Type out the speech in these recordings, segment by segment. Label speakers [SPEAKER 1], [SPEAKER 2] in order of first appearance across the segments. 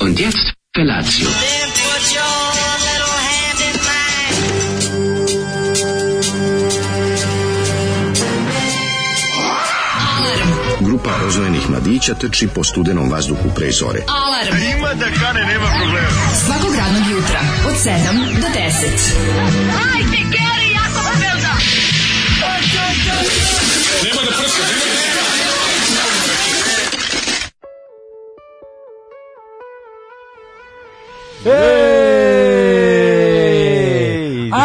[SPEAKER 1] Und jetzt Felatio.
[SPEAKER 2] Then put your little hand in mine.
[SPEAKER 3] Grupa rozvojenih mladića trči po studenom vazduhu pre zore.
[SPEAKER 4] Alarm. Ima da kane, nema problema. Svakog radnog jutra, od 7 do 10.
[SPEAKER 5] Ej!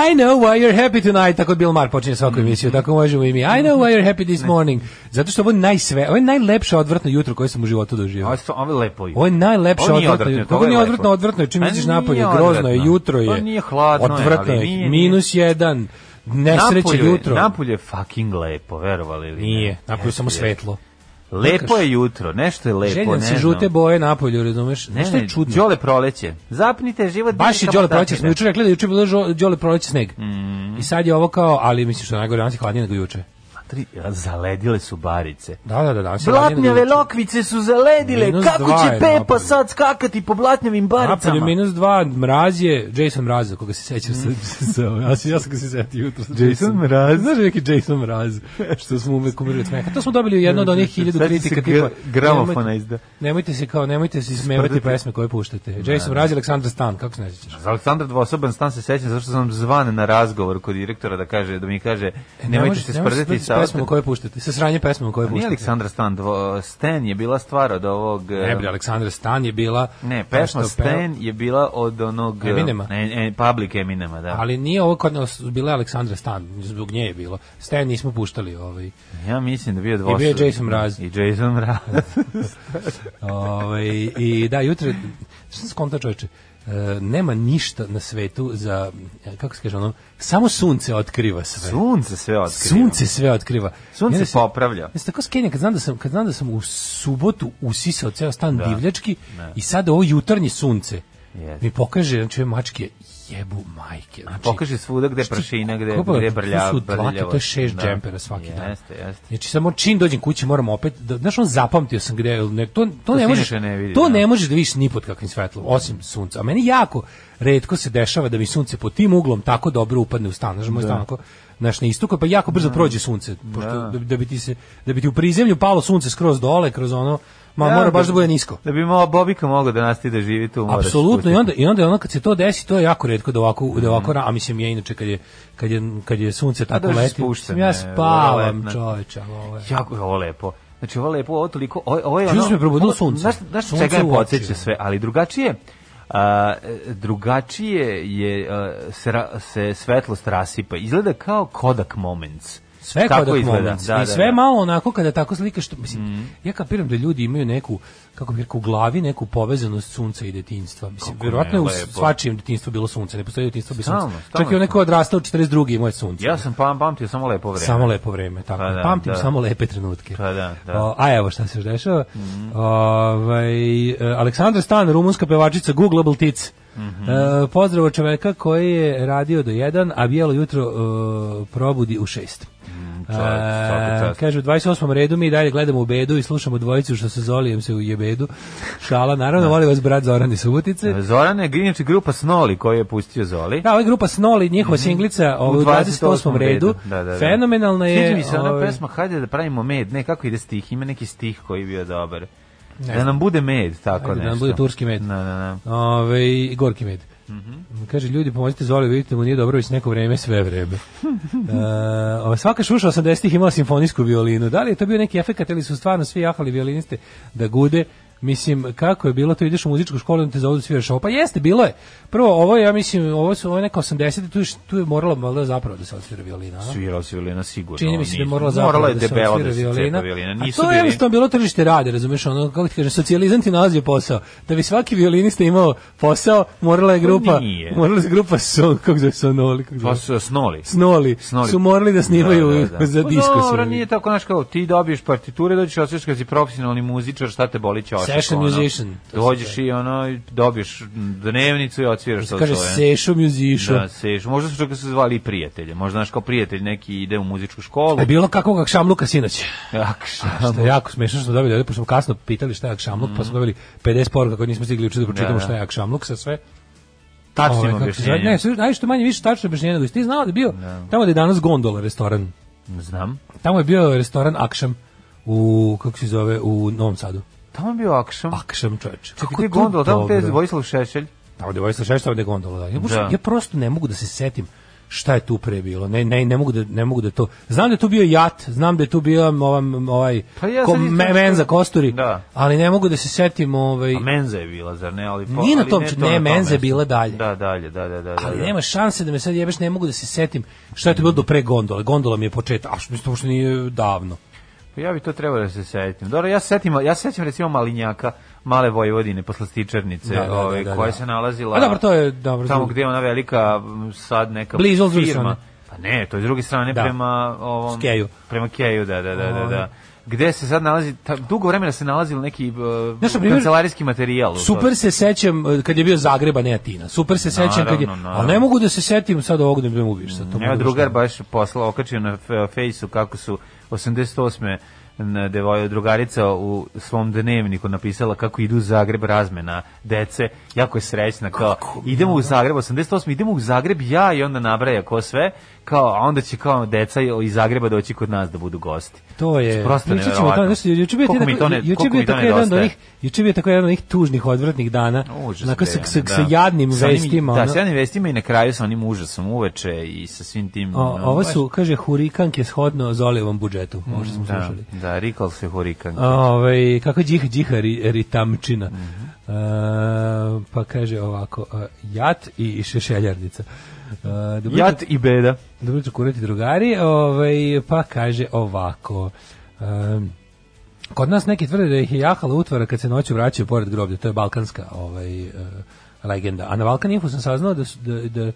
[SPEAKER 6] I know why you're happy tonight, tako Bill Maher počinje svaku emisiju, tako možemo i mi. I know why you're happy this morning. Zato što ovo je najsve, ovo je najlepše odvrtno jutro koje sam u životu doživio.
[SPEAKER 5] Ovo je sto- ovo je lepo jutro.
[SPEAKER 6] Ovo je najlepše
[SPEAKER 5] Ovo nije
[SPEAKER 6] odvrtno jutro.
[SPEAKER 5] odvratno,
[SPEAKER 6] Kako
[SPEAKER 5] ovo je
[SPEAKER 6] nije
[SPEAKER 5] lepo.
[SPEAKER 6] odvrtno, odvrtno je, čim
[SPEAKER 5] Pa
[SPEAKER 6] izađeš napolje,
[SPEAKER 5] nije
[SPEAKER 6] grozno je,
[SPEAKER 5] odvratno.
[SPEAKER 6] jutro je.
[SPEAKER 5] Pa nije hladno je,
[SPEAKER 6] odvrtno
[SPEAKER 5] ali
[SPEAKER 6] je,
[SPEAKER 5] nije,
[SPEAKER 6] minus jedan, nesreće
[SPEAKER 5] Napolju je-
[SPEAKER 6] jutro.
[SPEAKER 5] Napolju je fucking lepo, verovali ili ne?
[SPEAKER 6] Nije, napolju samo
[SPEAKER 5] Jeste, jeste.
[SPEAKER 6] svetlo.
[SPEAKER 5] Lepo je jutro, nešto je lepo,
[SPEAKER 6] Željam
[SPEAKER 5] ne
[SPEAKER 6] se
[SPEAKER 5] znam.
[SPEAKER 6] žute boje napolju, razumeš?
[SPEAKER 5] Ne,
[SPEAKER 6] Nešto
[SPEAKER 5] ne,
[SPEAKER 6] je čudno.
[SPEAKER 5] Đole proleće. Zapnite život.
[SPEAKER 6] Baš je
[SPEAKER 5] vidite
[SPEAKER 6] Đole
[SPEAKER 5] kako
[SPEAKER 6] proleće, smo
[SPEAKER 5] tapira.
[SPEAKER 6] juče rekli da je juče bilo žo- Đole proleće sneg.
[SPEAKER 5] Mm.
[SPEAKER 6] I sad je ovo kao, ali mislim što je najgore, danas je hladnije nego juče.
[SPEAKER 5] Pa tri- Zaledile su barice.
[SPEAKER 6] Da, da, da, danas je hladnije nego
[SPEAKER 5] Blatnjave
[SPEAKER 6] juče.
[SPEAKER 5] lokvice su zaledile.
[SPEAKER 6] Minus
[SPEAKER 5] Kako
[SPEAKER 6] dva
[SPEAKER 5] će
[SPEAKER 6] je
[SPEAKER 5] Pepa
[SPEAKER 6] napolju.
[SPEAKER 5] sad skakati po blatnjavim baricama?
[SPEAKER 6] Napolju minus dva, mraz je, Jason Mraz, koga se sećam sa, sa, ja, sam- ja sam ga se setio jutro. sa
[SPEAKER 5] Jason Mraz?
[SPEAKER 6] Znaš neki Jason Mraz, što smo uvek umrli od smeha. To smo dobili jedno od onih hiljadu
[SPEAKER 5] Sad se
[SPEAKER 6] kritika
[SPEAKER 5] gra-
[SPEAKER 6] tipa...
[SPEAKER 5] gramofona
[SPEAKER 6] nemojte-
[SPEAKER 5] izda.
[SPEAKER 6] Nemojte se kao, nemojte se smevati pesme koje puštate. Jason Mraz i Aleksandar Stan, kako se ne sjećaš?
[SPEAKER 5] Za Aleksandra Dvosoban stan se sećam zašto sam zvan na razgovor kod direktora da kaže da mi kaže E, nemojte
[SPEAKER 6] možeš-
[SPEAKER 5] se
[SPEAKER 6] E, ne možeš
[SPEAKER 5] sprdati
[SPEAKER 6] sa
[SPEAKER 5] sa
[SPEAKER 6] pesmama koje puštate, sa sranje pesmama koje
[SPEAKER 5] Nije
[SPEAKER 6] puštate.
[SPEAKER 5] Aleksandra Stan, dvo, Sten je bila stvar od ovog...
[SPEAKER 6] Ne
[SPEAKER 5] e,
[SPEAKER 6] bre, Aleksandra Stan je bila...
[SPEAKER 5] Ne,
[SPEAKER 6] ta
[SPEAKER 5] pesma
[SPEAKER 6] što je
[SPEAKER 5] Sten je bila od onog... e,
[SPEAKER 6] Eminema.
[SPEAKER 5] Ne, e, public Eminema, da.
[SPEAKER 6] Ali nije ovo kod nas, bila je Aleksandra Stan, zbog nje je bilo. Stan nismo puštali ovaj.
[SPEAKER 5] Ja mislim da bio Dvosoban.
[SPEAKER 6] bio je Jason Mraz.
[SPEAKER 5] I Jason Mraz.
[SPEAKER 6] Ovaj, I da, jutro, što sam skonta čoveče, e, nema ništa na svetu za, e, kako se kaže ono, samo sunce otkriva sve.
[SPEAKER 5] Sunce sve otkriva.
[SPEAKER 6] Sunce sve otkriva.
[SPEAKER 5] Sunce
[SPEAKER 6] I onda
[SPEAKER 5] popravlja.
[SPEAKER 6] Ja sam tako skenja, kad znam da sam, kad znam da sam u subotu usisao ceo stan divljački i sad ovo jutarnje sunce
[SPEAKER 5] Jeste.
[SPEAKER 6] mi pokaže, znači ove mačke, jebu majke. Znači,
[SPEAKER 5] Pokaže svuda gde je prašina, gde,
[SPEAKER 6] Kako je,
[SPEAKER 5] gde je
[SPEAKER 6] tu
[SPEAKER 5] brlja,
[SPEAKER 6] su dlake,
[SPEAKER 5] brljavo.
[SPEAKER 6] to je šest
[SPEAKER 5] Da.
[SPEAKER 6] džempera svaki dan.
[SPEAKER 5] Jeste, jeste.
[SPEAKER 6] Znači samo čim dođem kući moram opet da znaš on zapamtio sam gde ne, to, to,
[SPEAKER 5] se
[SPEAKER 6] ne možeš
[SPEAKER 5] inače ne vidi,
[SPEAKER 6] to
[SPEAKER 5] da.
[SPEAKER 6] ne možeš da vidiš ni pod kakvim svetlom osim sunca. A meni jako retko se dešava da mi sunce pod tim uglom tako dobro upadne u stan, znaš moj stan onako naš na istoku pa jako brzo prođe sunce pošto da. da bi ti se da bi ti u prizemlju palo sunce skroz dole kroz ono ma
[SPEAKER 5] Da,
[SPEAKER 6] mora baš
[SPEAKER 5] da-
[SPEAKER 6] da bude nisko.
[SPEAKER 5] Da bi mo Bobika mogao da nastavi da živi tu, moraš
[SPEAKER 6] Apsolutno i
[SPEAKER 5] spustiti.
[SPEAKER 6] onda i onda je ono kad se to desi to je jako retko da ovako da ovako ra- a mislim je inače kad je kad je kad je sunce tako
[SPEAKER 5] dođe
[SPEAKER 6] leti.
[SPEAKER 5] Pa spuštene,
[SPEAKER 6] mislim, ja spavam
[SPEAKER 5] letne.
[SPEAKER 6] čoveče, ali ovo je-
[SPEAKER 5] Jako je ovo lepo. Znači ovo je lepo, ovo toliko, ovo, ovo je ono...
[SPEAKER 6] Juče me probudilo
[SPEAKER 5] ovo-
[SPEAKER 6] sunce.
[SPEAKER 5] Znaš, znaš
[SPEAKER 6] Sunce
[SPEAKER 5] čega me
[SPEAKER 6] u oči,
[SPEAKER 5] podsjeća
[SPEAKER 6] ono.
[SPEAKER 5] sve, ali drugačije, a, e, drugačije je, a, se, ra- se svetlost rasipa. Izgleda kao Kodak Moments.
[SPEAKER 6] Sve
[SPEAKER 5] Tako
[SPEAKER 6] kodak
[SPEAKER 5] izgleda,
[SPEAKER 6] moments.
[SPEAKER 5] da, da,
[SPEAKER 6] I sve
[SPEAKER 5] da. Mhm.
[SPEAKER 6] malo onako kada tako slikaš, što, mislim, ja kapiram da ljudi imaju neku, kako bih rekao, u glavi neku povezanost sunca i detinjstva. Mislim,
[SPEAKER 5] Kako
[SPEAKER 6] verovatno je u
[SPEAKER 5] ne, lepo.
[SPEAKER 6] svačijem detinjstvu bilo sunce, ne postoji detinjstvo bez sunca.
[SPEAKER 5] Stalno, stalno
[SPEAKER 6] Čak i
[SPEAKER 5] je
[SPEAKER 6] onaj ko je odrastao u 42. i moje sunce.
[SPEAKER 5] Ja sam pam, pamtio samo lepo vreme.
[SPEAKER 6] Samo lepo vreme, tako.
[SPEAKER 5] Pa da,
[SPEAKER 6] Pamtim
[SPEAKER 5] da.
[SPEAKER 6] samo lepe trenutke.
[SPEAKER 5] Pa da, da. Mhm.
[SPEAKER 6] O, a evo šta se još dešava. Ovaj, e, Aleksandra Stan, rumunska pevačica Googleable Tic.
[SPEAKER 5] Mhm.
[SPEAKER 6] E, pozdrav od čoveka koji je radio do 1, a bijelo jutro e, probudi u 6.
[SPEAKER 5] Mm, čast, svaka čast.
[SPEAKER 6] kaže, u 28. redu mi i dalje gledamo u bedu i slušamo dvojicu što se zolijem se u jebedu. Šala, naravno, volim vas brat Zoran iz Subotice.
[SPEAKER 5] Zorana je inače grupa Snoli koju je pustio Zoli.
[SPEAKER 6] Da, ova grupa Snoli, njihova
[SPEAKER 5] Mhm.
[SPEAKER 6] singlica ovaj, u 28. redu,
[SPEAKER 5] Da, da, da.
[SPEAKER 6] fenomenalna je.
[SPEAKER 5] Sviđa mi se ona
[SPEAKER 6] ovaj,
[SPEAKER 5] pesma Hajde da pravimo med, ne kako ide stih, ima neki stih koji je bio dobar. Da nam bude med, tako
[SPEAKER 6] Ajde,
[SPEAKER 5] nešto.
[SPEAKER 6] da nam bude turski med.
[SPEAKER 5] Da, da, da.
[SPEAKER 6] Ove, i gorki med. Kaže, ljudi, pomozite Zoli, vidite da mu nije dobro već neko vreme, sve vreme. E, ova, svaka šuša 80-ih imala simfonijsku violinu. Da li je to bio neki efekt ili su stvarno svi jahali violiniste da gude? Mislim, kako je bilo to, ideš u muzičku školu i te zovu da sviraš ovo. Pa jeste, bilo je. Prvo, ovo je, ja mislim, ovo su ovo je neka 80 tu, je š- tu je moralo valjda zapravo da se odsvira violina. a?
[SPEAKER 5] svirao se violina sigurno.
[SPEAKER 6] Čini mi se da je
[SPEAKER 5] nisu.
[SPEAKER 6] morala zapravo
[SPEAKER 5] morala je
[SPEAKER 6] da se
[SPEAKER 5] debelo
[SPEAKER 6] odsvira
[SPEAKER 5] da se cepa
[SPEAKER 6] violina.
[SPEAKER 5] violina.
[SPEAKER 6] A
[SPEAKER 5] Nisu
[SPEAKER 6] to je ono
[SPEAKER 5] bili-
[SPEAKER 6] jednostavno bilo tržište rada, razumeš, ono, kako ti kažem, socijalizam ti nalazio posao. Da bi svaki violinista imao posao, morala je grupa,
[SPEAKER 5] Pa nije.
[SPEAKER 6] morala je grupa son, kako zove sonoli, kako
[SPEAKER 5] Pa
[SPEAKER 6] zove,
[SPEAKER 5] su snoli.
[SPEAKER 6] snoli,
[SPEAKER 5] Snoli.
[SPEAKER 6] su morali da snimaju
[SPEAKER 5] Da, da, da.
[SPEAKER 6] za
[SPEAKER 5] Pa
[SPEAKER 6] disko
[SPEAKER 5] Dobro,
[SPEAKER 6] sve.
[SPEAKER 5] nije tako, znaš, kao ti dobiješ partiture, dođeš, osjećaš kad si profesionalni muzičar, šta te boli ćošak.
[SPEAKER 6] Session
[SPEAKER 5] ono,
[SPEAKER 6] musician, to se
[SPEAKER 5] Dođeš i ono, dobiješ dnevnicu i odsviraš to
[SPEAKER 6] Kaže,
[SPEAKER 5] svoje.
[SPEAKER 6] sešo musician.
[SPEAKER 5] Da, seš. Možda su čak se zvali i prijatelje. Možda znaš kao prijatelj neki ide u muzičku školu.
[SPEAKER 6] E, bilo kakvog akšamluka sinoć.
[SPEAKER 5] Akša.
[SPEAKER 6] Što je jako smešno što smo dobili, ovde, pošto smo kasno pitali šta je akšamluk, pa smo dobili 50 poruka koje nismo stigli uče da pročitamo
[SPEAKER 5] Mm. da.
[SPEAKER 6] šta je akšamluk sa sve.
[SPEAKER 5] Tačno
[SPEAKER 6] Ovaj,
[SPEAKER 5] ima
[SPEAKER 6] kako se zove,
[SPEAKER 5] objašnjenje.
[SPEAKER 6] Ne, sve, najšto manje više tačno objašnjenje nego si ti znao da je bio tamo da je danas gondola restoran.
[SPEAKER 5] Znam.
[SPEAKER 6] Tamo je bio restoran Akšam u kako se zove u Novom Sadu.
[SPEAKER 5] Tamo je bio Akšam.
[SPEAKER 6] Akšam čoveče.
[SPEAKER 5] Čekaj,
[SPEAKER 6] Kako
[SPEAKER 5] ti
[SPEAKER 6] je to
[SPEAKER 5] gondola, tamo te
[SPEAKER 6] dobro?
[SPEAKER 5] Vojislav Šešelj.
[SPEAKER 6] Tamo gde Vojislav Šešelj, tamo gde je gondola. Da. Ja, baš-
[SPEAKER 5] Da.
[SPEAKER 6] ja prosto ne mogu da se setim šta je tu pre bilo. Ne, ne, ne mogu da ne mogu da to. Znam da je tu bio jat, znam da je tu bio ovaj ovaj
[SPEAKER 5] Pa ja
[SPEAKER 6] ko,
[SPEAKER 5] sad isto
[SPEAKER 6] me,
[SPEAKER 5] nešto-
[SPEAKER 6] menza kosturi.
[SPEAKER 5] Da,
[SPEAKER 6] Ali ne mogu da se setim ovaj
[SPEAKER 5] a Menza je bila, zar ne? Ali, po-
[SPEAKER 6] Nije na
[SPEAKER 5] ali
[SPEAKER 6] tom-
[SPEAKER 5] to
[SPEAKER 6] ne,
[SPEAKER 5] na
[SPEAKER 6] Menza je
[SPEAKER 5] mestu.
[SPEAKER 6] bila dalje.
[SPEAKER 5] Da, dalje, da, da, da. da,
[SPEAKER 6] ali
[SPEAKER 5] da.
[SPEAKER 6] nema šanse da me sad jebeš, ne mogu da se setim šta je to bilo do pre gondole. Gondola mi je početak, a što mislim to uopšte nije davno.
[SPEAKER 5] Pa ja bi to trebao da se setim. Dobro, ja se setim, ja se sećam recimo Malinjaka, Male Vojvodine, posle Stičernice,
[SPEAKER 6] Da, da, da,
[SPEAKER 5] ovaj,
[SPEAKER 6] da, da.
[SPEAKER 5] koja se nalazila...
[SPEAKER 6] A dobro, to je- dobro,
[SPEAKER 5] Tamo
[SPEAKER 6] drugi.
[SPEAKER 5] gde je ona velika, m, sad neka
[SPEAKER 6] Blizu, s druge
[SPEAKER 5] firma.
[SPEAKER 6] strane.
[SPEAKER 5] Pa ne, to je s druge strane
[SPEAKER 6] Da.
[SPEAKER 5] prema ovom...
[SPEAKER 6] S Keju.
[SPEAKER 5] Prema Keju, da, da, da, da,
[SPEAKER 6] Ovaj.
[SPEAKER 5] da. Gde se sad nalazi, ta, dugo vremena se nalazil neki uh,
[SPEAKER 6] Znaš, na primjer,
[SPEAKER 5] kancelarijski materijal. u to-
[SPEAKER 6] Super se sećam eh, kad je bio Zagreb, a ne Atina. Super se sećam kad je...
[SPEAKER 5] Naravno, naravno.
[SPEAKER 6] Ali ne mogu da se setim sad ovog da me ubiješ. Sad, to
[SPEAKER 5] Evo
[SPEAKER 6] mogu
[SPEAKER 5] drugar
[SPEAKER 6] šta-
[SPEAKER 5] baš poslao, okačio na fe- fejsu kako su 88. na- devoja drugarica u svom dnevniku napisala kako idu u Zagreb razmena dece, jako je srećna kao idemo u Zagreb 88. idemo u Zagreb ja i onda nabraja ko sve kao a onda će kao deca iz Zagreba doći kod nas da budu gosti.
[SPEAKER 6] To je.
[SPEAKER 5] Prosto
[SPEAKER 6] pričat ćemo o
[SPEAKER 5] neverovatno.
[SPEAKER 6] tome, znaš, juče bio
[SPEAKER 5] Koliko mi to ne- koliko
[SPEAKER 6] juče bio
[SPEAKER 5] mi to
[SPEAKER 6] tako jedan od
[SPEAKER 5] nedostaje.
[SPEAKER 6] onih, juče bio tako jedan od onih tužnih odvratnih dana.
[SPEAKER 5] Užas
[SPEAKER 6] Onako
[SPEAKER 5] bre,
[SPEAKER 6] sa, sa,
[SPEAKER 5] ono,
[SPEAKER 6] sa jadnim
[SPEAKER 5] Sa onim-
[SPEAKER 6] vestima.
[SPEAKER 5] Da,
[SPEAKER 6] ono.
[SPEAKER 5] sa jadnim vestima i na kraju sa onim užasom uveče i sa svim tim.
[SPEAKER 6] O,
[SPEAKER 5] ono,
[SPEAKER 6] ovo
[SPEAKER 5] baš-
[SPEAKER 6] su, kaže, hurikanke shodno Zolijevom budžetu. Možda smo
[SPEAKER 5] Da,
[SPEAKER 6] slušali.
[SPEAKER 5] da, rikal se hurikan.
[SPEAKER 6] Ove, kako džih, džiha ri, ritamčina. E, pa kaže ovako, e, jat i šešeljarnica. E, dobro jutro-
[SPEAKER 5] Jat i beda.
[SPEAKER 6] Dobro jutro, kurati drugari. Ovaj, pa kaže ovako. Um, kod nas neki tvrde da ih je jahala utvara kad se noću vraćaju pored groblja. To je balkanska ovaj, eh, legenda. A na Balkan Info sam saznao da, su- da, da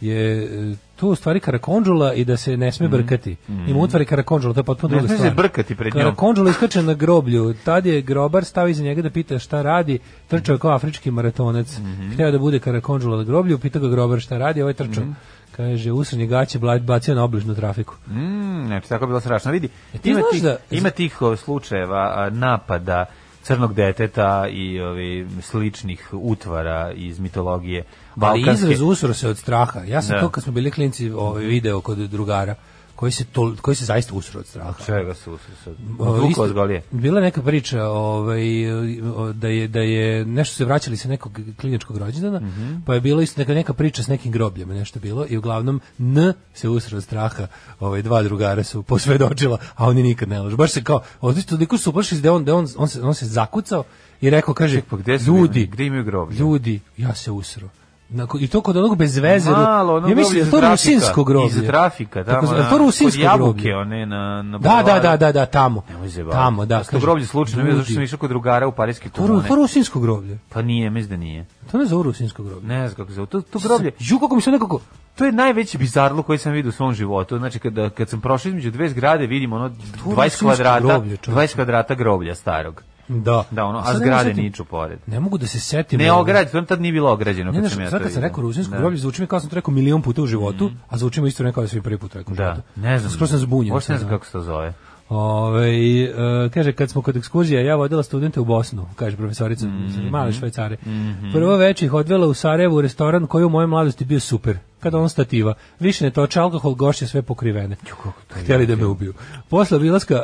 [SPEAKER 6] je eh, to u stvari karakondžula i da se ne sme brkati. Ima utvari karakondžula, to je potpuno
[SPEAKER 5] Mm. Ne
[SPEAKER 6] druga
[SPEAKER 5] sme se
[SPEAKER 6] stvar.
[SPEAKER 5] brkati pred njom.
[SPEAKER 6] Karakondžula iskače na groblju. Tad je grobar stao iza njega da pita šta radi. Trčao je kao afrički maratonac.
[SPEAKER 5] Mhm.
[SPEAKER 6] Hteo da bude karakondžula na groblju. Pitao ga grobar šta radi. Ovaj trčao. Kaže, usrnje gaće bla- bacio na obližnu trafiku.
[SPEAKER 5] Mm, znači, tako je bilo strašno. Vidi,
[SPEAKER 6] E, ti
[SPEAKER 5] ima,
[SPEAKER 6] znaš
[SPEAKER 5] tih,
[SPEAKER 6] da-
[SPEAKER 5] ima tih o, slučajeva a, napada crnog deteta i ovi, sličnih utvara iz mitologije
[SPEAKER 6] Ali
[SPEAKER 5] balkanske.
[SPEAKER 6] izraz usro se od straha. Ja sam
[SPEAKER 5] Da.
[SPEAKER 6] to kad smo bili klinci ovaj, video kod drugara koji se, to, koji se zaista usro od straha.
[SPEAKER 5] Čega su usro sad?
[SPEAKER 6] O,
[SPEAKER 5] Vuka
[SPEAKER 6] isto-
[SPEAKER 5] od golije.
[SPEAKER 6] Bila je neka priča ovaj, o, da, je, da je nešto se vraćali sa nekog kliničkog rođendana,
[SPEAKER 5] Mhm.
[SPEAKER 6] pa je bilo isto neka, neka priča s nekim grobljama, nešto je bilo, i uglavnom N se usro od straha, ovaj, dva drugara su posvedočila, a oni nikad ne lažu. Baš se kao, odlično, toliko su uplašili da je on, da je on, on, se, on se zakucao i rekao, kaže,
[SPEAKER 5] Pa gde su
[SPEAKER 6] ljudi,
[SPEAKER 5] bili? Gde imaju groblje?
[SPEAKER 6] ljudi, ja se usro. Nako, I to kod onog bez veze.
[SPEAKER 5] Malo, ono
[SPEAKER 6] ja
[SPEAKER 5] groblje
[SPEAKER 6] mislim,
[SPEAKER 5] iz
[SPEAKER 6] je to
[SPEAKER 5] trafika.
[SPEAKER 6] rusinsko groblje.
[SPEAKER 5] Iz trafika, tamo.
[SPEAKER 6] Tako, je li
[SPEAKER 5] na-
[SPEAKER 6] to rusinsko
[SPEAKER 5] kod jabuke,
[SPEAKER 6] groblje?
[SPEAKER 5] one na, na
[SPEAKER 6] Da, da,
[SPEAKER 5] bulevaru.
[SPEAKER 6] da, da, da, tamo.
[SPEAKER 5] Nemoj zebati.
[SPEAKER 6] Tamo, da.
[SPEAKER 5] Ja sam To groblje slučajno, bio, zato što sam
[SPEAKER 6] ljudi,
[SPEAKER 5] išao kod drugara u parijski
[SPEAKER 6] To, ru-
[SPEAKER 5] komune.
[SPEAKER 6] to rusinsko groblje.
[SPEAKER 5] Pa nije, mislim da nije.
[SPEAKER 6] To ne zove rusinsko groblje.
[SPEAKER 5] Ne znam kako se zove. To, to groblje,
[SPEAKER 6] Ju, kako mi se nekako...
[SPEAKER 5] To je najveći bizarluk koji sam vidio u svom životu. Znači kada kad sam prošao između dve zgrade vidim ono 20
[SPEAKER 6] rusinsko
[SPEAKER 5] kvadrata,
[SPEAKER 6] groblje, čoveče.
[SPEAKER 5] 20 kvadrata groblja starog.
[SPEAKER 6] Da.
[SPEAKER 5] Da, ono, a
[SPEAKER 6] Sad ne
[SPEAKER 5] zgrade
[SPEAKER 6] setim-
[SPEAKER 5] niču pored.
[SPEAKER 6] Ne mogu da se setim.
[SPEAKER 5] Ne
[SPEAKER 6] ovaj,
[SPEAKER 5] ograđeno, to tad nije bilo ograđeno
[SPEAKER 6] Ne,
[SPEAKER 5] kad
[SPEAKER 6] znaš,
[SPEAKER 5] sam ja
[SPEAKER 6] sad
[SPEAKER 5] to
[SPEAKER 6] kad sam
[SPEAKER 5] vidio.
[SPEAKER 6] rekao rusinsko
[SPEAKER 5] Da. Mhm.
[SPEAKER 6] groblje, zvuči mi kao sam to rekao milion puta u životu, a zvuči mi isto ne kao da sam i prvi put rekao u
[SPEAKER 5] Da,
[SPEAKER 6] životu.
[SPEAKER 5] ne znam.
[SPEAKER 6] Skoro sam zbunjen.
[SPEAKER 5] Možda ne
[SPEAKER 6] sad,
[SPEAKER 5] znam
[SPEAKER 6] da.
[SPEAKER 5] kako se to zove.
[SPEAKER 6] Ove, e, kaže, kad smo kod ekskurzija, ja vodila studente u Bosnu, kaže profesorica, male švajcare. Prvo večer ih odvela u Sarajevu u restoran koji u mojoj mladosti bio super. Kad on stativa. Više ne toče alkohol, gošće sve pokrivene. Htjeli da me ubiju. Posle obilaska, e,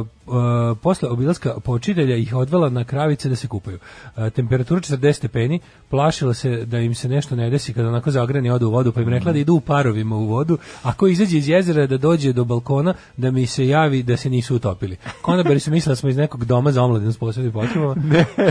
[SPEAKER 6] e, posle obilaska počitelja ih odvela na kravice da se kupaju. E, temperatura 40 stepeni, plašila se da im se nešto ne desi kada onako zagrani odu u vodu, pa im rekla da idu u parovima u vodu, ako izađe iz jezera da dođe do balkona, da mi se javi da se nisu utopili. Konobari su mislili da smo iz nekog doma za omladinu s posebnim potrebama,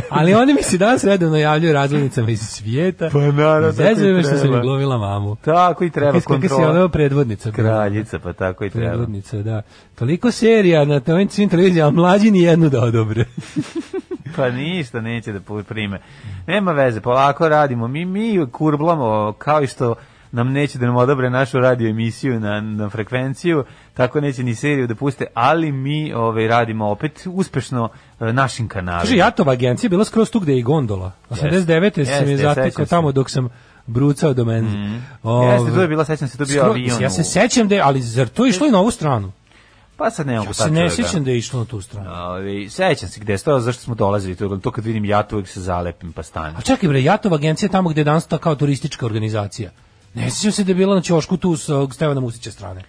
[SPEAKER 6] ali oni mi se danas redovno javljaju razglednicama iz svijeta.
[SPEAKER 5] Pa naravno, tako i
[SPEAKER 6] Zezaju me što sam
[SPEAKER 5] treba.
[SPEAKER 6] im glumila mamu.
[SPEAKER 5] Tako i treba
[SPEAKER 6] Kako si- kako si
[SPEAKER 5] kontrola.
[SPEAKER 6] ono predvodnica. bila.
[SPEAKER 5] Kraljica, pa tako i treba.
[SPEAKER 6] Predvodnica, da. Toliko serija na ovim svim televizijama, ali mlađi ni jednu da odobre.
[SPEAKER 5] Pa ništa neće da prime. Nema veze, polako radimo. Mi mi kurblamo kao i što nam neće da nam odobre našu radio emisiju na, na frekvenciju, tako neće ni seriju da puste, ali mi ovaj, radimo opet uspešno e, našim kanalima.
[SPEAKER 6] Kaže, Jatova agencija je bila skroz tu gde je i gondola. 89. Yes. sam
[SPEAKER 5] Jeste,
[SPEAKER 6] je zatekao
[SPEAKER 5] sećam se. Mhm.
[SPEAKER 6] tamo dok sam brucao do menze. Mm.
[SPEAKER 5] Jeste, to je bila, sećam se, to je bio avion.
[SPEAKER 6] Ja
[SPEAKER 5] u-
[SPEAKER 6] se sećam da je, ali zar to je išlo i na ovu stranu?
[SPEAKER 5] Pa sad ne mogu
[SPEAKER 6] Ja
[SPEAKER 5] sad
[SPEAKER 6] se ne
[SPEAKER 5] čoveka.
[SPEAKER 6] sećam da je išlo na tu stranu.
[SPEAKER 5] Ovaj, sećam se gde je stojao, zašto smo dolazili tu, to kad vidim ja tu uvijek se zalepim pa stanem.
[SPEAKER 6] A čekaj bre, Jatova agencija je tamo gde je danas ta kao turistička organizacija. Ne sećam se da je bila na Ćošku tu sa ovog Stevana Musića strane.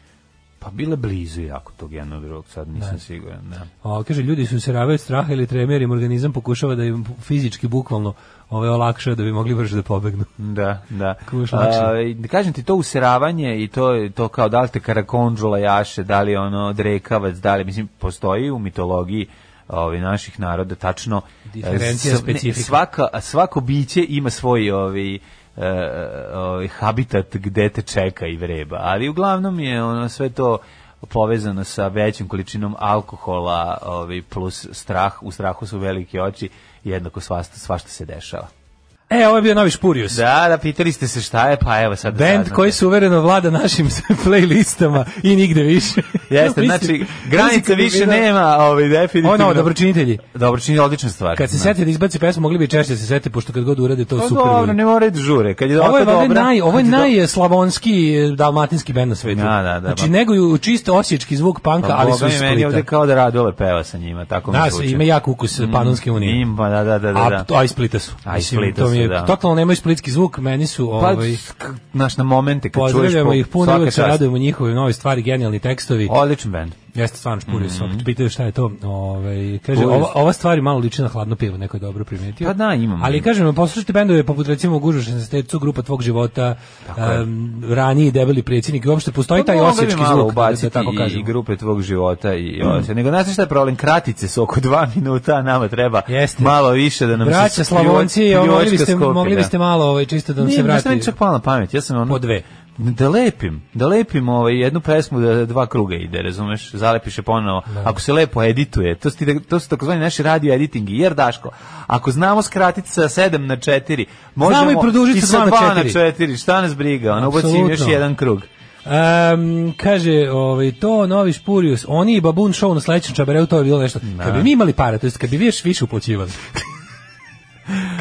[SPEAKER 5] Pa bile blizu jako tog jednog drugog, sad nisam siguran. Da.
[SPEAKER 6] O, kaže, ljudi su se ravaju od straha ili tremer im organizam pokušava da im fizički, bukvalno, ove olakša da bi mogli brže da pobegnu.
[SPEAKER 5] Da, da.
[SPEAKER 6] Kuš lakše.
[SPEAKER 5] A, i da kažem ti, to useravanje i to, to kao da li te karakondžula jaše, da li ono drekavac, da li, mislim, postoji u mitologiji ovi, naših naroda, tačno
[SPEAKER 6] Diferencija,
[SPEAKER 5] e, s-
[SPEAKER 6] specifika.
[SPEAKER 5] ne, svaka, svako biće ima svoj ovi, e, e, ovi, habitat gde te čeka i vreba, ali uglavnom je ono sve to povezano sa većim količinom alkohola ovi, plus strah, u strahu su velike oči jednako svašta, svašta se dešava.
[SPEAKER 6] E, ovo je bio novi Špurius.
[SPEAKER 5] Da, da, pitali ste se šta je, pa evo sad. da
[SPEAKER 6] Band
[SPEAKER 5] saznate.
[SPEAKER 6] koji suvereno vlada našim playlistama i nigde više.
[SPEAKER 5] Jeste,
[SPEAKER 6] Mislim,
[SPEAKER 5] znači,
[SPEAKER 6] mislim
[SPEAKER 5] granica
[SPEAKER 6] kad bi
[SPEAKER 5] više
[SPEAKER 6] bilo-
[SPEAKER 5] nema, ovaj, definitivno.
[SPEAKER 6] Ono, dobročinitelji.
[SPEAKER 5] Dobro, čini odlična stvar.
[SPEAKER 6] Kad se
[SPEAKER 5] Da.
[SPEAKER 6] sete da izbaci pesmu, mogli bi češće se sete, pošto kad god urade to
[SPEAKER 5] Pa
[SPEAKER 6] super.
[SPEAKER 5] dobro,
[SPEAKER 6] uvek.
[SPEAKER 5] ne mora da žure. Kad je
[SPEAKER 6] Ovo je,
[SPEAKER 5] ovako
[SPEAKER 6] valjda
[SPEAKER 5] dobra,
[SPEAKER 6] naj, ovo je
[SPEAKER 5] kad do-
[SPEAKER 6] najslavonski eh, dalmatinski bend na svetu.
[SPEAKER 5] Da, da, da,
[SPEAKER 6] znači,
[SPEAKER 5] ba-
[SPEAKER 6] neguju čisto osječki zvuk panka,
[SPEAKER 5] Pa,
[SPEAKER 6] ali
[SPEAKER 5] ali
[SPEAKER 6] su iz
[SPEAKER 5] meni ovde
[SPEAKER 6] Splita.
[SPEAKER 5] kao da Radule peva sa njima, tako mi
[SPEAKER 6] Da,
[SPEAKER 5] zvuči. Mm,
[SPEAKER 6] ima jak ukus eh, Panonske unije.
[SPEAKER 5] Ima, da, da, da, da.
[SPEAKER 6] A,
[SPEAKER 5] da.
[SPEAKER 6] to- a iz Splita su.
[SPEAKER 5] A iz
[SPEAKER 6] Mislim,
[SPEAKER 5] Splita
[SPEAKER 6] to mi je,
[SPEAKER 5] su, da.
[SPEAKER 6] Totalno nemaju splitski zvuk, meni su...
[SPEAKER 5] Pa,
[SPEAKER 6] ovaj,
[SPEAKER 5] k- znaš, na momente kad čuješ
[SPEAKER 6] pozdravljamo
[SPEAKER 5] po-
[SPEAKER 6] ih puno,
[SPEAKER 5] svaka
[SPEAKER 6] uvek se
[SPEAKER 5] čast.
[SPEAKER 6] radujemo njihove nove stvari, genijalni tekstovi.
[SPEAKER 5] Odličan band.
[SPEAKER 6] Jeste stvarno špurio
[SPEAKER 5] Mhm.
[SPEAKER 6] mm -hmm. Pitaju šta je to. Ove, kaže,
[SPEAKER 5] Špurio.
[SPEAKER 6] ova, ova stvar je malo liči na hladno pivo, neko je dobro primetio.
[SPEAKER 5] Pa da, imamo.
[SPEAKER 6] Ali kažem, poslušajte bendove poput recimo Gužuš na stecu, grupa tvog života,
[SPEAKER 5] je. Pa
[SPEAKER 6] um, raniji debeli predsjednik Pa i uopšte postoji taj
[SPEAKER 5] mogli bi
[SPEAKER 6] osječki
[SPEAKER 5] malo
[SPEAKER 6] zvuk, da,
[SPEAKER 5] ubaciti
[SPEAKER 6] da tako
[SPEAKER 5] i-
[SPEAKER 6] kažem.
[SPEAKER 5] i grupe tvog života i mm. nego znaš šta je problem kratice su oko dva minuta a nama treba
[SPEAKER 6] Jeste.
[SPEAKER 5] malo više da nam
[SPEAKER 6] Braća
[SPEAKER 5] se
[SPEAKER 6] Slavonci,
[SPEAKER 5] pljuvačka
[SPEAKER 6] mogli biste,
[SPEAKER 5] skopi,
[SPEAKER 6] mogli biste malo ovaj, čisto da
[SPEAKER 5] da
[SPEAKER 6] nam se
[SPEAKER 5] Nije, znaš šta
[SPEAKER 6] vrati.
[SPEAKER 5] mi čak palo na pamet ja sam ono
[SPEAKER 6] Po dve.
[SPEAKER 5] da lepim, da lepim ovaj jednu pesmu da dva kruga ide, razumeš? Zalepiš je ponovo. Ako se lepo edituje, to su ti- to su takozvani naši radio editingi. Jer Daško, ako znamo skratiti sa 7 na 4, možemo
[SPEAKER 6] i produžiti sa
[SPEAKER 5] sa
[SPEAKER 6] dva na
[SPEAKER 5] 2 na
[SPEAKER 6] četiri.
[SPEAKER 5] 4, šta nas briga? Ono ubacim još
[SPEAKER 6] Apsolutno.
[SPEAKER 5] jedan krug.
[SPEAKER 6] Um, kaže, ovaj, to novi Špurius, oni i Babun show na sledećem čabareu, to je bilo nešto. Kad bi mi imali para, to jest kad bi vi još više uplaćivali.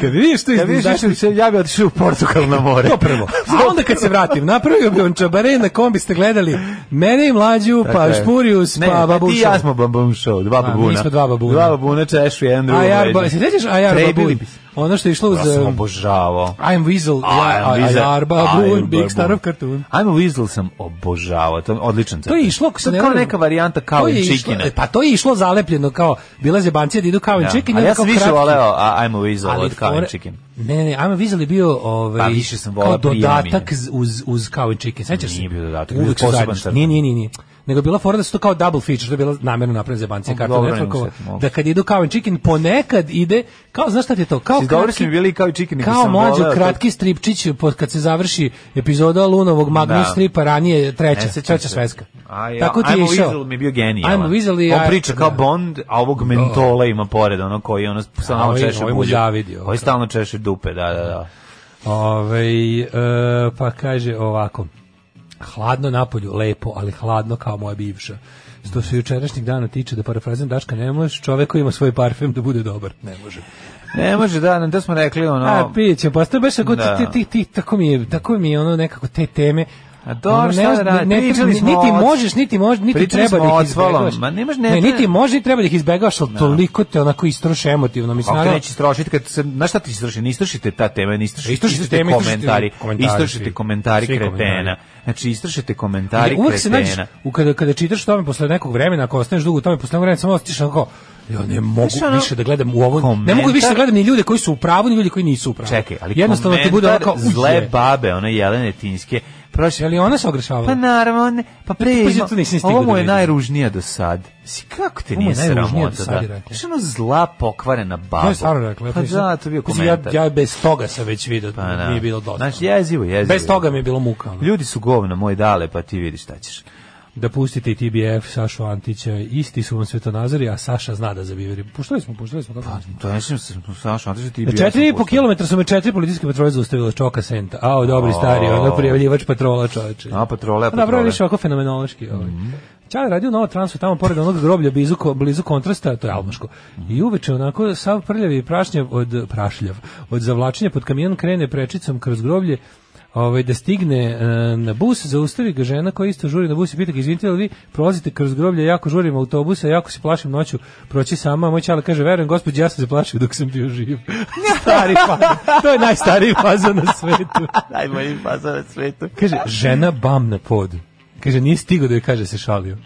[SPEAKER 6] kad bi vi što
[SPEAKER 5] Ja vidiš,
[SPEAKER 6] izdaš,
[SPEAKER 5] išao- ja bih otišao u Portugal na more.
[SPEAKER 6] to prvo. A onda kad se vratim, napravio bi on čabare na kom biste gledali mene i mlađu,
[SPEAKER 5] Tako
[SPEAKER 6] pa
[SPEAKER 5] je.
[SPEAKER 6] Špurius,
[SPEAKER 5] Dakle, Ne,
[SPEAKER 6] pa
[SPEAKER 5] ne,
[SPEAKER 6] Babun
[SPEAKER 5] Ti i ja
[SPEAKER 6] show.
[SPEAKER 5] smo babum show, dva
[SPEAKER 6] A, mi
[SPEAKER 5] babuna.
[SPEAKER 6] smo dva babuna.
[SPEAKER 5] Dva babuna češu jedan drugo.
[SPEAKER 6] A ja, ba, se sjećaš Ajar Babun? Ono što je išlo uz...
[SPEAKER 5] Ja sam
[SPEAKER 6] um,
[SPEAKER 5] obožavao.
[SPEAKER 6] I'm Weasel,
[SPEAKER 5] I'm Weasel.
[SPEAKER 6] Ajar Babun,
[SPEAKER 5] I'm
[SPEAKER 6] Big
[SPEAKER 5] Babun.
[SPEAKER 6] Star of Cartoon.
[SPEAKER 5] I'm Weasel sam obožavao, to je odličan
[SPEAKER 6] To je išlo, ako se
[SPEAKER 5] To
[SPEAKER 6] ne
[SPEAKER 5] je kao
[SPEAKER 6] varam-
[SPEAKER 5] neka varijanta
[SPEAKER 6] to
[SPEAKER 5] kao
[SPEAKER 6] je
[SPEAKER 5] i
[SPEAKER 6] išlo-
[SPEAKER 5] čikina.
[SPEAKER 6] Pa to je išlo zalepljeno kao, bila zebancija da idu kao i chicken. i onda
[SPEAKER 5] ali ja
[SPEAKER 6] kao
[SPEAKER 5] sam više
[SPEAKER 6] kratki.
[SPEAKER 5] voleo a, I'm Weasel
[SPEAKER 6] Ali
[SPEAKER 5] od kao
[SPEAKER 6] fore-
[SPEAKER 5] i chicken.
[SPEAKER 6] Ne, ne, ne, ajmo vizeli bio ovaj
[SPEAKER 5] Pa više sam
[SPEAKER 6] kao
[SPEAKER 5] volao prijemi.
[SPEAKER 6] dodatak z- uz uz Cow and Chicken. Sećaš se?
[SPEAKER 5] Nije bio dodatak, bio
[SPEAKER 6] Uvek su
[SPEAKER 5] poseban
[SPEAKER 6] zajedno.
[SPEAKER 5] crtan.
[SPEAKER 6] Nije, nije, nije, nije. Nego je bila fora da su to kao double feature, to je bila namerno napravljena za banci
[SPEAKER 5] O,
[SPEAKER 6] kartu
[SPEAKER 5] dobro, ne
[SPEAKER 6] networkova.
[SPEAKER 5] mogu se, mogu.
[SPEAKER 6] Da kad idu Cow and Chicken ponekad ide kao znaš šta ti je to? Kao
[SPEAKER 5] Si dobro su
[SPEAKER 6] kratki-
[SPEAKER 5] mi bili i kao i chicken. nego
[SPEAKER 6] kao
[SPEAKER 5] sam
[SPEAKER 6] mlađo
[SPEAKER 5] voleo to-
[SPEAKER 6] kratki stripčić pod kad se završi epizoda Lunovog Magnus
[SPEAKER 5] Da.
[SPEAKER 6] stripa ranije treća,
[SPEAKER 5] Ne sećam
[SPEAKER 6] treća
[SPEAKER 5] se.
[SPEAKER 6] E, sveska.
[SPEAKER 5] A ja,
[SPEAKER 6] Tako ti je
[SPEAKER 5] I'm
[SPEAKER 6] išao.
[SPEAKER 5] Weasel mi je bio genijalan.
[SPEAKER 6] I'm Weasel i
[SPEAKER 5] On
[SPEAKER 6] I-
[SPEAKER 5] priča kao
[SPEAKER 6] da.
[SPEAKER 5] Bond, a ovog mentola ima pored, ono koji ono stalno
[SPEAKER 6] ovo je-
[SPEAKER 5] češe
[SPEAKER 6] ovo je mu
[SPEAKER 5] bulju.
[SPEAKER 6] zavidi, ono. ovo
[SPEAKER 5] Ovo je
[SPEAKER 6] kao.
[SPEAKER 5] stalno češe dupe, da, da, da.
[SPEAKER 6] Ove, e, pa kaže ovako. Hladno napolju, lepo, ali hladno kao moja bivša. Što se jučerašnjeg dana tiče, da parafrazim Daška, ne možeš čovek koji ima svoj parfem da bude dobar. Ne može.
[SPEAKER 5] Ne može, da, da smo rekli, ono...
[SPEAKER 6] A, piće, pa baš tako,
[SPEAKER 5] Da.
[SPEAKER 6] ti, ti, ti, tako mi je, tako mi je ono nekako te teme. Ono,
[SPEAKER 5] A dobro, šta da
[SPEAKER 6] ne,
[SPEAKER 5] radi,
[SPEAKER 6] ne, ne,
[SPEAKER 5] pričali smo
[SPEAKER 6] niti
[SPEAKER 5] o oc-
[SPEAKER 6] možeš, niti možeš, niti
[SPEAKER 5] pričali
[SPEAKER 6] treba
[SPEAKER 5] smo
[SPEAKER 6] da
[SPEAKER 5] o
[SPEAKER 6] ih
[SPEAKER 5] Ocvalom,
[SPEAKER 6] izbegavaš.
[SPEAKER 5] ma ne može, ne treba-
[SPEAKER 6] niti možeš, niti treba da ih izbegavaš, ali toliko te onako istroše emotivno. Mislim,
[SPEAKER 5] Kako te
[SPEAKER 6] naravno-
[SPEAKER 5] neće strošiti kad se na šta ti stroši? Ne istrošite ta tema, ne istrošite,
[SPEAKER 6] Istrošite
[SPEAKER 5] istrošite,
[SPEAKER 6] teme, istrošite
[SPEAKER 5] komentari,
[SPEAKER 6] komentari svi.
[SPEAKER 5] istrošite komentari
[SPEAKER 6] Svi
[SPEAKER 5] kretena.
[SPEAKER 6] komentari.
[SPEAKER 5] Znači istrošite komentari
[SPEAKER 6] Uvek se
[SPEAKER 5] kretena.
[SPEAKER 6] nađeš, u, kada, kada čitaš o tome posle nekog vremena, ako ostaneš dugo u tome posle nekog vremena, samo ostiš onako, ja ne mogu
[SPEAKER 5] Znaš, ono,
[SPEAKER 6] više da gledam u ovo, ne
[SPEAKER 5] komentar-
[SPEAKER 6] mogu više da gledam ni ljude koji su u pravu, ni ljude koji nisu u pravu.
[SPEAKER 5] Čekaj, ali
[SPEAKER 6] Jednostavno ti bude
[SPEAKER 5] komentar
[SPEAKER 6] onako, uj,
[SPEAKER 5] zle
[SPEAKER 6] je.
[SPEAKER 5] babe, one Jelene Tinske. Prošle,
[SPEAKER 6] ali ona se ogrešavala.
[SPEAKER 5] Pa naravno, ne. pa pre
[SPEAKER 6] Pazi,
[SPEAKER 5] ima-
[SPEAKER 6] to nisam stigao
[SPEAKER 5] ovo
[SPEAKER 6] da
[SPEAKER 5] mu je
[SPEAKER 6] vidim.
[SPEAKER 5] najružnija do sad. Si kako te
[SPEAKER 6] Ovo mu
[SPEAKER 5] nije
[SPEAKER 6] je najružnija do
[SPEAKER 5] sramota,
[SPEAKER 6] sad, je
[SPEAKER 5] da?
[SPEAKER 6] rekla.
[SPEAKER 5] Što ono zla pokvarena baba.
[SPEAKER 6] To je stvarno rekla. ja
[SPEAKER 5] Pa
[SPEAKER 6] nisam-
[SPEAKER 5] da, to je bio
[SPEAKER 6] Mislim, ja-
[SPEAKER 5] komentar.
[SPEAKER 6] Ja, bez toga sam već vidio,
[SPEAKER 5] Pa da.
[SPEAKER 6] nije bilo dosta.
[SPEAKER 5] Znaš, jezivo, jezivo.
[SPEAKER 6] bez toga mi je bilo muka. ono.
[SPEAKER 5] Ljudi su govna, moj dale, pa ti vidiš šta ćeš.
[SPEAKER 6] da pustite i TBF, Sašu Antića, isti su vam svetonazori, a Saša zna da zabiveri. Puštali smo, puštali smo. Pa,
[SPEAKER 5] To je nešto sam Saša Antić ti
[SPEAKER 6] Na 4,5 km su me četiri policijske patrole zaustavile čoka senta. Ao, dobri stari, ono prijavljivač patrola čoveče.
[SPEAKER 5] A, pa patrole,
[SPEAKER 6] A pa Dobro,
[SPEAKER 5] patrole.
[SPEAKER 6] više ovako fenomenološki. Ovaj. Mm Čale radio novo transu tamo pored onog groblja blizu, ko- blizu kontrasta, to je albaško. I uveče onako sav prljav i prašnjav od prašljav, od zavlačenja pod kamion krene prečicom kroz groblje ovaj, da stigne e, na bus, zaustavi ga žena koja isto žuri na bus i pita ga, izvinite li vi prolazite kroz groblje, jako žurim autobusa, jako se plašim noću, proći sama, a moj čale kaže, verujem gospodin, ja sam se plašio dok sam bio živ. Stari fazan, to je najstariji fazan na svetu.
[SPEAKER 5] Najbolji fazan na svetu.
[SPEAKER 6] Kaže, žena bam na pod. Kaže, nije stigo da joj kaže se šalio.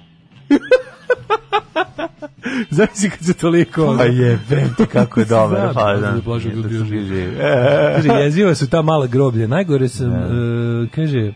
[SPEAKER 6] Zavisi kad se toliko... ono.
[SPEAKER 5] Pa je, vrem ti kako je dobar
[SPEAKER 6] Znam,
[SPEAKER 5] fazan.
[SPEAKER 6] da Blažo
[SPEAKER 5] Da sam
[SPEAKER 6] bio živ.
[SPEAKER 5] živ.
[SPEAKER 6] Kaže, jeziva su ta mala groblja. Najgore sam, e, kaže,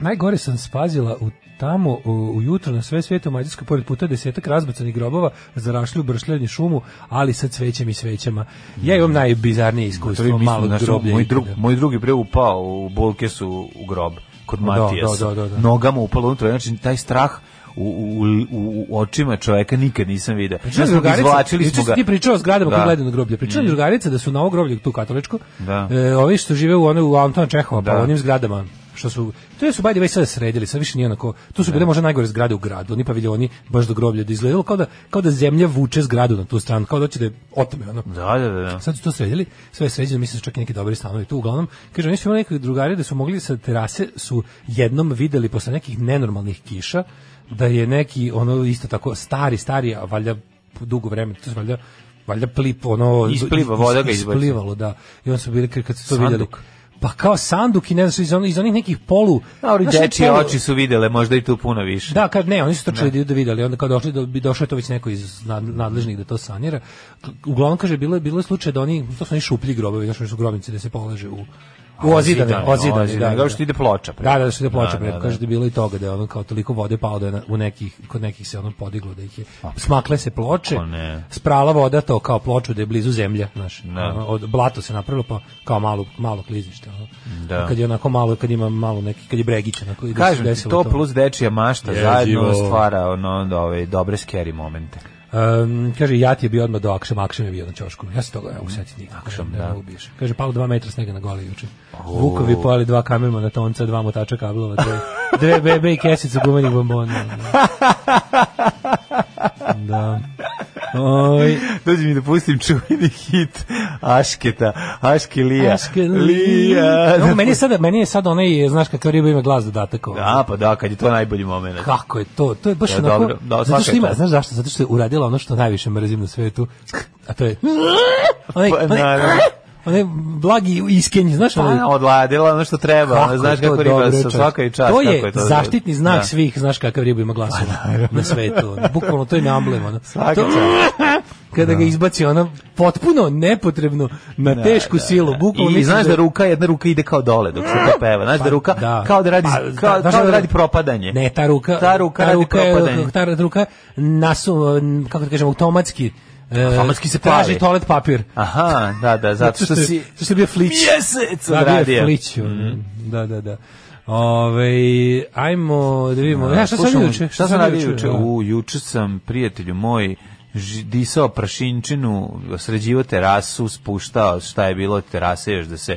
[SPEAKER 6] najgore sam spazila u tamo u, ujutro na sve svete u Mađarskoj pored puta desetak razbacanih grobova za rašlju, bršljanju, šumu, ali sa cvećem i svećama. Ja imam najbizarnije
[SPEAKER 5] Mm. To je,
[SPEAKER 6] iskustvo
[SPEAKER 5] mislim,
[SPEAKER 6] malog
[SPEAKER 5] znaš,
[SPEAKER 6] groblja.
[SPEAKER 5] Moj, drug,
[SPEAKER 6] ikada.
[SPEAKER 5] moj drugi pre upao u bolkesu u grob kod Matijasa.
[SPEAKER 6] da, da, da.
[SPEAKER 5] Nogama upalo unutra, znači taj strah u, u, u, u očima čoveka nikad nisam vidio.
[SPEAKER 6] Pričala
[SPEAKER 5] Znači,
[SPEAKER 6] je drugarica,
[SPEAKER 5] izvlačili smo
[SPEAKER 6] Pa juče si
[SPEAKER 5] ga.
[SPEAKER 6] Ti pričao o zgradama
[SPEAKER 5] Da. Mm.
[SPEAKER 6] koje gledaju na groblje. Pričala je drugarica da su na ovo groblje tu katoličko.
[SPEAKER 5] Da.
[SPEAKER 6] E, ovi što žive u one u Antona Čehova, pa
[SPEAKER 5] Da.
[SPEAKER 6] u onim zgradama što su to su bajde već sada sredili, sad više nije onako. Tu su bile možda najgore zgrade u gradu, oni paviljoni baš do groblja da izgledalo kao da kao da zemlja vuče zgradu na tu stranu, kao da će da je otme ono.
[SPEAKER 5] Da, da, da. da.
[SPEAKER 6] Sad su to sredili, sve je sređeno, mislim da su čak i neki dobri stanovi tu. Uglavnom, kaže, oni su imali neke drugari da su mogli sa terase, su jednom videli posle nekih nenormalnih kiša, da je neki, ono, isto tako, stari, stari, a valjda dugo vremena, to su valjda, valjda plip, ono...
[SPEAKER 5] Ispliva, voda ga izbaci.
[SPEAKER 6] Isplivalo, da. I onda su bili, kad- kad su to
[SPEAKER 5] Sanduk.
[SPEAKER 6] videli... Pa kao sanduk i ne znam, su iz, onih, iz onih nekih polu...
[SPEAKER 5] Dobro,
[SPEAKER 6] znaš,
[SPEAKER 5] dečije
[SPEAKER 6] polu-
[SPEAKER 5] oči su videle, možda i tu puno više.
[SPEAKER 6] da, kad ne, oni su trčali da idu da videli, onda kad došli da bi došao je to već neko iz nad- nadležnih da to sanira. Uglavnom kaže bilo je bilo je slučaj da oni to su oni šuplji grobovi, znači oni su grobnice da se polaže u u ozidane, ozidane, da, da,
[SPEAKER 5] Kao što ide ploča. preko.
[SPEAKER 6] Da, da, da su da ploče
[SPEAKER 5] Da,
[SPEAKER 6] preko.
[SPEAKER 5] da, da.
[SPEAKER 6] Kaže da je bilo i toga da je ono kao toliko vode pao da je na- u nekih, kod nekih se ono podiglo da ih je, smakle se ploče,
[SPEAKER 5] Kako ne?
[SPEAKER 6] sprala voda to kao ploču da je blizu zemlja, znaš,
[SPEAKER 5] Da.
[SPEAKER 6] ono, od blato se napravilo pa kao malo, malo klizište, ono.
[SPEAKER 5] Da.
[SPEAKER 6] Kad je onako malo, kad ima malo neki, kad je bregić, onako, i da se
[SPEAKER 5] Kažem ti,
[SPEAKER 6] desilo
[SPEAKER 5] to plus dečija mašta zajedno
[SPEAKER 6] Jezivo.
[SPEAKER 5] stvara ono, onda, ove, dobre scary momente.
[SPEAKER 6] Um, kaže, ja ti je bio odmah do Akšama, Akšam je bio na čošku. Ja se toga ja usetiti nikako.
[SPEAKER 5] Akšam,
[SPEAKER 6] ne,
[SPEAKER 5] da.
[SPEAKER 6] Ne mogu biješ. Kaže, palo dva metra snega na gole juče. Vukovi pojeli dva kamermana, tonca, dva motača kablova, dve, dve bebe i kesicu gumenih bombona. Da. da. Oj,
[SPEAKER 5] Dođi mi da pustim čuveni hit Ašketa, Aške Lija.
[SPEAKER 6] Aške No, meni, je sada, meni je sad onaj, znaš kakav riba ima glas dodatak. ono. ovo.
[SPEAKER 5] Da, pa da, kad je to najbolji moment.
[SPEAKER 6] Kako je to? To je baš
[SPEAKER 5] Da,
[SPEAKER 6] onako...
[SPEAKER 5] dobro. Da,
[SPEAKER 6] zato
[SPEAKER 5] svaka
[SPEAKER 6] što
[SPEAKER 5] je
[SPEAKER 6] ima,
[SPEAKER 5] čast.
[SPEAKER 6] znaš zašto? Zato što je uradila ono što najviše mrzim na svetu. A to je... Onaj,
[SPEAKER 5] Pa,
[SPEAKER 6] onaj,
[SPEAKER 5] naravno.
[SPEAKER 6] onaj blagi iskenj, znaš? onaj-
[SPEAKER 5] Pa, odladila ono što treba, ono, znaš
[SPEAKER 6] je to
[SPEAKER 5] kako riba
[SPEAKER 6] dobro,
[SPEAKER 5] sa
[SPEAKER 6] čovječe.
[SPEAKER 5] svaka i čast.
[SPEAKER 6] To
[SPEAKER 5] kako
[SPEAKER 6] je
[SPEAKER 5] je to
[SPEAKER 6] zaštitni
[SPEAKER 5] dobro.
[SPEAKER 6] znak
[SPEAKER 5] Da. Pa,
[SPEAKER 6] svih, znaš kakav riba ima glasova na svetu. ono. Bukvalno to je na amblem. Ono.
[SPEAKER 5] Svaka
[SPEAKER 6] To-
[SPEAKER 5] čast.
[SPEAKER 6] kada ga izbaci ono potpuno nepotrebno na tešku silu. Bukvalno
[SPEAKER 5] I
[SPEAKER 6] mislim Mm.
[SPEAKER 5] znaš da ruka, jedna ruka ide kao dole dok se to peva. Znaš da ruka
[SPEAKER 6] Pa da.
[SPEAKER 5] kao da radi,
[SPEAKER 6] Pa,
[SPEAKER 5] kao,
[SPEAKER 6] znaš
[SPEAKER 5] kao
[SPEAKER 6] da-
[SPEAKER 5] da radi propadanje.
[SPEAKER 6] Ne, ta ruka,
[SPEAKER 5] Ta ruka radi
[SPEAKER 6] je-
[SPEAKER 5] propadanje.
[SPEAKER 6] ta ruka nasu, kako da kažem, automatski e,
[SPEAKER 5] Automatski se
[SPEAKER 6] traži
[SPEAKER 5] pali.
[SPEAKER 6] toalet papir.
[SPEAKER 5] Aha, da, da, zato što si...
[SPEAKER 6] Zato što je bio flić.
[SPEAKER 5] Mjesec
[SPEAKER 6] Da, bio je
[SPEAKER 5] odradio. Mhm.
[SPEAKER 6] flić. ono. Da, da, da. Ove, ajmo da vidimo. Ja, šta sam
[SPEAKER 5] Slušamo,
[SPEAKER 6] radio juče?
[SPEAKER 5] Šta sam radio juče?
[SPEAKER 6] Da.
[SPEAKER 5] U, juče sam, prijatelju moj, ži- disao prašinčinu, sređivo terasu, spuštao šta je bilo od terase još da se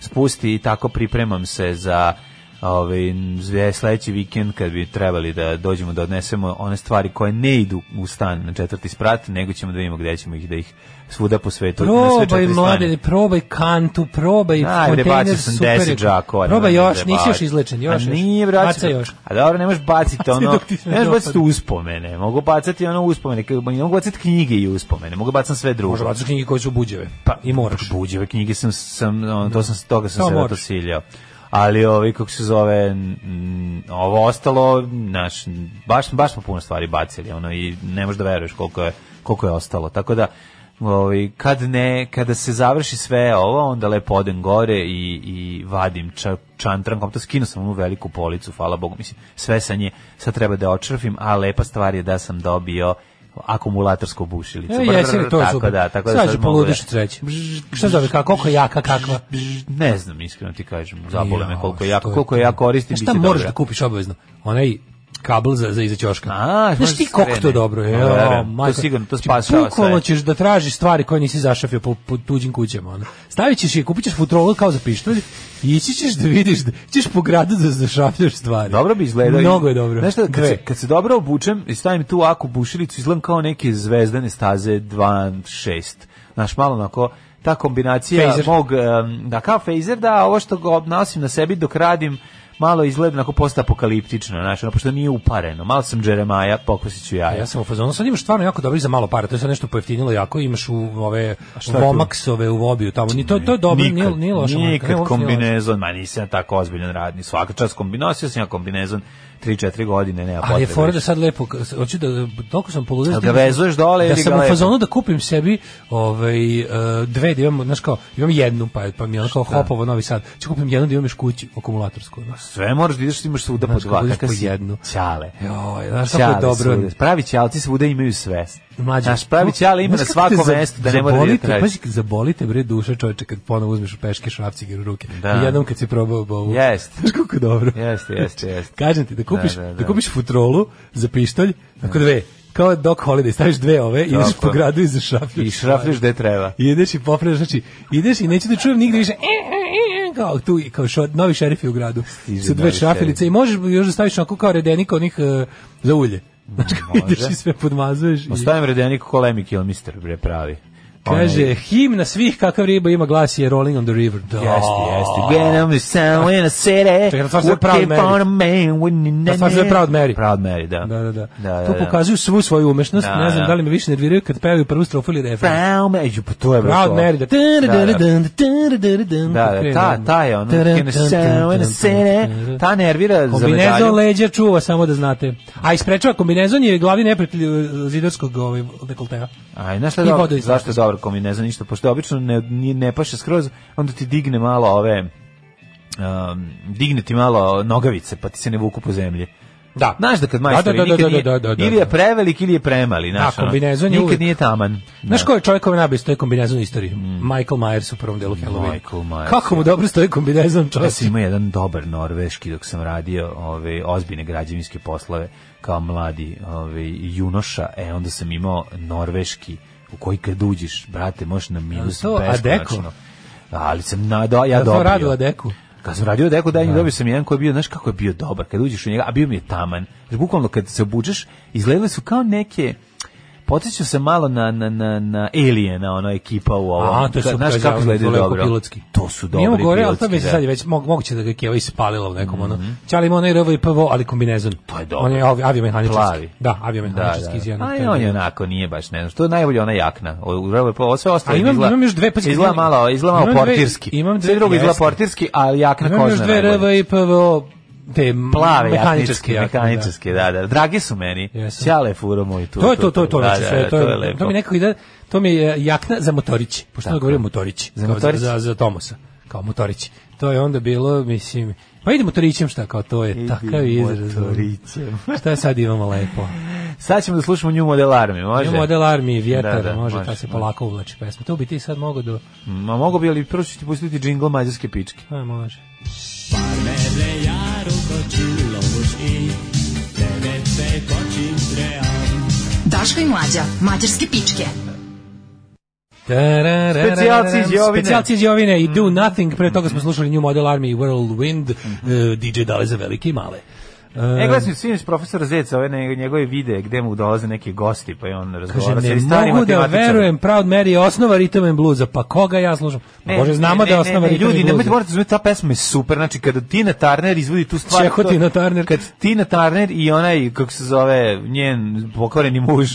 [SPEAKER 5] spusti i tako pripremam se za ovaj, zve- sledeći vikend kad bi trebali da dođemo da odnesemo one stvari koje ne idu u stan na četvrti sprat, nego ćemo da vidimo gde ćemo ih da ih svuda po svetu na sve
[SPEAKER 6] Probaj
[SPEAKER 5] četiri
[SPEAKER 6] mlade,
[SPEAKER 5] strane.
[SPEAKER 6] probaj kantu, probaj
[SPEAKER 5] Aj, bre,
[SPEAKER 6] Ovaj kontejner
[SPEAKER 5] bacio sam
[SPEAKER 6] super.
[SPEAKER 5] 10 džakova.
[SPEAKER 6] probaj
[SPEAKER 5] nemoj
[SPEAKER 6] još,
[SPEAKER 5] da
[SPEAKER 6] nisi još
[SPEAKER 5] baci.
[SPEAKER 6] izlečen, još.
[SPEAKER 5] A
[SPEAKER 6] još.
[SPEAKER 5] nije vraćao.
[SPEAKER 6] Baca još.
[SPEAKER 5] A dobro, ne možeš baciti
[SPEAKER 6] Baci
[SPEAKER 5] ono,
[SPEAKER 6] dok ti se ne
[SPEAKER 5] ne možeš baciti
[SPEAKER 6] dopadne.
[SPEAKER 5] uspomene, mogu bacati ono uspomene, kao- ne mogu bacati knjige i uspomene, mogu bacati sve drugo.
[SPEAKER 6] Može bacaš knjige koje su buđeve. Pa, I moraš.
[SPEAKER 5] Buđeve knjige sam, sam ono, to sam, toga sam
[SPEAKER 6] To
[SPEAKER 5] se
[SPEAKER 6] moraš.
[SPEAKER 5] zato siljao. Ali ovi, kako se zove, mm, ovo ostalo, naš, baš, baš smo puno stvari bacili, ono, i ne možeš da veruješ koliko je, koliko je ostalo. Tako da, ovi, kad ne, kada se završi sve ovo, onda lepo odem gore i, i vadim ča, čantrankom, to skinuo sam onu veliku policu, hvala Bogu, mislim, sve sa nje, sad treba da je očrfim, a lepa stvar je da sam dobio akumulatorsku bušilicu.
[SPEAKER 6] E, jesi li to je
[SPEAKER 5] tako
[SPEAKER 6] super.
[SPEAKER 5] da, tako da
[SPEAKER 6] sad
[SPEAKER 5] sad
[SPEAKER 6] ću
[SPEAKER 5] mogu da-
[SPEAKER 6] poludiš od sreće. Šta zove, kako, koliko je jaka, kakva?
[SPEAKER 5] Bž, Ne znam, iskreno ti kažem. Zabole Pa, me
[SPEAKER 6] Jao,
[SPEAKER 5] koliko ja,
[SPEAKER 6] što je
[SPEAKER 5] koliko
[SPEAKER 6] to?
[SPEAKER 5] ja koristim.
[SPEAKER 6] Znaš Šta
[SPEAKER 5] biće
[SPEAKER 6] moraš
[SPEAKER 5] dobro.
[SPEAKER 6] da kupiš obavezno? Onaj kabel za, za iza ćoška.
[SPEAKER 5] A,
[SPEAKER 6] Znaš ti
[SPEAKER 5] može
[SPEAKER 6] koliko to
[SPEAKER 5] skrene.
[SPEAKER 6] dobro je?
[SPEAKER 5] Pa,
[SPEAKER 6] o,
[SPEAKER 5] verujem. To
[SPEAKER 6] majko.
[SPEAKER 5] sigurno, to
[SPEAKER 6] Znači,
[SPEAKER 5] spašava sve.
[SPEAKER 6] Bukvalno ćeš da tražiš stvari koje nisi zašafio po, po tuđim kućama. Ono. Stavit ćeš je, kupit ćeš futrolu kao za pištolj i ići ćeš da vidiš, da, ćeš po gradu da zašafljaš stvari.
[SPEAKER 5] Dobro bi izgledao. i-
[SPEAKER 6] Mnogo je dobro.
[SPEAKER 5] Znaš šta, kad,
[SPEAKER 6] Dve.
[SPEAKER 5] se, kad se dobro obučem i stavim tu aku bušilicu, izgledam kao neke zvezdane staze 2-6. Znaš, malo onako, ta kombinacija
[SPEAKER 6] Fejzer.
[SPEAKER 5] mog, em, da kao fejzer, da, ovo što ga nosim na sebi dok radim, malo izgleda onako postapokaliptično, znaš, ono, pošto nije upareno. Malo sam Jeremaja, pokusit ću
[SPEAKER 6] A
[SPEAKER 5] jaja.
[SPEAKER 6] ja sam u fazonu, sad imaš stvarno jako dobro i za malo para, to je sad nešto pojeftinilo jako, imaš u ove
[SPEAKER 5] šta je tu?
[SPEAKER 6] Vomaxove u Vobiju tamo, ni to, to je dobro, nije, nije loše. Marko, ne,
[SPEAKER 5] Nikad
[SPEAKER 6] uopšte nije loše.
[SPEAKER 5] kombinezon, ma nisam ja tako ozbiljan radni. Svaka čast kombinezon, nosio sam ja kombinezon 3-4 godine, nema potrebe.
[SPEAKER 6] Ali je fora da sad lepo, k- s- hoću da, toliko sam poludio.
[SPEAKER 5] Jel
[SPEAKER 6] s tim
[SPEAKER 5] ga vezuješ dole
[SPEAKER 6] da
[SPEAKER 5] ili
[SPEAKER 6] sam
[SPEAKER 5] ga
[SPEAKER 6] u
[SPEAKER 5] lepo?
[SPEAKER 6] fazonu da kupim sebi ovaj, e, dve, da imam, znaš kao, imam jednu, pa, pa mi je ono kao hopovo novi sad. Ću kupim jednu da imam još kući, akumulatorsku. Znaš.
[SPEAKER 5] Sve moraš da ideš, imaš svuda po
[SPEAKER 6] Znaš,
[SPEAKER 5] dva.
[SPEAKER 6] kako
[SPEAKER 5] kakav
[SPEAKER 6] ideš po
[SPEAKER 5] si
[SPEAKER 6] jednu.
[SPEAKER 5] Ćale.
[SPEAKER 6] Joj, znaš kako je dobro.
[SPEAKER 5] svuda. Pravi ćalci svuda imaju sve.
[SPEAKER 6] Mlađe.
[SPEAKER 5] Znaš, pravi ćale ima na
[SPEAKER 6] Znaš kako te
[SPEAKER 5] svakom
[SPEAKER 6] za-
[SPEAKER 5] mestu da ne mora da ide
[SPEAKER 6] zabolite,
[SPEAKER 5] traži.
[SPEAKER 6] Pazi, zabolite bre duša čoveče kad ponovo uzmeš u peške šrafcige u ruke.
[SPEAKER 5] Da.
[SPEAKER 6] I jednom kad si probao bovu.
[SPEAKER 5] Jest.
[SPEAKER 6] Znaš kako je dobro. Znači,
[SPEAKER 5] Jeste, jeste, jeste.
[SPEAKER 6] Kažem ti, da kupiš, da,
[SPEAKER 5] Da, da, da.
[SPEAKER 6] kupiš futrolu za pištolj, tako dve, kao Doc Holiday, staviš dve ove i ideš
[SPEAKER 5] Tako.
[SPEAKER 6] po gradu i zašrafljaš.
[SPEAKER 5] I šrafljaš gde treba.
[SPEAKER 6] I ideš i popravljaš, znači, ideš i neću da čujem nigde više, e, e, e, kao tu, i kao šo, novi šerif je u gradu,
[SPEAKER 5] Stiže
[SPEAKER 6] sa dve
[SPEAKER 5] novi
[SPEAKER 6] šrafilice i
[SPEAKER 5] šerif.
[SPEAKER 6] možeš još da staviš onako kao redenika onih e, za ulje. Znači, kako ideš i sve podmazuješ. i-
[SPEAKER 5] Ostavim redenik kolemik ili mister bre pravi.
[SPEAKER 6] Kaže, himna svih kakav riba ima glas je Rolling on the River. Da.
[SPEAKER 5] Onaj, Jeste, jeste. When I'm the sun in a city,
[SPEAKER 6] Čekaj, na stvar se zove Proud Mary.
[SPEAKER 5] on a man when
[SPEAKER 6] Na stvar se zove Proud Mary.
[SPEAKER 5] Proud Mary, da.
[SPEAKER 6] Da, da, da.
[SPEAKER 5] da, da.
[SPEAKER 6] tu pokazuju svu svoju umešnost.
[SPEAKER 5] Da,
[SPEAKER 6] ne znam
[SPEAKER 5] da.
[SPEAKER 6] da li me više nerviraju kad pevaju prvu strofu ili refren.
[SPEAKER 5] Proud Mary, ju, pa to je bre
[SPEAKER 6] Proud
[SPEAKER 5] to.
[SPEAKER 6] Mary, da.
[SPEAKER 5] Da, da. Da,
[SPEAKER 6] Da,
[SPEAKER 5] da, ta, ta je ono, "Can I sell in a city?" ta nervira za medalju.
[SPEAKER 6] Kombinezon leđa čuva, samo da znate. A isprečava kombinezon je glavni neprijatelj uh, zidarskog ovaj, dekolteva.
[SPEAKER 5] Aj, znaš šta
[SPEAKER 6] I
[SPEAKER 5] je dobro,
[SPEAKER 6] vodu iz
[SPEAKER 5] zašto je dobro komi, ne znam ništa, pošto obično ne, nije- ne paše skroz, onda ti digne malo ove, um, digne ti malo nogavice, pa ti se ne vuku po zemlji.
[SPEAKER 6] Da.
[SPEAKER 5] Znaš da kad
[SPEAKER 6] Da,
[SPEAKER 5] majstori
[SPEAKER 6] da, da,
[SPEAKER 5] nikad
[SPEAKER 6] da,
[SPEAKER 5] nije-
[SPEAKER 6] da, da, da, da.
[SPEAKER 5] ili je prevelik ili je premali, znaš,
[SPEAKER 6] Da,
[SPEAKER 5] ono,
[SPEAKER 6] kombinezon je
[SPEAKER 5] nikad
[SPEAKER 6] uvek-
[SPEAKER 5] nije taman.
[SPEAKER 6] Znaš
[SPEAKER 5] Da. Mm.
[SPEAKER 6] ko je čovjek koji nabio stoje kombinezon u istoriji? Michael Myers u prvom delu Halloween.
[SPEAKER 5] Michael Myers.
[SPEAKER 6] Kako mu dobro stoji kombinezon
[SPEAKER 5] Ja
[SPEAKER 6] čovjek?
[SPEAKER 5] sam imao Znači, jedan dobar norveški dok sam radio ove, ozbiljne građevinske poslove kao mladi ove, junoša, e onda sam imao norveški u koji kad uđeš, brate, možeš na minus
[SPEAKER 6] to
[SPEAKER 5] beskonačno.
[SPEAKER 6] Adeko?
[SPEAKER 5] Ali sam na, da, ja
[SPEAKER 6] Jel to
[SPEAKER 5] dobio.
[SPEAKER 6] radila Adeku?
[SPEAKER 5] Kad sam radio Adeku, da, dobio sam jedan koji je bio, znaš kako je bio dobar, kad uđeš u njega, a bio mi je taman. Znaš, bukvalno kad se obučeš, izgledali su kao neke, Podsjećao sam malo na, na, na, na Aliena, ona ekipa u ovom.
[SPEAKER 6] A, to je
[SPEAKER 5] Ka-
[SPEAKER 6] super.
[SPEAKER 5] Znaš
[SPEAKER 6] zajedno,
[SPEAKER 5] kako izgledaju
[SPEAKER 6] lepo
[SPEAKER 5] dobro.
[SPEAKER 6] Pilotski.
[SPEAKER 5] To su dobri
[SPEAKER 6] Nije mu gore, ali
[SPEAKER 5] pilotski,
[SPEAKER 6] to već
[SPEAKER 5] da.
[SPEAKER 6] sad je već mog, moguće da ga je Keva ispalila u nekom ono. Čali ima onaj RV i PVO, ali kombinezon.
[SPEAKER 5] To je dobro.
[SPEAKER 6] On je avi- aviomehaničarski.
[SPEAKER 5] Plavi.
[SPEAKER 6] Da, aviomehaničarski izjavno.
[SPEAKER 5] A on je onako, nije baš, ne znam, što je najbolje ona jakna. O, u RVP, ovo sve
[SPEAKER 6] A
[SPEAKER 5] ostalo
[SPEAKER 6] imam-
[SPEAKER 5] izgleda-
[SPEAKER 6] imam još dve, pazi,
[SPEAKER 5] izgleda
[SPEAKER 6] imam-
[SPEAKER 5] malo, izgleda malo
[SPEAKER 6] imam dve-
[SPEAKER 5] portirski.
[SPEAKER 6] imam
[SPEAKER 5] Sve
[SPEAKER 6] dve-
[SPEAKER 5] drugo izgleda
[SPEAKER 6] jeste.
[SPEAKER 5] portirski, ali jakna
[SPEAKER 6] Imam još
[SPEAKER 5] kožna
[SPEAKER 6] dve
[SPEAKER 5] najbolje.
[SPEAKER 6] RV i PVO te mehaničarske.
[SPEAKER 5] Plave, mehaničarske,
[SPEAKER 6] jakne, da.
[SPEAKER 5] mehaničarske, da, da. Dragi su meni.
[SPEAKER 6] Jesu.
[SPEAKER 5] Sjale furo moj tu.
[SPEAKER 6] To je to, to je to,
[SPEAKER 5] Da,
[SPEAKER 6] znači
[SPEAKER 5] da,
[SPEAKER 6] sve,
[SPEAKER 5] da,
[SPEAKER 6] to je,
[SPEAKER 5] lepo.
[SPEAKER 6] to mi nekako ide, to mi je jakna za motorići, pošto ono govorio motorići,
[SPEAKER 5] Za
[SPEAKER 6] kao
[SPEAKER 5] motorići?
[SPEAKER 6] za, za Tomosa, kao motorići. To je onda bilo, mislim, pa ide motorićem šta, kao to je takav izraz. ono.
[SPEAKER 5] motorićem.
[SPEAKER 6] šta sad imamo lepo?
[SPEAKER 5] Sad ćemo da slušamo nju model armi, može?
[SPEAKER 6] Imamo model armije, vjetar,
[SPEAKER 5] Da, da,
[SPEAKER 6] može,
[SPEAKER 5] može,
[SPEAKER 6] ta se
[SPEAKER 5] može.
[SPEAKER 6] polako uvlači pesma. To bi ti sad mogo do...
[SPEAKER 5] Ma mogu bi, ali prvo ću ti pustiti džingl mađarske pičke.
[SPEAKER 6] A, može.
[SPEAKER 4] Daško i mlađa, mađarske pičke.
[SPEAKER 6] Tararararararam,
[SPEAKER 5] Specijalci iz Jovine.
[SPEAKER 6] Specijalci iz Jovine i Do Nothing. Pre toga smo slušali New Model Army i Whirlwind, eh, DJ Dale za velike i male.
[SPEAKER 5] E, gledam sinoć profesora Zeca, ove ne- njegove videe gde mu dolaze neki gosti, pa je on
[SPEAKER 6] Kaže,
[SPEAKER 5] razgovara sa
[SPEAKER 6] ne
[SPEAKER 5] jednim starim
[SPEAKER 6] mogu da
[SPEAKER 5] matematičarem.
[SPEAKER 6] verujem, Proud Mary je osnova ritam and bluza, pa koga ja slušam? Ne, Bože, znamo da je osnova ritam
[SPEAKER 5] Ljudi,
[SPEAKER 6] and
[SPEAKER 5] nemojte,
[SPEAKER 6] bluza.
[SPEAKER 5] morate razumjeti, ta pesma je super, znači kada Tina Turner izvodi tu stvar...
[SPEAKER 6] Čeho
[SPEAKER 5] to-
[SPEAKER 6] Tina Turner?
[SPEAKER 5] Kad Tina Turner i onaj, kako se zove, njen pokvareni muž,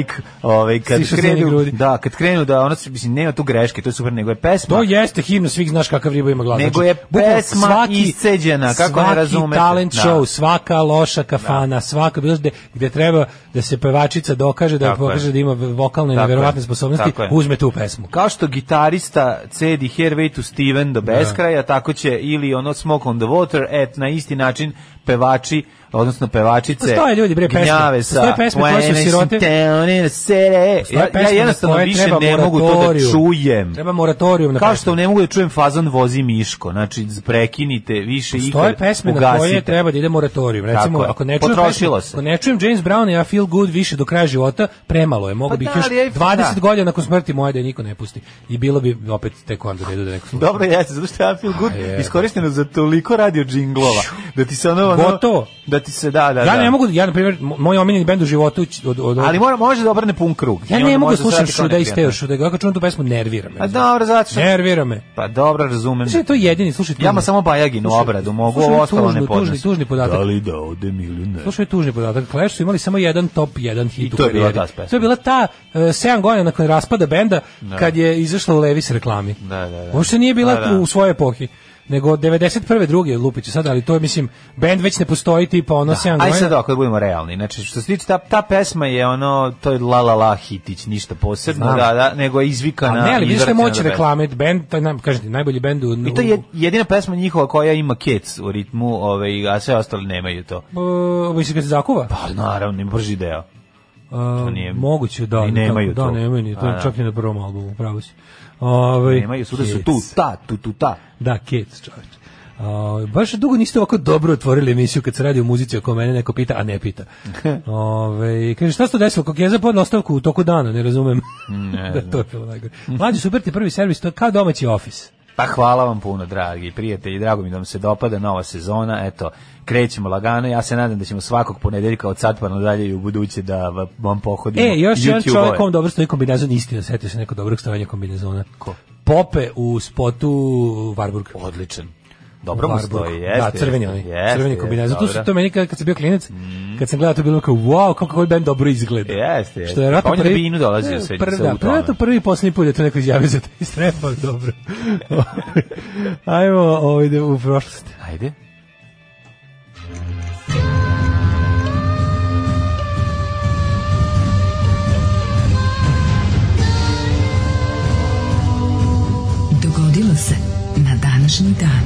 [SPEAKER 5] Ike, ovaj, kad
[SPEAKER 6] Sišao s njenih
[SPEAKER 5] krenu,
[SPEAKER 6] grudi.
[SPEAKER 5] da, kad krenu da, ona, se- mislim, nema tu greške, to je super, nego je pesma...
[SPEAKER 6] To jeste himna, svih znaš kakav riba ima glas.
[SPEAKER 5] Nego
[SPEAKER 6] Znači,
[SPEAKER 5] je
[SPEAKER 6] bukvalno
[SPEAKER 5] pesma isceđena, kako ne
[SPEAKER 6] svaki
[SPEAKER 5] razumete?
[SPEAKER 6] talent
[SPEAKER 5] Da.
[SPEAKER 6] show, svaka loša kafana, svaka bilo gde, gde treba da se pevačica dokaže, da
[SPEAKER 5] Tako je.
[SPEAKER 6] pokaže da ima vokalne i
[SPEAKER 5] Tako je.
[SPEAKER 6] neverovatne sposobnosti,
[SPEAKER 5] Tako je.
[SPEAKER 6] uzme tu pesmu.
[SPEAKER 5] Kao što gitarista cedi Hervey to Steven do beskraja, tako će ili ono Smoke on the Water, et na isti način pevači odnosno pevačice.
[SPEAKER 6] Postoje ljudi, bre, pesme.
[SPEAKER 5] gnjave sa
[SPEAKER 6] Postoje pesme koje su
[SPEAKER 5] "When I
[SPEAKER 6] sirote."
[SPEAKER 5] sit down in the city.
[SPEAKER 6] Postoje
[SPEAKER 5] Ja, ja
[SPEAKER 6] pesme
[SPEAKER 5] jednostavno
[SPEAKER 6] koje
[SPEAKER 5] više
[SPEAKER 6] treba
[SPEAKER 5] ne mogu to da
[SPEAKER 6] moratorijum.
[SPEAKER 5] čujem.
[SPEAKER 6] Treba moratorijum na
[SPEAKER 5] Kao
[SPEAKER 6] pesme.
[SPEAKER 5] što ne mogu da čujem fazon vozi Miško, znači prekinite više i
[SPEAKER 6] Stoje pesme na koje treba da ide moratorijum. Recimo,
[SPEAKER 5] Tako je.
[SPEAKER 6] ako ne čujem
[SPEAKER 5] Potrošilo
[SPEAKER 6] pesmu-
[SPEAKER 5] se.
[SPEAKER 6] ako ne čujem James Brown ja feel good više do kraja života, premalo je. Mogu
[SPEAKER 5] Pa
[SPEAKER 6] bih
[SPEAKER 5] da,
[SPEAKER 6] još
[SPEAKER 5] ali je-
[SPEAKER 6] 20
[SPEAKER 5] da.
[SPEAKER 6] godina nakon smrti moje da je niko ne pusti. I bilo bi opet tek onda da idu da neko sluša.
[SPEAKER 5] Dobro, jeste, zato što je I Feel Good
[SPEAKER 6] A, je.
[SPEAKER 5] iskorišteno za toliko radio džinglova, da ti se ono... ono
[SPEAKER 6] Gotovo.
[SPEAKER 5] Da ti se, da, da,
[SPEAKER 6] Ja
[SPEAKER 5] da.
[SPEAKER 6] ne mogu, ja na primjer, mo- moj omiljeni bend u životu ć- od, od, od
[SPEAKER 5] Ali mora, može da obrne pun krug.
[SPEAKER 6] Ja
[SPEAKER 5] I onda
[SPEAKER 6] ne mogu
[SPEAKER 5] može
[SPEAKER 6] slušam
[SPEAKER 5] shvatiti kao
[SPEAKER 6] Šuda i
[SPEAKER 5] neprijatno.
[SPEAKER 6] Steo Šuda, kako čujem tu pesmu, nervira me. Znači,
[SPEAKER 5] A Pa dobro, zato što...
[SPEAKER 6] Nervira me.
[SPEAKER 5] Pa dobro, razumem.
[SPEAKER 6] Znači, to je jedini, slušaj.
[SPEAKER 5] Ja
[SPEAKER 6] tužno.
[SPEAKER 5] imam samo Bajagin u
[SPEAKER 6] Slušaj,
[SPEAKER 5] obradu, mogu
[SPEAKER 6] slušaj,
[SPEAKER 5] ovo ostalo
[SPEAKER 6] tužno,
[SPEAKER 5] ne podnosim.
[SPEAKER 6] Tužni, tužni podatak.
[SPEAKER 5] Da li da odem ili ne?
[SPEAKER 6] Slušaj, tužni podatak. Clash su imali samo jedan top jedan hit
[SPEAKER 5] I to
[SPEAKER 6] u
[SPEAKER 5] je bila
[SPEAKER 6] karijeri.
[SPEAKER 5] ta pesma.
[SPEAKER 6] To je bila ta uh, 7 godina nakon raspada benda kad je izašla u Levis reklami.
[SPEAKER 5] Da, da, da.
[SPEAKER 6] Uopšte nije bila
[SPEAKER 5] Da, da.
[SPEAKER 6] u svojoj epohi nego 91. druge Lupiću sad, ali to je, mislim, bend već ne postoji tipa ono 7
[SPEAKER 5] Aj
[SPEAKER 6] godina.
[SPEAKER 5] sad ako budemo realni, znači što se tiče ta, ta pesma je ono, to je la la la hitić, ništa posebno,
[SPEAKER 6] Znam.
[SPEAKER 5] da, da, nego je izvikana.
[SPEAKER 6] A ne, ali vidiš što je
[SPEAKER 5] izvrtana
[SPEAKER 6] moć
[SPEAKER 5] za pesmu.
[SPEAKER 6] reklame, bend, to je, naj- kažete, najbolji bend u...
[SPEAKER 5] I to je jedina pesma njihova koja ima kec u ritmu, ovaj, a sve ostali nemaju to.
[SPEAKER 6] Uh, mislim kad se zakuva?
[SPEAKER 5] Pa naravno, brži deo.
[SPEAKER 6] to
[SPEAKER 5] nije-
[SPEAKER 6] moguće da
[SPEAKER 5] i nemaju
[SPEAKER 6] da, da
[SPEAKER 5] to.
[SPEAKER 6] nemaju ni to
[SPEAKER 5] A, da.
[SPEAKER 6] čak i na prvom albumu pravo si ovaj
[SPEAKER 5] Nemaju, suda su
[SPEAKER 6] Kids.
[SPEAKER 5] tu, ta, tu, tu, ta.
[SPEAKER 6] da Kids čoveče Ovaj, baš dugo niste ovako dobro otvorili emisiju kad se radi o muzici ako mene neko pita, a ne pita. Ove, kaže, šta se to desilo? Kokeza podno ostavku u toku dana, ne razumem. da, to je bilo najgore. Mlađi super ti prvi servis, to je kao domaći ofis.
[SPEAKER 5] Pa hvala vam puno, dragi prijatelji, drago mi da vam se dopada nova sezona, eto, krećemo lagano, ja se nadam da ćemo svakog ponedeljka od sad pa nadalje i u buduće da va- vam pohodimo
[SPEAKER 6] E, još jedan
[SPEAKER 5] YouTube-ove.
[SPEAKER 6] čovjek kom dobro stoji kombinezon, istina, setio se neko dobrog stavanja kombinezona. Ko? Pope u spotu Varburg.
[SPEAKER 5] Odličan. Dobro mu
[SPEAKER 6] Warburg.
[SPEAKER 5] stoji, jeste.
[SPEAKER 6] Da, crveni
[SPEAKER 5] jeste,
[SPEAKER 6] oni.
[SPEAKER 5] jeste,
[SPEAKER 6] crveni
[SPEAKER 5] jeste,
[SPEAKER 6] kombinezon. Tu su
[SPEAKER 5] dobro. Mm.
[SPEAKER 6] to meni kad, kad sam bio klinac, kad sam gledao to je bilo kao wow, kako ovaj bend dobro izgleda.
[SPEAKER 5] Jeste, jeste.
[SPEAKER 6] Što je verovatno
[SPEAKER 5] Pa on je na
[SPEAKER 6] prvi-
[SPEAKER 5] binu dolazio
[SPEAKER 6] Ne,
[SPEAKER 5] sve-
[SPEAKER 6] prvi,
[SPEAKER 5] sve
[SPEAKER 6] da,
[SPEAKER 5] u
[SPEAKER 6] to je verovatno
[SPEAKER 5] tome.
[SPEAKER 6] prvi i poslednji put je to neko izjavio za taj strep, ali dobro. Ajmo ovdje u prošlost.
[SPEAKER 5] Ajde.
[SPEAKER 4] Dogodilo se na današnji dan.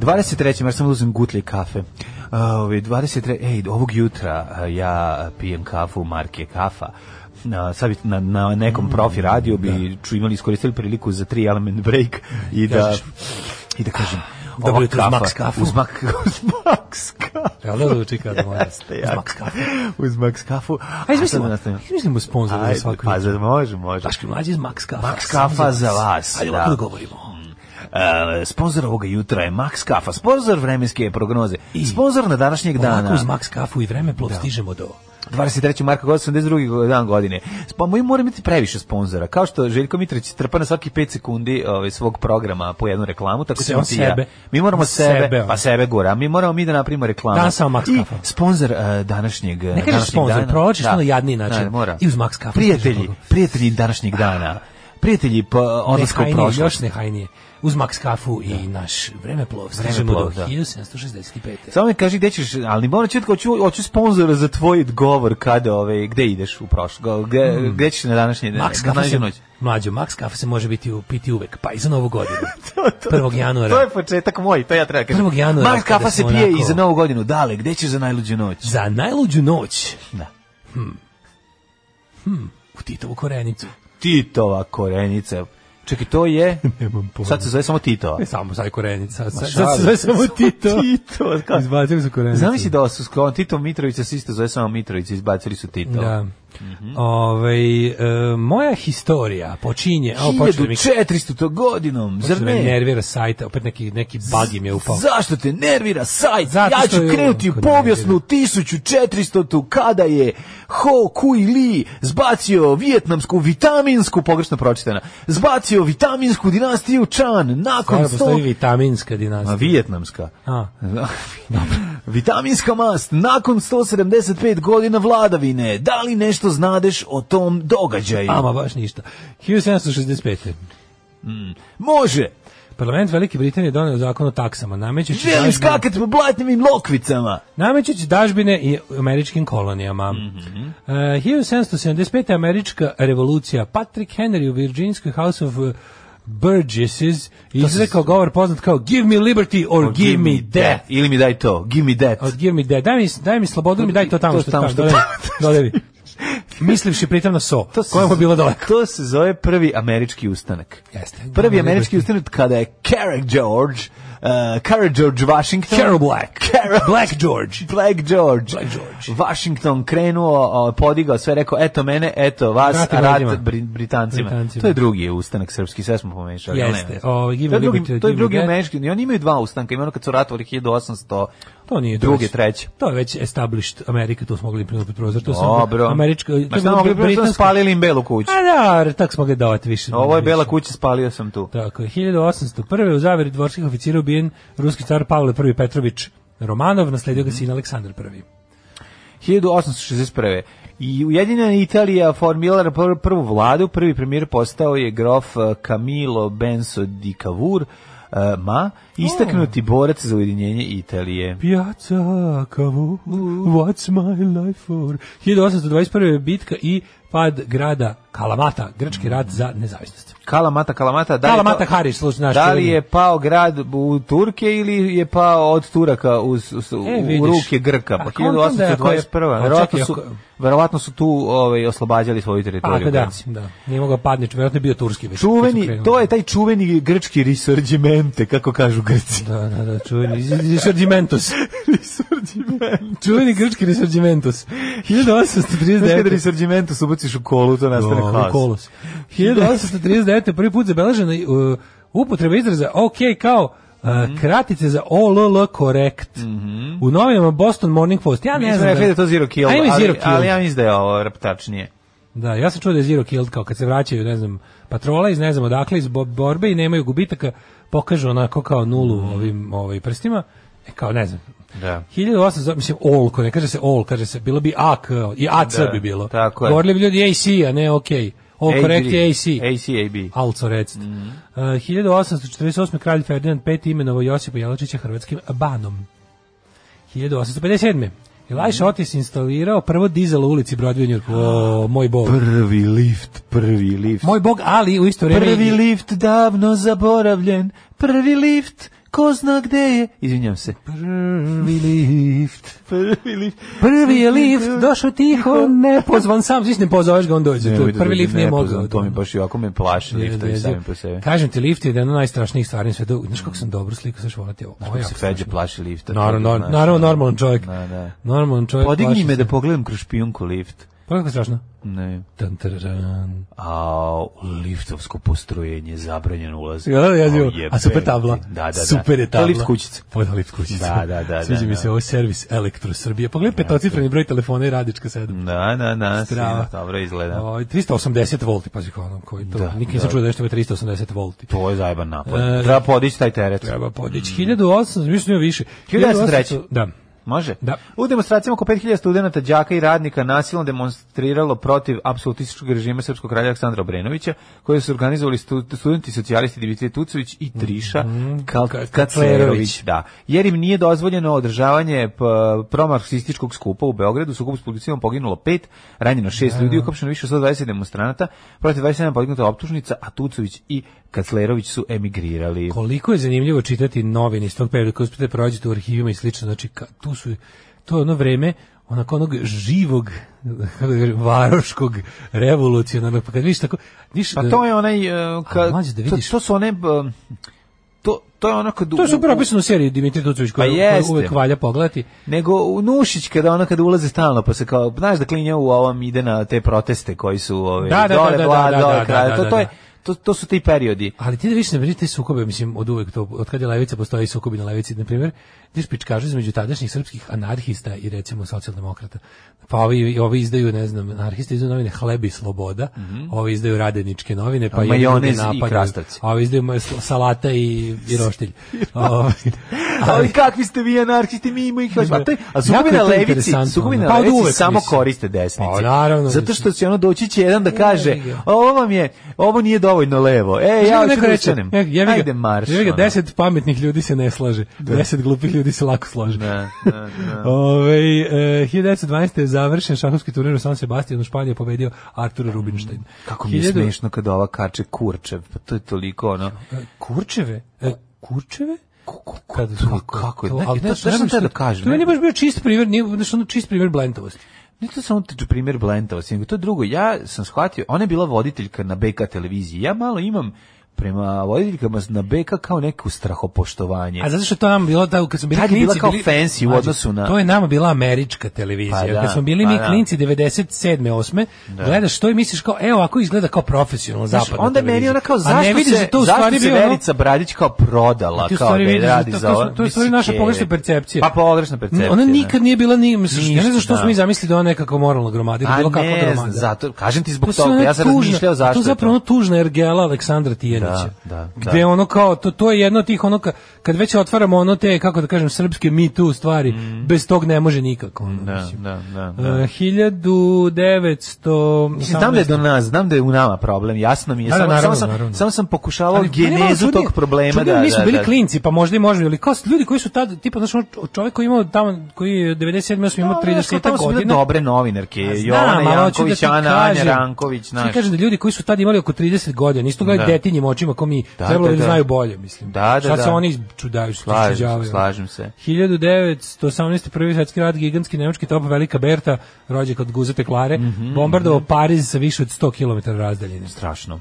[SPEAKER 5] 23. mar sam da uzem gutlje kafe. Uh, 23. Ej, ovog jutra a, ja pijem kafu marke kafa. Na, sad bi na, na nekom profi radiju bi ču imali iskoristili priliku za tri element break i da,
[SPEAKER 6] Kažeš.
[SPEAKER 5] i da kažem
[SPEAKER 6] Dobro
[SPEAKER 5] ova
[SPEAKER 6] jutro uz Max kafu.
[SPEAKER 5] Uz Max, uz Max kafu.
[SPEAKER 6] Jel da zvuči kao da moja?
[SPEAKER 5] Jeste, jako. Uz Max kafu.
[SPEAKER 6] Ajde,
[SPEAKER 5] A sad
[SPEAKER 6] izmislimo,
[SPEAKER 5] da nastavimo.
[SPEAKER 6] izmislimo sponzor za
[SPEAKER 5] Ajde,
[SPEAKER 6] svaku.
[SPEAKER 5] pa za, može, može.
[SPEAKER 6] Daški mlađi iz Max Kafa.
[SPEAKER 5] Max kafa za vas.
[SPEAKER 6] Ajde,
[SPEAKER 5] da.
[SPEAKER 6] ovako da govorimo.
[SPEAKER 5] E, Sponzor ovoga jutra je Max Kafa, sponzor vremenske prognoze, sponzor na današnjeg
[SPEAKER 6] Onako
[SPEAKER 5] dana,
[SPEAKER 6] uz Max Kafu i vremeplov stižemo do...
[SPEAKER 5] 23. marka god 82. dan godine. Pa mi mora biti previše sponzora, kao što Željko Mitrović trpa na svaki 5 sekundi ovaj, svog programa po jednu reklamu, tako
[SPEAKER 6] Se
[SPEAKER 5] ćemo
[SPEAKER 6] on
[SPEAKER 5] ti i ja.
[SPEAKER 6] sebe.
[SPEAKER 5] Mi moramo
[SPEAKER 6] On
[SPEAKER 5] sebe,
[SPEAKER 6] sebe, on.
[SPEAKER 5] pa sebe gura, a mi moramo mi da napravimo reklamu.
[SPEAKER 6] Danas samo Max
[SPEAKER 5] I
[SPEAKER 6] Kafa.
[SPEAKER 5] sponzor e, današnjeg
[SPEAKER 6] Ne kažeš
[SPEAKER 5] današnjeg
[SPEAKER 6] sponzor,
[SPEAKER 5] dana.
[SPEAKER 6] provlačiš to na jadniji način.
[SPEAKER 5] Da, mora.
[SPEAKER 6] I uz Max Kafu kažeš
[SPEAKER 5] Prijatelji,
[SPEAKER 6] tako.
[SPEAKER 5] prijatelji današnjeg dana. Prijatelji pa odlaska u
[SPEAKER 6] Nehajnije,
[SPEAKER 5] prošlost.
[SPEAKER 6] još nehajnije. Uz Max kafu i naš vremeplov. Stižemo do
[SPEAKER 5] Vremeplov, da.
[SPEAKER 6] 1765.
[SPEAKER 5] Samo mi kaži gde ćeš, ali moram ću, hoću, hoću sponzora za tvoj govor kada, ove, gde ideš u prošlo, gde, gde ćeš na današnji dan,
[SPEAKER 6] Hmm. Max
[SPEAKER 5] na
[SPEAKER 6] kafa se,
[SPEAKER 5] današnju noć.
[SPEAKER 6] mlađo, Max kafa se može biti u, piti uvek, pa i za novu godinu. 1. januara.
[SPEAKER 5] To je početak moj, to ja treba kažem.
[SPEAKER 6] 1. januara
[SPEAKER 5] Max
[SPEAKER 6] kada
[SPEAKER 5] kafa se
[SPEAKER 6] smo
[SPEAKER 5] pije
[SPEAKER 6] onako-
[SPEAKER 5] i za novu godinu, dale, gde ćeš za najluđu noć?
[SPEAKER 6] Za najluđu noć
[SPEAKER 5] Da.
[SPEAKER 6] u Titovu korenicu.
[SPEAKER 5] Titova korenica. Čekaj, to je...
[SPEAKER 6] Nemam pojma.
[SPEAKER 5] Sad se zove samo Titova.
[SPEAKER 6] Ne samo sad korenica, sad, sad,
[SPEAKER 5] šalim
[SPEAKER 6] sad se zove
[SPEAKER 5] se.
[SPEAKER 6] samo Tito.
[SPEAKER 5] Tito, kao-
[SPEAKER 6] Izbacili su korenicu.
[SPEAKER 5] Znam si da su sklon Tito Mitrovića se isto zove samo Mitrovića, izbacili su Tito.
[SPEAKER 6] Da.
[SPEAKER 5] Mhm.
[SPEAKER 6] Ovaj, e, moja historija počinje... Ao, počne mi,
[SPEAKER 5] 1400. godinom, zar
[SPEAKER 6] počne me
[SPEAKER 5] ne?
[SPEAKER 6] nervira sajta, opet neki, neki bug im je upao.
[SPEAKER 5] Zašto te nervira sajt?
[SPEAKER 6] Zato
[SPEAKER 5] ja
[SPEAKER 6] što
[SPEAKER 5] ću
[SPEAKER 6] je
[SPEAKER 5] krenuti u
[SPEAKER 6] ovako
[SPEAKER 5] povijesnu 1400-tu kada je Ho Kui Li zbacio vijetnamsku vitaminsku, pogrešno pročitana, zbacio vitaminsku dinastiju Chan nakon
[SPEAKER 6] Stvarno
[SPEAKER 5] sto...
[SPEAKER 6] postoji vitaminska dinastija.
[SPEAKER 5] A, vijetnamska.
[SPEAKER 6] A.
[SPEAKER 5] Dobro. Vitaminska mast nakon 175 godina vladavine. Da li nešto znadeš o tom događaju?
[SPEAKER 6] Ama baš ništa. 1765.
[SPEAKER 5] Može.
[SPEAKER 6] Parlament Velike Britanije donio zakon o taksama, namećući
[SPEAKER 5] Želim
[SPEAKER 6] dažbine,
[SPEAKER 5] skakati po blatnim lokvicama.
[SPEAKER 6] namećući dažbine i američkim kolonijama.
[SPEAKER 5] Mhm.
[SPEAKER 6] E, 1775. američka revolucija. Patrick Henry u Virginijskoj House of Burgesses izrekao govor poznat kao Give me liberty or, give, me death.
[SPEAKER 5] Ili mi daj to, give me death.
[SPEAKER 6] Od give me death. Daj mi, daj mi slobodu, ili mi daj to tamo
[SPEAKER 5] To
[SPEAKER 6] što
[SPEAKER 5] tamo
[SPEAKER 6] tamo.
[SPEAKER 5] što-
[SPEAKER 6] Dodaj, dodaj mi. Mislivši pritom na so,
[SPEAKER 5] To se
[SPEAKER 6] koja mu je bilo daleko.
[SPEAKER 5] To se zove prvi američki ustanak.
[SPEAKER 6] Jeste.
[SPEAKER 5] Prvi američki ustanak kada je Carrick George, uh, Carrick George Washington,
[SPEAKER 6] Carol Black.
[SPEAKER 5] Carol-
[SPEAKER 6] Black George.
[SPEAKER 5] Black George.
[SPEAKER 6] Black George.
[SPEAKER 5] Washington krenuo, o, podigao sve, rekao, eto mene, eto vas,
[SPEAKER 6] Vrati
[SPEAKER 5] a rat
[SPEAKER 6] ljudima.
[SPEAKER 5] Bri- Britancima.
[SPEAKER 6] Britancima.
[SPEAKER 5] To je drugi ustanak srpski, sve smo pomešali. ali
[SPEAKER 6] Jeste,
[SPEAKER 5] ne.
[SPEAKER 6] o, give
[SPEAKER 5] to je
[SPEAKER 6] me
[SPEAKER 5] drugi,
[SPEAKER 6] liberty,
[SPEAKER 5] to je
[SPEAKER 6] give
[SPEAKER 5] drugi
[SPEAKER 6] me death.
[SPEAKER 5] američki, i oni imaju dva ustanka, ima ono kad su ratovali 1800,
[SPEAKER 6] To nije to
[SPEAKER 5] druge,
[SPEAKER 6] već-
[SPEAKER 5] treće.
[SPEAKER 6] To je već established Amerika, to smo mogli prinuti prozor. To su
[SPEAKER 5] Dobro.
[SPEAKER 6] Američka,
[SPEAKER 5] Ma šta mogli bi da spalili im belu kuću?
[SPEAKER 6] A da, ali tako smo ga davati više.
[SPEAKER 5] Ovo je
[SPEAKER 6] više.
[SPEAKER 5] bela kuća, spalio sam tu.
[SPEAKER 6] Tako je, 1801. u zaveri dvorskih oficira ubijen ruski car Pavle I Petrović Romanov, nasledio ga sin Aleksandar I.
[SPEAKER 5] 1861. I Ujedinjena Italija formirala pr- prvu vladu, prvi premijer postao je grof eh, Camilo Benso di Cavour, eh, ma istaknuti borac za ujedinjenje Italije.
[SPEAKER 6] Piazza Cavour, what's my life for? 1821. je bitka i pad grada Kalamata, grčki rat za nezavisnost.
[SPEAKER 5] Kalamata, Kalamata, da li je
[SPEAKER 6] Kalamata
[SPEAKER 5] to-
[SPEAKER 6] Hariš, slušaj naš.
[SPEAKER 5] Da li
[SPEAKER 6] čuveni.
[SPEAKER 5] je pao grad u Turke ili je pao od Turaka uz, uz, u
[SPEAKER 6] E, vidiš.
[SPEAKER 5] ruke Grka?
[SPEAKER 6] A
[SPEAKER 5] Pa
[SPEAKER 6] kontam da je ako je-
[SPEAKER 5] 1821.
[SPEAKER 6] A
[SPEAKER 5] Verovatno
[SPEAKER 6] čekaj,
[SPEAKER 5] su,
[SPEAKER 6] ako-
[SPEAKER 5] verovatno su tu ovaj, oslobađali svoju
[SPEAKER 6] Pa,
[SPEAKER 5] teritoriju.
[SPEAKER 6] da, da,
[SPEAKER 5] Grci.
[SPEAKER 6] da. Nije mogao padnić, vjerojatno je bio turski. Već, kad su
[SPEAKER 5] Čuveni,
[SPEAKER 6] krenuli.
[SPEAKER 5] to je taj čuveni grčki risorđimente, kako kažu Grci.
[SPEAKER 6] Da, da, da, čuveni Risorgimentos. čuveni grčki Risorgimentos. 1839.
[SPEAKER 5] Znaš kada risorđimentu subaciš u kolu, to nastane
[SPEAKER 6] Da,
[SPEAKER 5] haos.
[SPEAKER 6] kolos. 1839. prvi put zabeležena uh, upotreba izraza OK kao uh,
[SPEAKER 5] Mhm.
[SPEAKER 6] kratice za OLL correct. U novinama Boston Morning Post. Ja
[SPEAKER 5] Mi
[SPEAKER 6] ne
[SPEAKER 5] smo
[SPEAKER 6] znam.
[SPEAKER 5] rekli da je to zero kill,
[SPEAKER 6] Ajme
[SPEAKER 5] ali,
[SPEAKER 6] zero kill.
[SPEAKER 5] ali ja mislim da je ovo reptačnije.
[SPEAKER 6] Da, ja sam čuo da je Zero Killed, kao kad se vraćaju, ne znam, patrola iz ne znam odakle, iz bo- borbe i nemaju gubitaka, pokažu onako kao nulu ovim ovaj, prstima, e, kao ne znam.
[SPEAKER 5] Mhm. Da.
[SPEAKER 6] 1800, mislim, all, ko ne kaže se all, kaže se, bilo bi AK, i AC
[SPEAKER 5] Da,
[SPEAKER 6] bi bilo.
[SPEAKER 5] tako je.
[SPEAKER 6] Govorili bi ljudi AC, a ne OK. All correct je AC.
[SPEAKER 5] ACAB.
[SPEAKER 6] Also recit.
[SPEAKER 5] Mhm.
[SPEAKER 6] Uh, 1848. kralj Ferdinand V imenovao Josipa Jelačića hrvatskim banom. 1857.
[SPEAKER 5] Mhm.
[SPEAKER 6] Elijah Otis instalirao prvo dizel u ulici Broadway u Njurku. O, moj bog.
[SPEAKER 5] Prvi lift, prvi lift.
[SPEAKER 6] Moj bog, ali u isto vreme...
[SPEAKER 5] Prvi lift davno zaboravljen, prvi lift, ko zna gde je. Izvinjam se.
[SPEAKER 6] Prvi lift.
[SPEAKER 5] Prvi lift.
[SPEAKER 6] Prvi je lift, došao tiho, ne pozvan sam, znači ne pozoveš ga, on dođe. tu.
[SPEAKER 5] Nemoj da
[SPEAKER 6] Prvi
[SPEAKER 5] dođe,
[SPEAKER 6] lift nije
[SPEAKER 5] ne
[SPEAKER 6] mogao.
[SPEAKER 5] poznam, To mi
[SPEAKER 6] da.
[SPEAKER 5] baš i ovako me plaši liftovi
[SPEAKER 6] Jezivo.
[SPEAKER 5] sami po sebi.
[SPEAKER 6] Kažem ti, lift je jedna od najstrašnijih stvari na svetu. Znaš kako sam dobro sliku, znaš, volim ti ovo. Ovo je
[SPEAKER 5] se
[SPEAKER 6] jako
[SPEAKER 5] Feđe
[SPEAKER 6] strašno.
[SPEAKER 5] plaši lifta.
[SPEAKER 6] Naravno,
[SPEAKER 5] to
[SPEAKER 6] nar-
[SPEAKER 5] znaš,
[SPEAKER 6] naravno,
[SPEAKER 5] ono.
[SPEAKER 6] normalan čovjek.
[SPEAKER 5] Da, da.
[SPEAKER 6] Normalan čovjek.
[SPEAKER 5] Podigni
[SPEAKER 6] plaši
[SPEAKER 5] me
[SPEAKER 6] se.
[SPEAKER 5] da pogledam kroz špijunku lift.
[SPEAKER 6] Pa kako je strašno?
[SPEAKER 5] Ne.
[SPEAKER 6] Tan, tararan.
[SPEAKER 5] A liftovsko postrojenje zabranjen ulaz.
[SPEAKER 6] Ja, ja, ja,
[SPEAKER 5] O,
[SPEAKER 6] a super
[SPEAKER 5] jebe.
[SPEAKER 6] tabla.
[SPEAKER 5] Da, da, da.
[SPEAKER 6] Super je
[SPEAKER 5] To
[SPEAKER 6] tabla.
[SPEAKER 5] je lift kućica.
[SPEAKER 6] Pa da, lift kućica.
[SPEAKER 5] Da, da, da,
[SPEAKER 6] Sviđa
[SPEAKER 5] da,
[SPEAKER 6] mi
[SPEAKER 5] da.
[SPEAKER 6] se ovo servis Elektro Srbije. Pogledaj petocifreni broj telefona i radička 7.
[SPEAKER 5] Da, da, da.
[SPEAKER 6] Strava.
[SPEAKER 5] Strava. Dobro izgleda.
[SPEAKER 6] Ovaj 380 volti, pazi kao ono koji to.
[SPEAKER 5] Da, Pa,
[SPEAKER 6] Nikad nisam čuo da nešto ima 380 volti.
[SPEAKER 5] To je zajeban napad.
[SPEAKER 6] E,
[SPEAKER 5] Treba podići taj teret.
[SPEAKER 6] Treba podići 1800, mislim da je više.
[SPEAKER 5] 1903.
[SPEAKER 6] 1800, Da.
[SPEAKER 5] Može?
[SPEAKER 6] Da.
[SPEAKER 5] U demonstracijama oko 5000 studenta, đaka i radnika nasilno demonstriralo protiv apsolutističkog režima srpskog kralja Aleksandra Obrenovića, koje su organizovali stu, studenti socijalisti Dimitrije Tucović i Triša Kal
[SPEAKER 6] Mhm. Ka- Kaclerović.
[SPEAKER 5] Kaclerović. Da. Jer im nije dozvoljeno održavanje p- promarksističkog skupa u Beogradu. U sukobu s policijom poginulo pet, ranjeno šest ljudi, uhapšeno više od 120 demonstranata, protiv 27 podignuta optužnica, a Tucović i Kaclerović su emigrirali.
[SPEAKER 6] Koliko je zanimljivo čitati novine iz tog perioda kad uspete prođete u arhivima i slično, znači ka, tu su to je ono vreme onako onog živog kako da kažem, varoškog revolucionarnog pa kad vidiš tako viš,
[SPEAKER 5] Pa to je onaj uh, ka,
[SPEAKER 6] Ali mlađe da
[SPEAKER 5] to,
[SPEAKER 6] vidiš.
[SPEAKER 5] to su one um, to to je ono kad
[SPEAKER 6] to
[SPEAKER 5] u-
[SPEAKER 6] su
[SPEAKER 5] u-
[SPEAKER 6] propisano u seriji Dimitri Tucović
[SPEAKER 5] Pa
[SPEAKER 6] koju, koju
[SPEAKER 5] jeste.
[SPEAKER 6] uvek valja pogledati
[SPEAKER 5] nego u Nušić kada ona kada ulaze stalno pa se kao znaš da klinja u ovom ide na te proteste koji su ove
[SPEAKER 6] Da, da, da,
[SPEAKER 5] dole
[SPEAKER 6] da,
[SPEAKER 5] vlada,
[SPEAKER 6] da, da,
[SPEAKER 5] dole
[SPEAKER 6] da,
[SPEAKER 5] kralja.
[SPEAKER 6] da,
[SPEAKER 5] to
[SPEAKER 6] da,
[SPEAKER 5] to je
[SPEAKER 6] da.
[SPEAKER 5] to, to su ti periodi
[SPEAKER 6] Ali ti da više ne vidiš te sukobe, mislim, od uvek to, od kad je levica, postoji sukobi na levici, na primjer, vidiš pičkažu između tadašnjih srpskih anarhista i recimo socijaldemokrata. Pa ovi, ovi izdaju, ne znam, anarhisti izdaju novine Hleb i Sloboda, ovi izdaju radeničke novine, pa
[SPEAKER 5] Mhm. A
[SPEAKER 6] jedni druge
[SPEAKER 5] majonez i
[SPEAKER 6] napadaju.
[SPEAKER 5] krastavci.
[SPEAKER 6] A Ovi izdaju ma- sl- salata i, i roštilj.
[SPEAKER 5] ali kakvi ste vi anarhisti mi imamo ih hoćemo. a, taj, a sukobi
[SPEAKER 6] Jako je
[SPEAKER 5] na
[SPEAKER 6] to
[SPEAKER 5] levici
[SPEAKER 6] interesantno.
[SPEAKER 5] sukobi na
[SPEAKER 6] Pa od
[SPEAKER 5] levici
[SPEAKER 6] uvek,
[SPEAKER 5] samo
[SPEAKER 6] mislim.
[SPEAKER 5] koriste desnice
[SPEAKER 6] Pa naravno,
[SPEAKER 5] zato
[SPEAKER 6] mislim.
[SPEAKER 5] što će ono doći će jedan da kaže
[SPEAKER 6] ga.
[SPEAKER 5] ovo vam je ovo nije dovoljno levo. E, ja
[SPEAKER 6] Šta mi
[SPEAKER 5] hoću
[SPEAKER 6] neko
[SPEAKER 5] da
[SPEAKER 6] reče?
[SPEAKER 5] ustanem.
[SPEAKER 6] Neko- jebi E, ga-
[SPEAKER 5] Ajde marš.
[SPEAKER 6] Jebi ga,
[SPEAKER 5] ono.
[SPEAKER 6] deset pametnih ljudi se ne slaže. Deset glupih ljudi se lako slaže.
[SPEAKER 5] Da, da, da.
[SPEAKER 6] Ove, e, 1912. je završen šahovski turnir u San Sebastianu, u Španiji je pobedio Artur Rubinstein.
[SPEAKER 5] Mm, Kako mi je
[SPEAKER 6] Hiljadu-
[SPEAKER 5] smešno kad ova kače kurčev, pa to je toliko ono...
[SPEAKER 6] E, Kurčeve? E, kurčeve? Kada su-
[SPEAKER 5] kako- kako je?
[SPEAKER 6] to-
[SPEAKER 5] Ne,
[SPEAKER 6] ali
[SPEAKER 5] ne,
[SPEAKER 6] to-
[SPEAKER 5] znaš šta
[SPEAKER 6] ne znam
[SPEAKER 5] sam teo da
[SPEAKER 6] šta-
[SPEAKER 5] kažem,
[SPEAKER 6] To
[SPEAKER 5] ne?
[SPEAKER 6] meni je baš bio čist primjer, nije, znaš, ono čist primjer blentovosti.
[SPEAKER 5] Ne to samo t- primjer Blentavosti, nego to drugo. Ja sam shvatio, ona je bila voditeljka na BK televiziji. Ja malo imam prema voditeljkama na BK kao neko strahopoštovanje.
[SPEAKER 6] A zato što to nam bilo da kad smo bili
[SPEAKER 5] Tad je bila
[SPEAKER 6] klinci,
[SPEAKER 5] kao
[SPEAKER 6] bili-
[SPEAKER 5] fancy u
[SPEAKER 6] Mlađe,
[SPEAKER 5] odnosu na-
[SPEAKER 6] To je nama bila američka televizija.
[SPEAKER 5] Pa da,
[SPEAKER 6] kad smo bili
[SPEAKER 5] pa
[SPEAKER 6] mi
[SPEAKER 5] da.
[SPEAKER 6] klinci 97. 8. Gledaš to i misliš kao evo ovako izgleda kao profesionalno
[SPEAKER 5] Znaš,
[SPEAKER 6] zapadna
[SPEAKER 5] onda
[SPEAKER 6] televizija.
[SPEAKER 5] meni ona kao
[SPEAKER 6] A ne
[SPEAKER 5] zašto
[SPEAKER 6] vidiš da
[SPEAKER 5] se,
[SPEAKER 6] to u
[SPEAKER 5] zašto
[SPEAKER 6] stvari
[SPEAKER 5] se
[SPEAKER 6] bio ono-
[SPEAKER 5] Verica Bradić kao prodala,
[SPEAKER 6] A ti u
[SPEAKER 5] kao
[SPEAKER 6] stvari
[SPEAKER 5] da
[SPEAKER 6] vidiš
[SPEAKER 5] radi
[SPEAKER 6] da to-
[SPEAKER 5] za
[SPEAKER 6] to-
[SPEAKER 5] ovo.
[SPEAKER 6] to je u stvari
[SPEAKER 5] Mislim,
[SPEAKER 6] naša
[SPEAKER 5] je-
[SPEAKER 6] pogrešna percepcija.
[SPEAKER 5] Pa pogrešna percepcija.
[SPEAKER 6] Ona
[SPEAKER 5] ne.
[SPEAKER 6] nikad nije bila ni, mislim, ja ne znam što
[SPEAKER 5] Ništa.
[SPEAKER 6] smo mi zamislili da je ona nekako moralna gromada ili
[SPEAKER 5] A
[SPEAKER 6] bilo kako
[SPEAKER 5] ne,
[SPEAKER 6] gromada.
[SPEAKER 5] znam, zato, kažem ti
[SPEAKER 6] To
[SPEAKER 5] zbog
[SPEAKER 6] su
[SPEAKER 5] toga,
[SPEAKER 6] one
[SPEAKER 5] ja sam
[SPEAKER 6] tužne-
[SPEAKER 5] razmišljao zašto
[SPEAKER 6] To
[SPEAKER 5] je
[SPEAKER 6] je zapravo ono tužna ergela Aleksandra Tijanića.
[SPEAKER 5] Da, da,
[SPEAKER 6] gde
[SPEAKER 5] da.
[SPEAKER 6] ono kao, to, to je jedno od tih ono, ka, kad već otvaramo ono te, kako da kažem, srpske Me Too stvari, bez tog ne može nikako. Ono,
[SPEAKER 5] Mhm. Da,
[SPEAKER 6] mislim.
[SPEAKER 5] da, da,
[SPEAKER 6] Uh,
[SPEAKER 5] da.
[SPEAKER 6] 1900...
[SPEAKER 5] Mislim, znam da je do nas, znam da je u nama problem, jasno mi je.
[SPEAKER 6] Da, da,
[SPEAKER 5] samo,
[SPEAKER 6] naravno,
[SPEAKER 5] samo, sam,
[SPEAKER 6] naravno.
[SPEAKER 5] samo sam pokušavao
[SPEAKER 6] Ali meni je malo
[SPEAKER 5] genezu
[SPEAKER 6] čudnije-
[SPEAKER 5] tog problema.
[SPEAKER 6] čudnije,
[SPEAKER 5] da,
[SPEAKER 6] mi smo
[SPEAKER 5] da,
[SPEAKER 6] bili
[SPEAKER 5] da.
[SPEAKER 6] klinci, pa možda i možemo, ali kao ljudi koji su tad, tipa, znaš, ono, čovjek koji je imao tamo, koji je 97. osam imao
[SPEAKER 5] Pa, znaš, kao
[SPEAKER 6] 30
[SPEAKER 5] tamo su bile
[SPEAKER 6] godina.
[SPEAKER 5] dobre novinarke,
[SPEAKER 6] A znam,
[SPEAKER 5] Jovana
[SPEAKER 6] ali hoću
[SPEAKER 5] Janković,
[SPEAKER 6] ti
[SPEAKER 5] Ana, Anja
[SPEAKER 6] kažem-
[SPEAKER 5] Ranković,
[SPEAKER 6] hoću ti
[SPEAKER 5] znaš.
[SPEAKER 6] kažem da ljudi koji su tad imali oko 30 godina, nisu to gledali
[SPEAKER 5] Da.
[SPEAKER 6] detinjim očima, ko mi
[SPEAKER 5] Da,
[SPEAKER 6] trebalo
[SPEAKER 5] da,
[SPEAKER 6] da,
[SPEAKER 5] da.
[SPEAKER 6] znaju bolje, mislim.
[SPEAKER 5] Da, da,
[SPEAKER 6] Šta se
[SPEAKER 5] da.
[SPEAKER 6] oni čudaju, što
[SPEAKER 5] Slažem se,
[SPEAKER 6] čuđavaju.
[SPEAKER 5] slažem se.
[SPEAKER 6] 1918. prvi svetski rat, gigantski nemački top Velika Berta, rođak od Guzete Klare,
[SPEAKER 5] Mhm,
[SPEAKER 6] bombardovao Pariz sa više od 100 km razdaljine.
[SPEAKER 5] Strašno.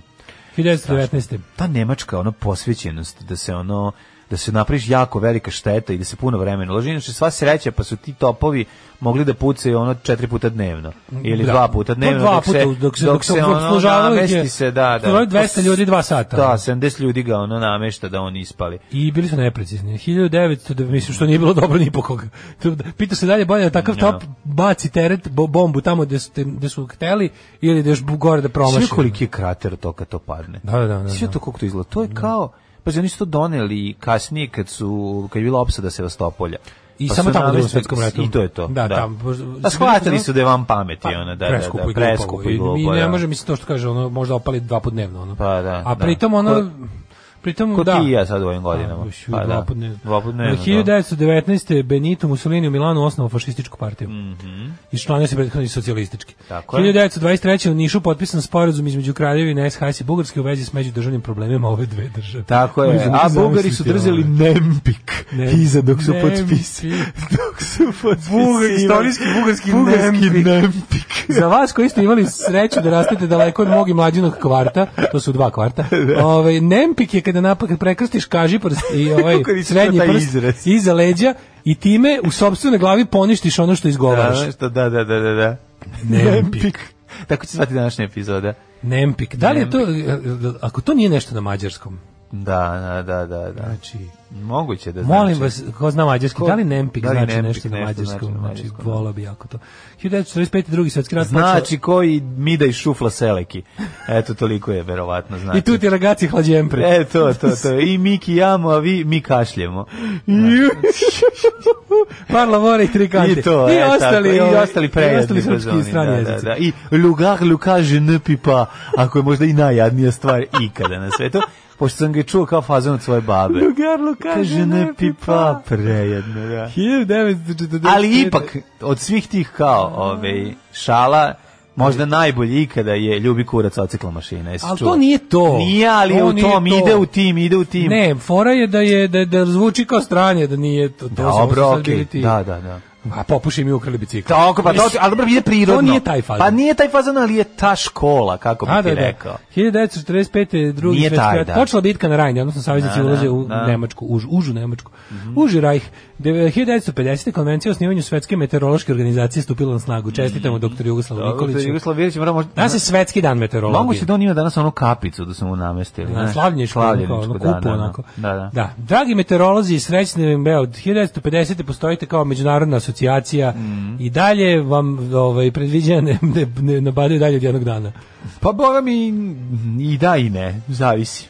[SPEAKER 6] 1919.
[SPEAKER 5] Ta nemačka ono posvećenost da se ono da se napraviš jako velika šteta i da se puno vremena uloži. Inače, sva sreća, pa su ti topovi mogli da pucaju ono četiri puta dnevno. Ili
[SPEAKER 6] Da.
[SPEAKER 5] dva puta dnevno.
[SPEAKER 6] Pa dva puta, dok se- dok se obslužavaju ih je-
[SPEAKER 5] ono, namesti se, da, da.
[SPEAKER 6] Obslužavaju 200 ljudi dva sata.
[SPEAKER 5] Da, 70 ljudi ga ono namešta da oni ispali.
[SPEAKER 6] I bili su neprecizni. 1900, da mislim što nije bilo dobro ni po koga. Tu- da- Pita se dalje bolje da takav top baci teret, bo- bombu tamo gde su, te- gde su hteli ili da još bu- gore da promaši.
[SPEAKER 5] Sve koliki je krater od toga kad to padne.
[SPEAKER 6] Da, da, da,
[SPEAKER 5] Sve
[SPEAKER 6] da.
[SPEAKER 5] to kako to izgleda. To je kao Pazi, oni su to doneli kasnije kad su kad je bila opsada Sevastopolja.
[SPEAKER 6] I
[SPEAKER 5] Pa
[SPEAKER 6] samo
[SPEAKER 5] su
[SPEAKER 6] tamo u Drugom
[SPEAKER 5] namestili-
[SPEAKER 6] svetskom ratu.
[SPEAKER 5] I to je to.
[SPEAKER 6] Da,
[SPEAKER 5] Da,
[SPEAKER 6] tamo.
[SPEAKER 5] Da, shvatili su da je vam pameti, ona, ono, da, da,
[SPEAKER 6] preskupo
[SPEAKER 5] da,
[SPEAKER 6] i pa glupo.
[SPEAKER 5] preskupo i glupo,
[SPEAKER 6] I, ne
[SPEAKER 5] da.
[SPEAKER 6] može mi se to što kaže, ono, možda opali dva put dnevno. Ono.
[SPEAKER 5] Pa da,
[SPEAKER 6] A
[SPEAKER 5] da.
[SPEAKER 6] pritom ono...
[SPEAKER 5] Ko-
[SPEAKER 6] pritom,
[SPEAKER 5] Ko
[SPEAKER 6] da.
[SPEAKER 5] ti i ja sad u ovim godinama.
[SPEAKER 6] Još
[SPEAKER 5] Pa
[SPEAKER 6] dva
[SPEAKER 5] da.
[SPEAKER 6] put dnevno. E,
[SPEAKER 5] Dva put dnevno, da.
[SPEAKER 6] 1919. Benito Mussolini u Milanu osnovao fašističku partiju. Mm I članio se prethodni socijalistički.
[SPEAKER 5] Mhm. Tako je.
[SPEAKER 6] 1923. u Nišu potpisan sporazum između Kraljevine SHS i Bugarske u vezi s međudržavnim problemima ove dve države.
[SPEAKER 5] Tako je.
[SPEAKER 6] Možemo
[SPEAKER 5] A
[SPEAKER 6] ti
[SPEAKER 5] Bugari su
[SPEAKER 6] zamisliti
[SPEAKER 5] drzeli
[SPEAKER 6] ovo.
[SPEAKER 5] Nempik
[SPEAKER 6] Ne-
[SPEAKER 5] iza dok su
[SPEAKER 6] Nempik.
[SPEAKER 5] potpisali. dok su potpisali.
[SPEAKER 6] istorijski bugarski Nempik.
[SPEAKER 5] Bugarski Nempik.
[SPEAKER 6] Za vas koji ste imali sreću da rastete daleko od mog i mlađinog kvarta, to su dva kvarta, ovaj, nempik je kada napak prekrstiš kaži prst i ovaj
[SPEAKER 5] Kako nisam
[SPEAKER 6] srednji
[SPEAKER 5] čuo taj
[SPEAKER 6] prst
[SPEAKER 5] izraz.
[SPEAKER 6] iza leđa i time u sopstvenoj glavi poništiš ono što izgovaraš.
[SPEAKER 5] Da, nešto, da, da, da, da, da.
[SPEAKER 6] Nempik.
[SPEAKER 5] Tako će zvati današnja epizoda.
[SPEAKER 6] Nempik. Da li je to, e, ako to nije nešto na mađarskom,
[SPEAKER 5] Da, da, da, da, da.
[SPEAKER 6] znači,
[SPEAKER 5] Moguće da znači.
[SPEAKER 6] molim vas, ko zna mađarski,
[SPEAKER 5] Ko-
[SPEAKER 6] da li Nempik
[SPEAKER 5] da li
[SPEAKER 6] znači
[SPEAKER 5] Nempik
[SPEAKER 6] nešto na
[SPEAKER 5] nešto znači
[SPEAKER 6] mađarskom?
[SPEAKER 5] na
[SPEAKER 6] Znači,
[SPEAKER 5] mađarskom, da.
[SPEAKER 6] volao bi jako to. 1945. drugi svetski rat
[SPEAKER 5] Znači koji mi da šufla seleki. Eto, toliko je verovatno
[SPEAKER 6] počeo.
[SPEAKER 5] znači.
[SPEAKER 6] I tu ti ragaci hlađem
[SPEAKER 5] E, to, to, to. I mi kijamo, a vi mi kašljemo.
[SPEAKER 6] Par lavore i tri kante.
[SPEAKER 5] I to,
[SPEAKER 6] I
[SPEAKER 5] e,
[SPEAKER 6] ostali,
[SPEAKER 5] tako, i
[SPEAKER 6] ovaj,
[SPEAKER 5] ostali
[SPEAKER 6] i
[SPEAKER 5] prejedni
[SPEAKER 6] ostali srpski i
[SPEAKER 5] fazoni,
[SPEAKER 6] strani
[SPEAKER 5] da,
[SPEAKER 6] jezici.
[SPEAKER 5] Da, da. I lugar, lukaže, ne pipa, ako je možda i najjadnija stvar ikada na svetu, pošto sam ga čuo kao fazon od svoje babe.
[SPEAKER 6] Lugarlo
[SPEAKER 5] Kaže, ne pipa, prejedno, da.
[SPEAKER 6] 1940.
[SPEAKER 5] Ali ipak, od svih tih kao ove, šala, možda najbolji ikada je Ljubi kurac ocikla mašina. Jesi
[SPEAKER 6] Ali
[SPEAKER 5] čuo?
[SPEAKER 6] to nije to.
[SPEAKER 5] Nije, ali je
[SPEAKER 6] To
[SPEAKER 5] u
[SPEAKER 6] nije
[SPEAKER 5] tom,
[SPEAKER 6] to.
[SPEAKER 5] ide u tim, ide u tim.
[SPEAKER 6] Ne, fora je da je da, da zvuči kao stranje, da nije to. to samo
[SPEAKER 5] Dobro,
[SPEAKER 6] su sad
[SPEAKER 5] okej.
[SPEAKER 6] bili ti-
[SPEAKER 5] Da, da, da.
[SPEAKER 6] A popuši mi ukrali bicikl.
[SPEAKER 5] Tako, pa to,
[SPEAKER 6] Mislim,
[SPEAKER 5] ali dobro, ide prirodno.
[SPEAKER 6] To nije taj fazon.
[SPEAKER 5] Pa nije taj fazon, ali je ta škola, kako bi
[SPEAKER 6] A,
[SPEAKER 5] Pa ti
[SPEAKER 6] da, da.
[SPEAKER 5] rekao.
[SPEAKER 6] 1945. drugi
[SPEAKER 5] Nije
[SPEAKER 6] svetski
[SPEAKER 5] taj,
[SPEAKER 6] rat.
[SPEAKER 5] da.
[SPEAKER 6] Počela bitka na Rajni, odnosno saveznici
[SPEAKER 5] Da, da,
[SPEAKER 6] ulaze u
[SPEAKER 5] da. Mhm.
[SPEAKER 6] Nemačku, už, užu Nemačku. Uži Rajh. Deve- 1950. konvencija o osnivanju Svetske meteorološke organizacije stupila na snagu. Čestitamo doktoru Jugoslavu
[SPEAKER 5] Nikolić.
[SPEAKER 6] Nikoliću.
[SPEAKER 5] Mhm. Jugoslav Vilić mora možda...
[SPEAKER 6] Danas je Svetski dan meteorologije.
[SPEAKER 5] Moguće da on ima danas onu kapicu da su mu namestili.
[SPEAKER 6] Na
[SPEAKER 5] znaš,
[SPEAKER 6] slavljeničku,
[SPEAKER 5] slavljeničku,
[SPEAKER 6] da, kupu,
[SPEAKER 5] da,
[SPEAKER 6] onako.
[SPEAKER 5] Da, da.
[SPEAKER 6] da. Dragi meteorolozi, srećni vam beo, od 1950. postojite kao međunarodna asocijacija
[SPEAKER 5] Mhm.
[SPEAKER 6] i dalje vam ovaj, predviđanja ne, ne, ne nabadaju dalje od jednog dana.
[SPEAKER 5] Pa boga mi i da i ne, zavisi.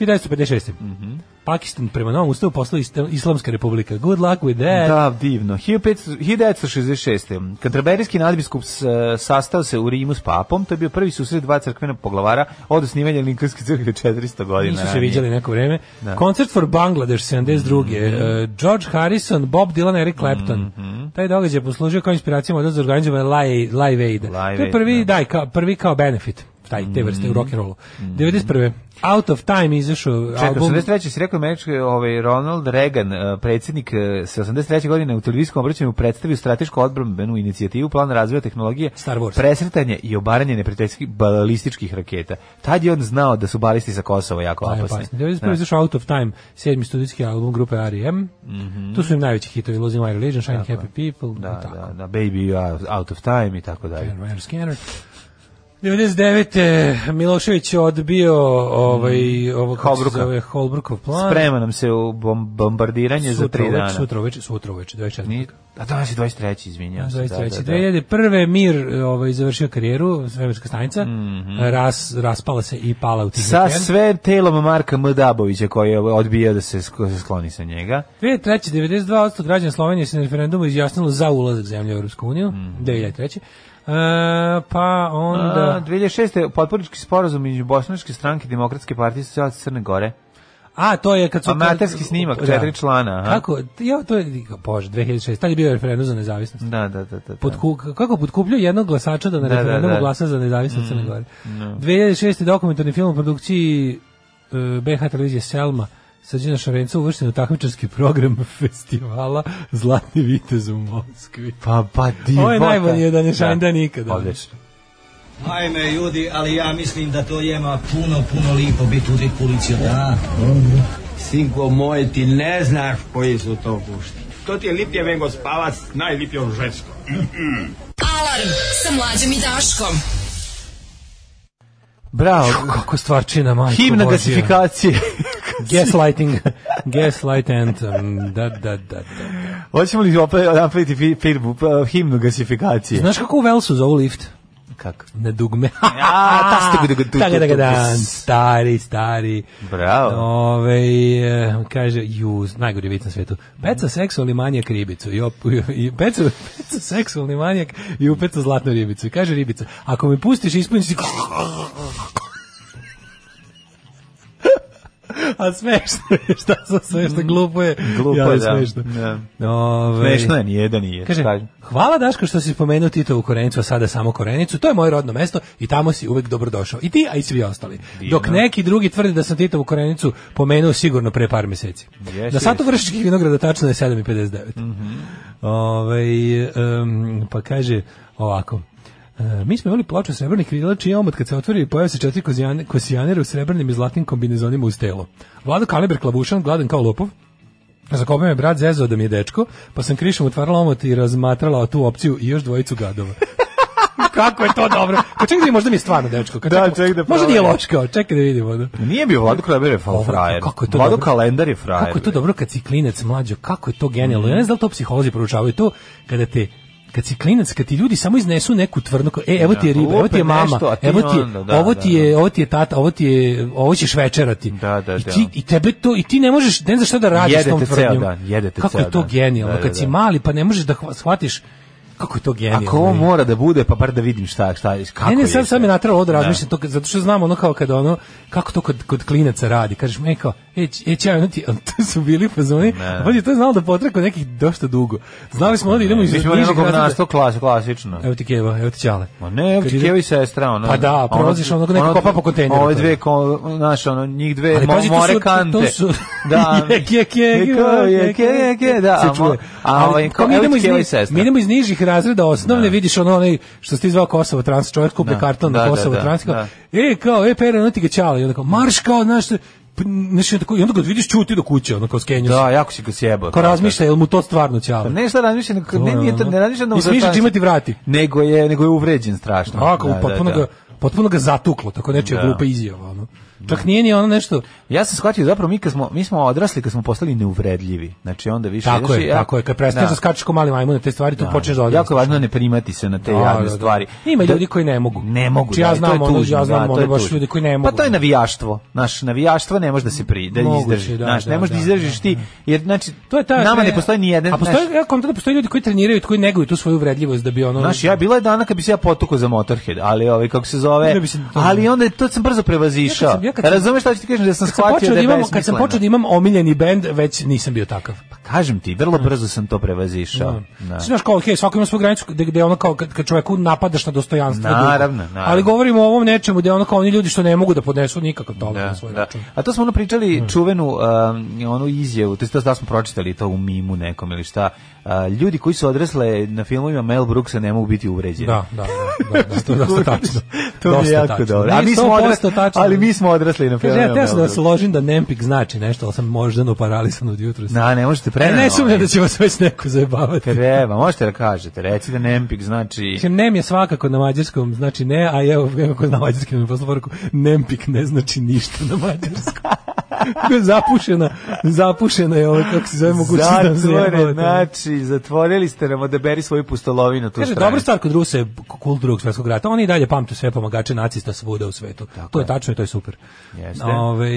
[SPEAKER 5] Mhm.
[SPEAKER 6] 1956. Mm Pakistan prema novom ustavu postala ista- Islamska republika. Good luck with that.
[SPEAKER 5] Da, divno. 1500 1966. Kantraberijski nadbiskup s- e, sastao se u Rimu s papom, to je bio prvi susret dva crkvena poglavara od osnivanja Linkolnske crkve 400 godina
[SPEAKER 6] Nisu se
[SPEAKER 5] ranije.
[SPEAKER 6] viđali neko vreme.
[SPEAKER 5] Da. Mhm.
[SPEAKER 6] Concert for Bangladesh 72. eh, George Harrison, Bob Dylan, Eric Clapton. Taj događaj je poslužio kao inspiracija model za organizovanje Live, live Aid.
[SPEAKER 5] Live
[SPEAKER 6] to je
[SPEAKER 5] Aid, Mhm.
[SPEAKER 6] prvi, daj, kao, prvi kao benefit taj, te vrste u rock'n'rollu. 91. Out of Time izašao
[SPEAKER 5] Čekaj,
[SPEAKER 6] album.
[SPEAKER 5] 83. si rekao američki ovaj, Ronald Reagan, eh, predsjednik eh, se 83. godine u televizijskom obraćanju predstavio stratešku odbrambenu inicijativu plan razvoja tehnologije
[SPEAKER 6] Star Wars.
[SPEAKER 5] presretanje i obaranje neprijateljskih balističkih raketa. Tad je on znao da su balisti sa Kosova jako
[SPEAKER 6] Pa je
[SPEAKER 5] opasni.
[SPEAKER 6] opasno. 91.
[SPEAKER 5] Da.
[SPEAKER 6] izašao Out of Time, sedmi studijski album grupe R.E.M. Tu su im najveći hitovi Losing My Religion, Shining Happy People,
[SPEAKER 5] Mhm. Da,
[SPEAKER 6] tako.
[SPEAKER 5] da, da, baby you are out of time i tako dalje.
[SPEAKER 6] Scanner, scanner. 99. Milošević je odbio
[SPEAKER 5] Mm.
[SPEAKER 6] ovaj, ovo kako se
[SPEAKER 5] Holbrooka.
[SPEAKER 6] zove Holbrookov plan.
[SPEAKER 5] Sprema nam se u bom- bombardiranje za
[SPEAKER 6] sutra
[SPEAKER 5] tri dana.
[SPEAKER 6] uveče, sutra uveče, sutra uveče, 24.
[SPEAKER 5] Ni- A danas je 23. izvinjavam se.
[SPEAKER 6] 23.
[SPEAKER 5] Da, da, da.
[SPEAKER 6] 2001. Mir ovaj, završio karijeru, svemirska stanica,
[SPEAKER 5] Mhm.
[SPEAKER 6] ras, raspala se i pala u tih
[SPEAKER 5] Sa sve telom Marka M. Dabovića koji je odbijao da se sk- skloni sa njega.
[SPEAKER 6] 2003. 92% građana Slovenije se na referendumu izjasnilo za ulazak zemlje u Europsku uniju, 2003. E, pa onda...
[SPEAKER 5] Mhm. A, 2006. potporički sporazum između Bošnjačke stranke i Demokratske partije i Socijalci Crne Gore.
[SPEAKER 6] A to je kad su
[SPEAKER 5] Amaterski snimak, četiri člana, aha.
[SPEAKER 6] Kako? Ja to je bože 2006. Tad je bio referendum za nezavisnost.
[SPEAKER 5] Da, da, da. da, da.
[SPEAKER 6] Pod kako podkuplju jednog glasača da na
[SPEAKER 5] Da, da,
[SPEAKER 6] referendumu
[SPEAKER 5] da. Mm,
[SPEAKER 6] glasa za nezavisnost Crne Gore. 2006. dokumentarni film u produkciji e, BH televizije Selma Srđana Šarenca uvršten u takmičarski program festivala Zlatni vitez u Moskvi.
[SPEAKER 5] Pa, pa, divota.
[SPEAKER 6] Ovo je najbolji od današnjeg dana nikada.
[SPEAKER 5] Odlično.
[SPEAKER 1] Ajme ljudi, ali ja mislim da to jema puno, puno lipo biti u policiju, da?
[SPEAKER 7] Sinko moj, ti ne znaš koji su to gušti. To ti je lipje vengo spavac, najlipje on žensko.
[SPEAKER 4] Alarm sa mlađom i Daškom.
[SPEAKER 5] Bravo.
[SPEAKER 6] Kako stvarčina, majko
[SPEAKER 5] Himna
[SPEAKER 6] Božja.
[SPEAKER 5] gasifikacije.
[SPEAKER 6] Gaslighting. Gaslight anthem. Da, da, da, da.
[SPEAKER 5] Hoćemo li opet napraviti fi- firmu, pa, himnu gasifikacije?
[SPEAKER 6] Znaš kako u Velsu zovu lift?
[SPEAKER 5] Kako?
[SPEAKER 6] Na dugme.
[SPEAKER 5] A, ta ste gudu, gudu, gudu,
[SPEAKER 6] Tako da ga
[SPEAKER 5] gudu.
[SPEAKER 6] dan, stari, stari.
[SPEAKER 5] Bravo.
[SPEAKER 6] Ove, e, kaže, ju, najgori vic na svetu. Peca seksualni manjak ribicu. I, op, i peca, peca seksualni manjak i upeca zlatnu ribicu. I kaže ribica, ako me pustiš, ispuniš si... A smešno je, šta sam smešno, glupo je.
[SPEAKER 5] Mm. Glupo,
[SPEAKER 6] je
[SPEAKER 5] da.
[SPEAKER 6] smešno.
[SPEAKER 5] Da.
[SPEAKER 6] Ove,
[SPEAKER 5] Smešno je, nijedan nije.
[SPEAKER 6] Kaže,
[SPEAKER 5] Kažem.
[SPEAKER 6] hvala Daško što si spomenuo Titovu Korenicu, a sada samo Korenicu, to je moje rodno mesto i tamo si uvek dobrodošao. I ti, a i svi ostali. Dok neki drugi tvrde da sam Titovu Korenicu pomenuo sigurno pre par meseci.
[SPEAKER 5] Jesi, Mhm.
[SPEAKER 6] Na satu vršičkih vinograda tačno je 7,59. Ovaj, em, pa kaže ovako, E, mi smo imali ploču srebrnih krila, čiji omot kad se otvori pojave se četiri kozijane- kosijanera u srebrnim i zlatnim kombinezonima uz telo. Vlado Kaliber klavušan, gladan kao lopov, Zakopao me brat zezao da mi je dečko, pa sam krišom otvarala omot i razmatrala tu opciju i još dvojicu gadova. Kako je to dobro? Pa čekaj da vidim, možda mi je stvarno dečko. Kad
[SPEAKER 5] Da,
[SPEAKER 6] čekamo-
[SPEAKER 5] čekaj da
[SPEAKER 6] Možda nije
[SPEAKER 5] proverim.
[SPEAKER 6] loš kao, čekaj da vidimo. Da.
[SPEAKER 5] Nije bio Vlado Kalendar je fa-
[SPEAKER 6] Ovo,
[SPEAKER 5] frajer.
[SPEAKER 6] kako je to
[SPEAKER 5] Vlado
[SPEAKER 6] dobro.
[SPEAKER 5] Kalendar je frajer.
[SPEAKER 6] Kako je to
[SPEAKER 5] bre.
[SPEAKER 6] dobro kad si klinac mlađo, kako je to genijalno. Ja ne znam da li to psiholozi proučavaju to kada te kad si klinac, kad ti ljudi samo iznesu neku tvrdnu, kao, e, evo ti je riba, evo ti je
[SPEAKER 5] lupe
[SPEAKER 6] mama,
[SPEAKER 5] nešto, a ti
[SPEAKER 6] evo ti je,
[SPEAKER 5] onda, da,
[SPEAKER 6] ovo
[SPEAKER 5] da,
[SPEAKER 6] ti je, ovo ti je tata, ovo ti je, ovo ćeš večerati.
[SPEAKER 5] Da, da,
[SPEAKER 6] I,
[SPEAKER 5] da.
[SPEAKER 6] ti, I tebe to, i ti ne možeš, ne znaš šta da radiš s tom
[SPEAKER 5] Jedete ceo
[SPEAKER 6] tvrdnjom.
[SPEAKER 5] dan, jedete
[SPEAKER 6] Kako
[SPEAKER 5] ceo
[SPEAKER 6] je to
[SPEAKER 5] dan.
[SPEAKER 6] genijalno,
[SPEAKER 5] Da, da,
[SPEAKER 6] kad si
[SPEAKER 5] da.
[SPEAKER 6] mali pa ne možeš da hva- shvatiš kako je to genijalno.
[SPEAKER 5] Ako ovo mora da bude, pa bar da vidim šta, šta, kako
[SPEAKER 6] Ne, ne, sad
[SPEAKER 5] je
[SPEAKER 6] sam
[SPEAKER 5] sve.
[SPEAKER 6] je natralo ovo da razmišljam, to, kad- zato što znam ono kao kad ono, kako to kod, kod klinaca radi, kažeš me kao, e, ć- e, čaj, ono ti, ono, to su bili fazoni,
[SPEAKER 5] Ne.
[SPEAKER 6] a pa je to znalo da potreko nekih dosta dugo. Znali smo ono da idemo iz
[SPEAKER 5] Mi
[SPEAKER 6] nižih
[SPEAKER 5] smo jedno
[SPEAKER 6] razreda-
[SPEAKER 5] govnarstvo klas, klasično.
[SPEAKER 6] Evo ti keva, evo ti ćale.
[SPEAKER 5] Ma ne, evo
[SPEAKER 6] Kad
[SPEAKER 5] ti
[SPEAKER 6] ide-
[SPEAKER 5] kevi sestra, ono.
[SPEAKER 6] Pa da, prolaziš onog neko kopa po kontejneru.
[SPEAKER 5] Ove dve, ko, znaš, ono, njih dve,
[SPEAKER 6] Ali
[SPEAKER 5] mo,
[SPEAKER 6] pazi, to
[SPEAKER 5] more
[SPEAKER 6] su-
[SPEAKER 5] kante.
[SPEAKER 6] to su-
[SPEAKER 5] da,
[SPEAKER 6] Je, je, je,
[SPEAKER 5] Jeko, je, ke, je, ke, da.
[SPEAKER 6] se
[SPEAKER 5] a mo-
[SPEAKER 6] čuje.
[SPEAKER 5] A
[SPEAKER 6] Ali
[SPEAKER 5] ovaj,
[SPEAKER 6] kao
[SPEAKER 5] ko,
[SPEAKER 6] mi
[SPEAKER 5] evo
[SPEAKER 6] idemo
[SPEAKER 5] ti
[SPEAKER 6] iz,
[SPEAKER 5] kevi
[SPEAKER 6] niz-
[SPEAKER 5] sestra.
[SPEAKER 6] mi idemo iz nižih razreda osnovne, vidiš ono onaj što ste zvao Kosovo trans, čovjek kupi
[SPEAKER 5] Da.
[SPEAKER 6] karton
[SPEAKER 5] Da,
[SPEAKER 6] na
[SPEAKER 5] da,
[SPEAKER 6] Kosovo
[SPEAKER 5] da,
[SPEAKER 6] trans, kao,
[SPEAKER 5] da.
[SPEAKER 6] e, kao, e, pere, ono ti ga čala, i onda kao, marš kao, znaš, p- znaš, i onda kao- i onda kad vidiš čuti do kuće, ono kao skenjaš.
[SPEAKER 5] Da, jako si ga sjebao. Pa
[SPEAKER 6] Ko razmišlja, jel mu to stvarno ćala?
[SPEAKER 5] Ne šta razmišlja, nego- ne, nije to, ne razmišlja da mu
[SPEAKER 6] I smišlja
[SPEAKER 5] zastaneš.
[SPEAKER 6] čime ti vrati.
[SPEAKER 5] Nego je, nego je uvređen strašno.
[SPEAKER 6] Ako,
[SPEAKER 5] Da, da,
[SPEAKER 6] potpuno,
[SPEAKER 5] da.
[SPEAKER 6] Ga, potpuno ga zatuklo, tako nečija
[SPEAKER 5] Da.
[SPEAKER 6] glupa izjava. Ono. Čak nije ni ono nešto...
[SPEAKER 5] Ja sam shvatio zapravo mi kad smo mi smo odrasli kad smo postali neuvredljivi. Znači onda više
[SPEAKER 6] Tako
[SPEAKER 5] znači,
[SPEAKER 6] je,
[SPEAKER 5] ja-
[SPEAKER 6] tako je. Kad prestaneš da, skačeš ko mali majmun na te stvari, tu počneš da odrastaš.
[SPEAKER 5] Jako je važno ne primati se na te
[SPEAKER 6] Da, da,
[SPEAKER 5] javne
[SPEAKER 6] da.
[SPEAKER 5] stvari.
[SPEAKER 6] Ima
[SPEAKER 5] Da-
[SPEAKER 6] ljudi koji ne mogu.
[SPEAKER 5] Ne mogu.
[SPEAKER 6] Znači, ja
[SPEAKER 5] da, i to je
[SPEAKER 6] znam ono-
[SPEAKER 5] tužno,
[SPEAKER 6] ja znam
[SPEAKER 5] da, to
[SPEAKER 6] ono
[SPEAKER 5] je
[SPEAKER 6] baš
[SPEAKER 5] tužno.
[SPEAKER 6] ljude koji ne
[SPEAKER 5] Pa
[SPEAKER 6] mogu.
[SPEAKER 5] to je navijaštvo. Naš navijaštvo ne može da se pri da
[SPEAKER 6] Moguće,
[SPEAKER 5] izdrži.
[SPEAKER 6] da,
[SPEAKER 5] Znaš,
[SPEAKER 6] da,
[SPEAKER 5] ne možeš da
[SPEAKER 6] da,
[SPEAKER 5] izdržiš
[SPEAKER 6] da,
[SPEAKER 5] ti
[SPEAKER 6] da.
[SPEAKER 5] jer znači
[SPEAKER 6] To je ta
[SPEAKER 5] nama
[SPEAKER 6] sve-
[SPEAKER 5] ne postoji ni jedan.
[SPEAKER 6] A
[SPEAKER 5] znaš,
[SPEAKER 6] postoji ja kontam da postoje ljudi koji treniraju, koji neguju tu svoju vredljivost da bi ono
[SPEAKER 5] Znaš, ja bila je dana kad bi se ja potukao za Motorhead, ali ovaj kako se zove,
[SPEAKER 6] Ne bi se-
[SPEAKER 5] ali onda je- to sam brzo prevazišao.
[SPEAKER 6] Ja kad sam- ja kad sam-
[SPEAKER 5] Razumeš šta ću ti kažem da sam
[SPEAKER 6] kad sam
[SPEAKER 5] shvatio
[SPEAKER 6] počeo
[SPEAKER 5] da
[SPEAKER 6] da
[SPEAKER 5] je
[SPEAKER 6] imam, kad sam
[SPEAKER 5] besmisleno.
[SPEAKER 6] počeo da imam omiljeni bend, već nisam bio takav.
[SPEAKER 5] Pa kažem ti, vrlo
[SPEAKER 6] Mm.
[SPEAKER 5] brzo sam to prevazišao. Da.
[SPEAKER 6] Da. Znaš kao, okej, svako ima svoju granicu gde, gde ono kao kad, kad čoveku napadaš na dostojanstvo. drugo.
[SPEAKER 5] Naravno, naravno.
[SPEAKER 6] Ali govorimo o ovom nečemu gde ono kao oni ljudi što ne mogu da podnesu nikakav toler
[SPEAKER 5] Da,
[SPEAKER 6] na svoj
[SPEAKER 5] da.
[SPEAKER 6] račun. Mm.
[SPEAKER 5] A to smo ono pričali čuvenu um, onu izjavu, to je to da smo pročitali to u mimu nekom ili šta. A, ljudi koji su odrasle na filmovima Mel Brooksa ne mogu biti uvređeni.
[SPEAKER 6] Da, da, da, da, da, to je dosta tačno.
[SPEAKER 5] To mi je
[SPEAKER 6] Dosta
[SPEAKER 5] jako
[SPEAKER 6] tačno.
[SPEAKER 5] dobro.
[SPEAKER 6] Ne,
[SPEAKER 5] A mi smo
[SPEAKER 6] 100%
[SPEAKER 5] odrasli,
[SPEAKER 6] tačno.
[SPEAKER 5] ali mi smo odrasli na
[SPEAKER 6] Kaže,
[SPEAKER 5] filmovima.
[SPEAKER 6] ja teo sam
[SPEAKER 5] Mel
[SPEAKER 6] da se
[SPEAKER 5] Brooksa.
[SPEAKER 6] ložim da Nempik znači nešto, ali sam možda no paralisan od jutros.
[SPEAKER 5] Na, ne
[SPEAKER 6] E,
[SPEAKER 5] možete prenano.
[SPEAKER 6] ne sumnjam da će vas već neko zajebavati.
[SPEAKER 5] Treba, možete da kažete, reci da Nempik znači...
[SPEAKER 6] Mislim, nem je svakako na mađarskom, znači ne, a evo, evo ko zna mađarski mi poslu poruku, nempik ne znači ništa na mađarskom. Kako je zapušena, zapušena je ovo, kako se zove mogućnost da nam
[SPEAKER 5] Zatvore,
[SPEAKER 6] zajebavate.
[SPEAKER 5] znači, zatvorili ste nam, odaberi svoju pustolovinu tu
[SPEAKER 6] Kaže,
[SPEAKER 5] stranu.
[SPEAKER 6] dobra stvar kod Rusa je kult drugog svetskog rata. Oni i dalje pamte sve pomagače nacista svuda u svetu. to je tačno i to je super. Ovaj,
[SPEAKER 5] Jeste.
[SPEAKER 6] Ove,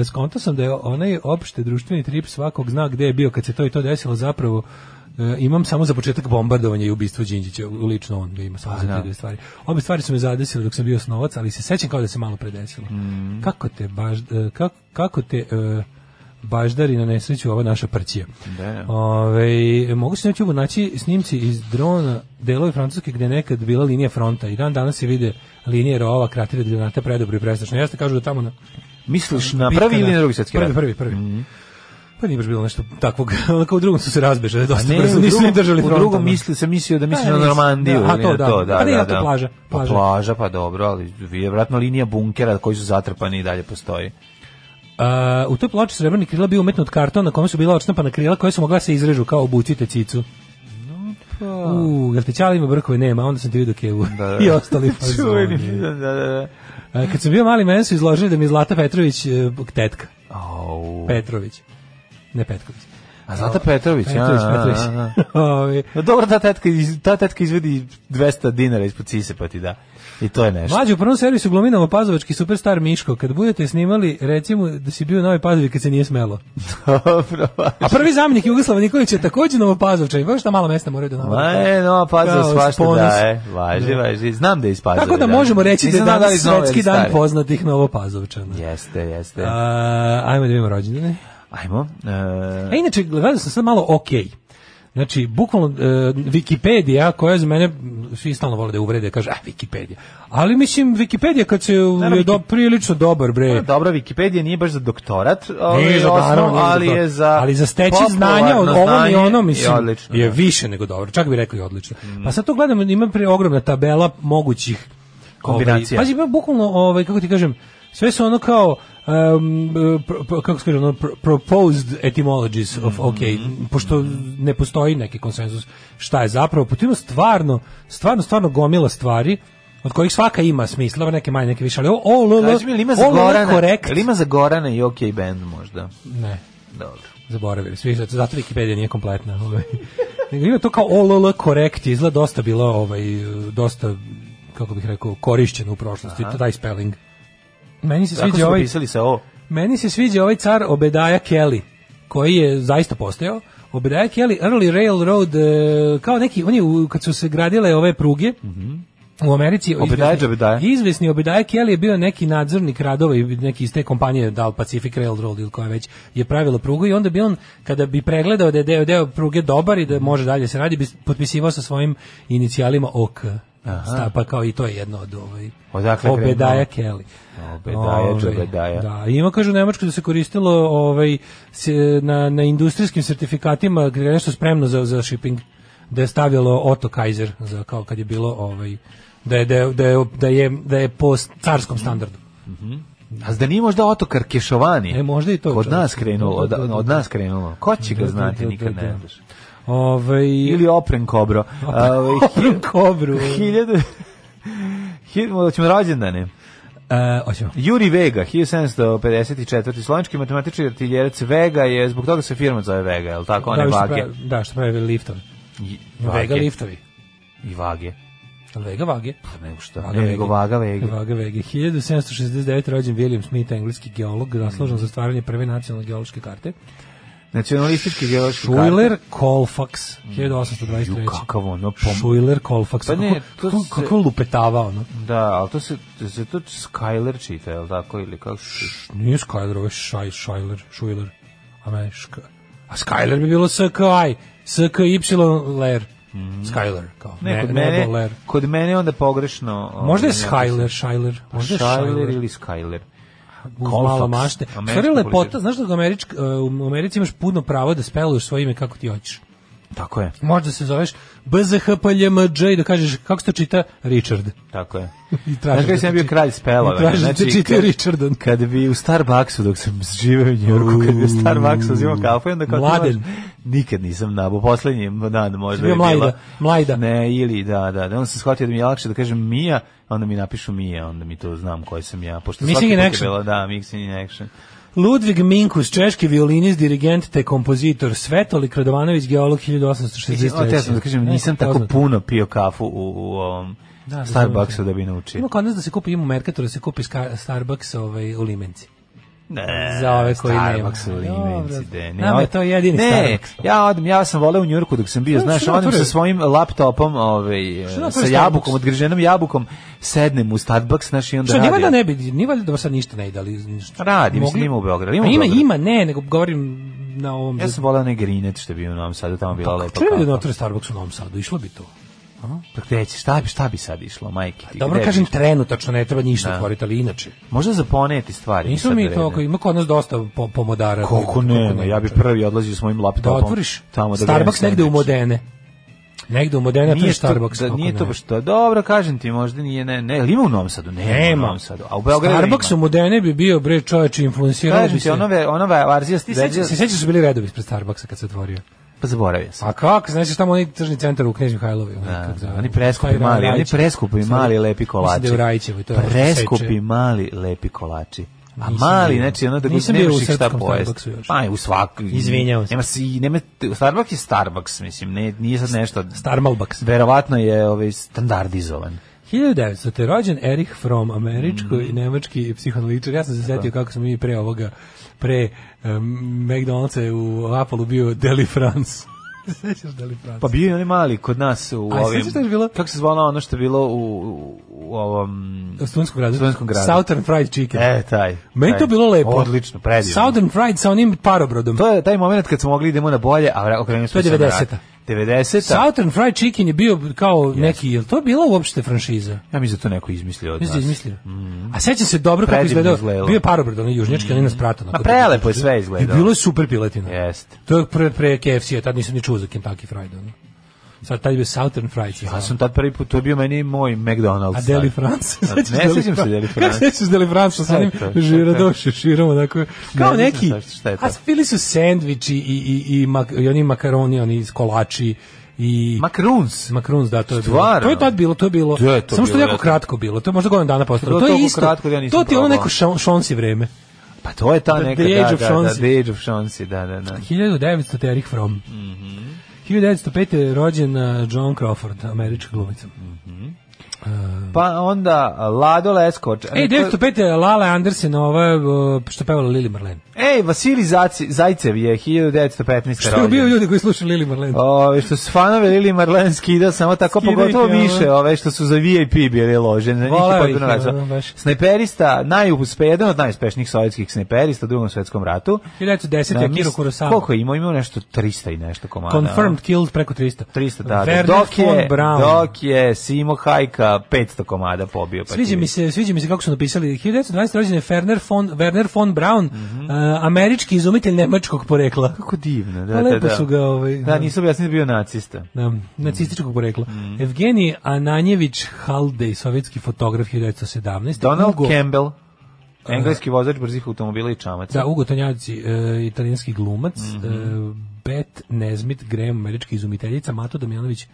[SPEAKER 6] e, skontao sam da je onaj opšte društveni trip svakog zna gde je bio kad se to i to desilo zapravo e, imam samo za početak bombardovanja i ubistvo Đinđića, u- lično on ga ima samo za te dve stvari. Obe stvari su me zadesile dok sam bio snovac, ali se sećam kao da se malo predesilo. Kako te baš, e, kako, kako te e, baždari na nesreću ova naša prćija.
[SPEAKER 5] Da.
[SPEAKER 6] Ove, mogu se na YouTube naći snimci iz drona delove Francuske gde je nekad bila linija fronta i dan danas se vide linije rova, kratire, granate, predobro i prestačno. Jeste kažu da tamo na
[SPEAKER 5] Misliš na prvi ili na drugi svetski
[SPEAKER 6] prvi,
[SPEAKER 5] rat? Mhm.
[SPEAKER 6] Prvi, prvi, Pa nije baš bilo nešto takvog. Onako u drugom su se razbežali dosta
[SPEAKER 5] Pa Ne,
[SPEAKER 6] brzo.
[SPEAKER 5] u
[SPEAKER 6] Nisu ni
[SPEAKER 5] drugom-
[SPEAKER 6] držali
[SPEAKER 5] U
[SPEAKER 6] frontom.
[SPEAKER 5] drugom misli, sam mislio da misliš
[SPEAKER 6] Pa,
[SPEAKER 5] na
[SPEAKER 6] nisam,
[SPEAKER 5] Normandiju.
[SPEAKER 6] da, a
[SPEAKER 5] ili
[SPEAKER 6] to
[SPEAKER 5] na
[SPEAKER 6] da.
[SPEAKER 5] to, da,
[SPEAKER 6] Pa nije
[SPEAKER 5] da,
[SPEAKER 6] to
[SPEAKER 5] da.
[SPEAKER 6] plaža,
[SPEAKER 5] Pa
[SPEAKER 6] plaža.
[SPEAKER 5] plaža, pa dobro, ali je vratno linija bunkera koji su zatrpani i dalje postoji.
[SPEAKER 6] A, u toj ploči srebrni krila bio umetnut karton na kome su bila odštampana krila koje su mogla se izrežu kao obucite cicu. U, jel te čali ima brkove? Nema, onda sam ti vidio kevu.
[SPEAKER 5] pa. Da, da.
[SPEAKER 6] I ostali fazoni.
[SPEAKER 5] Čuveni, da, da, da.
[SPEAKER 6] A, Kad sam bio mali, mene su izložili da mi je Zlata Petrović e, tetka.
[SPEAKER 5] Au.
[SPEAKER 6] Petrović. Ne Petković.
[SPEAKER 5] A Zlata Petrović, a,
[SPEAKER 6] Petrović,
[SPEAKER 5] a,
[SPEAKER 6] Petrović. Ovaj,
[SPEAKER 5] a, a.
[SPEAKER 6] Ovi,
[SPEAKER 5] No dobro, ta tetka, iz- ta tetka izvedi 200 dinara ispod sise, pa ti da. I to je nešto.
[SPEAKER 6] Mlađi u prvom servisu glominamo pazovački superstar Miško. Kad budete snimali, recimo da si bio na ovoj pazovi kad se nije smelo.
[SPEAKER 5] Dobro.
[SPEAKER 6] A prvi zamjenik Jugoslava Nikolić je takođe novopazovčan. Baš ta mala mesta moraju da
[SPEAKER 5] Ma
[SPEAKER 6] navode.
[SPEAKER 5] je, no, pazio
[SPEAKER 6] Kao
[SPEAKER 5] svašta
[SPEAKER 6] ponos.
[SPEAKER 5] da je. Važi, važi. Znam da je iz Pazova,
[SPEAKER 6] Tako da možemo reći da je
[SPEAKER 5] Nisam znao
[SPEAKER 6] danas
[SPEAKER 5] li znao
[SPEAKER 6] svetski
[SPEAKER 5] ili
[SPEAKER 6] dan
[SPEAKER 5] stari.
[SPEAKER 6] poznatih novopazovčana.
[SPEAKER 5] Jeste, jeste.
[SPEAKER 6] A, ajmo da vidimo rođendane.
[SPEAKER 5] Ajmo. e,
[SPEAKER 6] E, inače, gledao sam sad malo ok. Znači, bukvalno, e, Wikipedia, koja je za mene, svi stalno vole da je uvrede, kaže, ah, Wikipedia. Ali, mislim, Wikipedia kad se
[SPEAKER 5] Naravno,
[SPEAKER 6] je do,
[SPEAKER 5] Wiki- Pa,
[SPEAKER 6] prilično dobar, bre.
[SPEAKER 5] Dobra, Wikipedia nije baš za doktorat, ovaj,
[SPEAKER 6] Nije za,
[SPEAKER 5] osnov,
[SPEAKER 6] naravno, nije za
[SPEAKER 5] ali
[SPEAKER 6] to.
[SPEAKER 5] je za
[SPEAKER 6] ali za steći znanja od
[SPEAKER 5] popularno
[SPEAKER 6] ovom i
[SPEAKER 5] znanje
[SPEAKER 6] onom mislim
[SPEAKER 5] je odlično.
[SPEAKER 6] je
[SPEAKER 5] da. Mm.
[SPEAKER 6] više nego dobro čak bi rekli odlično pa sad to gledamo ima pre ogromna tabela mogućih
[SPEAKER 5] Kombinacija.
[SPEAKER 6] Ovaj, pazi, ima bukvalno ovaj kako ti kažem sve su ono kao um, pro, pro- kako se kaže ono pro- proposed etymologies
[SPEAKER 5] Mm.
[SPEAKER 6] of ok pošto ne postoji neki konsenzus šta je zapravo potpuno stvarno stvarno stvarno gomila stvari od kojih svaka ima smisla, ove neke manje, neke više, ali ovo OLL,
[SPEAKER 5] Kaži mi, jel Znači, ima za
[SPEAKER 6] OLL
[SPEAKER 5] Gorana,
[SPEAKER 6] correct.
[SPEAKER 5] jel ima za Gorana i OK Band možda.
[SPEAKER 6] Ne.
[SPEAKER 5] Dobro.
[SPEAKER 6] Zaboravili svi, zato, zato Wikipedia nije kompletna. Ovaj. Nego ima to kao OLL korekt, izgleda dosta bilo, ovaj, dosta, kako bih rekao, korišćeno u prošlosti, taj spelling. Meni se
[SPEAKER 5] Tako
[SPEAKER 6] sviđa
[SPEAKER 5] smo
[SPEAKER 6] ovaj,
[SPEAKER 5] pisali sa O.
[SPEAKER 6] meni se sviđa ovaj car Obedaja Kelly, koji je zaista postojao. Obedaja Kelly, Early Railroad, e, kao neki, on je, u- kad su se gradile ove pruge, u Americi
[SPEAKER 5] Obedaja
[SPEAKER 6] izvesni-
[SPEAKER 5] Džabedaja.
[SPEAKER 6] izvesni Obedaja Kelly je bio neki nadzornik radova i neki iz te kompanije Dal Pacific Railroad ili koja već je pravila prugu i onda bi on kada bi pregledao da je deo, deo pruge dobar i da može dalje se radi bi potpisivao sa svojim inicijalima OK. Sta, pa kao i to je jedno od ovaj
[SPEAKER 5] Odakle krenuo?
[SPEAKER 6] Obedaja Kelly.
[SPEAKER 5] Obedaja,
[SPEAKER 6] Ovaj,
[SPEAKER 5] Džabedaja.
[SPEAKER 6] Da, ima kažu u Nemačkoj da se koristilo ovaj se, na na industrijskim sertifikatima gdje je nešto spremno za za shipping da je stavilo Otto Kaiser za kao kad je bilo ovaj da je da je da je, da je, da je po carskom standardu.
[SPEAKER 5] A da nije možda otokar Kešovani?
[SPEAKER 6] E, možda i to,
[SPEAKER 5] Kod
[SPEAKER 6] čovječe.
[SPEAKER 5] nas krenulo, od,
[SPEAKER 6] Da, da, da.
[SPEAKER 5] od nas krenulo. Ko će ga
[SPEAKER 6] Da, da,
[SPEAKER 5] znati,
[SPEAKER 6] da,
[SPEAKER 5] nikad
[SPEAKER 6] da,
[SPEAKER 5] ne
[SPEAKER 6] da.
[SPEAKER 5] znaš.
[SPEAKER 6] Ovaj
[SPEAKER 5] Ili opren kobro. Ovaj,
[SPEAKER 6] Opren kobru.
[SPEAKER 5] Hiljadu... Hiljadu... Hoćemo rođendane.
[SPEAKER 6] E, hoćemo.
[SPEAKER 5] Juri Vega, 1754. Slovenski matematičar i artiljerac Vega je, zbog toga se firma zove Vega, je li tako, one
[SPEAKER 6] Da, što
[SPEAKER 5] vage?
[SPEAKER 6] pravi- Da, što pravi liftovi.
[SPEAKER 5] I-
[SPEAKER 6] Vega
[SPEAKER 5] vage.
[SPEAKER 6] liftovi.
[SPEAKER 5] I vage.
[SPEAKER 6] Jel Vega vage.
[SPEAKER 5] Pa nego šta,
[SPEAKER 6] Vaga
[SPEAKER 5] ne,
[SPEAKER 6] Vege.
[SPEAKER 5] nego vaga Vega.
[SPEAKER 6] Vaga Vege. 1769. rođen William Smith, engleski geolog, zaslužen za stvaranje prve nacionalne geološke karte.
[SPEAKER 5] Nacionalistički geološki karte.
[SPEAKER 6] Schuyler Colfax, 1823.
[SPEAKER 5] Mm. Ju, kakav ono pom-
[SPEAKER 6] Schuyler Colfax.
[SPEAKER 5] Pa ne, to
[SPEAKER 6] kako, kako,
[SPEAKER 5] se-
[SPEAKER 6] kako lupetava ono.
[SPEAKER 5] Da, ali to se, to se to Skyler čita, je li tako, ili kako se...
[SPEAKER 6] Nije Skyler, ovo je Shai, Schuyler, Schuyler. A ne, šk... A Skyler bi bilo SKI, SKY Ler. Skyler, kao.
[SPEAKER 5] Mm. Ne,
[SPEAKER 6] Ne,
[SPEAKER 5] kod
[SPEAKER 6] nebo
[SPEAKER 5] mene,
[SPEAKER 6] Ler.
[SPEAKER 5] kod mene je onda pogrešno...
[SPEAKER 6] Možda je
[SPEAKER 5] ovaj,
[SPEAKER 6] Skyler, Schuyler. Možda je
[SPEAKER 5] Skyler
[SPEAKER 6] Schuyler.
[SPEAKER 5] Pa ili Skyler.
[SPEAKER 6] uz
[SPEAKER 5] Colfax,
[SPEAKER 6] malo mašte.
[SPEAKER 5] američka
[SPEAKER 6] Stvari lepota,
[SPEAKER 5] policija.
[SPEAKER 6] znaš da u, Američk, e, u Americi imaš puno pravo da speluješ svoje ime kako ti hoćeš.
[SPEAKER 5] Tako je,
[SPEAKER 6] Možeš da se zoveš BZHPLMJ i da kažeš kako se to čita Richard.
[SPEAKER 5] tako je.
[SPEAKER 6] I
[SPEAKER 5] Znaš kada sam ja bio kralj spelova?
[SPEAKER 6] Traži znači, da čita Richardan.
[SPEAKER 5] kad bi u Starbucksu dok sam živeo u Njorku, kad bi u Starbucksu uzimao kafu, i onda kao ti
[SPEAKER 6] Mladen.
[SPEAKER 5] imaš- nikad nisam nabao, poslednji dan možda
[SPEAKER 6] bio
[SPEAKER 5] je bila.
[SPEAKER 6] mlajda, mlajda.
[SPEAKER 5] Ne, ili da, da, da, onda sam shvatio da mi je lakše da kažem Mija, onda mi napišu Mija, onda mi to znam koji sam ja, pošto
[SPEAKER 6] Missing
[SPEAKER 5] svaki
[SPEAKER 6] in
[SPEAKER 5] put je
[SPEAKER 6] action.
[SPEAKER 5] bila, da, mixing in action.
[SPEAKER 6] Ludvig Minkus, češki violinist, dirigent te kompozitor. Svetolik Radovanović, geolog 1863.
[SPEAKER 5] Ote sam da kažem, nisam
[SPEAKER 6] Neko
[SPEAKER 5] tako
[SPEAKER 6] poznat.
[SPEAKER 5] puno pio kafu u, u ovom
[SPEAKER 6] Da, da,
[SPEAKER 5] Starbucksu
[SPEAKER 6] znam.
[SPEAKER 5] da bi naučio.
[SPEAKER 6] Ima kod nas da se kupi, ima u Mercatoru da se kupi ska- Starbucks ovaj, u Limenci.
[SPEAKER 5] Ne,
[SPEAKER 6] Za ove koji nema.
[SPEAKER 5] Starbucks nema.
[SPEAKER 6] Dobro.
[SPEAKER 5] Starbucks ne.
[SPEAKER 6] Nama je
[SPEAKER 5] od-
[SPEAKER 6] to jedini
[SPEAKER 5] ne,
[SPEAKER 6] Starbucks.
[SPEAKER 5] ja odem, ja sam voleo u Njurku dok sam bio,
[SPEAKER 6] Pa,
[SPEAKER 5] znaš,
[SPEAKER 6] što
[SPEAKER 5] odem
[SPEAKER 6] napravi?
[SPEAKER 5] sa svojim laptopom, ovaj, e,
[SPEAKER 6] Što napravi
[SPEAKER 5] sa
[SPEAKER 6] Starbucks?
[SPEAKER 5] jabukom, odgriženom jabukom, sednem u Starbucks, znaš, i onda
[SPEAKER 6] Što, nima
[SPEAKER 5] radim.
[SPEAKER 6] da ne bi, nima da dobro sad ništa ne ide, ali... ništa.
[SPEAKER 5] Radi, mislim,
[SPEAKER 6] Mogli-
[SPEAKER 5] ima u Beogradu, ima
[SPEAKER 6] A
[SPEAKER 5] u
[SPEAKER 6] Ima,
[SPEAKER 5] Beogradu.
[SPEAKER 6] ima, ne, nego govorim na ovom...
[SPEAKER 5] Ja sam voleo onaj grinet što je bio u Novom Sadu, tamo je bila lepa
[SPEAKER 6] Čujem Pa, da
[SPEAKER 5] kafa.
[SPEAKER 6] ne otvore Starbucks u Novom Sadu, išlo bi to.
[SPEAKER 5] Pa gde će, šta bi, šta bi sad išlo, majke ti?
[SPEAKER 6] Dobro
[SPEAKER 5] gde bi
[SPEAKER 6] kažem
[SPEAKER 5] išlo?
[SPEAKER 6] trenutačno, ne treba ništa otvoriti, ali inače.
[SPEAKER 5] Možda za poneti stvari.
[SPEAKER 6] Nisu
[SPEAKER 5] sad
[SPEAKER 6] mi
[SPEAKER 5] vredne.
[SPEAKER 6] to, ako ima kod nas dosta po- pomodara.
[SPEAKER 5] Koliko nema, ja bi prvi odlazio s mojim
[SPEAKER 6] Pa Da
[SPEAKER 5] laptopom.
[SPEAKER 6] otvoriš
[SPEAKER 5] tamo da
[SPEAKER 6] Starbucks
[SPEAKER 5] grem
[SPEAKER 6] negde u
[SPEAKER 5] sandvič.
[SPEAKER 6] Modene. Negde u Modene
[SPEAKER 5] Nije
[SPEAKER 6] otvoriš
[SPEAKER 5] to-
[SPEAKER 6] Starbucks.
[SPEAKER 5] Da,
[SPEAKER 6] kako
[SPEAKER 5] nije to
[SPEAKER 6] ne.
[SPEAKER 5] baš to. Dobro, kažem ti, možda nije, ne, ne, ali ima u Novom Sadu, nema, u
[SPEAKER 6] Nema.
[SPEAKER 5] Novom Sadu. A u Beogradu
[SPEAKER 6] Starbucks u
[SPEAKER 5] ima.
[SPEAKER 6] Modene bi bio, bre, čoveče, influencirao
[SPEAKER 5] Kažem
[SPEAKER 6] bi
[SPEAKER 5] ti,
[SPEAKER 6] se.
[SPEAKER 5] ono, ve- ono ve- varzija,
[SPEAKER 6] Ti sećaš, se
[SPEAKER 5] verzija-
[SPEAKER 6] sećaš su bili redovi ispred Starbucksa kad se otvorio.
[SPEAKER 5] pa zaboravio sam.
[SPEAKER 6] A kako, znači tamo onaj tržni centar u Knjež Mihajlovi. onaj,
[SPEAKER 5] Da,
[SPEAKER 6] kako se
[SPEAKER 5] da,
[SPEAKER 6] zove,
[SPEAKER 5] oni preskupi
[SPEAKER 6] Pa, taj Ra-
[SPEAKER 5] mali, oni
[SPEAKER 6] Rajić.
[SPEAKER 5] preskupi
[SPEAKER 6] Mislim da-
[SPEAKER 5] mali lepi kolači.
[SPEAKER 6] Mislim da je u Rajićevoj, to je ono što seče.
[SPEAKER 5] Preskupi mali lepi kolači. A
[SPEAKER 6] Nisam
[SPEAKER 5] mali,
[SPEAKER 6] bio.
[SPEAKER 5] znači ono da god
[SPEAKER 6] Nisam
[SPEAKER 5] nemaš
[SPEAKER 6] bio u
[SPEAKER 5] ih šta
[SPEAKER 6] srpskom
[SPEAKER 5] pojesti.
[SPEAKER 6] Starbucksu još.
[SPEAKER 5] Pa je u svaku.
[SPEAKER 6] Izvinjavam se.
[SPEAKER 5] Nema, si, nema, Starbucks je Starbucks, mislim, ne, nije sad nešto...
[SPEAKER 6] Starmalbaks.
[SPEAKER 5] Verovatno je ovaj, standardizovan.
[SPEAKER 6] 1900. je rođen Erich Fromm, američko
[SPEAKER 5] Mhm.
[SPEAKER 6] i nemački psihoanalitičar. Ja sam se setio kako smo mi pre ovoga, pre um, McDonald'sa u Apollo bio Deli France. Sećaš Deli France?
[SPEAKER 5] Pa bio je onaj mali kod nas u
[SPEAKER 6] A,
[SPEAKER 5] ovim...
[SPEAKER 6] sećaš šta je bilo?
[SPEAKER 5] Kako se zvala ono što je bilo u, u, u ovom...
[SPEAKER 6] u Stunskom gradu.
[SPEAKER 5] Studentskom gradu.
[SPEAKER 6] Southern Fried Chicken.
[SPEAKER 5] E, taj.
[SPEAKER 6] Meni je to
[SPEAKER 5] taj.
[SPEAKER 6] bilo lepo.
[SPEAKER 5] Odlično, predivno.
[SPEAKER 6] Southern Fried sa onim parobrodom.
[SPEAKER 5] To je taj moment kad smo mogli idemo na bolje, a vra- okrenuli smo
[SPEAKER 6] To je
[SPEAKER 5] se na
[SPEAKER 6] 90-a.
[SPEAKER 5] vrat. 90-a.
[SPEAKER 6] Southern Fried Chicken je bio kao neki, je li to bila uopšte franšiza?
[SPEAKER 5] Ja mislim da to neko izmislio od
[SPEAKER 6] Mislim,
[SPEAKER 5] nas. Mhm.
[SPEAKER 6] izmislio. A sećam se dobro kako
[SPEAKER 5] Predivno
[SPEAKER 6] izgledao.
[SPEAKER 5] izgledalo. Mhm.
[SPEAKER 6] Bio je parobrod, onaj južnjački, onaj nas pratao.
[SPEAKER 5] Ma prelepo je sve
[SPEAKER 6] I
[SPEAKER 5] izgledalo.
[SPEAKER 6] bilo je super piletina.
[SPEAKER 5] Jeste.
[SPEAKER 6] To je pre, pre KFC-a, tad nisam ni čuo za Kentucky Fried. Ono. Sad tad je bio Southern Fried. se zvao.
[SPEAKER 5] Ja sam tad prvi put, to je bio meni moj McDonald's.
[SPEAKER 6] A Deli
[SPEAKER 5] taj.
[SPEAKER 6] France?
[SPEAKER 5] A, Ne, sećam se Deli
[SPEAKER 6] Kako
[SPEAKER 5] France.
[SPEAKER 6] sećaš Deli France sa
[SPEAKER 5] je
[SPEAKER 6] onim
[SPEAKER 5] to? Šta je
[SPEAKER 6] žiradoše širom, onako, kao
[SPEAKER 5] Ne znam
[SPEAKER 6] neki,
[SPEAKER 5] šta- šta je to?
[SPEAKER 6] a bili su sendviči i, i, i, mak, i oni makaroni, oni iz kolači i...
[SPEAKER 5] Macaroons.
[SPEAKER 6] Makrunz, da, to je
[SPEAKER 5] Stvarno?
[SPEAKER 6] bilo. To je tad bilo, to je bilo.
[SPEAKER 5] Gde je to
[SPEAKER 6] samo što je
[SPEAKER 5] bilo,
[SPEAKER 6] jako
[SPEAKER 5] ja to-
[SPEAKER 6] kratko bilo. To je možda godinu dana postalo.
[SPEAKER 5] Bilo
[SPEAKER 6] To je
[SPEAKER 5] toliko
[SPEAKER 6] isto.
[SPEAKER 5] kratko da ja nisam
[SPEAKER 6] to ti je ono
[SPEAKER 5] probao.
[SPEAKER 6] neko šon, šonsi vreme.
[SPEAKER 5] Pa to je ta
[SPEAKER 6] The
[SPEAKER 5] neka,
[SPEAKER 6] Age
[SPEAKER 5] da,
[SPEAKER 6] of
[SPEAKER 5] da, da,
[SPEAKER 6] Chauncey.
[SPEAKER 5] The Age of Chauncey, da, da, da.
[SPEAKER 6] 1900 Erich Fromm.
[SPEAKER 5] Mhm.
[SPEAKER 6] 1905 je rođen uh, John Crawford, američka glumica.
[SPEAKER 5] Pa onda Lado Leskoč.
[SPEAKER 6] Ej, 1905 E, je Lala Andersen, ova uh, što je pevala Lili Marlene.
[SPEAKER 5] Ej, Vasili Zaci- Zajcev je 1915.
[SPEAKER 6] Što je
[SPEAKER 5] rođen.
[SPEAKER 6] bio ljudi koji slušaju Lili Marlene?
[SPEAKER 5] Ove, što su fanove Lili Marlene skida samo tako,
[SPEAKER 6] Skida ih,
[SPEAKER 5] pogotovo
[SPEAKER 6] ono.
[SPEAKER 5] više ove što su za VIP bili loženi. Na njih je
[SPEAKER 6] Voleo
[SPEAKER 5] potpuno
[SPEAKER 6] ih,
[SPEAKER 5] razvoj.
[SPEAKER 6] ono, baš.
[SPEAKER 5] Snajperista, najuspe, jedan od najuspešnijih sovjetskih snajperista u drugom svetskom ratu.
[SPEAKER 6] 1910 je
[SPEAKER 5] Na,
[SPEAKER 6] Kiro
[SPEAKER 5] mis-
[SPEAKER 6] Kurosawa.
[SPEAKER 5] Koliko je imao? Imao nešto 300 i nešto komada.
[SPEAKER 6] Confirmed killed preko 300.
[SPEAKER 5] 300, da. da.
[SPEAKER 6] Werner
[SPEAKER 5] Dok
[SPEAKER 6] von
[SPEAKER 5] je,
[SPEAKER 6] Braun.
[SPEAKER 5] dok je Simo Hajka 500 komada pobio. Pa
[SPEAKER 6] Sviđa
[SPEAKER 5] ti
[SPEAKER 6] mi
[SPEAKER 5] vidi.
[SPEAKER 6] se, sviđa mi se kako su napisali. 1920 rođen je Werner von, Werner von Braun,
[SPEAKER 5] Mhm.
[SPEAKER 6] uh, američki izumitelj nemačkog porekla.
[SPEAKER 5] Kako divno, da,
[SPEAKER 6] Pa
[SPEAKER 5] da,
[SPEAKER 6] lepo
[SPEAKER 5] da.
[SPEAKER 6] su ga, ovaj,
[SPEAKER 5] Da, nisu objasnili da je bio nacista.
[SPEAKER 6] da, nacističkog porekla.
[SPEAKER 5] Mhm.
[SPEAKER 6] Evgenij Ananjević Haldej, sovjetski fotograf 1917.
[SPEAKER 5] Donald
[SPEAKER 6] Ugo,
[SPEAKER 5] Campbell, engleski vozač brzih automobila i čamac.
[SPEAKER 6] Da, Ugo Tonjavci, e, italijanski glumac.
[SPEAKER 5] Mhm.
[SPEAKER 6] e, Bet Nezmit, Graham, američka izumiteljica. Mato Damjanović,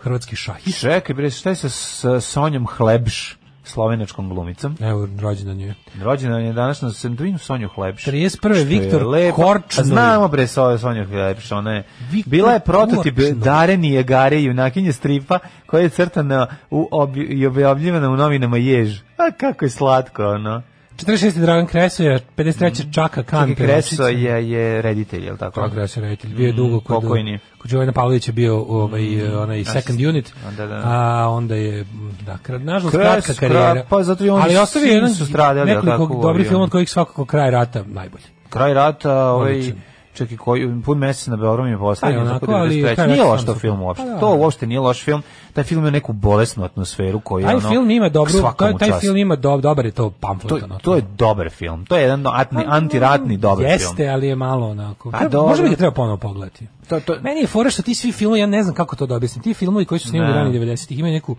[SPEAKER 6] hrvatski šahist.
[SPEAKER 5] Čekaj, bre, šta je sa, sa Sonjom Hlebš? slovenačkom glumicom.
[SPEAKER 6] Evo, rođendan je.
[SPEAKER 5] Rođena je danas na Sandrinu Sonju Hlepš.
[SPEAKER 6] 31.
[SPEAKER 5] što je
[SPEAKER 6] Viktor
[SPEAKER 5] lepa.
[SPEAKER 6] Korčnoj.
[SPEAKER 5] A Znamo bre so- Sonju Hlepš, ona je
[SPEAKER 6] Viktor
[SPEAKER 5] bila je prototip
[SPEAKER 6] Korčnoj.
[SPEAKER 5] Dareni Jegare, junakinje stripa koja je crtana u obj, i objavljivana u novinama Jež. A kako je slatko ono.
[SPEAKER 6] 46. Dragan Kresoja, 53. Čaka Kan.
[SPEAKER 5] Čaki Mhm. Kreso je, je reditelj, je li tako? Mm,
[SPEAKER 6] Čaka Kresoja, reditelj. Bio je dugo kod,
[SPEAKER 5] Pokojni. Mm,
[SPEAKER 6] kod Jovana Pavlovića bio ovaj, eh, onaj second unit,
[SPEAKER 5] Da, da.
[SPEAKER 6] a onda je, mm, da, kra- nažalost,
[SPEAKER 5] Kres,
[SPEAKER 6] kratka karijera.
[SPEAKER 5] kra- pa zato i oni
[SPEAKER 6] Ali ostavio je
[SPEAKER 5] svi
[SPEAKER 6] jedan
[SPEAKER 5] su stradali, a
[SPEAKER 6] nekoliko
[SPEAKER 5] tako,
[SPEAKER 6] dobrih
[SPEAKER 5] ali
[SPEAKER 6] filmova
[SPEAKER 5] ono.
[SPEAKER 6] od kojih svakako kraj rata najbolji.
[SPEAKER 5] Kraj rata, ovaj,
[SPEAKER 6] Odličan.
[SPEAKER 5] čak i koji, pun mesec na Beogradu mi je postavljen,
[SPEAKER 6] Ajde,
[SPEAKER 5] tako
[SPEAKER 6] Pa onako, ali
[SPEAKER 5] 93.
[SPEAKER 6] Kraj
[SPEAKER 5] nije
[SPEAKER 6] rata
[SPEAKER 5] loš
[SPEAKER 6] sam
[SPEAKER 5] to
[SPEAKER 6] super.
[SPEAKER 5] film uopšte,
[SPEAKER 6] Pa da.
[SPEAKER 5] to uopšte nije loš film, taj film ima neku bolesnu atmosferu koju
[SPEAKER 6] Taj
[SPEAKER 5] ono,
[SPEAKER 6] film ima dobro, taj,
[SPEAKER 5] svakom
[SPEAKER 6] taj
[SPEAKER 5] čast.
[SPEAKER 6] film ima dob, dobar je to pamflet.
[SPEAKER 5] To,
[SPEAKER 6] ono.
[SPEAKER 5] to je dobar film. To je jedan atni, antiratni dobar film.
[SPEAKER 6] Pa, Jeste, ali je malo onako.
[SPEAKER 5] Pa
[SPEAKER 6] Treba-
[SPEAKER 5] dobro.
[SPEAKER 6] Možda bi ga treba ponovo pogledati.
[SPEAKER 5] To- to-
[SPEAKER 6] Meni je fora što ti svi filmovi, ja ne znam kako to da objasnim, ti filmovi koji su snimali
[SPEAKER 5] Ne.
[SPEAKER 6] ranih 90-ih imaju neku,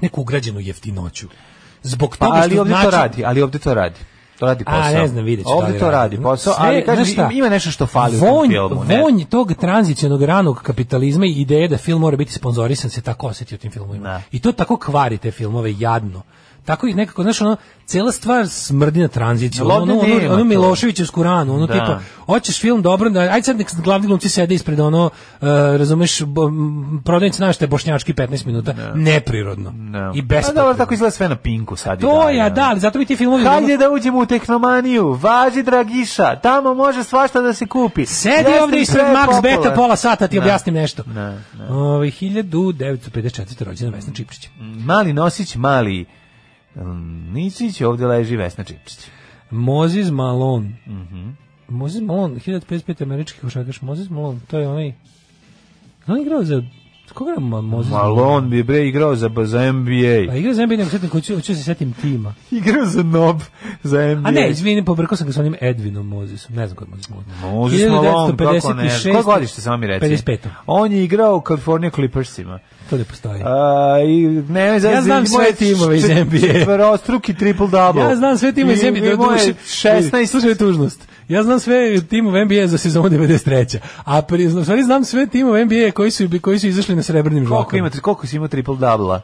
[SPEAKER 6] neku ugrađenu jeftinoću. Zbog
[SPEAKER 5] Pa,
[SPEAKER 6] toga
[SPEAKER 5] ali
[SPEAKER 6] što znači-
[SPEAKER 5] ovdje to
[SPEAKER 6] način-
[SPEAKER 5] radi, ali ovdje to radi. To radi
[SPEAKER 6] A,
[SPEAKER 5] posao.
[SPEAKER 6] ne znam, vidjet ću da li
[SPEAKER 5] Ovdje to
[SPEAKER 6] radi.
[SPEAKER 5] radi posao, ali
[SPEAKER 6] Sve, znaš
[SPEAKER 5] kažem,
[SPEAKER 6] šta?
[SPEAKER 5] ima nešto što fali
[SPEAKER 6] vonj,
[SPEAKER 5] u tom filmu. ne?
[SPEAKER 6] Vonj tog tranzicionog ranog kapitalizma i ideje da film mora biti sponzorisan se tako osjeti u tim filmovima.
[SPEAKER 5] Da.
[SPEAKER 6] I to tako kvari te filmove jadno. Tako ih nekako, znaš, ono, cela stvar smrdi na tranziciju.
[SPEAKER 5] Ali
[SPEAKER 6] Ono, ono,
[SPEAKER 5] ovdje
[SPEAKER 6] ono,
[SPEAKER 5] nema
[SPEAKER 6] ono
[SPEAKER 5] to.
[SPEAKER 6] Miloševićevsku ranu, ono
[SPEAKER 5] Da.
[SPEAKER 6] tipa, hoćeš film dobro, da, aj sad nek glavni glumci sede ispred ono, e, razumeš, bo, m, prodavnice našte bošnjački 15 minuta, neprirodno.
[SPEAKER 5] Da.
[SPEAKER 6] I
[SPEAKER 5] A Pa, dobro, tako
[SPEAKER 6] besplatno.
[SPEAKER 5] izgleda sve na pinku sad. i
[SPEAKER 6] To
[SPEAKER 5] dalje,
[SPEAKER 6] ja,
[SPEAKER 5] ono.
[SPEAKER 6] da, ali zato bi ti filmovi...
[SPEAKER 5] Hajde da uđemo u tehnomaniju, važi dragiša, tamo može svašta da se kupi.
[SPEAKER 6] Sedi
[SPEAKER 5] Jeste
[SPEAKER 6] ovdje
[SPEAKER 5] i
[SPEAKER 6] ispred
[SPEAKER 5] sve je
[SPEAKER 6] Max
[SPEAKER 5] popularno.
[SPEAKER 6] Beta pola sata ti
[SPEAKER 5] Ne.
[SPEAKER 6] objasnim nešto.
[SPEAKER 5] Ne, ne.
[SPEAKER 6] Ovaj 1954. rođena Vesna Čiprić.
[SPEAKER 5] Mali nosić, mali mm, Nisić, ovdje leži Vesna Čipčić.
[SPEAKER 6] Mozis Malone. Mhm. Mozis Malone, 1055 američki košarkaš Mozis Malone, to je onaj On je igrao za koga je Ma- Mozis
[SPEAKER 5] Malon bi bre igrao za, za NBA.
[SPEAKER 6] Pa igrao za NBA, nego setim hoću, hoću se setim tima.
[SPEAKER 5] Igrao za nob, za NBA.
[SPEAKER 6] A ne, izvini, pobrkao sam ga sa onim Edvinom Mozisom. Ne znam ko je Mozis Malone.
[SPEAKER 5] Mozis Malone, kako ne.
[SPEAKER 6] 1956.
[SPEAKER 5] Koje godište samo mi reci?
[SPEAKER 6] 55.
[SPEAKER 5] On je igrao u California Clippersima.
[SPEAKER 6] To ne postoji.
[SPEAKER 5] A, i, ne, ne,
[SPEAKER 6] Ja znam sve timove iz NBA.
[SPEAKER 5] Četvorostruki triple double.
[SPEAKER 6] Ja znam sve timove iz NBA, do duše.
[SPEAKER 5] 16...
[SPEAKER 6] Slušaj tužnost. Ja znam sve timove NBA za sezonu 93. A pri, u stvari znam sve timove NBA koji su, koji su izašli na srebrnim žvakom.
[SPEAKER 5] Koliko ima, koliko si imao triple double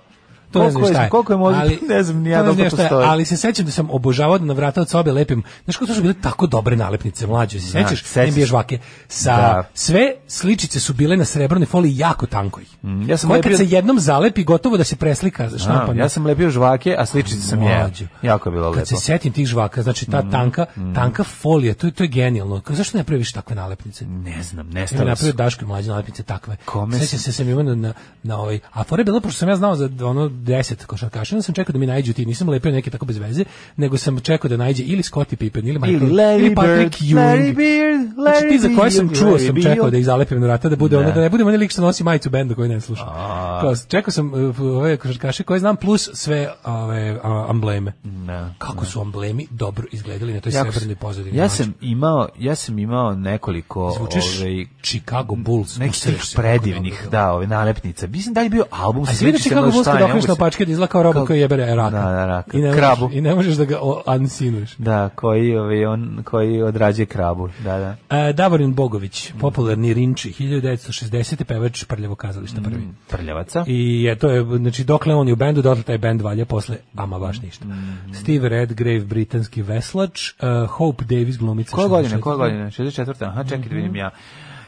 [SPEAKER 6] To ne znam šta je.
[SPEAKER 5] Koliko je možda,
[SPEAKER 6] Ali-
[SPEAKER 5] ne znam,
[SPEAKER 6] to
[SPEAKER 5] nija
[SPEAKER 6] ne
[SPEAKER 5] da
[SPEAKER 6] znam
[SPEAKER 5] li to
[SPEAKER 6] šta je,
[SPEAKER 5] postoji.
[SPEAKER 6] Ali se sećam da sam obožavao da na vrata od sobe lepim. Znaš kako to su bile tako dobre nalepnice, mlađe, se
[SPEAKER 5] Da,
[SPEAKER 6] sećaš?
[SPEAKER 5] sećam
[SPEAKER 6] NBA
[SPEAKER 5] se.
[SPEAKER 6] žvake. Sa,
[SPEAKER 5] Da.
[SPEAKER 6] Sve sličice su bile na srebrnoj foliji jako tankoj. Mm,
[SPEAKER 5] ja sam
[SPEAKER 6] Koja kad
[SPEAKER 5] lepio-
[SPEAKER 6] se jednom zalepi, gotovo da se preslika za
[SPEAKER 5] A,
[SPEAKER 6] štampanje.
[SPEAKER 5] ja sam lepio žvake, a sličice sam je.
[SPEAKER 6] pa Mlađo.
[SPEAKER 5] Jako je bilo
[SPEAKER 6] Kad se
[SPEAKER 5] lepo. Mm,
[SPEAKER 6] setim tih žvaka, znači ta tanka, tanka folija, to je to je genijalno. Kao, zašto ne praviš takve nalepnice?
[SPEAKER 5] Ne znam,
[SPEAKER 6] Ja mi
[SPEAKER 5] nestalo
[SPEAKER 6] napravio
[SPEAKER 5] Mm, su.
[SPEAKER 6] Daško i mlađe nalepnice takve.
[SPEAKER 5] Kome
[SPEAKER 6] Sećam se sam imao na, na, na ovaj... A fora je bilo, pošto sam ja znao za ono 10 košarkaša, onda sam čekao da mi najđu ti. Nisam lepio neke tako bez veze, nego sam čekao da najđe ili Scottie Pippen, ili Michael,
[SPEAKER 5] Ili Larry
[SPEAKER 6] ili Patrick
[SPEAKER 5] Bird,
[SPEAKER 6] Ewing.
[SPEAKER 5] Larry Bird,
[SPEAKER 6] znači ti za
[SPEAKER 5] Larry
[SPEAKER 6] koje sam
[SPEAKER 5] Bird,
[SPEAKER 6] čuo
[SPEAKER 5] Larry
[SPEAKER 6] sam
[SPEAKER 5] Bird.
[SPEAKER 6] čekao da ih zalepim na vrata, da bude ono, da ne budem onaj lik što nosi majicu benda koju ne slušam. Kao, čekao sam uh, ove košarkaše koje znam, plus sve ove, a, ambleme.
[SPEAKER 5] Mm. Ne.
[SPEAKER 6] Kako su amblemi dobro izgledali na toj
[SPEAKER 5] Jako
[SPEAKER 6] srebrnoj
[SPEAKER 5] sam-
[SPEAKER 6] pozadini.
[SPEAKER 5] Ja
[SPEAKER 6] znači.
[SPEAKER 5] sam imao, ja sam imao nekoliko
[SPEAKER 6] Zvučiš
[SPEAKER 5] ovaj,
[SPEAKER 6] Chicago Bulls.
[SPEAKER 5] nekih
[SPEAKER 6] usereš
[SPEAKER 5] tih
[SPEAKER 6] se kako
[SPEAKER 5] predivnih,
[SPEAKER 6] dobro.
[SPEAKER 5] da, ove nalepnice. Mislim da je bio album
[SPEAKER 6] A
[SPEAKER 5] sa
[SPEAKER 6] si vidio Chicago Bulls kad okreneš na opačke da izgleda kao roba
[SPEAKER 5] Kao-
[SPEAKER 6] koji jebe raka.
[SPEAKER 5] Da, da, raka.
[SPEAKER 6] I ne
[SPEAKER 5] Krabu.
[SPEAKER 6] Možeš, I ne možeš da ga o- ansinuješ.
[SPEAKER 5] Da, koji, ovaj, on, koji odrađuje krabu, da, da.
[SPEAKER 6] E, Davorin Bogović, popularni Rinči, 1960. pevač Prljavo
[SPEAKER 5] Mm.
[SPEAKER 6] kazališta prvi.
[SPEAKER 5] Prljavaca.
[SPEAKER 6] I je, to je, znači, dokle on je u bendu, dotle taj bend valja, posle, ama baš ništa.
[SPEAKER 5] Mm.
[SPEAKER 6] Steve Redgrave, britanski veslač, e, Hope Davis, glumica.
[SPEAKER 5] Koje godine,
[SPEAKER 6] 64..
[SPEAKER 5] koje godine? 64. Aha, čekaj da vidim ja.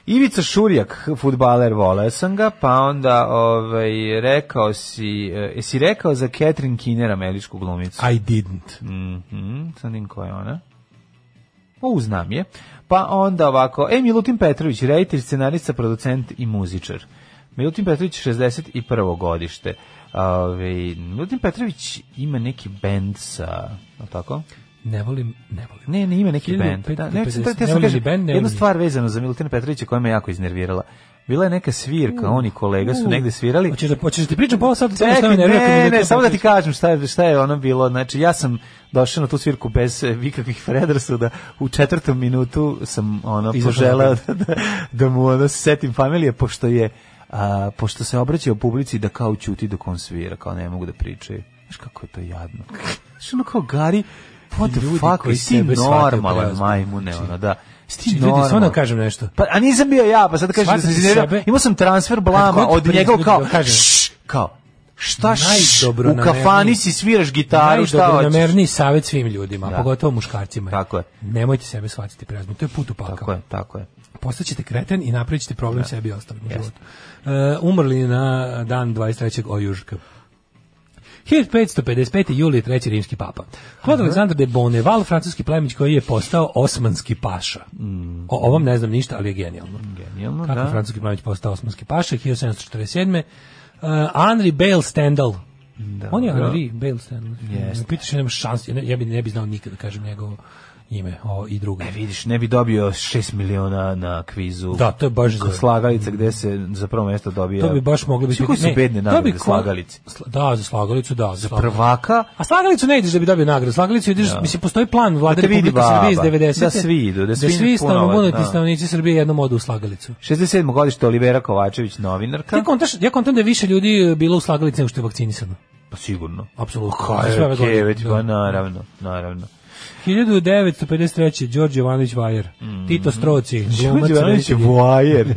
[SPEAKER 5] Ivica Šurjak, futbaler, voleo sam ga, pa onda ovaj, rekao si, e, jesi rekao za Catherine Kiner, američku glumicu?
[SPEAKER 6] I didn't.
[SPEAKER 5] Mhm, sad vidim ko je ona. O, znam je. Pa onda ovako, e, Milutin Petrović, reditelj, scenarista, producent i muzičar. Milutin Petrović, 61. godište. Ove, Milutin Petrović ima neki bend sa, je li tako?
[SPEAKER 6] Ne volim, ne volim.
[SPEAKER 5] Ne, ne, ima neki
[SPEAKER 6] 1550.
[SPEAKER 5] bend. Da, ne, ja sam da
[SPEAKER 6] Ne
[SPEAKER 5] sam
[SPEAKER 6] volim
[SPEAKER 5] kažem,
[SPEAKER 6] ni bend, ne
[SPEAKER 5] jednu
[SPEAKER 6] volim ni-
[SPEAKER 5] stvar vezanu za Milutina Petrovića koja me jako iznervirala. Bila je neka svirka, oni kolega su negde svirali.
[SPEAKER 6] Hoćeš da, hoćeš da ti pričam pola sata? samo što
[SPEAKER 5] Čekaj,
[SPEAKER 6] me
[SPEAKER 5] ne,
[SPEAKER 6] nervira kad mi
[SPEAKER 5] ne,
[SPEAKER 6] Milutin
[SPEAKER 5] samo da ti
[SPEAKER 6] Petrović-
[SPEAKER 5] kažem šta je, šta je ono bilo. Znači, ja sam došao na tu svirku bez eh, ikakvih predrasuda. U četvrtom minutu sam ono
[SPEAKER 6] Izašao
[SPEAKER 5] poželeo da, da, da mu ono se setim familije, pošto je a, pošto se obraćao publici da kao ćuti dok on svira, kao ne mogu da pričaju. Znaš kako je to jadno. Znaš ono kao Gari, what the
[SPEAKER 6] Ljudi
[SPEAKER 5] fuck,
[SPEAKER 6] koji
[SPEAKER 5] jesi ti
[SPEAKER 6] sebe shvataju
[SPEAKER 5] normalan
[SPEAKER 6] preozbiljno.
[SPEAKER 5] majmune, ono, da. Jesi ti
[SPEAKER 6] Ljudi, samo da vam
[SPEAKER 5] normalan?
[SPEAKER 6] kažem nešto.
[SPEAKER 5] Pa, a nisam bio ja, pa sad da kažem da sam
[SPEAKER 6] Shvatite
[SPEAKER 5] iznervirao.
[SPEAKER 6] sebe.
[SPEAKER 5] Imao sam transfer blama
[SPEAKER 6] Kad god
[SPEAKER 5] od njega
[SPEAKER 6] priđu,
[SPEAKER 5] kao,
[SPEAKER 6] da kažem.
[SPEAKER 5] "Šš, kao, šta š, u
[SPEAKER 6] Najdobronamerniji-
[SPEAKER 5] kafani si sviraš gitaru, šta hoćeš?
[SPEAKER 6] Najdobronamerniji savjet svim ljudima,
[SPEAKER 5] Da.
[SPEAKER 6] a pogotovo muškarcima.
[SPEAKER 5] Tako je.
[SPEAKER 6] Nemojte sebe shvatiti preozbiljno, to je put u pakao.
[SPEAKER 5] Tako je, tako je.
[SPEAKER 6] Postaćete kreten i napravit ćete problem sebi i ostalim u životu. E, umrli na dan 23. ojužka. 1555. juli je treći rimski papa. Kod Aleksandar de Bonneval, francuski plemić koji je postao osmanski paša.
[SPEAKER 5] Mm.
[SPEAKER 6] O ovom ne znam ništa, ali je genijalno.
[SPEAKER 5] Genijalno,
[SPEAKER 6] Kako je
[SPEAKER 5] da.
[SPEAKER 6] francuski plemić postao osmanski paša, 1747. Uh, Henry Bale Stendhal. On je Henry Bale Stendhal.
[SPEAKER 5] Jeste.
[SPEAKER 6] Pitaš, ja nemam šanse, ja ne, ja bi, ne bi znao nikad da kažem njegovo ime o, i drugo.
[SPEAKER 5] E, vidiš, ne bi dobio 6 miliona na kvizu.
[SPEAKER 6] Da, to je baš za-
[SPEAKER 5] Slagalica gde se za prvo mesto dobija.
[SPEAKER 6] To bi baš moglo biti.
[SPEAKER 5] Svi koji su
[SPEAKER 6] ne,
[SPEAKER 5] bedne
[SPEAKER 6] to bi
[SPEAKER 5] nagrade
[SPEAKER 6] ko-
[SPEAKER 5] slagalice.
[SPEAKER 6] Sla- Da, za slagalicu, da. Za
[SPEAKER 5] Prvaka,
[SPEAKER 6] A slagalicu ne ideš da bi dobio nagradu. Slagalicu ideš, mislim, postoji plan vlade
[SPEAKER 5] Da te vidi
[SPEAKER 6] Republike Srbije iz
[SPEAKER 5] baba.
[SPEAKER 6] 90.
[SPEAKER 5] Da svi idu, da svi
[SPEAKER 6] svi
[SPEAKER 5] punovan,
[SPEAKER 6] stanovnici,
[SPEAKER 5] da.
[SPEAKER 6] stanovnici Srbije jednom odu u slagalicu.
[SPEAKER 5] 67. godište Olivera Kovačević, novinarka.
[SPEAKER 6] Ti kontaš, ja kontam da je više ljudi e, bilo u slagalici nego što je vakcinisano.
[SPEAKER 5] Pa sigurno.
[SPEAKER 6] Apsolutno.
[SPEAKER 5] Ko
[SPEAKER 6] Za sve ove
[SPEAKER 5] je
[SPEAKER 6] godine,
[SPEAKER 5] Keveć,
[SPEAKER 6] da.
[SPEAKER 5] pa naravno, naravno.
[SPEAKER 6] 1953. Đorđe Jovanović Vajer. Tito Stroci. glumac,
[SPEAKER 5] Mhm. Đorđe Ivanović je
[SPEAKER 6] reditelj.
[SPEAKER 5] voajer.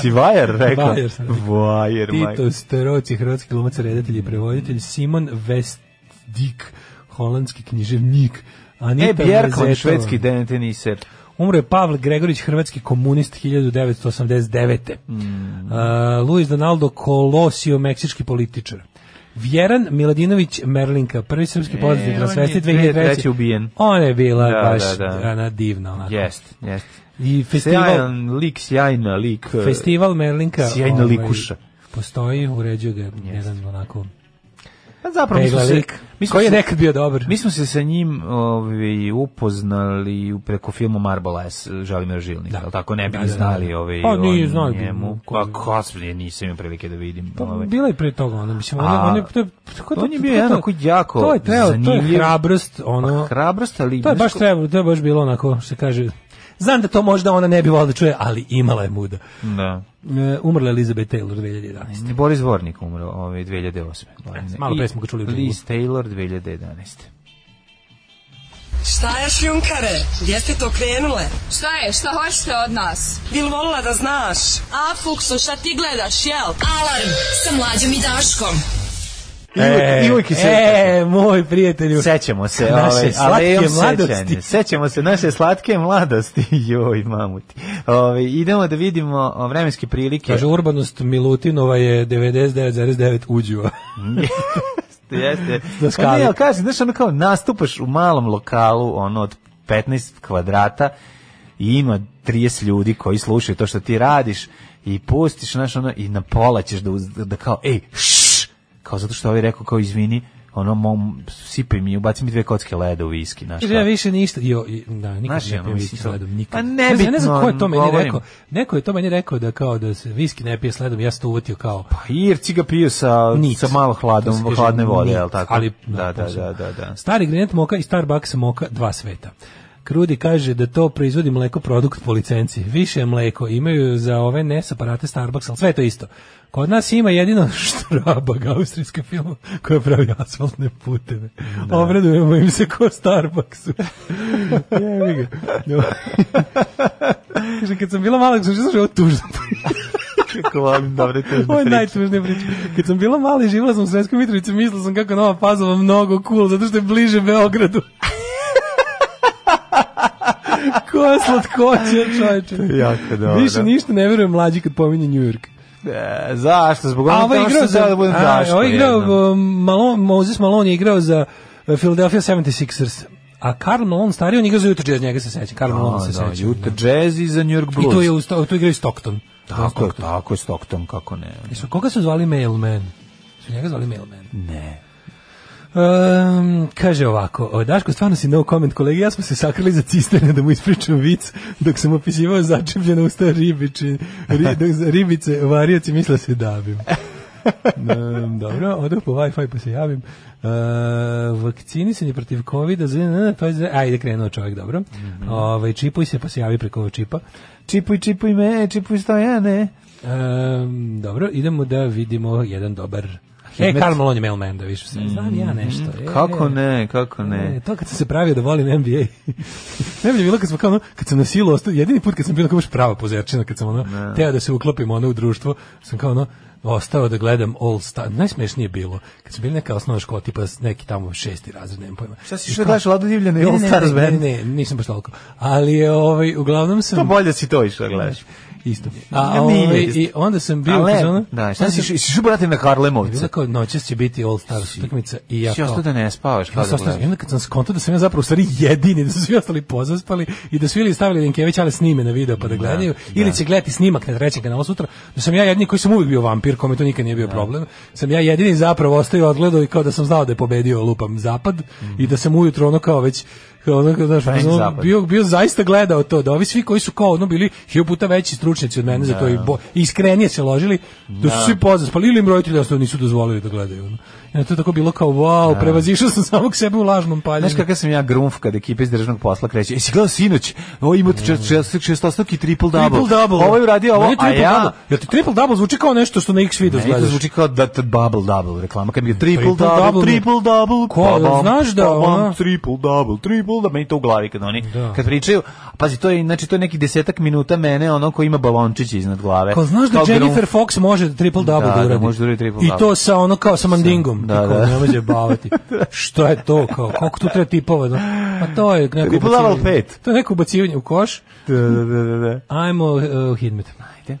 [SPEAKER 5] Si vajer rekao?
[SPEAKER 6] Vajer sam rekao.
[SPEAKER 5] Voajer, majko.
[SPEAKER 6] Tito Staroci, hrvatski glumac, redatelj i prevoditelj, Simon Vestdik, holandski književnik, Anita
[SPEAKER 5] E, Bjerkman,
[SPEAKER 6] Vezetova.
[SPEAKER 5] švedski den- teniser.
[SPEAKER 6] Umro je Pavle Gregorić, hrvatski komunist 1989. Mm. Uh, Luis Donaldo Colosio, meksički političar. Vjeran Miladinović Merlinka, prvi srpski poznati
[SPEAKER 5] E, on
[SPEAKER 6] transvesti
[SPEAKER 5] je
[SPEAKER 6] 2003.
[SPEAKER 5] 2003. ubijen.
[SPEAKER 6] Ona je bila
[SPEAKER 5] Da,
[SPEAKER 6] baš
[SPEAKER 5] da, da.
[SPEAKER 6] ona divna. Onako.
[SPEAKER 5] Jest, jest.
[SPEAKER 6] I festival,
[SPEAKER 5] Sjajan lik, sjajna lik. eh,
[SPEAKER 6] festival Merlinka. ovaj,
[SPEAKER 5] Sjajna likuša.
[SPEAKER 6] Postoji, uređuje ga jedan onako
[SPEAKER 5] Pa Zapravo mi smo
[SPEAKER 6] pegla
[SPEAKER 5] se...
[SPEAKER 6] lik.
[SPEAKER 5] mi smo
[SPEAKER 6] Koji je
[SPEAKER 5] se-
[SPEAKER 6] nekad bio dobar.
[SPEAKER 5] Mi smo se sa njim ovaj, upoznali preko filma Marble S, Želimir Žilnik, da. tako ne bi
[SPEAKER 6] Da, da, da.
[SPEAKER 5] znali ovaj,
[SPEAKER 6] Pa,
[SPEAKER 5] o
[SPEAKER 6] nije znali bi
[SPEAKER 5] njemu.
[SPEAKER 6] ko
[SPEAKER 5] Pa
[SPEAKER 6] je.
[SPEAKER 5] kasnije nisam imao prilike da vidim.
[SPEAKER 6] Pa,
[SPEAKER 5] ovaj.
[SPEAKER 6] bila je pre toga ona, mislim, ona,
[SPEAKER 5] A,
[SPEAKER 6] ona, to, je- to,
[SPEAKER 5] on je bio
[SPEAKER 6] to-
[SPEAKER 5] jedan
[SPEAKER 6] to-
[SPEAKER 5] onako jako
[SPEAKER 6] to je trebalo, to je
[SPEAKER 5] zanimljiv. Pa,
[SPEAKER 6] hrabrost, ono,
[SPEAKER 5] Hrabrost, ali...
[SPEAKER 6] to je
[SPEAKER 5] znaš
[SPEAKER 6] baš
[SPEAKER 5] ko-
[SPEAKER 6] trebalo, to je baš bilo onako, što se kaže, znam da to možda ona ne bi volila da čuje, ali imala je muda.
[SPEAKER 5] Da.
[SPEAKER 6] E, umrla je Elizabeth Taylor 2011.
[SPEAKER 5] Boris Vornik umro ovaj, 2008. godine.
[SPEAKER 6] Malo pre
[SPEAKER 5] I
[SPEAKER 6] smo ga čuli u
[SPEAKER 5] Liz Taylor 2011.
[SPEAKER 8] Šta je šljunkare? Gdje ste to krenule?
[SPEAKER 4] Šta je, šta hoćete od nas?
[SPEAKER 8] Bil volila da znaš?
[SPEAKER 4] A, Fuksu, šta ti gledaš, jel? Alarm sa mlađom i Daškom.
[SPEAKER 5] I uvijek i se...
[SPEAKER 6] e, moj prijatelju.
[SPEAKER 5] Sećamo se,
[SPEAKER 6] Naše
[SPEAKER 5] ovaj, alejom
[SPEAKER 6] slatke mladosti.
[SPEAKER 5] sećanja. Sećamo se naše slatke mladosti. Joj, mamuti. Ovaj, idemo da vidimo o, vremenske prilike.
[SPEAKER 6] Kaže, urbanost Milutinova je 99,9 uđuva.
[SPEAKER 5] jeste.
[SPEAKER 6] Na skali.
[SPEAKER 5] Pa ne, ali kažem, znaš, ono kao nastupaš u malom lokalu, ono, od 15 kvadrata i ima 30 ljudi koji slušaju to što ti radiš i pustiš, znaš, ono, i na pola ćeš da, uz- da kao, ej, šš, kao zato što ovaj rekao, kao, izvini, ono, mom, sipaj mi, ubaci mi dve kocke leda u viski, znaš,
[SPEAKER 6] Jer ja više ništa, jo, i- da, nikad
[SPEAKER 5] Znaš,
[SPEAKER 6] ne
[SPEAKER 5] ono,
[SPEAKER 6] pijem
[SPEAKER 5] mislim,
[SPEAKER 6] viski s
[SPEAKER 5] to-
[SPEAKER 6] ledom, nikad.
[SPEAKER 5] Pa
[SPEAKER 6] Ne znam, ja ne znam ko je
[SPEAKER 5] nebitno,
[SPEAKER 6] to meni
[SPEAKER 5] govorim.
[SPEAKER 6] rekao. Neko je to meni rekao da kao da se viski ne pije s ledom, ja sam to uvotio kao
[SPEAKER 5] Pa Irci ga piju sa,
[SPEAKER 6] Nic.
[SPEAKER 5] sa malo hladom,
[SPEAKER 6] To se kaže
[SPEAKER 5] hladne vode,
[SPEAKER 6] nic,
[SPEAKER 5] jel tako?
[SPEAKER 6] Ali,
[SPEAKER 5] da, da,
[SPEAKER 6] posebno.
[SPEAKER 5] da, da, da.
[SPEAKER 6] Stari granit moka i Starbucks moka dva sveta. Krudi kaže da to proizvodi mleko produkt po licenci. Više je mleko, imaju za ove NES aparate Starbucks, ali sve je to isto. Kod nas ima jedino štrabag austrijska firma koja pravi asfaltne puteve. Obradujemo im se ko Starbucksu. Jebi ga. No. Kaže, kad sam bila mala, sam što ovo tužno.
[SPEAKER 5] Kako volim dobre tužne
[SPEAKER 6] Ovo je
[SPEAKER 5] priče.
[SPEAKER 6] najtužnija priča. Kad sam bila mala i živjela sam u Sremskoj Mitrovici, mislila sam kako je Nova Pazova mnogo cool, zato što je bliže Beogradu. Koja slatkoća, čovječe.
[SPEAKER 5] Jako dobro.
[SPEAKER 6] Više ništa ne verujem mlađi kad pominje New York.
[SPEAKER 5] E, zašto? Zbog
[SPEAKER 6] A
[SPEAKER 5] onog
[SPEAKER 6] ovo je
[SPEAKER 5] tamo što
[SPEAKER 6] igrao
[SPEAKER 5] sam
[SPEAKER 6] za...
[SPEAKER 5] htio da budem
[SPEAKER 6] a,
[SPEAKER 5] Daško
[SPEAKER 6] ovo je igrao,
[SPEAKER 5] jednom.
[SPEAKER 6] um, Malone, Moses Malone je igrao za uh, Philadelphia 76ers. A Karl Malone stariji, on igrao za Utah Jazz, njega se seća. Karl Malone Pa se
[SPEAKER 5] A, da,
[SPEAKER 6] seća.
[SPEAKER 5] Utah Jazz i za New York
[SPEAKER 6] I
[SPEAKER 5] Blues.
[SPEAKER 6] tu je usta- tu igrao i Stockton.
[SPEAKER 5] Tako je, tako je Stockton, kako ne.
[SPEAKER 6] Jesu, koga su zvali Mailman? Su njega zvali Mailman?
[SPEAKER 5] Ne.
[SPEAKER 6] Um, kaže ovako, o, Daško, stvarno si no comment, kolege, ja smo se sakrili za cisterne da mu ispričam vic, dok sam opisivao začepljeno usta ribiči, ri, dok za ribice, varioci misle se davim. um, dobro, odoh po Wi-Fi pa se javim. Uh, vakcinisanje protiv COVID-a, za- ne, to je, za- ajde krenuo čovjek, dobro. Ovaj, čipuj se pa se javi preko ovog čipa.
[SPEAKER 5] Čipuj, čipuj me, čipuj stojane.
[SPEAKER 6] Um, dobro, idemo da vidimo jedan dobar... Mhm. E,
[SPEAKER 5] Hidmet.
[SPEAKER 6] Karl Malone je mailman, da više se. Znam ja nešto. e.
[SPEAKER 5] Kako ne, kako
[SPEAKER 6] E,
[SPEAKER 5] ne.
[SPEAKER 6] to kad sam se pravio da volim NBA. ne bi bilo kad sam kao ono, kad sam na silu ostao, jedini put kad sam bio kao baš prava pozerčina, kad sam ono, teo da se uklopim ono u društvo, sam kao ono, ostao da gledam All Star. Najsmešnije je bilo, kad su bili neka osnovna škola, tipa neki tamo šesti razred, nemam pojma.
[SPEAKER 5] Šta
[SPEAKER 6] I
[SPEAKER 5] si išao
[SPEAKER 6] kao-
[SPEAKER 5] gledaš Lado Divljana i
[SPEAKER 6] Ne,
[SPEAKER 5] All
[SPEAKER 6] ne,
[SPEAKER 5] Stars
[SPEAKER 6] ne,
[SPEAKER 5] Band?
[SPEAKER 6] Ne, ne, nisam baš toliko. Ali je, ovaj, uglavnom sam...
[SPEAKER 5] To bolje si to išao, gledaš.
[SPEAKER 6] Isto mi je.
[SPEAKER 5] Ja,
[SPEAKER 6] A,
[SPEAKER 5] nije
[SPEAKER 6] ovaj,
[SPEAKER 5] isto.
[SPEAKER 6] i onda sam bio... u
[SPEAKER 5] Ale,
[SPEAKER 6] fazonu-
[SPEAKER 5] da,
[SPEAKER 6] onda
[SPEAKER 5] šta si
[SPEAKER 6] sam-
[SPEAKER 5] išao? Si išao brate na
[SPEAKER 6] I onda
[SPEAKER 5] Karlemovce?
[SPEAKER 6] kao noćas će biti All Stars utakmica i ja
[SPEAKER 5] Si ostao
[SPEAKER 6] kao...
[SPEAKER 5] da ne spavaš,
[SPEAKER 6] Ja
[SPEAKER 5] kao
[SPEAKER 6] sam
[SPEAKER 5] da
[SPEAKER 6] ostao, i
[SPEAKER 5] gledaš.
[SPEAKER 6] onda kad sam skontao da sam ja zapravo u stvari jedini, da su svi ostali pozaspali i da su ili stavili Linkević, ali snime na video pa da gledaju, ili će gledati snimak na trećem kanalu sutra, da sam ja jedini koji sam uvijek bio vampir, kome to nikad nije bio problem, sam ja jedini zapravo ostao odgledao i kao da sam znao da je pobedio lupam zapad i da sam ujutro ono kao već kao ono, kao, znaš,
[SPEAKER 5] Frank
[SPEAKER 6] ono,
[SPEAKER 5] Zapad.
[SPEAKER 6] bio, bio zaista gledao to, da ovi svi koji su kao ono bili hiljopu puta veći stručnjaci od mene za to i bo, iskrenije se ložili, da su svi pozaspali ili im roditelji jednostavno nisu dozvolili da gledaju. Ono. I onda to je tako bilo kao, wow, prevazišao sam samog sebe u lažnom paljenju.
[SPEAKER 5] Znaš kakav sam ja grunf kad ekipa iz državnog posla kreće. Jesi gledao sinoć? Ovo ima šestostoki triple double.
[SPEAKER 6] Triple double.
[SPEAKER 5] Ovo je uradio ovo,
[SPEAKER 6] Meni
[SPEAKER 5] a
[SPEAKER 6] triple
[SPEAKER 5] ja...
[SPEAKER 6] double. Jel ti triple double zvuči kao nešto što na X video
[SPEAKER 5] Meni to
[SPEAKER 6] gledaš?
[SPEAKER 5] zvuči kao da da bubble double reklama. Kad mi je triple,
[SPEAKER 6] Triple
[SPEAKER 5] double,
[SPEAKER 6] double mi-
[SPEAKER 5] triple double, Pa
[SPEAKER 6] Ko, jel znaš da ona-
[SPEAKER 5] triple double, triple double, meni to u glavi kad oni
[SPEAKER 6] Da.
[SPEAKER 5] kad pričaju. Pazi, to je znači to je neki desetak minuta mene ono ko ima balončić iznad glave.
[SPEAKER 6] Kao znaš da
[SPEAKER 5] Kao grunf.
[SPEAKER 6] Jennifer Fox može da triple double
[SPEAKER 5] Da,
[SPEAKER 6] da,
[SPEAKER 5] da,
[SPEAKER 6] uradi.
[SPEAKER 5] može da uradi triple
[SPEAKER 6] I
[SPEAKER 5] double.
[SPEAKER 6] to sa ono kao sa mandingom.
[SPEAKER 5] Da,
[SPEAKER 6] Da,
[SPEAKER 5] da.
[SPEAKER 6] da. Ne može bavati. Šta je to kao? Koliko tu treba tipova? Da? Pa to je neko
[SPEAKER 5] Triple double
[SPEAKER 6] ubacivanje.
[SPEAKER 5] pet.
[SPEAKER 6] To je neko ubacivanje u koš.
[SPEAKER 5] Da, da, da, da, da.
[SPEAKER 6] Ajmo uh, Hidmet. Ajde.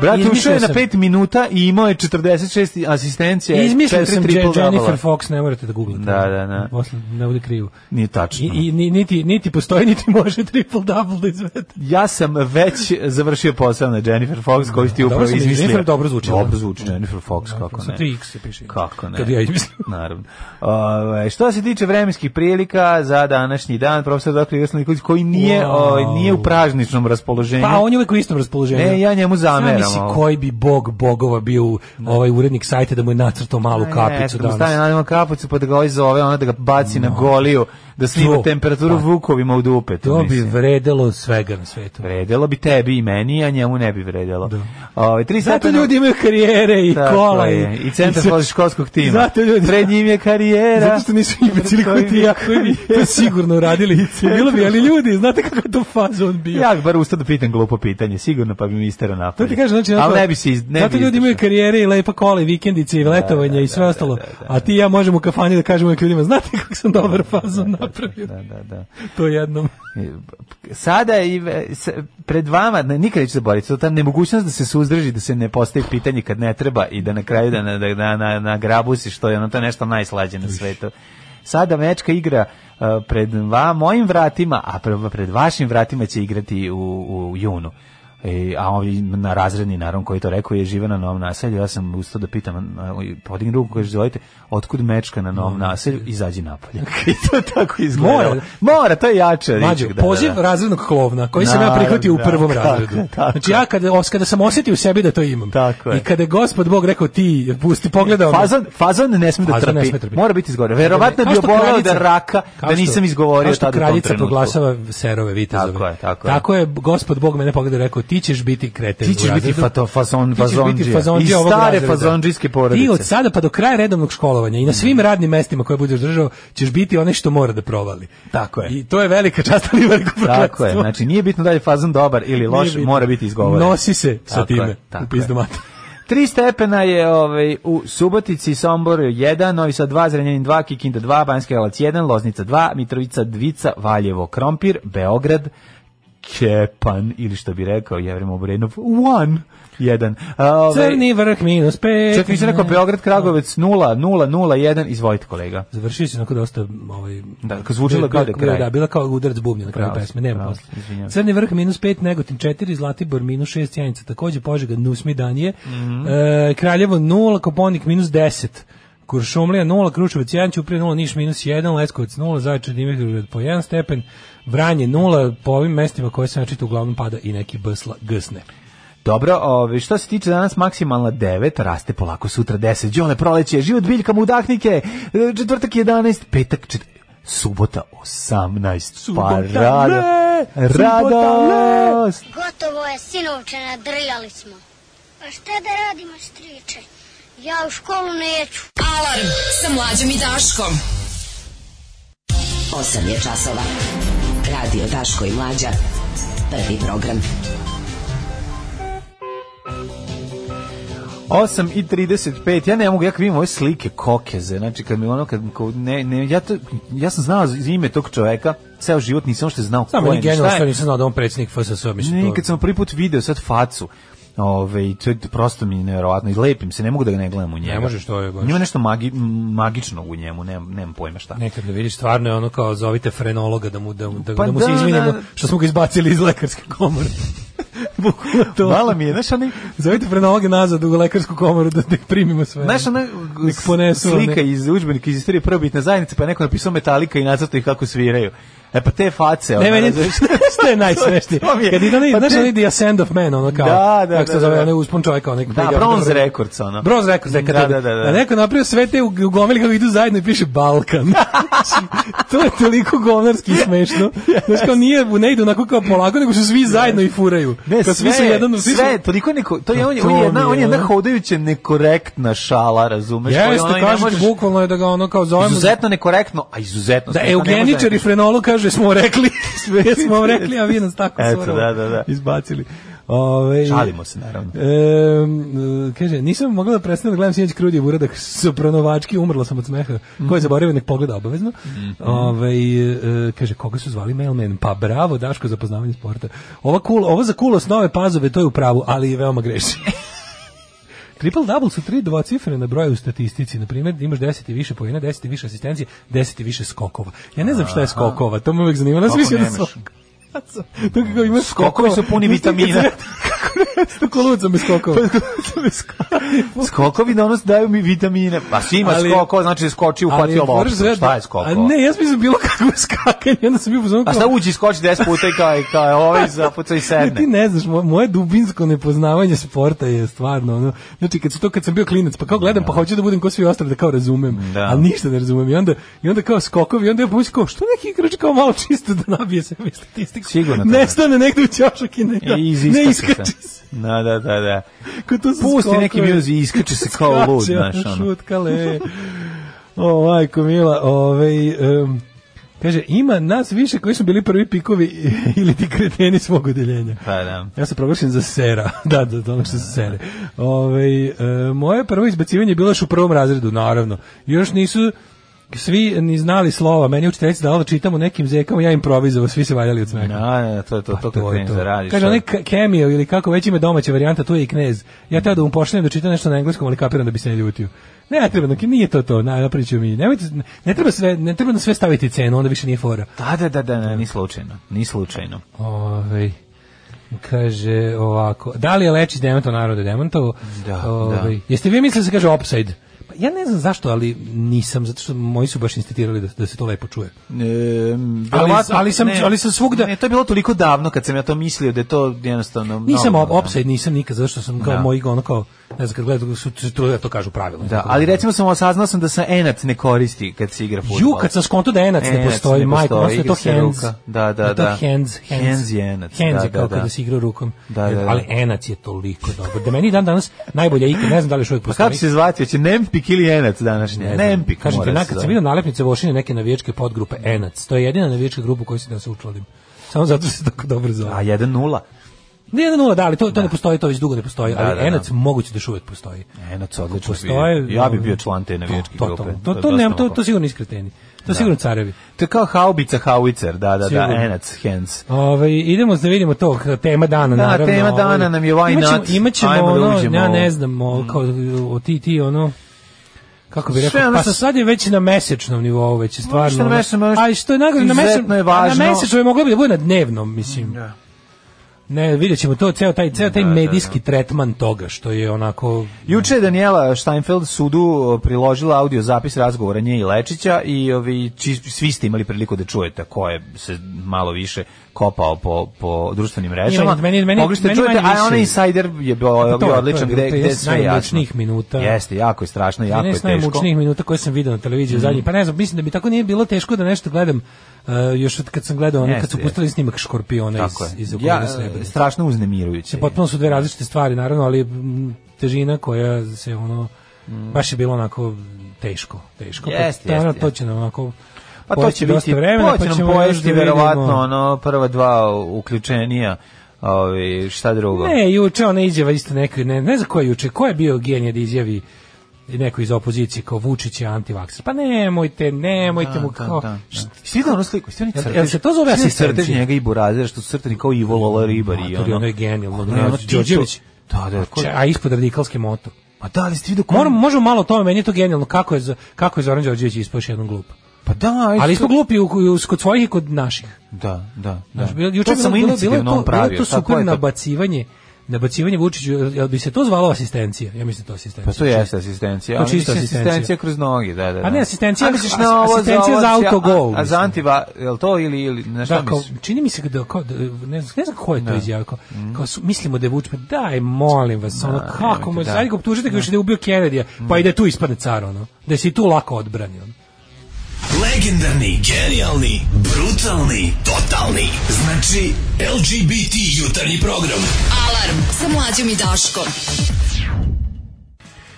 [SPEAKER 5] Brate,
[SPEAKER 6] Izmislio
[SPEAKER 5] ušao je na
[SPEAKER 6] sam.
[SPEAKER 5] 5 minuta i imao je 46 asistencija.
[SPEAKER 6] Izmislio sam Je-
[SPEAKER 5] triple
[SPEAKER 6] Jennifer Fox, ne morate da googlate.
[SPEAKER 5] Da, da, da.
[SPEAKER 6] Posle ne bude krivo.
[SPEAKER 5] Nije tačno.
[SPEAKER 6] I, i ni- niti, niti postoji, niti može triple double da izvede.
[SPEAKER 5] Ja sam već završio posao na Jennifer Fox koju si ti
[SPEAKER 6] Dobro
[SPEAKER 5] upravo
[SPEAKER 6] sam,
[SPEAKER 5] izmislio.
[SPEAKER 6] Jennifer dobro zvuči.
[SPEAKER 5] Dobro zvuči Jennifer Fox, kako
[SPEAKER 6] Sa
[SPEAKER 5] ne.
[SPEAKER 6] 3x se piše.
[SPEAKER 5] Kako ne.
[SPEAKER 6] Kad ja izmislim.
[SPEAKER 5] Naravno. Ove, što se tiče vremenskih prilika za današnji dan, profesor dr. Ivoslav Nikolić, koji nije,
[SPEAKER 6] Wow.
[SPEAKER 5] ovaj, nije u pražničnom raspoloženju.
[SPEAKER 6] Pa on je uvek u istom raspoloženju.
[SPEAKER 5] Ne, ja njemu zameram,
[SPEAKER 6] Zamisli
[SPEAKER 5] ali.
[SPEAKER 6] koji bi bog bogova bio u- ovaj urednik sajta da mu je nacrtao malu kapicu
[SPEAKER 5] da mu stane
[SPEAKER 6] danas.
[SPEAKER 5] na njemu kapicu pa da ga ovaj zove, ona da ga baci na goliju, da snima
[SPEAKER 6] To,
[SPEAKER 5] temperaturu
[SPEAKER 6] pa.
[SPEAKER 5] vukovima u dupe. tu,
[SPEAKER 6] To bi
[SPEAKER 5] mislim.
[SPEAKER 6] vredelo svega na svetu.
[SPEAKER 5] Vredelo bi tebi i meni, a njemu ne bi vredelo. Da. Ove, tri
[SPEAKER 6] Zato
[SPEAKER 5] sata na-
[SPEAKER 6] ljudi imaju karijere i
[SPEAKER 5] Tako
[SPEAKER 6] kola
[SPEAKER 5] je, i centar
[SPEAKER 6] sve-
[SPEAKER 5] i školskog tima.
[SPEAKER 6] Zato ljudi-
[SPEAKER 5] Pred njim je karijera.
[SPEAKER 6] Zato što nisu imbecili koji ti i ja koji bi to sigurno uradili. Bilo bi, ali ljudi, znate kako je to faza on bio.
[SPEAKER 5] Ja bih bar ustao da pitam glupo pitanje, sigurno pa bi mi istero napolje.
[SPEAKER 6] To ti kažem, znači,
[SPEAKER 5] ali
[SPEAKER 6] onako,
[SPEAKER 5] ne bi se iz, ne
[SPEAKER 6] zato
[SPEAKER 5] bi
[SPEAKER 6] ljudi imaju
[SPEAKER 5] izdržao.
[SPEAKER 6] karijere i lepa kola i vikendice i letovanje i sve ostalo. a ti i ja možemo u kafani da kažemo uvijek ljudima, znate kako sam dobar fazon napravio.
[SPEAKER 5] Da, da, da.
[SPEAKER 6] To jednom.
[SPEAKER 5] Sada i e, s- pred vama ne, nikad neću zaboraviti to je ta nemogućnost da se suzdrži da se ne postavi pitanje kad ne treba i da na kraju da na, da, na, na, na grabusi što je ono to je nešto najslađe na svetu. Sada mečka igra e, pred va, mojim vratima, a pre- pred vašim vratima će igrati u, u junu. E, a ovi na razredni naravno koji je to rekao je živa na novom naselju ja sam ustao da pitam a, oj, podigni ruku koji želite otkud mečka na novom naselju izađi napolje i to je tako izgleda mora,
[SPEAKER 6] Mora.
[SPEAKER 5] to je jače
[SPEAKER 6] Mađo,
[SPEAKER 5] Riček, da,
[SPEAKER 6] poziv
[SPEAKER 5] da, da.
[SPEAKER 6] razrednog klovna, koji sam ja
[SPEAKER 5] Naravno,
[SPEAKER 6] prihvatio u
[SPEAKER 5] da,
[SPEAKER 6] prvom
[SPEAKER 5] tako,
[SPEAKER 6] razredu.
[SPEAKER 5] tako.
[SPEAKER 6] Znači ja kada, os- kada sam osjetio u sebi da to imam.
[SPEAKER 5] Tako je.
[SPEAKER 6] I kada je gospod Bog rekao ti, pusti, ono." pogledao me.
[SPEAKER 5] Fazon, fazon ne sme da
[SPEAKER 6] Fazon ne
[SPEAKER 5] trpi.
[SPEAKER 6] sme trpiti.
[SPEAKER 5] Mora biti izgovorio. Verovatno
[SPEAKER 6] Kao
[SPEAKER 5] bi
[SPEAKER 6] što
[SPEAKER 5] oboleo da
[SPEAKER 6] kraljica-
[SPEAKER 5] raka,
[SPEAKER 6] kao
[SPEAKER 5] da
[SPEAKER 6] što-
[SPEAKER 5] nisam izgovorio
[SPEAKER 6] kao što
[SPEAKER 5] tada u tom
[SPEAKER 6] kraljica
[SPEAKER 5] trenutku.
[SPEAKER 6] proglašava serove vitezove.
[SPEAKER 5] Tako je, tako je.
[SPEAKER 6] tako je. gospod Bog mene pogledao i rekao, ti ćeš biti kreten
[SPEAKER 5] Ti ćeš
[SPEAKER 6] u
[SPEAKER 5] biti
[SPEAKER 6] razredu.
[SPEAKER 5] fato- fason-
[SPEAKER 6] Ti ćeš biti
[SPEAKER 5] fazondžija.
[SPEAKER 6] fazondžija
[SPEAKER 5] Iz
[SPEAKER 6] ovog
[SPEAKER 5] stare
[SPEAKER 6] razreda.
[SPEAKER 5] fazondžijske porodice. Mhm.
[SPEAKER 6] Ti od sada pa do kraja redovnog školovanja i na svim radnim mestima koje budeš držao, ćeš biti onaj što mora da provali.
[SPEAKER 5] Tako je.
[SPEAKER 6] I to je velika čast, ali i veliko
[SPEAKER 5] Tako
[SPEAKER 6] prokletstvo.
[SPEAKER 5] je. Znači nije bitno da li je fazon dobar ili
[SPEAKER 6] Nije
[SPEAKER 5] loš,
[SPEAKER 6] bitno.
[SPEAKER 5] mora biti izgovoren.
[SPEAKER 6] Nosi se sa
[SPEAKER 5] Tako
[SPEAKER 6] time.
[SPEAKER 5] je, tako
[SPEAKER 6] u pizdu
[SPEAKER 5] je.
[SPEAKER 6] mater.
[SPEAKER 5] Tri stepena je ovaj, u Subotici, Somboru 1, Novi Sad 2, Zrenjanin 2, Kikinda 2, Banjska Jelac 1, Loznica 2, Mitrovica Dvica, Valjevo Krompir, Beograd, Kepan, ili što bi rekao Jevrem Oborenov, 1, 1.
[SPEAKER 6] Crni vrh minus pet.
[SPEAKER 5] Čak Ovaj- nisam rekao Beograd, Kragovec 0, 0, 0, 1, izvolite kolega.
[SPEAKER 6] Završio se onako dosta ovaj
[SPEAKER 5] Da, kao zvučilo
[SPEAKER 6] bila-
[SPEAKER 5] kao da je
[SPEAKER 6] bila-
[SPEAKER 5] kraj.
[SPEAKER 6] Da, bila kao udarac bubnja na kraju
[SPEAKER 5] Pravo si,
[SPEAKER 6] pesme, nema
[SPEAKER 5] pravo
[SPEAKER 6] posle.
[SPEAKER 5] si, izvinjavam se.
[SPEAKER 6] Crni vrh minus 5, Negotin 4, Zlatibor minus 6, Janica takođe, Požega nusmi danije,
[SPEAKER 5] Mhm.
[SPEAKER 6] e, Kraljevo 0, Koponik minus 10, Kuršumlija 0, Kruševac 1, Ćuprije 0, Niš minus 1, Leskovac 0, Zaječar Dimitrovgrad po 1 stepen, Vranje 0, po ovim mestima koje se načito uglavnom pada i neki bsla, gsne.
[SPEAKER 5] Dobro, ove, što se tiče danas maksimalna 9, raste polako sutra 10, džole proleće, život biljkama udahnike, e, četvrtak 11, petak 4, subota 18, pa
[SPEAKER 6] Subota,
[SPEAKER 5] rado,
[SPEAKER 6] le!
[SPEAKER 5] radost.
[SPEAKER 9] Gotovo je, sinovče, nadrljali smo. A šta da radimo, striče? Ja u školu neću.
[SPEAKER 4] Alarm sa mlađom i Daškom. 8 je časova. Radio Daško i Mlađa. Prvi program.
[SPEAKER 5] 8 i 35, ja ne mogu, ja kad vidim ove slike kokeze, znači kad mi ono, kad, kad ne, ne, ja, to, ja sam znao za ime tog čoveka, ceo život nisam što znao
[SPEAKER 6] Samo
[SPEAKER 5] ko
[SPEAKER 6] meni
[SPEAKER 5] je, ni
[SPEAKER 6] genijalno
[SPEAKER 5] šta
[SPEAKER 6] što
[SPEAKER 5] je.
[SPEAKER 6] nisam znao da je on predsjednik FSS, mislim
[SPEAKER 5] Ne,
[SPEAKER 6] to.
[SPEAKER 5] kad sam prvi put video sad facu, Ove, i to je prosto mi nevjerovatno i lepim se, ne mogu da ga ne gledam u njega.
[SPEAKER 6] Ne možeš, to je baš-
[SPEAKER 5] Ima nešto magi, m, magičnog u njemu, nemam, nemam pojma šta.
[SPEAKER 6] Nekad ne vidiš, stvarno je ono kao zovite frenologa da mu, da, mu- da,
[SPEAKER 5] Pa
[SPEAKER 6] da mu
[SPEAKER 5] da,
[SPEAKER 6] se izvinimo
[SPEAKER 5] da.
[SPEAKER 6] što smo ga izbacili iz lekarske komore. Bukvalno to.
[SPEAKER 5] Mala mi je, znaš, onaj,
[SPEAKER 6] Zovite frenologe nazad u lekarsku komoru da nek primimo sve.
[SPEAKER 5] znaš, ono- onaj
[SPEAKER 6] Nek
[SPEAKER 5] s-
[SPEAKER 6] ponesu one.
[SPEAKER 5] slika iz udžbenika iz istorije prvobitne zajednice, pa je neko napisao metalika i nacrtao ih kako sviraju. E pa te face,
[SPEAKER 6] Ne,
[SPEAKER 5] ono,
[SPEAKER 6] meni
[SPEAKER 5] razumeš?
[SPEAKER 6] što je najsmešnije.
[SPEAKER 5] To mi je-
[SPEAKER 6] Kad ide onaj,
[SPEAKER 5] pa
[SPEAKER 6] znaš,
[SPEAKER 5] te-
[SPEAKER 6] onaj The Ascend of Man, ono kao,
[SPEAKER 5] Da, da,
[SPEAKER 6] kako se
[SPEAKER 5] da,
[SPEAKER 6] zove,
[SPEAKER 5] da.
[SPEAKER 6] onaj uspon čovjeka, onaj
[SPEAKER 5] Da, Bronze Records, ono.
[SPEAKER 6] Bronze Records, neka
[SPEAKER 5] Da,
[SPEAKER 6] to-
[SPEAKER 5] da, da, da.
[SPEAKER 6] A neko napravio sve te u, u gomili kako idu zajedno i piše Balkan. Znači, to je toliko govnarski i smešno. Znaš, kao nije, ne idu onako kao polako, nego su svi zajedno i furaju.
[SPEAKER 5] Ne,
[SPEAKER 6] Kao
[SPEAKER 5] sve,
[SPEAKER 6] svi su jedan, svi su-
[SPEAKER 5] sve, toliko je neko, to je,
[SPEAKER 6] Pa
[SPEAKER 5] on, je,
[SPEAKER 6] to
[SPEAKER 5] on je jedna,
[SPEAKER 6] mi je,
[SPEAKER 5] on je jedna
[SPEAKER 6] ono.
[SPEAKER 5] hodajuće nekorektna šala, razumeš? koju ono i
[SPEAKER 6] Jeste,
[SPEAKER 5] ne
[SPEAKER 6] kažete,
[SPEAKER 5] možeš-
[SPEAKER 6] bukvalno je da ga ono kao zovemo.
[SPEAKER 5] Izuzetno nekorektno, a izuzetno.
[SPEAKER 6] Da,
[SPEAKER 5] smešno, ne može
[SPEAKER 6] eugeničar i frenolog kaže, smo rekli, sve smo vam rekli, a vi nas tako
[SPEAKER 5] Eto,
[SPEAKER 6] surovo
[SPEAKER 5] da, da, da.
[SPEAKER 6] izbacili. Ove,
[SPEAKER 5] Šalimo se, naravno.
[SPEAKER 6] Em, e, kaže, nisam mogla da prestanem da gledam sinoć krudijev uradak sopranovački, umrla sam od smeha. Ko je zaboravio, nek pogleda obavezno.
[SPEAKER 5] Mhm.
[SPEAKER 6] Ovaj, e, kaže, koga su zvali mailman? Pa bravo, Daško, za poznavanje sporta. Ova cool, ovo za kulo nove pazove, to je u pravu, ali i veoma greši. Triple double su tri dvocifrene na broju u statistici. Na primjer, imaš 10 i više pojena, 10 i više asistencije, 10 i više skokova. Ja ne znam šta je skokova, to me uvek zanima. Ja sam
[SPEAKER 5] Kako
[SPEAKER 6] mislio da
[SPEAKER 5] nemaš?
[SPEAKER 6] skok. Ja sam- To kako ima
[SPEAKER 5] Skokovi su puni vitamina.
[SPEAKER 6] Kako koluca me
[SPEAKER 5] Pa,
[SPEAKER 6] skokova.
[SPEAKER 5] Skokovi na nas daju mi vitamine. Pa svima
[SPEAKER 6] Ali-
[SPEAKER 5] skoko, znači da skoči uhvatio
[SPEAKER 6] moraš
[SPEAKER 5] loptu.
[SPEAKER 6] gledati-
[SPEAKER 5] Šta je skoko?
[SPEAKER 6] A ne, ja sam mislim bilo kako skakanje, onda sam bio u fazonu
[SPEAKER 5] A
[SPEAKER 6] kao-
[SPEAKER 5] šta uđi i skoči 10 puta i kao, i kao ovaj zapuca i
[SPEAKER 6] Ne, ti
[SPEAKER 5] sedne.
[SPEAKER 6] ne znaš, mo- moje dubinsko nepoznavanje sporta je stvarno ono. Znači kad su to kad sam bio klinac, pa kao gledam pa hoću da budem kao svi ostali da kao razumem,
[SPEAKER 5] Da.
[SPEAKER 6] ali ništa ne razumem. I onda i onda kao skokovi, i onda ja pomislim kao što neki igrač kao malo čisto da nabije sebi statistiku.
[SPEAKER 5] Sigurno to da.
[SPEAKER 6] Ne stane negde u ćošak i ne,
[SPEAKER 5] I
[SPEAKER 6] ne
[SPEAKER 5] iziskače se.
[SPEAKER 6] iskače se.
[SPEAKER 5] Da, da, da, da.
[SPEAKER 6] Kao to su
[SPEAKER 5] Pusti
[SPEAKER 6] skokovi.
[SPEAKER 5] neki mjuz i iskače se kao lud,
[SPEAKER 6] Skače,
[SPEAKER 5] znaš,
[SPEAKER 6] ono,
[SPEAKER 5] ono.
[SPEAKER 6] Šutkale. O, majko mila, ovaj... em, kaže, ima nas više koji su bili prvi pikovi ili ti kreteni svog odeljenja.
[SPEAKER 5] Pa da.
[SPEAKER 6] Ja sam proglašen za sera. da, da, da, ono što se sere. Ovaj, e, moje prvo izbacivanje je bilo još u prvom razredu, naravno. Još nisu svi ni znali slova. Meni je učiteljica dala da čitam u nekim zekama, ja improvizovao, svi se valjali od smeka.
[SPEAKER 5] Da, da, to je to,
[SPEAKER 6] Pa
[SPEAKER 5] to kad krenem da radiš.
[SPEAKER 6] Kaže, onaj K- Cameo ili kako već ima domaća varijanta, tu je i knez. Ja teo da mu pošaljem da čita nešto na engleskom, ali kapiram da bi se ne ljutio. Ne, ne treba, dok nije to to, na, napravit ću mi. Nemojte, ne, treba sve, ne treba na sve staviti cenu, onda više nije fora.
[SPEAKER 5] Da, da, da, da, ne, ni slučajno, ni slučajno.
[SPEAKER 6] Ovaj kaže ovako, da li je Lečić demanto narode demantovo? Ovaj,
[SPEAKER 5] Da, da.
[SPEAKER 6] Jeste vi mislili da se kaže upside? Pa ja ne znam zašto, ali nisam, zato što moji su baš insistirali da, da se to lepo čuje.
[SPEAKER 5] E,
[SPEAKER 6] ali sam- ali sam svugda-
[SPEAKER 5] Ne, to je bilo toliko davno kad sam ja to mislio da je to jednostavno...
[SPEAKER 6] Nisam
[SPEAKER 5] normalno,
[SPEAKER 6] op,
[SPEAKER 5] da.
[SPEAKER 6] opside, nisam nikad, zato što sam kao
[SPEAKER 5] Da.
[SPEAKER 6] moji ono kao, ne znam, kad gledam, su, su, to, to kažu pravilno.
[SPEAKER 5] Da, ali recimo sam osaznao sam da se enac ne koristi kad se igra fudbal.
[SPEAKER 6] Ju, kad sam skonto da enac ne
[SPEAKER 5] Enac
[SPEAKER 6] postoji,
[SPEAKER 5] ne
[SPEAKER 6] majko,
[SPEAKER 5] postoji,
[SPEAKER 6] odnosno je to
[SPEAKER 5] igra se
[SPEAKER 6] hands.
[SPEAKER 5] ruka. Da, da,
[SPEAKER 6] je to
[SPEAKER 5] da.
[SPEAKER 6] hands, hands.
[SPEAKER 5] Hands je enac,
[SPEAKER 6] Hands
[SPEAKER 5] da,
[SPEAKER 6] je
[SPEAKER 5] da,
[SPEAKER 6] kao
[SPEAKER 5] da.
[SPEAKER 6] kada se igra rukom.
[SPEAKER 5] Da, da, da.
[SPEAKER 6] Ali enac je toliko dobro. Da meni dan danas najbolja ikra, ne znam da li još uvijek
[SPEAKER 5] Pa
[SPEAKER 6] postoji.
[SPEAKER 5] kako se zvati, će Nempik ili enac današnji?
[SPEAKER 6] Ne
[SPEAKER 5] Ne,
[SPEAKER 6] znam.
[SPEAKER 5] Nempik
[SPEAKER 6] Kažem ti,
[SPEAKER 5] mora
[SPEAKER 6] na,
[SPEAKER 5] se
[SPEAKER 6] kad
[SPEAKER 5] zove.
[SPEAKER 6] sam vidio nalepnice Vošine neke navijačke podgrupe Enac, to je jedina navijačka grupa koju se da se učlanim. Samo zato se tako dobro zove.
[SPEAKER 5] A 1-0.
[SPEAKER 6] Ne, ne, nula, da, ali to, to ne postoji, to već dugo ne postoji, ali
[SPEAKER 5] da, da.
[SPEAKER 6] Enac moguće da još uvijek postoji.
[SPEAKER 5] Enac odlično
[SPEAKER 6] Postoje,
[SPEAKER 5] bio. Ja bi
[SPEAKER 6] um,
[SPEAKER 5] bio član te navijačke
[SPEAKER 6] to, to,
[SPEAKER 5] grupe.
[SPEAKER 6] To, to,
[SPEAKER 5] je
[SPEAKER 6] to,
[SPEAKER 5] dosta
[SPEAKER 6] nemam, to,
[SPEAKER 5] lako.
[SPEAKER 6] to sigurno iskreteni. To sigurno carevi.
[SPEAKER 5] To je kao haubica, hauicer, da, da, da,
[SPEAKER 6] Sigurno.
[SPEAKER 5] enac, hands.
[SPEAKER 6] Ove, Ovaj, idemo da vidimo to, k- tema dana,
[SPEAKER 5] Da,
[SPEAKER 6] naravno.
[SPEAKER 5] tema dana
[SPEAKER 6] ovaj.
[SPEAKER 5] nam je why
[SPEAKER 6] Imaćemo-
[SPEAKER 5] not?
[SPEAKER 6] Imaćemo
[SPEAKER 5] Ajmo da
[SPEAKER 6] ono,
[SPEAKER 5] uđemo
[SPEAKER 6] ja
[SPEAKER 5] u- Mm.
[SPEAKER 6] ne znam, o, kao, o, ti, ti, ono, kako bi
[SPEAKER 5] Sve
[SPEAKER 6] rekao,
[SPEAKER 5] ono
[SPEAKER 6] pa
[SPEAKER 5] što-
[SPEAKER 6] sad je već na mesečnom nivou, već je stvarno.
[SPEAKER 5] što na
[SPEAKER 6] ono-
[SPEAKER 5] mesečnom, ono što-
[SPEAKER 6] a i što je nagore, na
[SPEAKER 5] izuzetno
[SPEAKER 6] mesečnom,
[SPEAKER 5] je
[SPEAKER 6] je
[SPEAKER 5] važno.
[SPEAKER 6] na mesečnom je moglo bi da bude na dnevnom, mislim. Ne, vidjet ćemo to, ceo taj, ceo taj medijski tretman toga, što je onako...
[SPEAKER 5] Juče je Daniela Steinfeld sudu priložila audio zapis razgovora nje i Lečića i ovi, či, svi ste imali priliku da čujete ko je se malo više kopao po, po društvenim mrežama.
[SPEAKER 6] Ima, meni- meni-
[SPEAKER 5] Mogli ste
[SPEAKER 6] meni
[SPEAKER 5] čujete,
[SPEAKER 6] manje
[SPEAKER 5] a onaj
[SPEAKER 6] više.
[SPEAKER 5] insider je bio,
[SPEAKER 6] to
[SPEAKER 5] bio
[SPEAKER 6] je- to je
[SPEAKER 5] odličan
[SPEAKER 6] bilo,
[SPEAKER 5] gde,
[SPEAKER 6] to je
[SPEAKER 5] gde je
[SPEAKER 6] jedna
[SPEAKER 5] sve
[SPEAKER 6] od
[SPEAKER 5] jasno.
[SPEAKER 6] najmučnijih minuta.
[SPEAKER 5] Jeste, jako je strašno, jako
[SPEAKER 6] 13
[SPEAKER 5] je teško. Mm.
[SPEAKER 6] najmučnijih minuta koje sam video na televiziji u zadnjih. Pa ne znam, mislim da bi tako nije bilo teško da nešto gledam uh, još od kad sam gledao ono, kad
[SPEAKER 5] Jeste,
[SPEAKER 6] su pustili snimak Škorpiona iz,
[SPEAKER 5] Tako je.
[SPEAKER 6] iz
[SPEAKER 5] ja, e,
[SPEAKER 6] okoline Srebrenice.
[SPEAKER 5] strašno uznemirujuće.
[SPEAKER 6] Mislim, potpuno su dve različite stvari, naravno, ali mm, težina koja se ono, baš je bilo onako teško, teško.
[SPEAKER 5] Jeste,
[SPEAKER 6] pa, naravno,
[SPEAKER 5] Mm. jeste,
[SPEAKER 6] to
[SPEAKER 5] jeste.
[SPEAKER 6] će nam onako
[SPEAKER 5] Pa to
[SPEAKER 6] Proći
[SPEAKER 5] će
[SPEAKER 6] dosta
[SPEAKER 5] biti,
[SPEAKER 6] vremena,
[SPEAKER 5] to će
[SPEAKER 6] pa
[SPEAKER 5] nam
[SPEAKER 6] ćemo još da
[SPEAKER 5] pojesti
[SPEAKER 6] vidimo.
[SPEAKER 5] verovatno ono prva dva uključenija, ovi, šta drugo.
[SPEAKER 6] Ne, juče ona izjava isto neka, ne, ne za ko je juče, ko je bio genije da izjavi neko iz opozicije kao Vučić je antivakser. Pa nemojte, nemojte mu kao... ono šta-
[SPEAKER 5] Svi vidio onu sliku, svi oni
[SPEAKER 6] Jel-
[SPEAKER 5] crtež.
[SPEAKER 6] jel se to zove
[SPEAKER 5] Svi oni crtež
[SPEAKER 6] asistencija?
[SPEAKER 5] njega i burazira, što su crtani kao Ivo Lola Ribar i
[SPEAKER 6] Matori,
[SPEAKER 5] ono.
[SPEAKER 6] ono je genijalno,
[SPEAKER 5] Ono
[SPEAKER 6] ono
[SPEAKER 5] je
[SPEAKER 6] je
[SPEAKER 5] ono
[SPEAKER 6] Đorđević. Pa
[SPEAKER 5] Tito- Da, da, ko-
[SPEAKER 6] Če- A ispod radikalske moto.
[SPEAKER 5] Pa da, ali ste vidio ko...
[SPEAKER 6] Moram, možemo malo o tome, meni je to genijalno kako je, za- kako je Zoran Đorđević ispao još jednom glup.
[SPEAKER 5] Pa da, ajde,
[SPEAKER 6] Ali
[SPEAKER 5] što-
[SPEAKER 6] ispao glup i u, u, kod svojih i kod naših.
[SPEAKER 5] Da, da, da.
[SPEAKER 6] Znaš, Znači, bilo, juče
[SPEAKER 5] to sam
[SPEAKER 6] bilo, bilo, bilo, je
[SPEAKER 5] inicijativno
[SPEAKER 6] to, bilo
[SPEAKER 5] on pravio.
[SPEAKER 6] je to
[SPEAKER 5] tako
[SPEAKER 6] super
[SPEAKER 5] je to.
[SPEAKER 6] nabacivanje, nabacivanje Vučiću, jel jel bi se to zvalo asistencija? Ja mislim da je to asistencija.
[SPEAKER 5] Pa to jeste asistencija.
[SPEAKER 6] To
[SPEAKER 5] ali
[SPEAKER 6] čista
[SPEAKER 5] mislim,
[SPEAKER 6] asistencija.
[SPEAKER 5] asistencija kroz noge, da, da. da.
[SPEAKER 6] A ne, asistencija-
[SPEAKER 5] A misliš na ovo
[SPEAKER 6] asistencija za
[SPEAKER 5] ovo,
[SPEAKER 6] autogol,
[SPEAKER 5] A, a za
[SPEAKER 6] mislim.
[SPEAKER 5] antiva, je li to ili, ili na šta
[SPEAKER 6] Da, kao,
[SPEAKER 5] misliš?
[SPEAKER 6] čini mi se da, kao, da ne, znam, ne znam ko je to izjavio, kao, kao su, mislimo da je Vučić, pa daj, molim vas, ono, kako,
[SPEAKER 5] nemojte,
[SPEAKER 6] mo,
[SPEAKER 5] da.
[SPEAKER 6] da. ajde ga optužite da. još i da je ubio Kennedy, pa i da je tu ispadne car, ono, da si i tu lako odbranio.
[SPEAKER 10] Legendarni, genijalni, brutalni, totalni. Znači, LGBT jutarnji program.
[SPEAKER 4] Alarm sa mlađom i Daškom.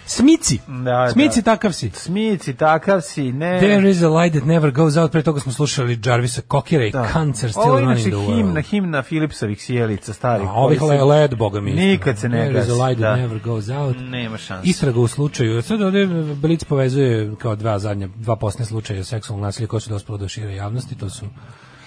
[SPEAKER 6] Smici,
[SPEAKER 5] Da,
[SPEAKER 6] smici
[SPEAKER 5] da.
[SPEAKER 6] takav si.
[SPEAKER 5] Smici, takav si, ne.
[SPEAKER 6] There is a light that never goes out, pre toga smo slušali Jarvisa Kokira i
[SPEAKER 5] Da.
[SPEAKER 6] Cancer Still
[SPEAKER 5] Ovo je
[SPEAKER 6] Running
[SPEAKER 5] inače
[SPEAKER 6] the World.
[SPEAKER 5] himna, himna Filipsovih sjelica starih.
[SPEAKER 6] A ovih
[SPEAKER 5] koji
[SPEAKER 6] le,
[SPEAKER 5] su-
[SPEAKER 6] led, boga mi.
[SPEAKER 5] Nikad se ne
[SPEAKER 6] There is
[SPEAKER 5] gasi,
[SPEAKER 6] a light that
[SPEAKER 5] da.
[SPEAKER 6] never goes out.
[SPEAKER 5] Nema šanse.
[SPEAKER 6] Istraga u slučaju, sad ovde Blic povezuje kao dva zadnja, dva posne slučaja seksualnog nasilja koja su dospela do šire javnosti, to su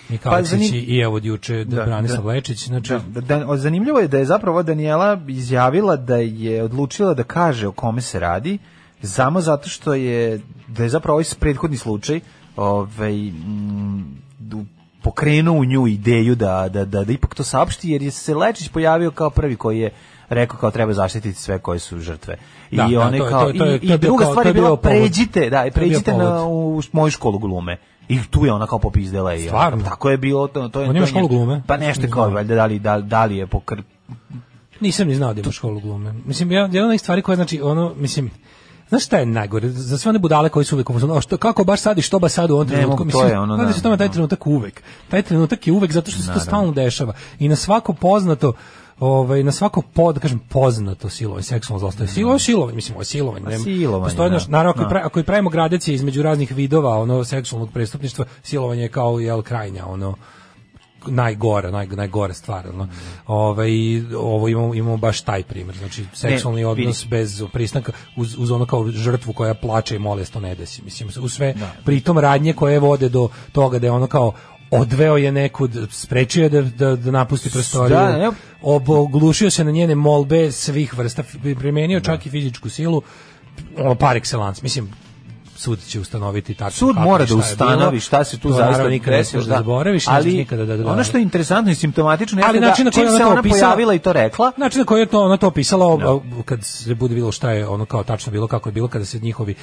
[SPEAKER 6] Mika
[SPEAKER 5] Pa,
[SPEAKER 6] Aleksić
[SPEAKER 5] zanim-
[SPEAKER 6] i i evo od juče da,
[SPEAKER 5] Da,
[SPEAKER 6] Branislav
[SPEAKER 5] da.
[SPEAKER 6] Lečić, znači
[SPEAKER 5] Da, da, da, zanimljivo je da je zapravo Daniela izjavila da je odlučila da kaže o kome se radi, samo zato što je, da je zapravo ovaj prethodni slučaj ovaj, mm, du- pokrenuo u nju ideju da, da, da, da ipak to saopšti, jer je se Lečić pojavio kao prvi koji je rekao kao treba zaštititi sve koje su žrtve. I
[SPEAKER 6] Da, da,
[SPEAKER 5] ona je
[SPEAKER 6] to je-
[SPEAKER 5] kao
[SPEAKER 6] to je- to je-
[SPEAKER 5] i,
[SPEAKER 6] to je
[SPEAKER 5] i druga
[SPEAKER 6] bio kao-
[SPEAKER 5] stvar
[SPEAKER 6] to
[SPEAKER 5] je
[SPEAKER 6] je
[SPEAKER 5] bila
[SPEAKER 6] bio povod.
[SPEAKER 5] pređite, da, i
[SPEAKER 6] To je bio
[SPEAKER 5] pređite na
[SPEAKER 6] povod.
[SPEAKER 5] u moju školu glume. I tu je ona kao popizdela i ona-
[SPEAKER 6] Stvarno?
[SPEAKER 5] tako je bilo to to je
[SPEAKER 6] On
[SPEAKER 5] to
[SPEAKER 6] ima
[SPEAKER 5] je
[SPEAKER 6] školu
[SPEAKER 5] nje-
[SPEAKER 6] glume?
[SPEAKER 5] Pa nešto
[SPEAKER 6] Ne
[SPEAKER 5] kao
[SPEAKER 6] znam.
[SPEAKER 5] valjda da li da, da li je pokr
[SPEAKER 6] nisam ni znao da ima školu glume. Mislim, ja, jedna od onih stvari koja, znači, ono, mislim, Znaš šta je najgore? Za sve one budale koji su uvek u fazonu, "A što, kako baš sad i što baš sad u ovom
[SPEAKER 5] Ne
[SPEAKER 6] trenutku?
[SPEAKER 5] mogu, to je ono,
[SPEAKER 6] radi
[SPEAKER 5] da,
[SPEAKER 6] se o tome taj
[SPEAKER 5] da.
[SPEAKER 6] trenutak uvek. Taj trenutak je uvek zato što se to stalno dešava. I na svako poznato ovaj na svako pod da kažem poznato silovanje seksualno zlostavljanje silovanje silovanje mislim ovo je silovanje nema-
[SPEAKER 5] Pa silovanje,
[SPEAKER 6] postoji
[SPEAKER 5] da.
[SPEAKER 6] naš- naravno ako,
[SPEAKER 5] Da.
[SPEAKER 6] je pra, ako i pravimo gradacije između raznih vidova ono seksualnog prestupništva silovanje je kao jel krajnja ono najgora, naj, najgora stvar. No? Ovaj, ovo imamo, imamo baš taj primjer. Znači, seksualni
[SPEAKER 5] vidi.
[SPEAKER 6] odnos bez pristanka uz, uz ono kao žrtvu koja plače i mole to ne desi. Mislim, u sve pritom radnje koje vode do toga da je ono kao odveo je nekud, sprečio je da, da, da napusti prostoriju,
[SPEAKER 5] Da, ne.
[SPEAKER 6] oboglušio se na njene molbe svih vrsta, primenio čak i fizičku silu, ono, par excellence. Mislim, sud će ustanoviti tačno
[SPEAKER 5] sud
[SPEAKER 6] kako
[SPEAKER 5] mora
[SPEAKER 6] i
[SPEAKER 5] da
[SPEAKER 6] šta je bilo.
[SPEAKER 5] ustanovi šta se tu
[SPEAKER 6] To
[SPEAKER 5] zaista
[SPEAKER 6] naravno nikada ne
[SPEAKER 5] desilo,
[SPEAKER 6] smeš da zaboraviš, ne
[SPEAKER 5] ali
[SPEAKER 6] smeš nikada da- da-
[SPEAKER 5] ono što je interesantno i simptomatično je
[SPEAKER 6] Ali
[SPEAKER 5] da
[SPEAKER 6] način na koji
[SPEAKER 5] čim
[SPEAKER 6] je ona
[SPEAKER 5] se
[SPEAKER 6] to
[SPEAKER 5] ona
[SPEAKER 6] opisala-
[SPEAKER 5] pojavila i to rekla
[SPEAKER 6] Znači na koji je to ona to opisala no. kad se bude videlo šta je ono kao tačno bilo kako je bilo kada se njihovi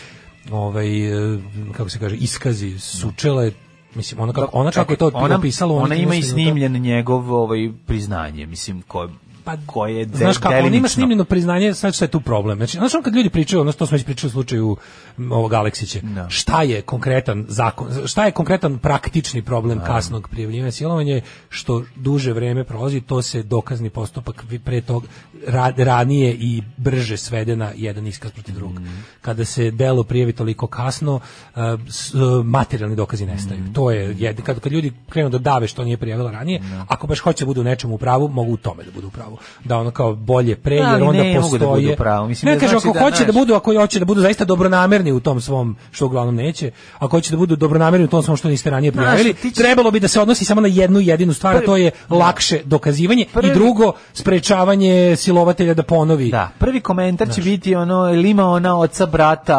[SPEAKER 6] ovaj e, kako se kaže iskazi sučele mislim ona kako ona kako je to
[SPEAKER 5] ona,
[SPEAKER 6] opisala
[SPEAKER 5] ona ima i snimljen njegov ovaj priznanje mislim ko
[SPEAKER 6] Pa,
[SPEAKER 5] koje je de,
[SPEAKER 6] znaš kako, on ima
[SPEAKER 5] delimično.
[SPEAKER 6] snimljeno priznanje, sad šta je tu problem. Znači, znaš ono kad ljudi pričaju, ono što smo već pričali u slučaju m, ovog Aleksića,
[SPEAKER 5] Da.
[SPEAKER 6] šta je konkretan zakon, šta je konkretan praktični problem kasnog prijavljivanja silovanja je što duže vreme prolazi, to se dokazni postupak vi- pre tog ra- ranije i brže svede na jedan iskaz protiv drugog. Kada se delo prijavi toliko kasno, e, s- e, materijalni dokazi nestaju. To je, jed- kad, kad ljudi krenu da dave što nije prijavila ranije, ako baš hoće da budu u nečemu u pravu, mogu u tome da budu u pravu. Da ono kao bolje pre,
[SPEAKER 5] Da,
[SPEAKER 6] jer
[SPEAKER 5] ali
[SPEAKER 6] onda
[SPEAKER 5] ne mogu
[SPEAKER 6] postoje...
[SPEAKER 5] da budu u pravu. Mislim,
[SPEAKER 6] ne,
[SPEAKER 5] da
[SPEAKER 6] kaže,
[SPEAKER 5] znači
[SPEAKER 6] ako
[SPEAKER 5] da,
[SPEAKER 6] hoće da
[SPEAKER 5] znaš-
[SPEAKER 6] budu, ako hoće da budu zaista dobronamerni u tom svom, što uglavnom neće, ako hoće da budu dobronamerni u tom svom što niste ranije
[SPEAKER 5] Znaš,
[SPEAKER 6] prijavili,
[SPEAKER 5] ti ćeš-
[SPEAKER 6] trebalo bi da se odnosi samo na jednu jedinu stvar, a to je lakše dokazivanje
[SPEAKER 5] Prvi-
[SPEAKER 6] i drugo, sprečavanje silovatelja da ponovi.
[SPEAKER 5] Da, prvi komentar će biti ono, ili ima ona oca, brata,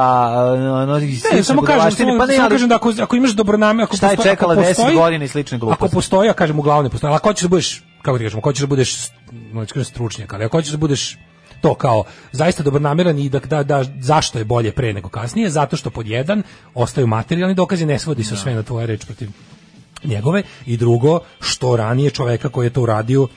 [SPEAKER 5] ono, i
[SPEAKER 6] Ne,
[SPEAKER 5] slične
[SPEAKER 6] samo kažem,
[SPEAKER 5] budalaštine.
[SPEAKER 6] samo,
[SPEAKER 5] pa ne,
[SPEAKER 6] samo
[SPEAKER 5] ali-
[SPEAKER 6] kažem da ako, ako imaš dobronamjerno, ako
[SPEAKER 5] Šta je
[SPEAKER 6] postoji-
[SPEAKER 5] čekala
[SPEAKER 6] ako
[SPEAKER 5] 10
[SPEAKER 6] postoji-
[SPEAKER 5] godina i slične gluposti?
[SPEAKER 6] Ako postoji, ja kažem uglavnom ne postoji, ali ako hoćeš da budeš, kako ti kažem, ako hoćeš da budeš znači kažem stručnjak, ali ako hoćeš da budeš to kao zaista dobronameran i da, da, da zašto je bolje pre nego kasnije, zato što pod jedan ostaju materijalni dokazi, ne svodi se sve na tvoje reč protiv njegove i drugo, što ranije čoveka koji je to uradio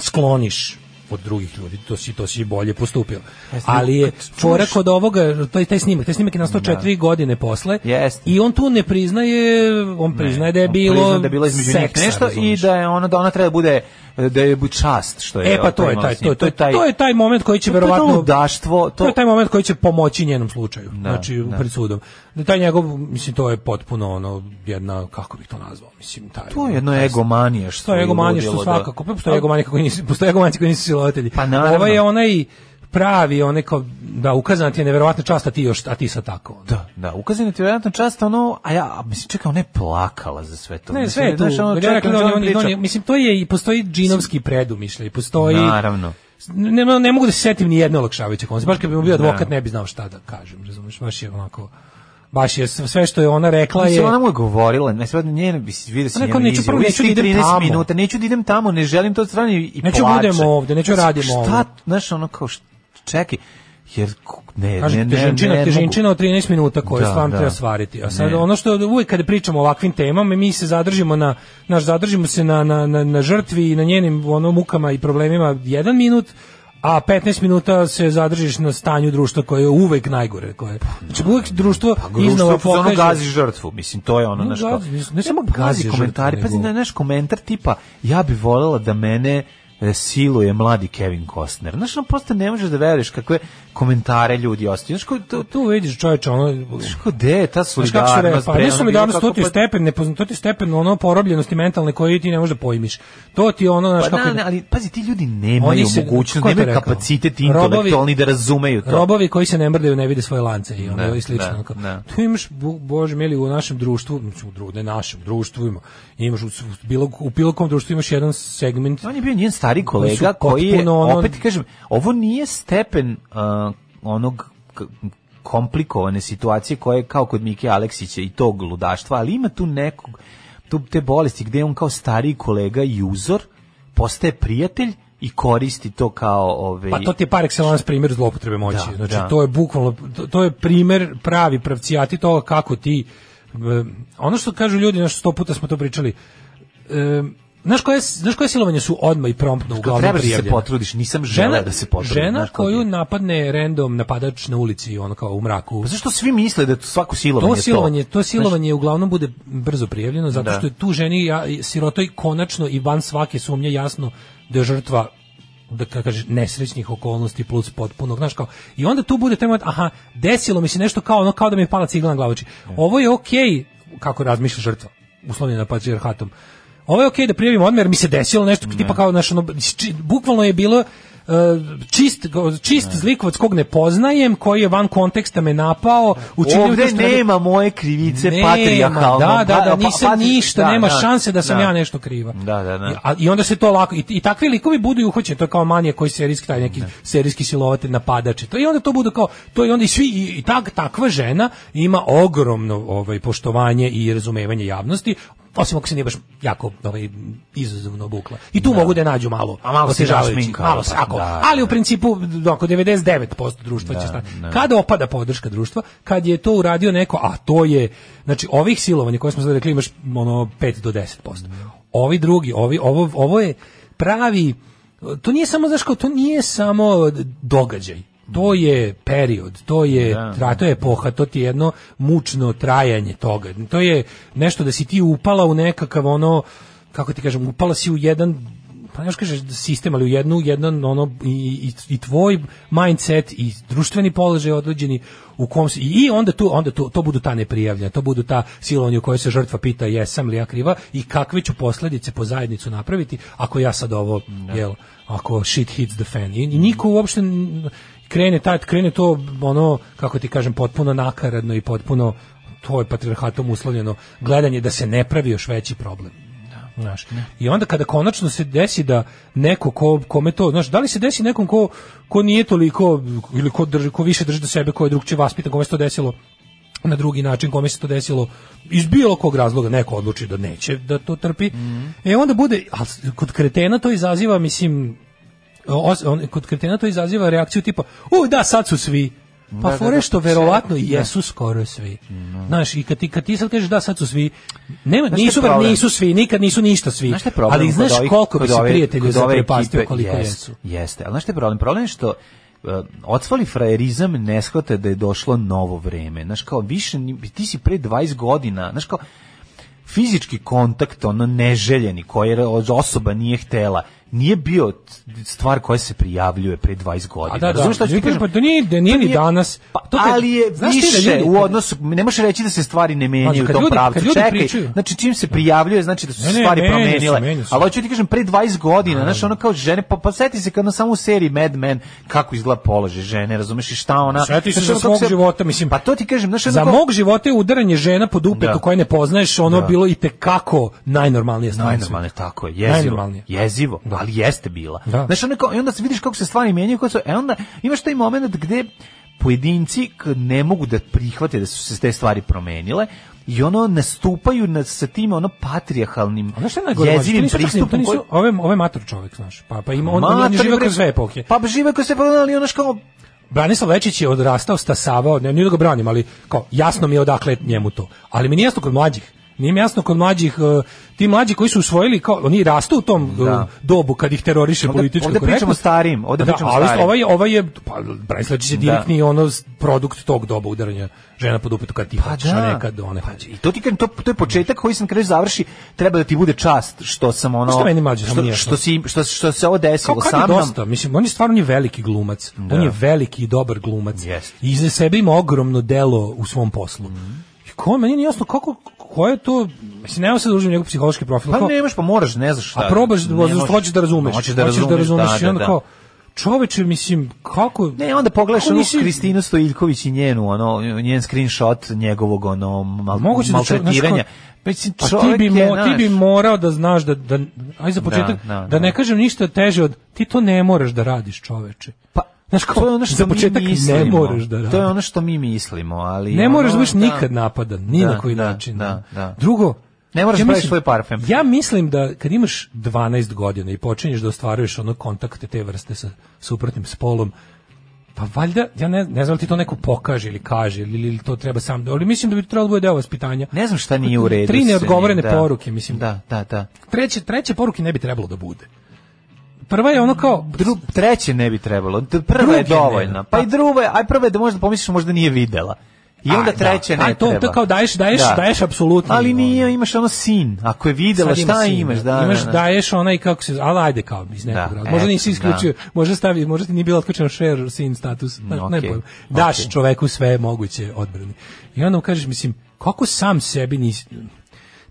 [SPEAKER 6] skloniš od drugih ljudi, to si, to si bolje postupio. Ali je fora kod ovoga, taj, taj snimak, taj snimak je nastao četiri godine posle
[SPEAKER 5] Jeste.
[SPEAKER 6] i on tu ne priznaje, on priznaje da je
[SPEAKER 5] On
[SPEAKER 6] bilo
[SPEAKER 5] prizna Ono, da je bilo između njih
[SPEAKER 6] seksa,
[SPEAKER 5] nešto i
[SPEAKER 6] razumeš.
[SPEAKER 5] da je ono da ona treba da bude e, da je bu- čast što je
[SPEAKER 6] E pa to je taj to, je- to, je- to je taj moment koji će
[SPEAKER 5] to je to
[SPEAKER 6] verovatno
[SPEAKER 5] ludaštvo, to-
[SPEAKER 6] to je taj moment koji će pomoći njenom slučaju.
[SPEAKER 5] Da,
[SPEAKER 6] znači
[SPEAKER 5] da.
[SPEAKER 6] pred sudom. Da taj njegov mislim to je potpuno ono jedna kako bih to nazvao, mislim taj.
[SPEAKER 5] to je jedno
[SPEAKER 6] taj-
[SPEAKER 5] egomanije što
[SPEAKER 6] To je egomanija što
[SPEAKER 5] ludilo,
[SPEAKER 6] svakako, pa
[SPEAKER 5] da.
[SPEAKER 6] postoje egomanije kako nisu, postoje egomanije koji nisu silovatelji.
[SPEAKER 5] Pa naravno.
[SPEAKER 6] Ovo je onaj pravi, onaj kao da ukazana ti je neverovatna čast, a ti još, a ti sad tako. ono.
[SPEAKER 5] Da, da, ukazano ti je vjerojatno čast ono, a ja, a mislim, čekaj, ona je plakala za sve to.
[SPEAKER 6] Ne,
[SPEAKER 5] Mislim,
[SPEAKER 6] sve je tu.
[SPEAKER 5] znaš, ono,
[SPEAKER 6] Ono,
[SPEAKER 5] čekaj,
[SPEAKER 6] on,
[SPEAKER 5] ona
[SPEAKER 6] je-
[SPEAKER 5] priča-
[SPEAKER 6] on je- mislim, to je i postoji džinovski predumišljaj, postoji...
[SPEAKER 5] Naravno.
[SPEAKER 6] Ne, ne, ne mogu da se setim ni jedne olakšavajuće konce. Baš kad bi mu bio advokat, ne bi znao šta da kažem, razumiješ? Baš je onako... Baš je sve sve što je ona rekla Pa je...
[SPEAKER 5] Mislim, ona mu je govorila, ne sve njene, bi si- vidio si
[SPEAKER 6] Ona
[SPEAKER 5] njenu
[SPEAKER 6] kao, neću
[SPEAKER 5] izjavu,
[SPEAKER 6] prvo, neću da
[SPEAKER 5] tih
[SPEAKER 6] idem
[SPEAKER 5] 13
[SPEAKER 6] tamo.
[SPEAKER 5] minuta, neću da idem tamo, ne želim to od strane i
[SPEAKER 6] Neću
[SPEAKER 5] plače.
[SPEAKER 6] budem ovde, neću
[SPEAKER 5] Znaš,
[SPEAKER 6] radim
[SPEAKER 5] Šta,
[SPEAKER 6] ovde.
[SPEAKER 5] znaš, ono kao, št- čekaj, jer, ko- ne, ne, ne,
[SPEAKER 6] Kažem,
[SPEAKER 5] ne,
[SPEAKER 6] težinčina,
[SPEAKER 5] ne mogu.
[SPEAKER 6] težinčina od 13 minuta koju
[SPEAKER 5] Da,
[SPEAKER 6] stvarno
[SPEAKER 5] da.
[SPEAKER 6] treba svariti. A sad
[SPEAKER 5] Ne.
[SPEAKER 6] ono što uvijek kada pričamo o ovakvim temama, mi se zadržimo na naš zadržimo se na, na, na, na žrtvi i na njenim ono mukama i problemima jedan minut, a 15 minuta se zadržiš na stanju društva koje je uvek najgore, koje. Znači uvek društvo
[SPEAKER 5] Pa gruštvo,
[SPEAKER 6] iznova
[SPEAKER 5] ono
[SPEAKER 6] pokaže
[SPEAKER 5] gazi žrtvu, mislim, to je ono,
[SPEAKER 6] Ne
[SPEAKER 5] znaš, kao,
[SPEAKER 6] gazi, mislim, ne
[SPEAKER 5] nema
[SPEAKER 6] samo gazi
[SPEAKER 5] gazi
[SPEAKER 6] žrtvu,
[SPEAKER 5] komentari, pazi,
[SPEAKER 6] nego-
[SPEAKER 5] na naš komentar tipa, ja bi volela da mene e, siluje mladi Kevin Costner. Znaš, ono, prosto ne možeš da veruješ kakve komentare ljudi ostaju. Znaš, kao, to, to,
[SPEAKER 6] tu vidiš čoveče ono
[SPEAKER 5] znaš, kao, gde je ta
[SPEAKER 6] Znaš kako se re,
[SPEAKER 5] solidarnost?
[SPEAKER 6] pa
[SPEAKER 5] bre,
[SPEAKER 6] ne
[SPEAKER 5] ono,
[SPEAKER 6] solidarnost,
[SPEAKER 5] bilo
[SPEAKER 6] to ti je
[SPEAKER 5] kako, pa-
[SPEAKER 6] stepen, nepozna- to ti je stepen ono porobljenosti mentalne koji ti ne možeš da pojmiš. To ti je ono, znaš
[SPEAKER 5] Pa
[SPEAKER 6] kako...
[SPEAKER 5] ne, ne, ali pazi, ti ljudi nemaju
[SPEAKER 6] Oni se-
[SPEAKER 5] mogućnost,
[SPEAKER 6] ko je to
[SPEAKER 5] nemaju
[SPEAKER 6] rekao?
[SPEAKER 5] kapacitet
[SPEAKER 6] Robovi-
[SPEAKER 5] intelektualni da razumeju to.
[SPEAKER 6] Robovi koji se ne mrdaju ne vide svoje lance i ono
[SPEAKER 5] Ne,
[SPEAKER 6] i slično.
[SPEAKER 5] ne,
[SPEAKER 6] onako.
[SPEAKER 5] ne.
[SPEAKER 6] Tu imaš, bu- bože mili, u našem društvu, mislim, u dru, ne našem, društvu ima, imaš u, s- u, bilo, u bilo kom društvu imaš jedan segment
[SPEAKER 5] On je bio njen stari kolega
[SPEAKER 6] su
[SPEAKER 5] koji je,
[SPEAKER 6] potpuno ono-
[SPEAKER 5] opet ti kažem, ovo nije stepen uh, onog k- komplikovane situacije koje je kao kod Mike Aleksića i tog ludaštva, ali ima tu nekog, tu te bolesti gde on kao stariji kolega i uzor postaje prijatelj i koristi to kao... ovaj, Ove,
[SPEAKER 6] Pa to ti je par excellence primjer zloupotrebe moći.
[SPEAKER 5] Da,
[SPEAKER 6] znači,
[SPEAKER 5] da.
[SPEAKER 6] to je bukvalno, to- to je primjer pravi pravcijati toga kako ti, e, ono što kažu ljudi, znaš, sto puta smo to pričali, e, znaš koje, znaš koje silovanje su odmah i promptno
[SPEAKER 5] Kao
[SPEAKER 6] uglavnom
[SPEAKER 5] trebaš da se
[SPEAKER 6] prijavljene?
[SPEAKER 5] potrudiš, nisam želeo
[SPEAKER 6] Žena,
[SPEAKER 5] da se potrudim.
[SPEAKER 6] žena
[SPEAKER 5] znaš, kao
[SPEAKER 6] koju
[SPEAKER 5] ti-
[SPEAKER 6] napadne random napadač na ulici, ono kao u mraku,
[SPEAKER 5] Pa zašto svi misle da svako silovanje je
[SPEAKER 6] to
[SPEAKER 5] to?
[SPEAKER 6] silovanje, to
[SPEAKER 5] Znaš,
[SPEAKER 6] silovanje uglavnom bude brzo prijavljeno zato
[SPEAKER 5] Da.
[SPEAKER 6] što je tu ženi ja, sirotoj konačno i van svake sumnje jasno da je žrtva da ka- kaže nesrećnih okolnosti plus potpunog znaš kao i onda tu bude taj moment aha desilo mi se nešto kao ono kao da mi je pala cigla na glavu Znači, ovo je okej kako razmišlja žrtva uslovljena patrijarhatom ovo je okej da prijavim odmah jer mi se desilo nešto tipa kao naš ono, či- bukvalno je bilo e, čist, čist zlikovac kog ne poznajem, koji je van konteksta me napao, učinio
[SPEAKER 5] Ovde
[SPEAKER 6] to što radi-
[SPEAKER 5] nema moje krivice
[SPEAKER 6] nema,
[SPEAKER 5] patrijarhalno.
[SPEAKER 6] Da, da,
[SPEAKER 5] Pa-
[SPEAKER 6] da,
[SPEAKER 5] pa-
[SPEAKER 6] nisam
[SPEAKER 5] patri-
[SPEAKER 6] ništa,
[SPEAKER 5] da,
[SPEAKER 6] nema
[SPEAKER 5] da,
[SPEAKER 6] šanse da sam
[SPEAKER 5] da.
[SPEAKER 6] ja nešto kriva.
[SPEAKER 5] Da, da, da.
[SPEAKER 6] I, a- I onda se to lako, i, i takvi likovi budu uhoćeni, to je kao manija koji serijski, taj neki serijski silovatelj, napadač i to. I onda to bude kao, to i onda i svi, i, i tak, takva žena ima ogromno ovaj, poštovanje i razumevanje javnosti, osim ako se nije baš jako ovaj, izazovno obukla. I tu mogu da nađu malo.
[SPEAKER 5] A malo si
[SPEAKER 6] otežavajući,
[SPEAKER 5] našminkala,
[SPEAKER 6] Malo se,
[SPEAKER 5] pa,
[SPEAKER 6] ako,
[SPEAKER 5] da,
[SPEAKER 6] ali u principu d- oko 99% društva će stati. Kada opada podrška društva, kad je to uradio neko, a to je znači ovih silovanja koje smo sad rekli imaš ono 5 do 10%. Ovi drugi, ovi ovo ovo je pravi to nije samo znači to nije samo događaj. To je period, to je tra- to je epoha, to ti je jedno mučno trajanje toga. To je nešto da si ti upala u nekakav ono kako ti kažem, upala si u jedan pa ne možeš kažeš da sistem, ali u jednu, jedan ono i, i, i tvoj mindset i društveni položaj određeni u kom si, i onda tu onda tu, to budu ta neprijavljena, to budu ta silovanja u kojoj se žrtva pita jesam li ja kriva i kakve ću posljedice po zajednicu napraviti ako ja sad ovo jel ako shit hits the fan i, i niko uopšte n- krene taj krene to ono kako ti kažem potpuno nakaradno i potpuno to je patrijarhatom uslovljeno gledanje da se ne pravi još veći problem Znaš. I onda kada konačno se desi da neko ko, kome to, znaš, da li se desi nekom ko, ko nije toliko, ili ko, drži, ko više drži do sebe, ko je drugčije vaspitan, kome se to desilo na drugi način, kome se to desilo iz bilo kog razloga, neko odluči da neće da to trpi,
[SPEAKER 5] Mhm.
[SPEAKER 6] e onda bude, a s- kod kretena to izaziva, mislim, os- on, kod kretena to izaziva reakciju tipa, u da, sad su svi, pa
[SPEAKER 5] da,
[SPEAKER 6] fore
[SPEAKER 5] da,
[SPEAKER 6] što
[SPEAKER 5] sve-
[SPEAKER 6] verovatno i jesu skoro svi. Znaš, i kad ti, kad ti sad kažeš da sad su svi, nema,
[SPEAKER 5] šta je
[SPEAKER 6] nisu, ver-
[SPEAKER 5] problem?
[SPEAKER 6] nisu svi, nikad nisu ništa svi.
[SPEAKER 5] Znaš šta je problem?
[SPEAKER 6] Ali
[SPEAKER 5] kod
[SPEAKER 6] znaš
[SPEAKER 5] ovih-
[SPEAKER 6] koliko bi
[SPEAKER 5] kod
[SPEAKER 6] se
[SPEAKER 5] ove-
[SPEAKER 6] prijatelja
[SPEAKER 5] kod ove
[SPEAKER 6] zaprepastio
[SPEAKER 5] ekipe?
[SPEAKER 6] koliko
[SPEAKER 5] Jest,
[SPEAKER 6] jesu.
[SPEAKER 5] Jeste, ali znaš šta je problem? Problem je što uh, odsvali frajerizam ne shvate da je došlo novo vreme. Znaš kao, više, ni- ti si pre 20 godina, znaš kao, fizički kontakt, ono neželjeni, koji je osoba nije htela, nije bio stvar koja se prijavljuje pre 20 godina.
[SPEAKER 6] A da, da,
[SPEAKER 5] Razumeš šta ću ti
[SPEAKER 6] ljudi,
[SPEAKER 5] kažem?
[SPEAKER 6] pa to nije, da nije ni danas.
[SPEAKER 5] Pa,
[SPEAKER 6] To kad-
[SPEAKER 5] ali je
[SPEAKER 6] znaš ti da
[SPEAKER 5] više
[SPEAKER 6] ljudi-
[SPEAKER 5] u odnosu, ne možeš reći da se stvari ne menjaju
[SPEAKER 6] Pazi,
[SPEAKER 5] u
[SPEAKER 6] kad
[SPEAKER 5] tom
[SPEAKER 6] ljudi-
[SPEAKER 5] pravcu.
[SPEAKER 6] kad ljudi
[SPEAKER 5] Čekaj,
[SPEAKER 6] pričaju-
[SPEAKER 5] znači čim se prijavljuje, znači da su
[SPEAKER 6] Ne,
[SPEAKER 5] se
[SPEAKER 6] ne,
[SPEAKER 5] stvari
[SPEAKER 6] menjaju se,
[SPEAKER 5] promenile.
[SPEAKER 6] menjaju se.
[SPEAKER 5] Ali hoću ti kažem, pre 20 godina, znaš, ono kao žene, pa, pa seti se kad ono samo u seriji Mad Men, kako izgleda položaj žene, razumeš, i šta ona...
[SPEAKER 6] Seti se
[SPEAKER 5] znaš,
[SPEAKER 6] za
[SPEAKER 5] ono kako
[SPEAKER 6] svog života, mislim.
[SPEAKER 5] Pa to ti kažem, znaš, ono
[SPEAKER 6] Za
[SPEAKER 5] kao-
[SPEAKER 6] mog života je udaranje žena pod upetu
[SPEAKER 5] Da.
[SPEAKER 6] koje ne poznaješ, ono
[SPEAKER 5] Da.
[SPEAKER 6] bilo i tekako najnormalnije stvar. na svetu.
[SPEAKER 5] Najnormalnije, tako je, jezivo,
[SPEAKER 6] Najnormalnije.
[SPEAKER 5] jezivo,
[SPEAKER 6] Da.
[SPEAKER 5] ali jeste bila.
[SPEAKER 6] Da.
[SPEAKER 5] Znaš, ono kao, i onda se vidiš kako se stvari menjaju, kako se, e onda imaš taj moment gde pojedinci k- ne mogu da prihvate da su se te stvari promenile i ono nastupaju na, sa tim ono patrijarhalnim
[SPEAKER 6] A znaš šta je najgore? Mlađe? To
[SPEAKER 5] jezivim
[SPEAKER 6] nisu čak ni- To
[SPEAKER 5] pristupom koji-
[SPEAKER 6] nisu, ove, ove mator čovjek, znaš. Pa, pa ima, on, on,
[SPEAKER 5] Matori,
[SPEAKER 6] je živio
[SPEAKER 5] bre,
[SPEAKER 6] kroz sve epohe.
[SPEAKER 5] Pa žive kroz sve, pa ali ono kao
[SPEAKER 6] Branislav Lečić je odrastao, stasavao, ne, nije da ga branim, ali kao, jasno mi je odakle njemu to. Ali mi nije jasno kod mlađih. Nije mi jasno kod mlađih, e, ti mlađi koji su usvojili, kao, oni rastu u tom e,
[SPEAKER 5] Da.
[SPEAKER 6] dobu kad ih teroriše
[SPEAKER 5] Ovde-
[SPEAKER 6] politička
[SPEAKER 5] ovde pričamo
[SPEAKER 6] korektnost.
[SPEAKER 5] o starijim, ovde
[SPEAKER 6] Da,
[SPEAKER 5] pričamo o
[SPEAKER 6] ali
[SPEAKER 5] starijim.
[SPEAKER 6] Ovaj, ovaj je, pa, Branislav Lečić je direktni ono s- produkt tog doba udaranja žena pod upetu kad ti
[SPEAKER 5] Pa
[SPEAKER 6] hoćeš, a
[SPEAKER 5] da.
[SPEAKER 6] ne kad one
[SPEAKER 5] Pa,
[SPEAKER 6] hoće.
[SPEAKER 5] I to ti kažem, to, to je početak koji sam kreću završi, treba da ti bude čast što sam ono...
[SPEAKER 6] Što meni mlađe, samo
[SPEAKER 5] što,
[SPEAKER 6] nije
[SPEAKER 5] što, si, što, što se ovo
[SPEAKER 6] Kao
[SPEAKER 5] desilo
[SPEAKER 6] kad
[SPEAKER 5] sa
[SPEAKER 6] je
[SPEAKER 5] mnom.
[SPEAKER 6] dosta, mislim, on je stvarno on je veliki glumac. On je veliki i dobar glumac.
[SPEAKER 5] Jeste. Mhm.
[SPEAKER 6] I iza sebe ima ogromno delo u svom poslu. I ko, meni nije jasno kako, ko je to, mislim, nema se da uđem u njegov psihološki profil.
[SPEAKER 5] Pa
[SPEAKER 6] kao,
[SPEAKER 5] nemaš, pa moraš, ne znaš šta.
[SPEAKER 6] a probaš, da,
[SPEAKER 5] Ne možeš.
[SPEAKER 6] zato što hoćeš da razumeš.
[SPEAKER 5] Hoćeš da razumeš,
[SPEAKER 6] i
[SPEAKER 5] da,
[SPEAKER 6] onda
[SPEAKER 5] da, da.
[SPEAKER 6] kao, čoveče, mislim, kako...
[SPEAKER 5] Ne, onda pogledaš
[SPEAKER 6] kako
[SPEAKER 5] onu
[SPEAKER 6] nisi-
[SPEAKER 5] Kristinu Stojiljković i njenu, ono, njen screenshot njegovog, ono, mal,
[SPEAKER 6] Pa Moguće da čovjek- znaš
[SPEAKER 5] maltretiranja.
[SPEAKER 6] kao-
[SPEAKER 5] Pa, mislim,
[SPEAKER 6] Pa ti
[SPEAKER 5] čovjek
[SPEAKER 6] bi,
[SPEAKER 5] je,
[SPEAKER 6] mo, ti
[SPEAKER 5] znaš,
[SPEAKER 6] bi morao da znaš da, da aj za početak, da,
[SPEAKER 5] Da, da,
[SPEAKER 6] ne
[SPEAKER 5] da.
[SPEAKER 6] kažem ništa teže od ti to ne moraš da radiš čoveče.
[SPEAKER 5] Pa,
[SPEAKER 6] Znaš kao,
[SPEAKER 5] to je ono što
[SPEAKER 6] za
[SPEAKER 5] mi
[SPEAKER 6] početak ne
[SPEAKER 5] mislimo.
[SPEAKER 6] moraš da radiš.
[SPEAKER 5] To je ono što mi mislimo, ali...
[SPEAKER 6] Ne moraš da
[SPEAKER 5] ono,
[SPEAKER 6] budeš nikad napadan, ni
[SPEAKER 5] Da,
[SPEAKER 6] na koji
[SPEAKER 5] da,
[SPEAKER 6] način. ono.
[SPEAKER 5] da, da.
[SPEAKER 6] Drugo,
[SPEAKER 5] Ne moraš
[SPEAKER 6] ja
[SPEAKER 5] praviš
[SPEAKER 6] mislim-
[SPEAKER 5] svoj parfem.
[SPEAKER 6] Ja mislim da kad imaš 12 godina i počinješ da ostvaruješ ono kontakte te vrste sa suprotnim spolom, pa valjda, ja ne, ne znam da li ti to neko pokaže ili kaže, ili, ili to treba sam, ali mislim da bi to trebalo da bude deo vaspitanja.
[SPEAKER 5] Ne znam šta nije u redu.
[SPEAKER 6] Tri
[SPEAKER 5] sa njim,
[SPEAKER 6] neodgovorene
[SPEAKER 5] da.
[SPEAKER 6] poruke, mislim.
[SPEAKER 5] Da, da, da.
[SPEAKER 6] Treće, treće poruke ne bi trebalo da bude. Prva je ono kao,
[SPEAKER 5] Dru, treće ne bi trebalo. D- Prva
[SPEAKER 6] Druge
[SPEAKER 5] je dovoljna.
[SPEAKER 6] ne.
[SPEAKER 5] Pa i druga, je- aj prva je da možda pomisliš možda nije videla. I onda
[SPEAKER 6] Aj,
[SPEAKER 5] treće
[SPEAKER 6] da.
[SPEAKER 5] ne
[SPEAKER 6] Aj, to- to
[SPEAKER 5] treba.
[SPEAKER 6] kao daješ- daješ- daješ apsolutno.
[SPEAKER 5] Ali nije, imaš ono sin. Ako je videla,
[SPEAKER 6] sad ima
[SPEAKER 5] šta
[SPEAKER 6] sin,
[SPEAKER 5] imaš? Da,
[SPEAKER 6] imaš
[SPEAKER 5] da, da.
[SPEAKER 6] daješ onaj kako se ali ajde kao iz nekog
[SPEAKER 5] Da,
[SPEAKER 6] razloga. Možda
[SPEAKER 5] eto,
[SPEAKER 6] nisi isključio, možda stavi, možda ti nije bilo otključeno share sin status, pa, ne,
[SPEAKER 5] Mm,
[SPEAKER 6] ne
[SPEAKER 5] okej,
[SPEAKER 6] pojma. Daš
[SPEAKER 5] okej.
[SPEAKER 6] čoveku sve moguće odbrane. I onda mu kažeš mislim kako sam sebi nisi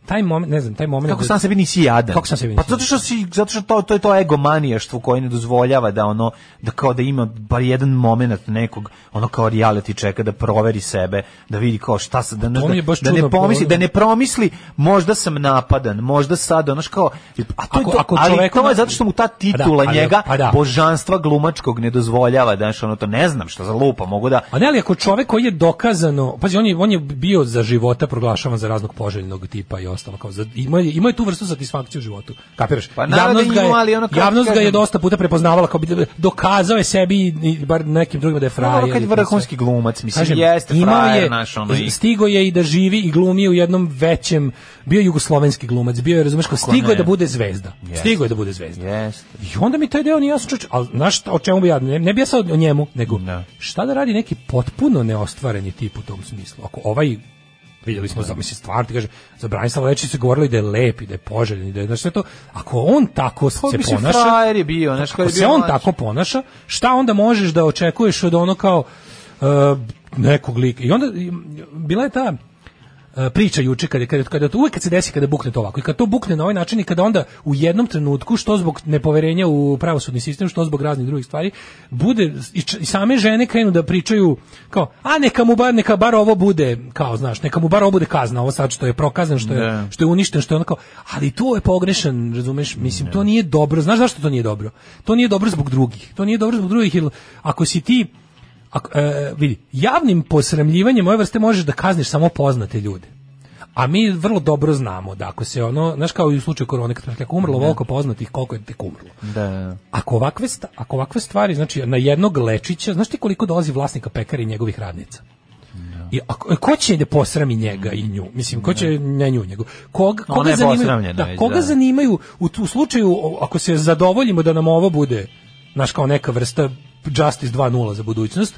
[SPEAKER 6] taj moment, ne znam, taj moment
[SPEAKER 5] Kako
[SPEAKER 6] da-
[SPEAKER 5] sam sebi nisi jadan.
[SPEAKER 6] Kako sam sebi
[SPEAKER 5] Pa
[SPEAKER 6] nisi
[SPEAKER 5] zato što si zato što to to je to egomanijaštvo koje ne dozvoljava da ono da kao da ima bar jedan momenat nekog ono kao reality čeka da proveri sebe, da vidi kao šta se da ne
[SPEAKER 6] To mi je
[SPEAKER 5] da,
[SPEAKER 6] baš
[SPEAKER 5] da ne
[SPEAKER 6] čudno,
[SPEAKER 5] pomisli,
[SPEAKER 6] pa-
[SPEAKER 5] da ne promisli možda sam napadan, možda sad ono kao a to je
[SPEAKER 6] Ako-
[SPEAKER 5] to,
[SPEAKER 6] ako
[SPEAKER 5] ali
[SPEAKER 6] čoveku
[SPEAKER 5] to
[SPEAKER 6] na-
[SPEAKER 5] je zato što mu ta titula
[SPEAKER 6] Pa da, ali-
[SPEAKER 5] njega
[SPEAKER 6] pa da.
[SPEAKER 5] božanstva glumačkog ne dozvoljava, da ono to ne znam šta za lupa, mogu da
[SPEAKER 6] A ne, ali ako čovek koji je dokazano, pazi, on je, on je bio za života proglašavan za raznog poželjnog tipa i ostalo, kao za, ima, je- ima je tu vrstu satisfakcije u životu, kapiraš?
[SPEAKER 5] Pa naravno da
[SPEAKER 6] je,
[SPEAKER 5] ima, ali ono kako
[SPEAKER 6] javnost ga je
[SPEAKER 5] kažem-
[SPEAKER 6] dosta puta prepoznavala, kao bi- dokazao je sebi, i bar nekim drugima da je frajer.
[SPEAKER 5] Ono kad je
[SPEAKER 6] i to sve.
[SPEAKER 5] vrhunski glumac, mislim,
[SPEAKER 6] Kažem,
[SPEAKER 5] jeste
[SPEAKER 6] imao
[SPEAKER 5] frajer
[SPEAKER 6] je,
[SPEAKER 5] naš, ono, i-
[SPEAKER 6] Stigo je i da živi i glumi u jednom većem, bio je jugoslovenski glumac, bio je, razumeš, kao stigo je
[SPEAKER 5] ne?
[SPEAKER 6] da bude zvezda. Stigo je da bude zvezda.
[SPEAKER 5] Jeste.
[SPEAKER 6] I onda mi taj deo nije jasno, čoveče, ali znaš šta, o čemu bi ja, ne, ne bi ja sad o njemu, nego
[SPEAKER 5] Da.
[SPEAKER 6] šta da radi neki potpuno neostvareni tip u tom smislu. Ako ovaj vidjeli smo, za, mislim, stvarno ti kaže, za Branislava Lečića se govorilo i da je lep i da je poželjen i da je, znaš, sve to, ako on tako
[SPEAKER 5] Pa,
[SPEAKER 6] se
[SPEAKER 5] mislim,
[SPEAKER 6] ponaša,
[SPEAKER 5] frajer je bio, znaš, kao je
[SPEAKER 6] ako se
[SPEAKER 5] bio
[SPEAKER 6] on
[SPEAKER 5] mlađi.
[SPEAKER 6] tako ponaša, šta onda možeš da očekuješ od ono kao e, nekog lika? I onda i, bila je ta e, priča juče kada kada kada to uvek kad se desi kada bukne to ovako i kad to bukne na ovaj način i kada onda u jednom trenutku što zbog nepoverenja u pravosudni sistem što zbog raznih drugih stvari bude i, č- i same žene krenu da pričaju kao a neka mu bar neka bar ovo bude kao znaš neka mu bar ovo bude kazna ovo sad što je prokazan što je
[SPEAKER 5] Da.
[SPEAKER 6] što je uništen, što je onako, ali to je pogrešan, razumeš, mislim, to nije dobro, znaš zašto to nije dobro? To nije dobro zbog drugih, to nije dobro zbog drugih, jer ako si ti, ako, e, vidi, javnim posramljivanjem ove vrste možeš da kazniš samo poznate ljude. A mi vrlo dobro znamo da ako se ono, znaš kao i u slučaju korone, kad kako umrlo volko poznatih, koliko je tek umrlo.
[SPEAKER 5] Da, da, da.
[SPEAKER 6] Ako ovakve, sta- ako ovakve stvari, znači na jednog lečića, znaš ti koliko dolazi vlasnika pekare i njegovih radnica? I ako, ko će da posrami njega i nju? Mislim, ko će ne nju, nego koga,
[SPEAKER 5] Ona
[SPEAKER 6] koga
[SPEAKER 5] je
[SPEAKER 6] zanimaju?
[SPEAKER 5] posramljena
[SPEAKER 6] Da,
[SPEAKER 5] već,
[SPEAKER 6] koga
[SPEAKER 5] da.
[SPEAKER 6] zanimaju u, tu- u slučaju o- ako se zadovoljimo da nam ovo bude naš kao neka vrsta Justice 2.0 za budućnost,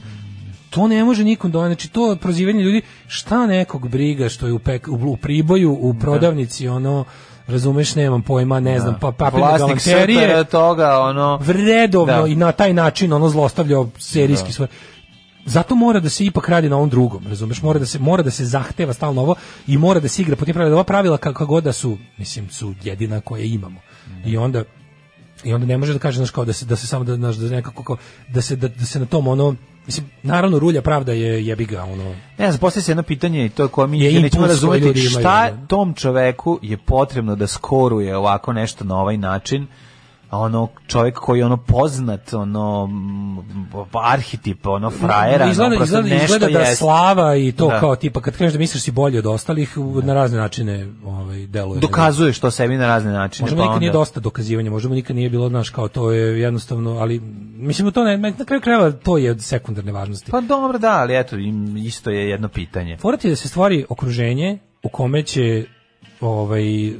[SPEAKER 6] to ne može nikom doneti. Znači, to je prozivanje ljudi, šta nekog briga što je u, pek, u, u priboju, u prodavnici, ono, razumeš, nemam pojma, ne znam, pa papirne
[SPEAKER 5] Vlasnik
[SPEAKER 6] galanterije,
[SPEAKER 5] SFRJ toga, ono...
[SPEAKER 6] vredovno
[SPEAKER 5] Da.
[SPEAKER 6] i na taj način ono zlostavljao serijski svoj Zato mora da se ipak radi na ovom drugom, razumeš? Mora da se mora da se zahteva stalno ovo i mora da se igra po tim pravilima. Ova pravila kakva god da su, mislim, su jedina koje imamo. I onda i onda ne može da kaže znaš kao da se da se samo da znaš, da nekako kao, da se da, da se na tom ono mislim naravno rulja pravda je jebiga ono
[SPEAKER 5] Ne znam, postoje se jedno pitanje i to koje mi
[SPEAKER 6] Je
[SPEAKER 5] je nećemo
[SPEAKER 6] impuls koji
[SPEAKER 5] razumeti
[SPEAKER 6] ljudi imaju,
[SPEAKER 5] šta
[SPEAKER 6] da.
[SPEAKER 5] tom čoveku je potrebno da skoruje ovako nešto na ovaj način a ono čovjek koji je ono poznat ono m, arhetip ono frajera
[SPEAKER 6] izgleda,
[SPEAKER 5] ono, prosto
[SPEAKER 6] izgleda,
[SPEAKER 5] nešto
[SPEAKER 6] izgleda da
[SPEAKER 5] jest.
[SPEAKER 6] slava i to
[SPEAKER 5] Da.
[SPEAKER 6] kao tipa kad kažeš da misliš si bolji od ostalih u- na razne načine ovaj deluje
[SPEAKER 5] dokazuje što sebi na razne načine
[SPEAKER 6] Možda mu
[SPEAKER 5] pa
[SPEAKER 6] nikad nije
[SPEAKER 5] onda-
[SPEAKER 6] dosta dokazivanja, možda mu nikad nije bilo, znaš, kao to je jednostavno, ali mislim to ne, na kraju krajeva to je od sekundarne važnosti.
[SPEAKER 5] pa dobro da ali eto im isto je jedno pitanje
[SPEAKER 6] Forat je da se stvori okruženje u kome će ovaj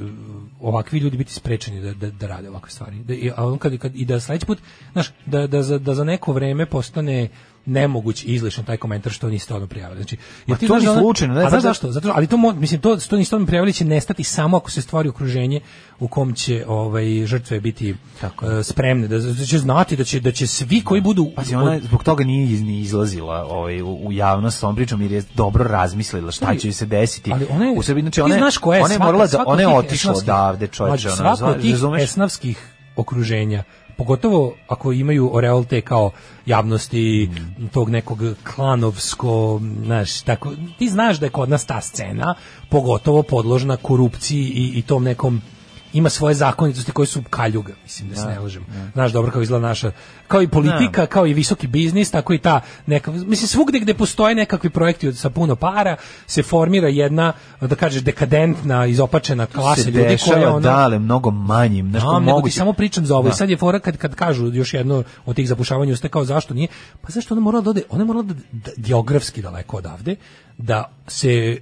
[SPEAKER 6] ovakvi ljudi biti sprečeni da, da, da rade ovakve stvari. Da, i, a on kad, kad, I da sledeći put, znaš, da, da, za, da za neko vreme postane nemoguć i izlišan taj komentar što niste odmah prijavili. Znači, jer
[SPEAKER 5] Pa to
[SPEAKER 6] znaš
[SPEAKER 5] ni
[SPEAKER 6] da ona-
[SPEAKER 5] slučajno, ne,
[SPEAKER 6] a znaš
[SPEAKER 5] zato-
[SPEAKER 6] zašto? Zato, ali to, mo- mislim, to, to niste odmah prijavili će nestati samo ako se stvori okruženje u kom će ovaj, žrtve biti
[SPEAKER 5] Tako
[SPEAKER 6] e, spremne, da, da će znati da će, da će svi koji budu...
[SPEAKER 5] Pazi, ona je zbog toga nije iz- ni izlazila ovaj, u, u javnost s ovom pričom jer je dobro razmislila šta će joj se desiti.
[SPEAKER 6] Ali ona je,
[SPEAKER 5] u Srbiji, znači
[SPEAKER 6] ti
[SPEAKER 5] ona, je-
[SPEAKER 6] znaš ko je,
[SPEAKER 5] ona je
[SPEAKER 6] svaka-
[SPEAKER 5] morala da,
[SPEAKER 6] svaka od
[SPEAKER 5] ona je
[SPEAKER 6] tih
[SPEAKER 5] otišla
[SPEAKER 6] esnavskih-
[SPEAKER 5] odavde čovječe.
[SPEAKER 6] Mlađe,
[SPEAKER 5] Ona,
[SPEAKER 6] svako e, od
[SPEAKER 5] zva-
[SPEAKER 6] tih
[SPEAKER 5] razumeš?
[SPEAKER 6] esnavskih okruženja, pogotovo ako imaju oreol te kao javnosti tog nekog klanovsko, znaš, tako, ti znaš da je kod nas ta scena, pogotovo podložna korupciji i, i tom nekom ima svoje zakonitosti koje su kaljuga, mislim da se ne lažem. Znaš dobro kako izgleda naša, kao i politika, kao i visoki biznis, tako i ta neka, mislim svugde gde postoje nekakvi projekti od, sa puno para, se formira jedna, da kažeš, dekadentna, izopačena klasa
[SPEAKER 5] se
[SPEAKER 6] ljudi koja
[SPEAKER 5] dešava
[SPEAKER 6] ono...
[SPEAKER 5] dale mnogo manjim, znaš,
[SPEAKER 6] Znam,
[SPEAKER 5] no,
[SPEAKER 6] nego ti
[SPEAKER 5] moguće.
[SPEAKER 6] samo pričam za ovo. I
[SPEAKER 5] Da.
[SPEAKER 6] sad je fora kad, kad kažu još jedno od tih zapušavanja usta kao zašto nije. Pa zašto ona morala da ode? Ona je morala da, da geografski daleko odavde, da se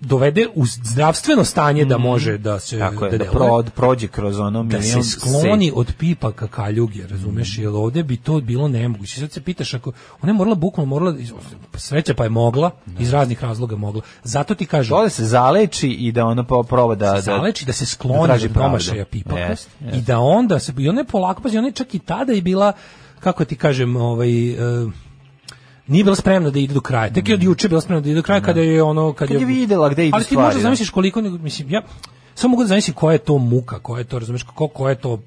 [SPEAKER 6] dovede u zdravstveno stanje da može da se
[SPEAKER 5] Mhm. Tako je, da,
[SPEAKER 6] deluje
[SPEAKER 5] prod, prođe kroz ono
[SPEAKER 6] da
[SPEAKER 5] milion
[SPEAKER 6] se skloni
[SPEAKER 5] se- Mhm.
[SPEAKER 6] od pipa ka kaljuge, razumeš, jer ovde bi to bilo nemoguće. Sad se pitaš ako ona je morala bukvalno morala iz- sreća pa je mogla, iz raznih razloga mogla. Zato ti kažem,
[SPEAKER 5] To da se zaleči i da ona po- proba da... da-
[SPEAKER 6] zaleči da se
[SPEAKER 5] da
[SPEAKER 6] skloni
[SPEAKER 5] traži
[SPEAKER 6] od
[SPEAKER 5] pravdu.
[SPEAKER 6] domašaja pipaka
[SPEAKER 5] Jest,
[SPEAKER 6] i
[SPEAKER 5] jest.
[SPEAKER 6] da onda se i ona je polako pa ona je čak i tada je bila kako ti kažem ovaj e, nije bila spremna da ide do kraja. Tek je od juče bila spremna da ide do kraja kada je ono kad,
[SPEAKER 5] Mm. Kad je videla gde idu
[SPEAKER 6] Ali ti
[SPEAKER 5] stvari, ono.
[SPEAKER 6] možeš
[SPEAKER 5] da.
[SPEAKER 6] zamisliš koliko mislim ja samo mogu da zamislim koja je to muka, koja je to razumeš kako koja je to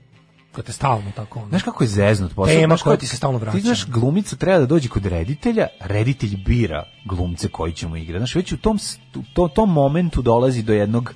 [SPEAKER 6] kad te stalno tako ono.
[SPEAKER 5] Znaš kako je zeznut posao?
[SPEAKER 6] Tema
[SPEAKER 5] Znaš
[SPEAKER 6] koja
[SPEAKER 5] kako-
[SPEAKER 6] ti se stalno vraća.
[SPEAKER 5] Ti znaš, glumica treba da dođe kod reditelja, reditelj bira glumce koji ćemo igrati. Znaš, već u tom, s- u to, tom momentu dolazi do jednog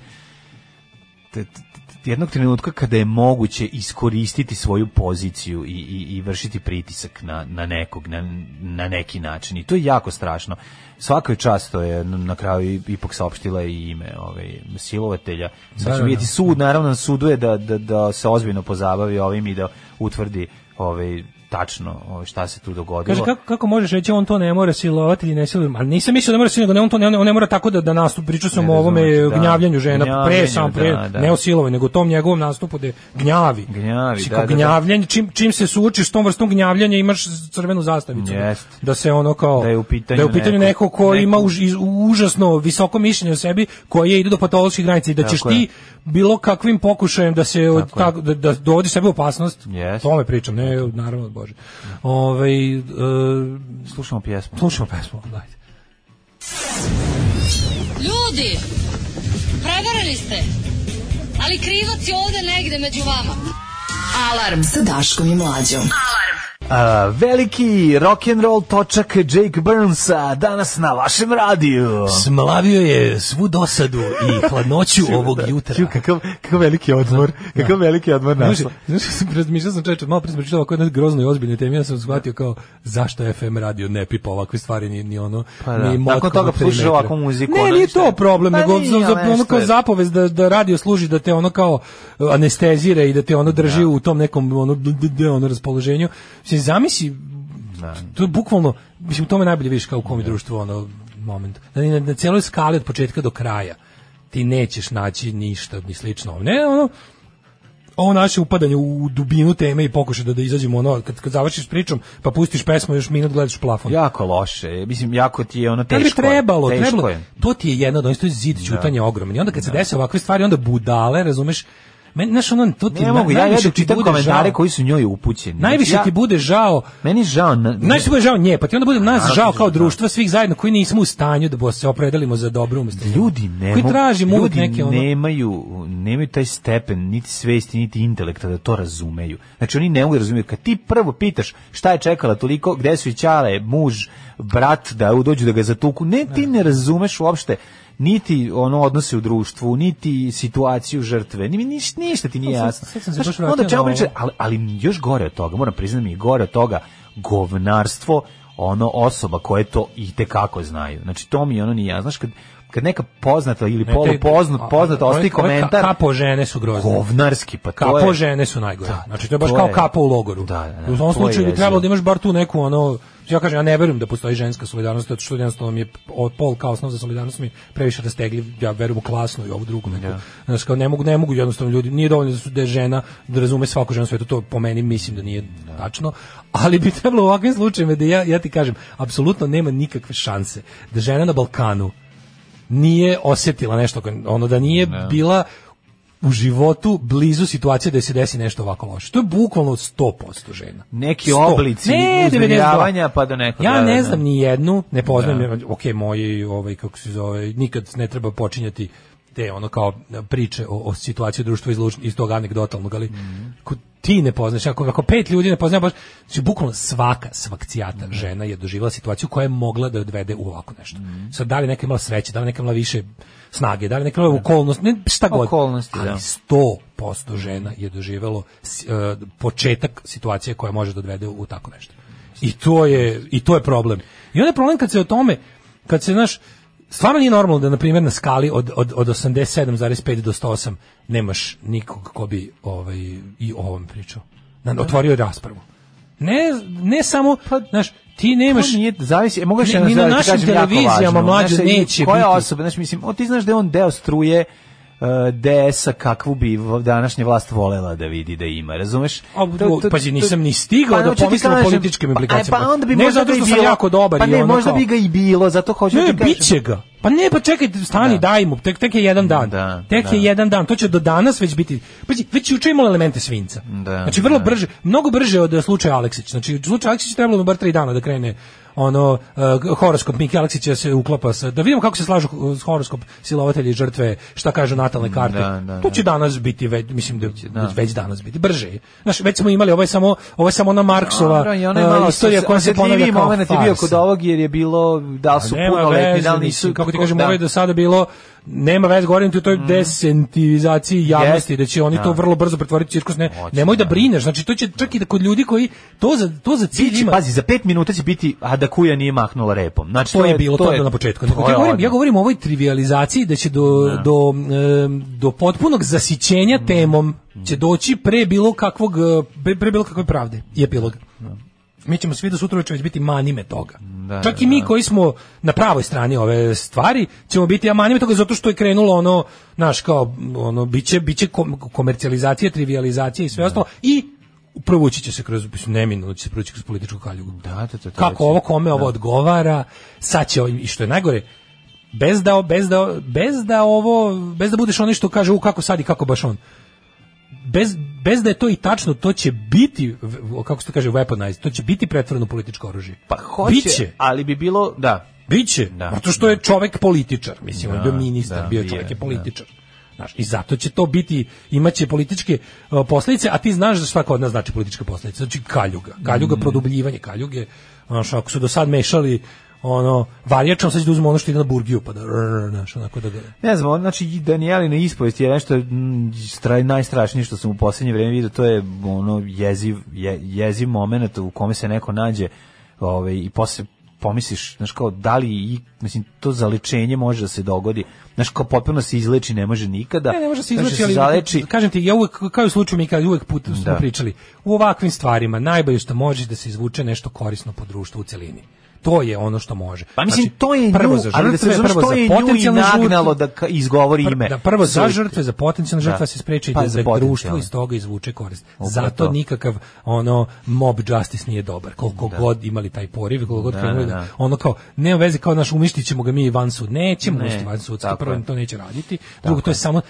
[SPEAKER 5] t- t- t- jednog trenutka kada je moguće iskoristiti svoju poziciju i, i, i vršiti pritisak na, na nekog, na, na neki način. I to je jako strašno. Svako je čast, to je n- na kraju i- ipak saopštila i ime ovaj, silovatelja.
[SPEAKER 6] Da,
[SPEAKER 5] Sad ćemo
[SPEAKER 6] da, da.
[SPEAKER 5] vidjeti sud, naravno na sudu je da, da, da se ozbiljno pozabavi ovim i da utvrdi ovaj, tačno ovaj, šta se tu dogodilo.
[SPEAKER 6] Kaže kako kako možeš reći on to ne mora silovati ili ne silovati, ali nisam mislio da mora silovati, nego ne, on to ne, on ne mora tako da da nastup pričao sam
[SPEAKER 5] Ne
[SPEAKER 6] o ovome
[SPEAKER 5] razumem, da.
[SPEAKER 6] gnjavljanju žena pre
[SPEAKER 5] Gnjavljenju,
[SPEAKER 6] sam pre
[SPEAKER 5] da, da.
[SPEAKER 6] ne o silovanju, nego o tom njegovom nastupu da je gnjavi.
[SPEAKER 5] Gnjavi,
[SPEAKER 6] Mislim,
[SPEAKER 5] da,
[SPEAKER 6] kao
[SPEAKER 5] da, da.
[SPEAKER 6] gnjavljenje, čim čim se suočiš s tom vrstom gnjavljenja imaš crvenu zastavicu.
[SPEAKER 5] Jest.
[SPEAKER 6] Da se ono kao
[SPEAKER 5] Da je u pitanju
[SPEAKER 6] da je u pitanju
[SPEAKER 5] neko-
[SPEAKER 6] neko, ko
[SPEAKER 5] neko-
[SPEAKER 6] ima už, iz- užasno visoko mišljenje o sebi koje ide do patoloških granica i da
[SPEAKER 5] Tako
[SPEAKER 6] ćeš
[SPEAKER 5] je.
[SPEAKER 6] ti bilo kakvim pokušajem da se od,
[SPEAKER 5] Tako je.
[SPEAKER 6] tako, da, da dovodi sebe u opasnost.
[SPEAKER 5] Jest.
[SPEAKER 6] To tome pričam, ne, naravno, bože. Ovaj e,
[SPEAKER 5] Slušamo pjesmu.
[SPEAKER 6] slušamo pesmu, dajte.
[SPEAKER 4] Ljudi, prevarili ste. Ali krivac je ovde negde među vama. Alarm sa Daškom i Mlađom.
[SPEAKER 5] A, veliki rock and roll točak Jake Burnsa danas na vašem radiju.
[SPEAKER 6] Smlavio je svu dosadu i hladnoću ovog jutra.
[SPEAKER 5] Ču, kakav, kakav veliki odmor, kakav veliki odmor
[SPEAKER 6] Znaš,
[SPEAKER 5] našla.
[SPEAKER 6] znaš, sam razmišljao sam čeče, malo pre sam pročitao ovako jednoj groznoj ozbiljnoj temi, ja sam shvatio kao zašto FM radio ne pipa ovakve stvari, ni, ni ono,
[SPEAKER 5] Pa da.
[SPEAKER 6] ni motka
[SPEAKER 5] Nakon toga
[SPEAKER 6] ovog
[SPEAKER 5] slušaš
[SPEAKER 6] perimetra.
[SPEAKER 5] ovakvu muziku,
[SPEAKER 6] Ne,
[SPEAKER 5] ono
[SPEAKER 6] nije
[SPEAKER 5] šta je-
[SPEAKER 6] to problem,
[SPEAKER 5] Pa
[SPEAKER 6] nego
[SPEAKER 5] nije,
[SPEAKER 6] za, za,
[SPEAKER 5] ali
[SPEAKER 6] ono
[SPEAKER 5] nešto
[SPEAKER 6] kao
[SPEAKER 5] je.
[SPEAKER 6] zapovez da, da radio služi da te ono kao uh, anestezira i da te ono drži u tom nekom ono, d- d- d- ono raspoloženju. Mislim, zamisli, to je bukvalno, mislim, u tome najbolje vidiš kao u kom je društvu ono moment. Na, na, na celoj skali od početka do kraja ti nećeš naći ništa ni slično. Ne, ono, ovo naše upadanje u dubinu teme i pokušaj da, da izađemo ono, kad, kad završiš pričom, pa pustiš pesmu, još minut gledaš u plafon.
[SPEAKER 5] Jako loše. Mislim, jako ti je ono
[SPEAKER 6] Ne bi
[SPEAKER 5] teško. je,
[SPEAKER 6] trebalo,
[SPEAKER 5] teško
[SPEAKER 6] trebalo.
[SPEAKER 5] je.
[SPEAKER 6] To ti je jedno od onih, to je zid ćutanja ogroman. I onda kad se dese ovakve stvari, onda budale, razumeš, Meni, znaš, ono, to ti
[SPEAKER 5] Ne
[SPEAKER 6] na-
[SPEAKER 5] mogu, ja
[SPEAKER 6] najviše
[SPEAKER 5] jedu
[SPEAKER 6] ti
[SPEAKER 5] čitam
[SPEAKER 6] bude
[SPEAKER 5] komentare
[SPEAKER 6] žao.
[SPEAKER 5] koji su njoj upućeni. Znači,
[SPEAKER 6] Najviše
[SPEAKER 5] ja,
[SPEAKER 6] ti bude žao
[SPEAKER 5] Meni je žao... Na,
[SPEAKER 6] Najviše ti bude žao nje, pa ti onda bude nas
[SPEAKER 5] Naravno,
[SPEAKER 6] žao
[SPEAKER 5] ti
[SPEAKER 6] kao
[SPEAKER 5] žao.
[SPEAKER 6] društva svih zajedno koji nismo u stanju da bo- se opredelimo za dobro umesto zla.
[SPEAKER 5] ljudi ne
[SPEAKER 6] koji
[SPEAKER 5] mogu-
[SPEAKER 6] tražimo uvek
[SPEAKER 5] ljudi
[SPEAKER 6] neke ono
[SPEAKER 5] nemaju nemaju taj stepen niti svesti niti intelekta da to razumeju znači oni ne mogu da razumeju kad ti prvo pitaš šta je čekala toliko gde su i ćale muž brat da dođu da ga zatuku ne ti ne razumeš uopšte niti ono odnose u društvu, niti situaciju žrtve, ni niš, ništa ti nije
[SPEAKER 6] Sad sam-
[SPEAKER 5] jasno.
[SPEAKER 6] sad sam se
[SPEAKER 5] Znaš,
[SPEAKER 6] baš vratio
[SPEAKER 5] onda
[SPEAKER 6] na
[SPEAKER 5] čemu
[SPEAKER 6] ovo.
[SPEAKER 5] pričati, ali, ali još gore od toga, moram priznati mi je gore od toga govnarstvo ono osoba koje to i te kako znaju. Znači to mi ono nije jasno. Znaš kad kad neka poznata ili
[SPEAKER 6] Ne, te-
[SPEAKER 5] polupoznat
[SPEAKER 6] a-
[SPEAKER 5] poznata
[SPEAKER 6] ove-
[SPEAKER 5] ostavi
[SPEAKER 6] ove ka-
[SPEAKER 5] komentar
[SPEAKER 6] Kapo žene su grozne.
[SPEAKER 5] govnarski, pa to
[SPEAKER 6] Kapo
[SPEAKER 5] je...
[SPEAKER 6] žene su najgore.
[SPEAKER 5] Da,
[SPEAKER 6] znači to je baš
[SPEAKER 5] to
[SPEAKER 6] kao
[SPEAKER 5] je-
[SPEAKER 6] kapo u logoru.
[SPEAKER 5] Da, da, da,
[SPEAKER 6] u ovom
[SPEAKER 5] to je
[SPEAKER 6] slučaju bi
[SPEAKER 5] jezivo.
[SPEAKER 6] trebalo da imaš bar tu neku ono ja kažem ja ne verujem da postoji ženska solidarnost zato što jednostavno mi je od pol kao osnov za solidarnost mi je previše rastegljiv ja verujem u klasnu i ovu drugu neku. Znači kao ne mogu ne mogu jednostavno ljudi nije dovoljno da su da je žena da razume svaku ženu na svetu to po meni mislim da nije tačno ali bi trebalo u ovakvim slučajevima da ja ja ti kažem apsolutno nema nikakve šanse da žena na Balkanu nije osjetila nešto, ono da nije bila u životu blizu situacije da joj se desi nešto ovako loše. To je bukvalno 100% žena.
[SPEAKER 5] Neki
[SPEAKER 6] 100.
[SPEAKER 5] oblici
[SPEAKER 6] Ne, 92.
[SPEAKER 5] uznemiravanja, pa do nekog,
[SPEAKER 6] Ja
[SPEAKER 5] da, da,
[SPEAKER 6] ne
[SPEAKER 5] da.
[SPEAKER 6] znam ni jednu, ne poznajem, ok, moji, ovaj, kako se zove, nikad ne treba počinjati te ono kao priče o, o situaciji društva iz, Luč- iz tog anegdotalnog, ali
[SPEAKER 5] Mhm.
[SPEAKER 6] ko ti ne poznaš, ako, ako pet ljudi ne poznaje, baš, znači, bukvalno svaka
[SPEAKER 5] Mhm.
[SPEAKER 6] svakcijata žena je doživjela situaciju koja je mogla da je odvede u ovako nešto.
[SPEAKER 5] Mhm.
[SPEAKER 6] Sad, da li neka imala sreće, da li neka imala više snage, da li neka imala okolnost, ne, šta god.
[SPEAKER 5] Okolnosti,
[SPEAKER 6] ali
[SPEAKER 5] da.
[SPEAKER 6] 100% žena je doživelo s- e, početak situacije koja može da odvede u tako nešto. I to je i to je problem. I onda je problem kad se o tome kad se naš stvarno nije normalno da na primjer na skali od od od 87,5 do 108 nemaš nikog ko bi ovaj i o ovom pričao. Na otvorio raspravu. Ne ne samo znaš ti nemaš
[SPEAKER 5] Pa, To nije, zavisi, e, mogu još
[SPEAKER 6] Ni-
[SPEAKER 5] jednu
[SPEAKER 6] ni na
[SPEAKER 5] stvar da ti
[SPEAKER 6] našim
[SPEAKER 5] kažem jako
[SPEAKER 6] televizijama,
[SPEAKER 5] važnu.
[SPEAKER 6] mlađe,
[SPEAKER 5] Znaš, i
[SPEAKER 6] neće
[SPEAKER 5] koja
[SPEAKER 6] biti.
[SPEAKER 5] osoba, znaš, mislim, o, ti znaš da je on deo struje uh, DS-a kakvu bi v- današnja vlast volela da vidi da ima, razumeš?
[SPEAKER 6] A, pazi, nisam ni stigao da
[SPEAKER 5] pa hoću ti
[SPEAKER 6] pomislim o
[SPEAKER 5] kažem,
[SPEAKER 6] političkim
[SPEAKER 5] pa, e,
[SPEAKER 6] implikacijama.
[SPEAKER 5] Pa, onda bi
[SPEAKER 6] Ne
[SPEAKER 5] možda
[SPEAKER 6] zato
[SPEAKER 5] ga i
[SPEAKER 6] što sam
[SPEAKER 5] bilo-
[SPEAKER 6] jako dobar
[SPEAKER 5] Pa
[SPEAKER 6] i
[SPEAKER 5] ne,
[SPEAKER 6] ono
[SPEAKER 5] možda
[SPEAKER 6] kao-
[SPEAKER 5] bi ga i bilo, zato hoću
[SPEAKER 6] Ne,
[SPEAKER 5] ti kažem.
[SPEAKER 6] bit će ga. Pa ne, pa čekaj, stani, daj mu, tek, tek je jedan dan.
[SPEAKER 5] Da,
[SPEAKER 6] tek je
[SPEAKER 5] da.
[SPEAKER 6] jedan dan, to će do danas već biti. Pazi, već juče imalo elemente svinca.
[SPEAKER 5] Da,
[SPEAKER 6] znači, vrlo
[SPEAKER 5] da.
[SPEAKER 6] brže, mnogo brže od e, slučaja Aleksić. Znači, slučaj Aleksić trebalo bi bar tri dana da krene ono uh, horoskop Miki Aleksića se uklapa sa da vidimo kako se slažu uh, horoskop silovatelji i žrtve šta kažu natalne karte
[SPEAKER 5] Da, da,
[SPEAKER 6] to će danas biti već mislim da, već danas biti brže je. Znaš, već smo imali ovo je samo ovo je samo ona Marksova
[SPEAKER 5] Dobro, i onaj
[SPEAKER 6] uh,
[SPEAKER 5] malo
[SPEAKER 6] istorija koja se ponavlja kao
[SPEAKER 5] moment je bio
[SPEAKER 6] farsa.
[SPEAKER 5] kod ovog jer je bilo da li su
[SPEAKER 6] Nema
[SPEAKER 5] punoletni,
[SPEAKER 6] veze,
[SPEAKER 5] da li
[SPEAKER 6] mislim,
[SPEAKER 5] nisu.
[SPEAKER 6] Kako ti
[SPEAKER 5] tako
[SPEAKER 6] kažem,
[SPEAKER 5] da. Mm.
[SPEAKER 6] ovo je do sada bilo, nema veze, govorim ti o toj desentivizaciji javnosti,
[SPEAKER 5] Jest,
[SPEAKER 6] da će oni to vrlo brzo pretvoriti u cirkus, ne,
[SPEAKER 5] Hoće,
[SPEAKER 6] nemoj da
[SPEAKER 5] da.
[SPEAKER 6] brineš, znači to će čak i da kod ljudi koji to za, to za cilj
[SPEAKER 5] Biće, pa
[SPEAKER 6] ima.
[SPEAKER 5] pazi, za pet minuta će biti, a da kuja nije mahnula repom. Znači,
[SPEAKER 6] To, je bilo to, je bilo na početku. Nego
[SPEAKER 5] to
[SPEAKER 6] ti
[SPEAKER 5] je
[SPEAKER 6] govorim,
[SPEAKER 5] odmah.
[SPEAKER 6] ja govorim o ovoj trivializaciji da će do, do, em, do potpunog zasićenja temom će doći pre bilo kakvog e, pre, pre bilo kakve pravde i epiloga. Mi ćemo svi do sutra uveče već biti manime toga. Čak i mi koji smo na pravoj strani ove stvari, ćemo biti ja manime toga zato što je krenulo ono, naš kao, ono, biće, biće kom- komercijalizacija, trivializacija i sve ostalo i provući će se kroz, mislim, neminovno će se provući kroz političku kaljugu.
[SPEAKER 5] Da, da, da, da,
[SPEAKER 6] Kako
[SPEAKER 5] da.
[SPEAKER 6] ovo kome ovo odgovara, sad će, ovim- i što je najgore, bez da, bez da, bez da ovo, bez da budeš onaj što kaže, u kako sad i kako baš on bez, bez da je to i tačno, to će biti, v- kako se to kaže, weaponized, to će biti pretvoreno u političko oružje.
[SPEAKER 5] Pa hoće,
[SPEAKER 6] Biće.
[SPEAKER 5] ali bi bilo, da,
[SPEAKER 6] Biće,
[SPEAKER 5] Da.
[SPEAKER 6] zato što je čovek političar, mislim, on je bio ministar,
[SPEAKER 5] da,
[SPEAKER 6] bio je
[SPEAKER 5] bio
[SPEAKER 6] čovek
[SPEAKER 5] je,
[SPEAKER 6] je političar. Znaš, I zato će to biti, imaće političke uh, posledice, a ti znaš za šta kod nas znači politička posledica, znači kaljuga,
[SPEAKER 5] Mm.
[SPEAKER 6] kaljuga, produbljivanje kaljuge, znaš, ako su do sad mešali ono, varjačom, sad će da uzmu ono što ide na burgiju, pa da, rrr, znaš, onako da ga...
[SPEAKER 5] Ne znam, on, znači i Danijelina ispovest je nešto mm, stra, najstrašnije što sam u posljednje vrijeme vidio, to je ono jeziv, je, jeziv moment u kome se neko nađe ovaj, i posle pomisliš, znaš kao, da li, i, mislim, to zalečenje može da se dogodi, znaš kao, potpuno se izleči, ne može nikada.
[SPEAKER 6] Ne, ne može se
[SPEAKER 5] Znaš,
[SPEAKER 6] izvući, ali
[SPEAKER 5] Znači, zaleči,
[SPEAKER 6] kažem ti, ja uvek, kao i u slučaju mi kad uvek put smo
[SPEAKER 5] Da.
[SPEAKER 6] pričali, u ovakvim stvarima najbolje što možeš da se izvuče nešto korisno po društvu u celini. to je ono što može.
[SPEAKER 5] Pa mislim,
[SPEAKER 6] Znači,
[SPEAKER 5] to je nju,
[SPEAKER 6] prvo za žrtve,
[SPEAKER 5] ali razumeš,
[SPEAKER 6] prvo
[SPEAKER 5] to
[SPEAKER 6] za
[SPEAKER 5] je nju i
[SPEAKER 6] potencijalne žrtve,
[SPEAKER 5] nagnalo da ka- izgovori
[SPEAKER 6] pr-
[SPEAKER 5] ime.
[SPEAKER 6] Da prvo za
[SPEAKER 5] Sorry.
[SPEAKER 6] žrtve, za potencijalne žrtve
[SPEAKER 5] Da.
[SPEAKER 6] se spreči
[SPEAKER 5] Pa
[SPEAKER 6] da,
[SPEAKER 5] za
[SPEAKER 6] da
[SPEAKER 5] potencijalne.
[SPEAKER 6] društvo iz toga izvuče korist.
[SPEAKER 5] Upravo
[SPEAKER 6] Zato
[SPEAKER 5] to.
[SPEAKER 6] nikakav ono mob justice nije dobar. Koliko god imali taj poriv, koliko god krenuli
[SPEAKER 5] da,
[SPEAKER 6] da,
[SPEAKER 5] da.
[SPEAKER 6] ono kao nema veze kao naš umištit ćemo ga mi van sud. Nećemo
[SPEAKER 5] Ne,
[SPEAKER 6] umišti van sudski,
[SPEAKER 5] tako
[SPEAKER 6] prvo
[SPEAKER 5] je.
[SPEAKER 6] im to neće raditi. Drugo to je samo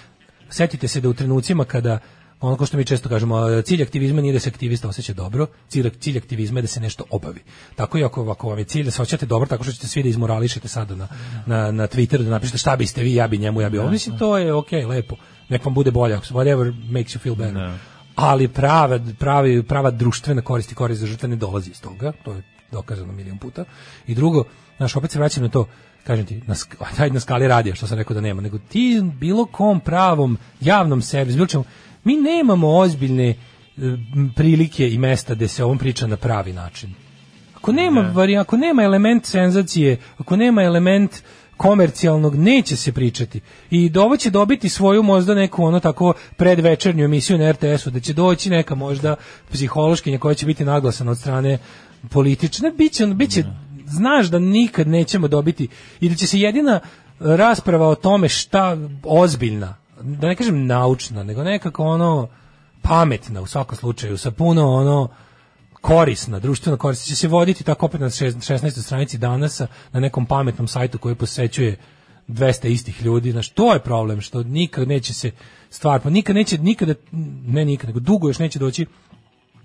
[SPEAKER 6] setite se da u trenucima kada ono ko što mi često kažemo, a, cilj aktivizma nije da se aktivista osjeća dobro, cilj, cilj aktivizma je da se nešto obavi. Tako i ako, ako vam je cilj da se osjećate dobro, tako što ćete svi da izmorališete sada na, na, na Twitteru, da napišete šta biste vi, ja bi njemu, ja bi ovom. Mislim, to je ok, lepo. Nek vam bude bolje, ako se- whatever makes you feel better. Ali prava, pravi, prava društvena korist i korist za žrtve ne dolazi iz toga, to je dokazano milion puta. I drugo, znaš, opet se vraćam na to, kažem ti, na, sk- ajde na skali radija, što sam rekao da nema, nego ti bilo kom pravom javnom servisu, bilo čemu, mi nemamo ozbiljne e, m, prilike i mesta gde se ovom priča na pravi način. Ako nema, vari, ako nema element senzacije, ako nema element komercijalnog, neće se pričati. I da ovo će dobiti svoju možda neku ono tako predvečernju emisiju na RTS-u, da će doći neka možda psihološkinja koja će biti naglasana od strane politične. Biće, on- biće, znaš da nikad nećemo dobiti i da će se jedina rasprava o tome šta ozbiljna, da ne kažem naučna, nego nekako ono pametna u svakom slučaju, sa puno ono korisna, društveno korisna, će se voditi tako opet na šest- 16. stranici danas na nekom pametnom sajtu koji posećuje 200 istih ljudi, znaš, to je problem, što nikad neće se stvar, pa nikad neće, nikada, ne nikad, nego dugo još neće doći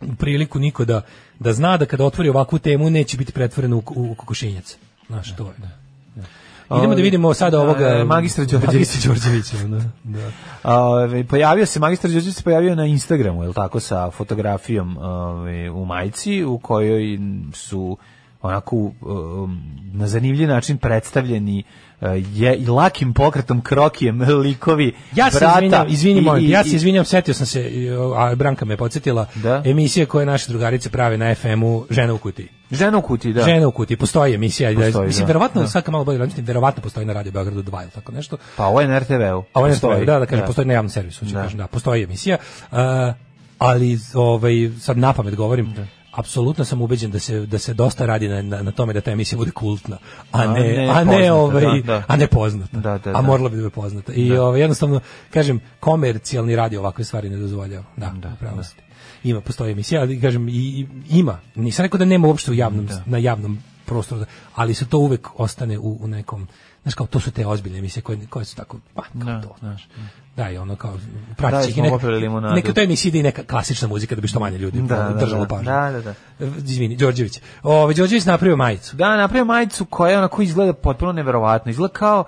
[SPEAKER 6] u priliku niko da, da zna da kada otvori ovakvu temu neće biti pretvoreno u, u kokošinjac. Znaš, to je. Idemo da vidimo sada ovoga...
[SPEAKER 5] E, magistra Đorđevića.
[SPEAKER 6] Magistra Đorđevića, da. da.
[SPEAKER 5] Ove, pojavio se, magistar Đorđević se pojavio na Instagramu, je li tako, sa fotografijom ove, u majci, u kojoj su onako um, na zanimljiv način predstavljeni uh, je, i lakim pokretom, krokijem, likovi
[SPEAKER 6] Ja se
[SPEAKER 5] brata.
[SPEAKER 6] izvinjam, izvini
[SPEAKER 5] i-
[SPEAKER 6] molim,
[SPEAKER 5] i-
[SPEAKER 6] ja se
[SPEAKER 5] i-
[SPEAKER 6] izvinjam, setio sam se, i, o, a Branka me podsjetila,
[SPEAKER 5] Da?
[SPEAKER 6] emisije koje naše drugarice prave na FM-u Žena u kutiji.
[SPEAKER 5] Žena u kutiji, da.
[SPEAKER 6] Žena u kutiji, postoji emisija.
[SPEAKER 5] Postoji,
[SPEAKER 6] mislim,
[SPEAKER 5] da,
[SPEAKER 6] verovatno,
[SPEAKER 5] da.
[SPEAKER 6] sad kad malo bolje razmislim, verovatno postoji na Radio Beogradu 2 ili tako nešto.
[SPEAKER 5] Pa ovo je na RTV-u.
[SPEAKER 6] A ovo je
[SPEAKER 5] Postoji.
[SPEAKER 6] da, da kažem, postoji na javnom servisu, ću
[SPEAKER 5] Da.
[SPEAKER 6] kažem, da, postoji emisija. Uh, ali z- ovaj sad napamet govorim. Apsolutno sam ubeđen da se da se dosta radi na, na, na tome da ta emisija bude kultna, a ne a ne,
[SPEAKER 5] ne poznata,
[SPEAKER 6] ovaj
[SPEAKER 5] da, da.
[SPEAKER 6] a ne poznata.
[SPEAKER 5] Da, da,
[SPEAKER 6] A
[SPEAKER 5] da.
[SPEAKER 6] morala bi da bude poznata. I ovaj jednostavno kažem komercijalni radio ovakve stvari ne dozvoljava. Da, da, pravo ste. Ima postoji emisija, ali kažem i, i- ima. Nisam rekao da nema uopšte u javnom na javnom prostoru, ali se to uvek ostane u, u nekom Znaš kao, to su te ozbiljne emisije koje, koje su tako, pa, kao to, znaš. Da, i ono kao,
[SPEAKER 5] Dali
[SPEAKER 6] pratit će ih
[SPEAKER 5] smo
[SPEAKER 6] neka,
[SPEAKER 5] popili limunadu.
[SPEAKER 6] neka to emisija ide i neka klasična muzika da bi što manje ljudi ono,
[SPEAKER 5] Da, da,
[SPEAKER 6] držalo
[SPEAKER 5] da.
[SPEAKER 6] pažnju.
[SPEAKER 5] Da, da, da.
[SPEAKER 6] E, Izvini, Đorđević. Ove, Đorđević napravio majicu.
[SPEAKER 5] Da, napravio majicu koja onako izgleda potpuno neverovatno. Izgleda kao...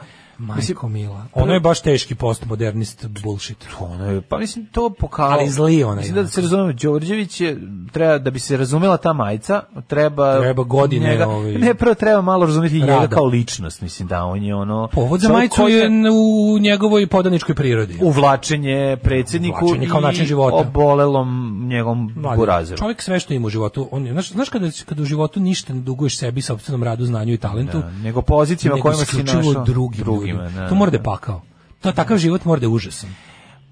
[SPEAKER 5] mislim,
[SPEAKER 6] Majko Mila. Ono je baš teški postmodernist bullshit.
[SPEAKER 5] Ono je, pa mislim to pokazalo.
[SPEAKER 6] Ali zli onaj,
[SPEAKER 5] Mislim da,
[SPEAKER 6] onako.
[SPEAKER 5] da se razumemo, Đorđević je treba da bi se razumela ta majica, treba
[SPEAKER 6] Treba godine,
[SPEAKER 5] njega,
[SPEAKER 6] ovaj-
[SPEAKER 5] Ne, prvo treba malo razumeti i njega
[SPEAKER 6] Rada.
[SPEAKER 5] kao ličnost, mislim da on je ono
[SPEAKER 6] Povod za
[SPEAKER 5] čovjek
[SPEAKER 6] majicu
[SPEAKER 5] koji
[SPEAKER 6] je n- u njegovoj podaničkoj prirodi.
[SPEAKER 5] uvlačenje predsjedniku
[SPEAKER 6] Uvlačenje kao način života.
[SPEAKER 5] i obolelom njegovom
[SPEAKER 6] Mladen,
[SPEAKER 5] burazeru.
[SPEAKER 6] Čovjek sve što ima u životu, on je, znaš, znaš kada, kada u životu ništa ne duguješ sebi, sopstvenom radu, znanju i talentu,
[SPEAKER 5] Da, nego pozicijama
[SPEAKER 6] nego
[SPEAKER 5] kojima si
[SPEAKER 6] isključivo
[SPEAKER 5] našao
[SPEAKER 6] drugim,
[SPEAKER 5] drugima,
[SPEAKER 6] ljudima.
[SPEAKER 5] da,
[SPEAKER 6] to mora da
[SPEAKER 5] da.
[SPEAKER 6] je pakao. To takav život mora da je užasan.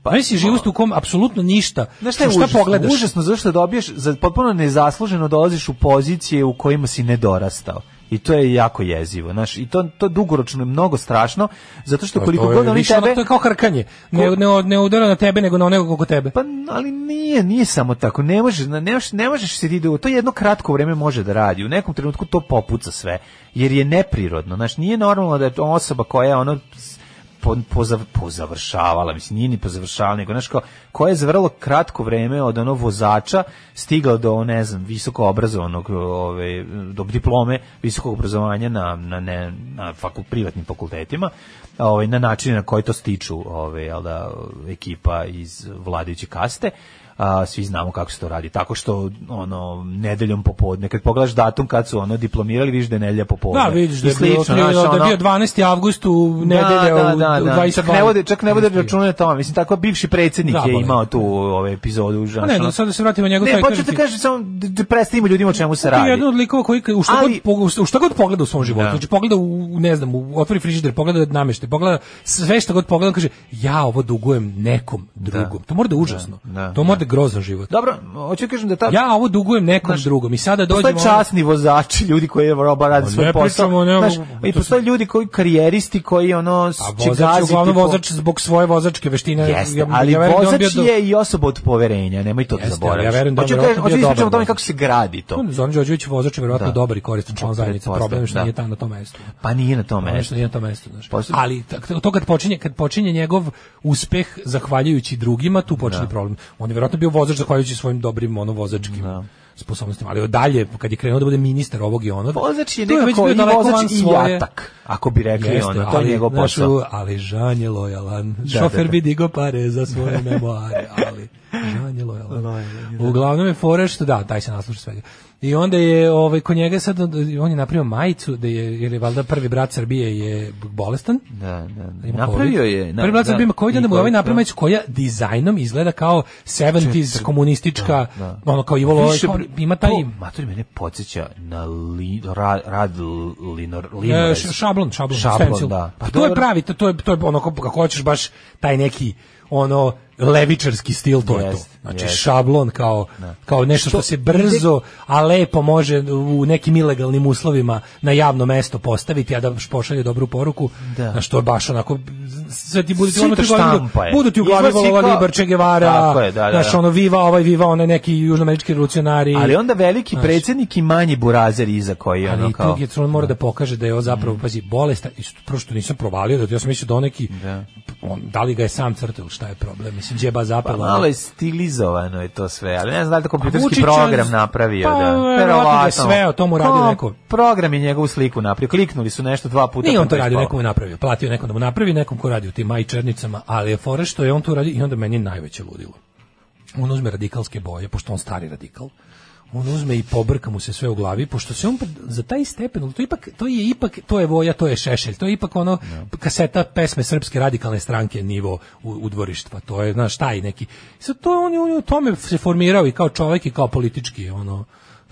[SPEAKER 6] Pa, Znaš si život u kom apsolutno ništa.
[SPEAKER 5] Znaš šta je
[SPEAKER 6] šta
[SPEAKER 5] užasno?
[SPEAKER 6] pogledaš?
[SPEAKER 5] Užasno zašto dobiješ, za potpuno nezasluženo dolaziš u pozicije u kojima si nedorastao. I to je jako jezivo, znaš, i to, to dugoročno je mnogo strašno, zato što
[SPEAKER 6] Pa,
[SPEAKER 5] koliko
[SPEAKER 6] to je
[SPEAKER 5] god oni
[SPEAKER 6] više ono-
[SPEAKER 5] tebe...
[SPEAKER 6] To je kao harkanje. Ne, ne, ne udara na tebe, nego na onego oko tebe.
[SPEAKER 5] Pa, ali nije, nije samo tako, ne možeš, ne možeš, ne možeš se ti, do- to jedno kratko vreme može da radi, u nekom trenutku to popuca sve, jer je neprirodno, znaš, nije normalno da je to osoba koja je ono s- po, pozav- pozavršavala, mislim, nije ni pozavršavala, nego, znaš, kao, koja je za vrlo kratko vreme od ono vozača stigao do, ne znam, visoko obrazovanog, ove, do diplome visokog obrazovanja na, na, ne, na faku, privatnim fakultetima, ovaj, na način na koji to stiču ove, jel da, ekipa iz vladajuće kaste, a, svi znamo kako se to radi, tako što ono nedeljom popodne, kad pogledaš datum kad su ono diplomirali, vidiš da je nedelja popodne.
[SPEAKER 6] Da, vidiš da
[SPEAKER 5] I
[SPEAKER 6] je bio,
[SPEAKER 5] slično,
[SPEAKER 6] da je
[SPEAKER 5] znaš, ono-
[SPEAKER 6] bio 12. avgust u nedelja u, u 22.
[SPEAKER 5] Čak ne vode, čak ne vode računa na tome. Mislim, tako bivši predsjednik
[SPEAKER 6] Da,
[SPEAKER 5] je
[SPEAKER 6] boli.
[SPEAKER 5] imao tu ove, epizodu. Znaš,
[SPEAKER 6] Pa ne,
[SPEAKER 5] ono.
[SPEAKER 6] da sad da se vratimo na njegov
[SPEAKER 5] Ne,
[SPEAKER 6] taj,
[SPEAKER 5] početi
[SPEAKER 6] kažem
[SPEAKER 5] da
[SPEAKER 6] ti-
[SPEAKER 5] kažeš samo da- da predstavimo ljudima o čemu se
[SPEAKER 6] To je
[SPEAKER 5] radi.
[SPEAKER 6] jedan od likova koji u šta,
[SPEAKER 5] Ali-
[SPEAKER 6] god, pog- u šta god pogleda u svom životu.
[SPEAKER 5] Da.
[SPEAKER 6] Znači pogleda u, ne znam, u, otvori frižider, pogleda namešte, pogleda sve što god pogleda, on kaže ja ovo dugujem nekom drugom. To mora da je užasno.
[SPEAKER 5] da,
[SPEAKER 6] to mora da, grozan život.
[SPEAKER 5] Dobro, hoću da kažem da ta...
[SPEAKER 6] Ja ovo dugujem nekom drugom i sada
[SPEAKER 5] Postoje
[SPEAKER 6] dođemo...
[SPEAKER 5] časni vozači, ljudi koji roba rade
[SPEAKER 6] Pa
[SPEAKER 5] svoj
[SPEAKER 6] ne
[SPEAKER 5] posao.
[SPEAKER 6] pričamo, ne,
[SPEAKER 5] Znaš,
[SPEAKER 6] ovo-
[SPEAKER 5] I postoje ljudi koji karijeristi koji ono
[SPEAKER 6] A
[SPEAKER 5] će
[SPEAKER 6] vozač je
[SPEAKER 5] gaziti.
[SPEAKER 6] uglavnom
[SPEAKER 5] po-
[SPEAKER 6] vozač zbog svoje vozačke veštine.
[SPEAKER 5] Jeste,
[SPEAKER 6] Ja-
[SPEAKER 5] ali
[SPEAKER 6] ja verujem da on
[SPEAKER 5] vozač
[SPEAKER 6] bio do-
[SPEAKER 5] je i osoba od poverenja, nemoj to da
[SPEAKER 6] Jeste,
[SPEAKER 5] zaboraviš.
[SPEAKER 6] ali ja verujem da on
[SPEAKER 5] Hoću
[SPEAKER 6] verovatno
[SPEAKER 5] kažem, hoću
[SPEAKER 6] bio
[SPEAKER 5] ispričam o
[SPEAKER 6] dobar
[SPEAKER 5] tome kako se gradi to.
[SPEAKER 6] Zoran Đorđević vozač je verovatno
[SPEAKER 5] Da.
[SPEAKER 6] dobar i koristan član zajednice.
[SPEAKER 5] Pretpostavljam,
[SPEAKER 6] Problem je što
[SPEAKER 5] da.
[SPEAKER 6] nije tam na tom mestu.
[SPEAKER 5] Pa nije na tome.
[SPEAKER 6] Problem je Ono što nije na tom mestu. Znaš.
[SPEAKER 5] Posle-
[SPEAKER 6] Ali tak- to kad počinje, kad počinje njegov uspeh zahvaljujući drugima, tu počinje problem. On je verovatno bio vozač zahvaljujući svojim dobrim ono, vozačkim sposobnostima. Ali dalje, kad je krenuo da bude ministar ovog i onog,
[SPEAKER 5] Vozač je
[SPEAKER 6] tu već
[SPEAKER 5] nekako
[SPEAKER 6] bio
[SPEAKER 5] i
[SPEAKER 6] daleko van
[SPEAKER 5] vozač i
[SPEAKER 6] svoje-
[SPEAKER 5] jatak, ako bi rekli
[SPEAKER 6] Jeste,
[SPEAKER 5] ono, to je
[SPEAKER 6] ali,
[SPEAKER 5] njegov
[SPEAKER 6] znaš,
[SPEAKER 5] posao.
[SPEAKER 6] u- ali Žan je lojalan.
[SPEAKER 5] Da,
[SPEAKER 6] Šofer
[SPEAKER 5] da, da.
[SPEAKER 6] bi digao pare za svoje memoare, ali Žan je lojalan. Uglavnom je fora što da, taj se nasluša svega. I onda je ovaj kod njega sad on je napravio majicu da je jer je valjda prvi brat Srbije je bolestan.
[SPEAKER 5] Da, da, da.
[SPEAKER 6] Ima
[SPEAKER 5] Napravio
[SPEAKER 6] COVID.
[SPEAKER 5] je. na-
[SPEAKER 6] Prvi brat
[SPEAKER 5] da,
[SPEAKER 6] Srbije ima COVID, onda mu je
[SPEAKER 5] i
[SPEAKER 6] ovaj
[SPEAKER 5] COVID,
[SPEAKER 6] napravio
[SPEAKER 5] da.
[SPEAKER 6] majicu koja dizajnom izgleda kao 70s komunistička,
[SPEAKER 5] da.
[SPEAKER 6] ono kao Ivo Lović,
[SPEAKER 5] Više
[SPEAKER 6] kao-
[SPEAKER 5] br-
[SPEAKER 6] ima taj...
[SPEAKER 5] To, mater, mene podsjeća na li, ra, rad linor,
[SPEAKER 6] E,
[SPEAKER 5] linorez.
[SPEAKER 6] š- šablon, šablon,
[SPEAKER 5] Šablon,
[SPEAKER 6] stencil.
[SPEAKER 5] da.
[SPEAKER 6] Pa
[SPEAKER 5] Pa
[SPEAKER 6] to je
[SPEAKER 5] dobro.
[SPEAKER 6] pravi, to to je to je ono kako kako hoćeš baš taj neki ono levičarski stil to je to.
[SPEAKER 5] Jest,
[SPEAKER 6] Znači
[SPEAKER 5] jest.
[SPEAKER 6] šablon kao kao nešto što se brzo, a lepo može u nekim ilegalnim uslovima na javno mesto postaviti, a da pošalje dobru poruku.
[SPEAKER 5] Da.
[SPEAKER 6] Znači to je baš onako sve ti bude ono
[SPEAKER 5] Svi to štampa je.
[SPEAKER 6] budu ti u glavi
[SPEAKER 5] Izlazi
[SPEAKER 6] volovali
[SPEAKER 5] kao-
[SPEAKER 6] Che Guevara,
[SPEAKER 5] Tako je, da, da,
[SPEAKER 6] znaš,
[SPEAKER 5] da.
[SPEAKER 6] ono viva ovaj viva onaj neki južnoamerički revolucionari.
[SPEAKER 5] Ali onda veliki predsjednik i manji burazer iza koji je ono
[SPEAKER 6] Ali
[SPEAKER 5] kao... Mm.
[SPEAKER 6] tu je on mora da pokaže da je on zapravo pazi bolestan i što- prvo što nisam provalio da ja sam mislio da on neki on, da li ga je sam crtao ili šta je problem mislim đeba
[SPEAKER 5] Pa
[SPEAKER 6] zapela ono,
[SPEAKER 5] malo je stilizovano je to sve, ali ne znam da li je to kompjuterski
[SPEAKER 6] Vučić-
[SPEAKER 5] program napravio.
[SPEAKER 6] Pa,
[SPEAKER 5] da.
[SPEAKER 6] verovatno da je sve o tomu radio
[SPEAKER 5] Pa,
[SPEAKER 6] neko.
[SPEAKER 5] Program je njegovu sliku napravio. Kliknuli su nešto dva puta.
[SPEAKER 6] Nije
[SPEAKER 5] pa
[SPEAKER 6] on to
[SPEAKER 5] je
[SPEAKER 6] radio,
[SPEAKER 5] ispalo.
[SPEAKER 6] nekom je napravio. Platio nekom da mu napravi, nekom ko radi u tim majčernicama, ali je fora što je on to radio i onda meni je najveće ludilo. On uzme radikalske boje, pošto on stari radikal. On uzme i pobrka mu se sve u glavi, pošto se on pred- za taj stepen, ali to, ipak, to je ipak, to je voja, to je šešelj, to je ipak ono kaseta pesme Srpske radikalne stranke nivo u, u dvorištva, to je, znaš, taj neki. Sad to je on, je- on je u tome se formirao i kao čovjek i kao politički, ono,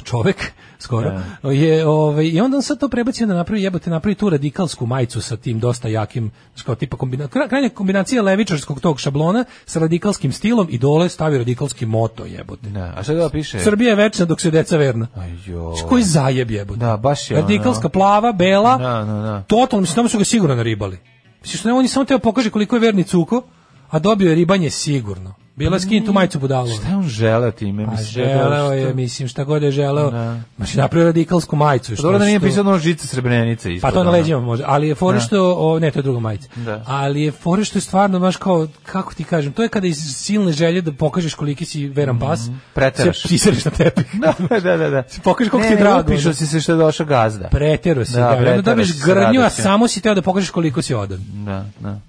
[SPEAKER 6] čovek skoro je ovaj i onda on sad to prebacio da napravi jebote napravi tu radikalsku majicu sa tim dosta jakim znaš, kao tipa kombina, kra- krajnja kombinacija levičarskog tog šablona sa radikalskim stilom i dole stavi radikalski moto jebote
[SPEAKER 5] Da, a šta da piše?
[SPEAKER 6] Srbija je večna dok se deca verna
[SPEAKER 5] Ajo.
[SPEAKER 6] Znaš, koji zajeb jebote
[SPEAKER 5] Da, baš je ono.
[SPEAKER 6] radikalska plava bela
[SPEAKER 5] Da, da, da.
[SPEAKER 6] totalno mislim tamo su ga sigurno naribali misliš ne on je samo teo pokaže koliko je verni cuko a dobio je ribanje sigurno bila je skinu majicu budalo
[SPEAKER 5] Šta je on želeo time?
[SPEAKER 6] pa
[SPEAKER 5] Mislim,
[SPEAKER 6] želeo je,
[SPEAKER 5] što-
[SPEAKER 6] mislim, šta god je želeo.
[SPEAKER 5] Da.
[SPEAKER 6] Znači, napravio radikalsku majicu. Što,
[SPEAKER 5] Dobro da nije
[SPEAKER 6] što-
[SPEAKER 5] pisao ono žica srebrenice.
[SPEAKER 6] Pa
[SPEAKER 5] ispod,
[SPEAKER 6] to na
[SPEAKER 5] ono.
[SPEAKER 6] leđima može, ali je fore što, o, ne, to je druga majica.
[SPEAKER 5] Da.
[SPEAKER 6] Ali je fore što je stvarno, baš kao, kako ti kažem, to je kada iz silne želje da pokažeš koliki si veran pas,
[SPEAKER 5] Mhm. preteraš.
[SPEAKER 6] se pisariš na tepih.
[SPEAKER 5] Da, da, da. da.
[SPEAKER 6] Pokaži koliko
[SPEAKER 5] Ne,
[SPEAKER 6] ti je
[SPEAKER 5] ne,
[SPEAKER 6] drago,
[SPEAKER 5] upišao
[SPEAKER 6] ono.
[SPEAKER 5] si se što je došao gazda.
[SPEAKER 6] Pretero si,
[SPEAKER 5] Da,
[SPEAKER 6] da, da, da
[SPEAKER 5] preteraš
[SPEAKER 6] dobiješ
[SPEAKER 5] s
[SPEAKER 6] grnju, a
[SPEAKER 5] radošću.
[SPEAKER 6] samo si teo da pokažeš koliko si odan.
[SPEAKER 5] Da, da.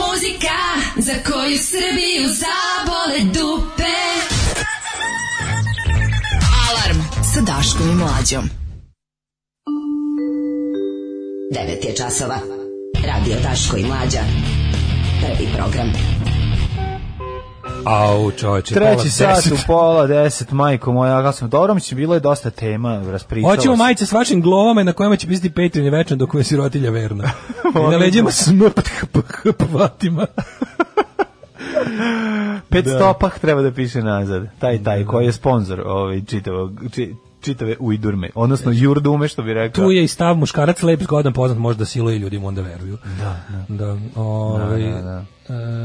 [SPEAKER 4] Muzika za koju Srbiju zabole dupe. Alarm sa Daškom i Mlađom.
[SPEAKER 11] 9 je časova. Radio Daško i Mlađa. Prvi program.
[SPEAKER 6] Au, čoveče, pola
[SPEAKER 5] Treći sat
[SPEAKER 6] deset.
[SPEAKER 5] u pola deset, majko moja, kako sam, dobro mi će bilo je dosta tema, raspričalo
[SPEAKER 6] Hoćemo
[SPEAKER 5] se.
[SPEAKER 6] majice s vašim glovama na kojima će pisati Patreon je večno dok mu je sirotilja verna. I na leđima smrt vatima.
[SPEAKER 5] 5 stopah treba da piše nazad. Taj, taj, koji je sponsor ovaj, čitavog, či, čitave ujdurme, odnosno jurdume, što bi rekao.
[SPEAKER 6] Dakle, Tu je i stav muškarac lep zgodan poznat možda siluje ljudi mu onda veruju. Da, da. ovaj, e,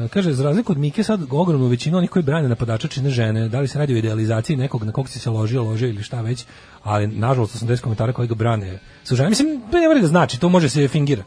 [SPEAKER 6] kaže, za razliku od Mike sad ogromnu većinu onih koji brane napadača čine žene, da li se radi o idealizaciji nekog na kog si se ložio, ložio ili šta već, ali nažalost 80 komentara koji ga brane su žene. Mislim, to ne mora da znači, to može se fingira.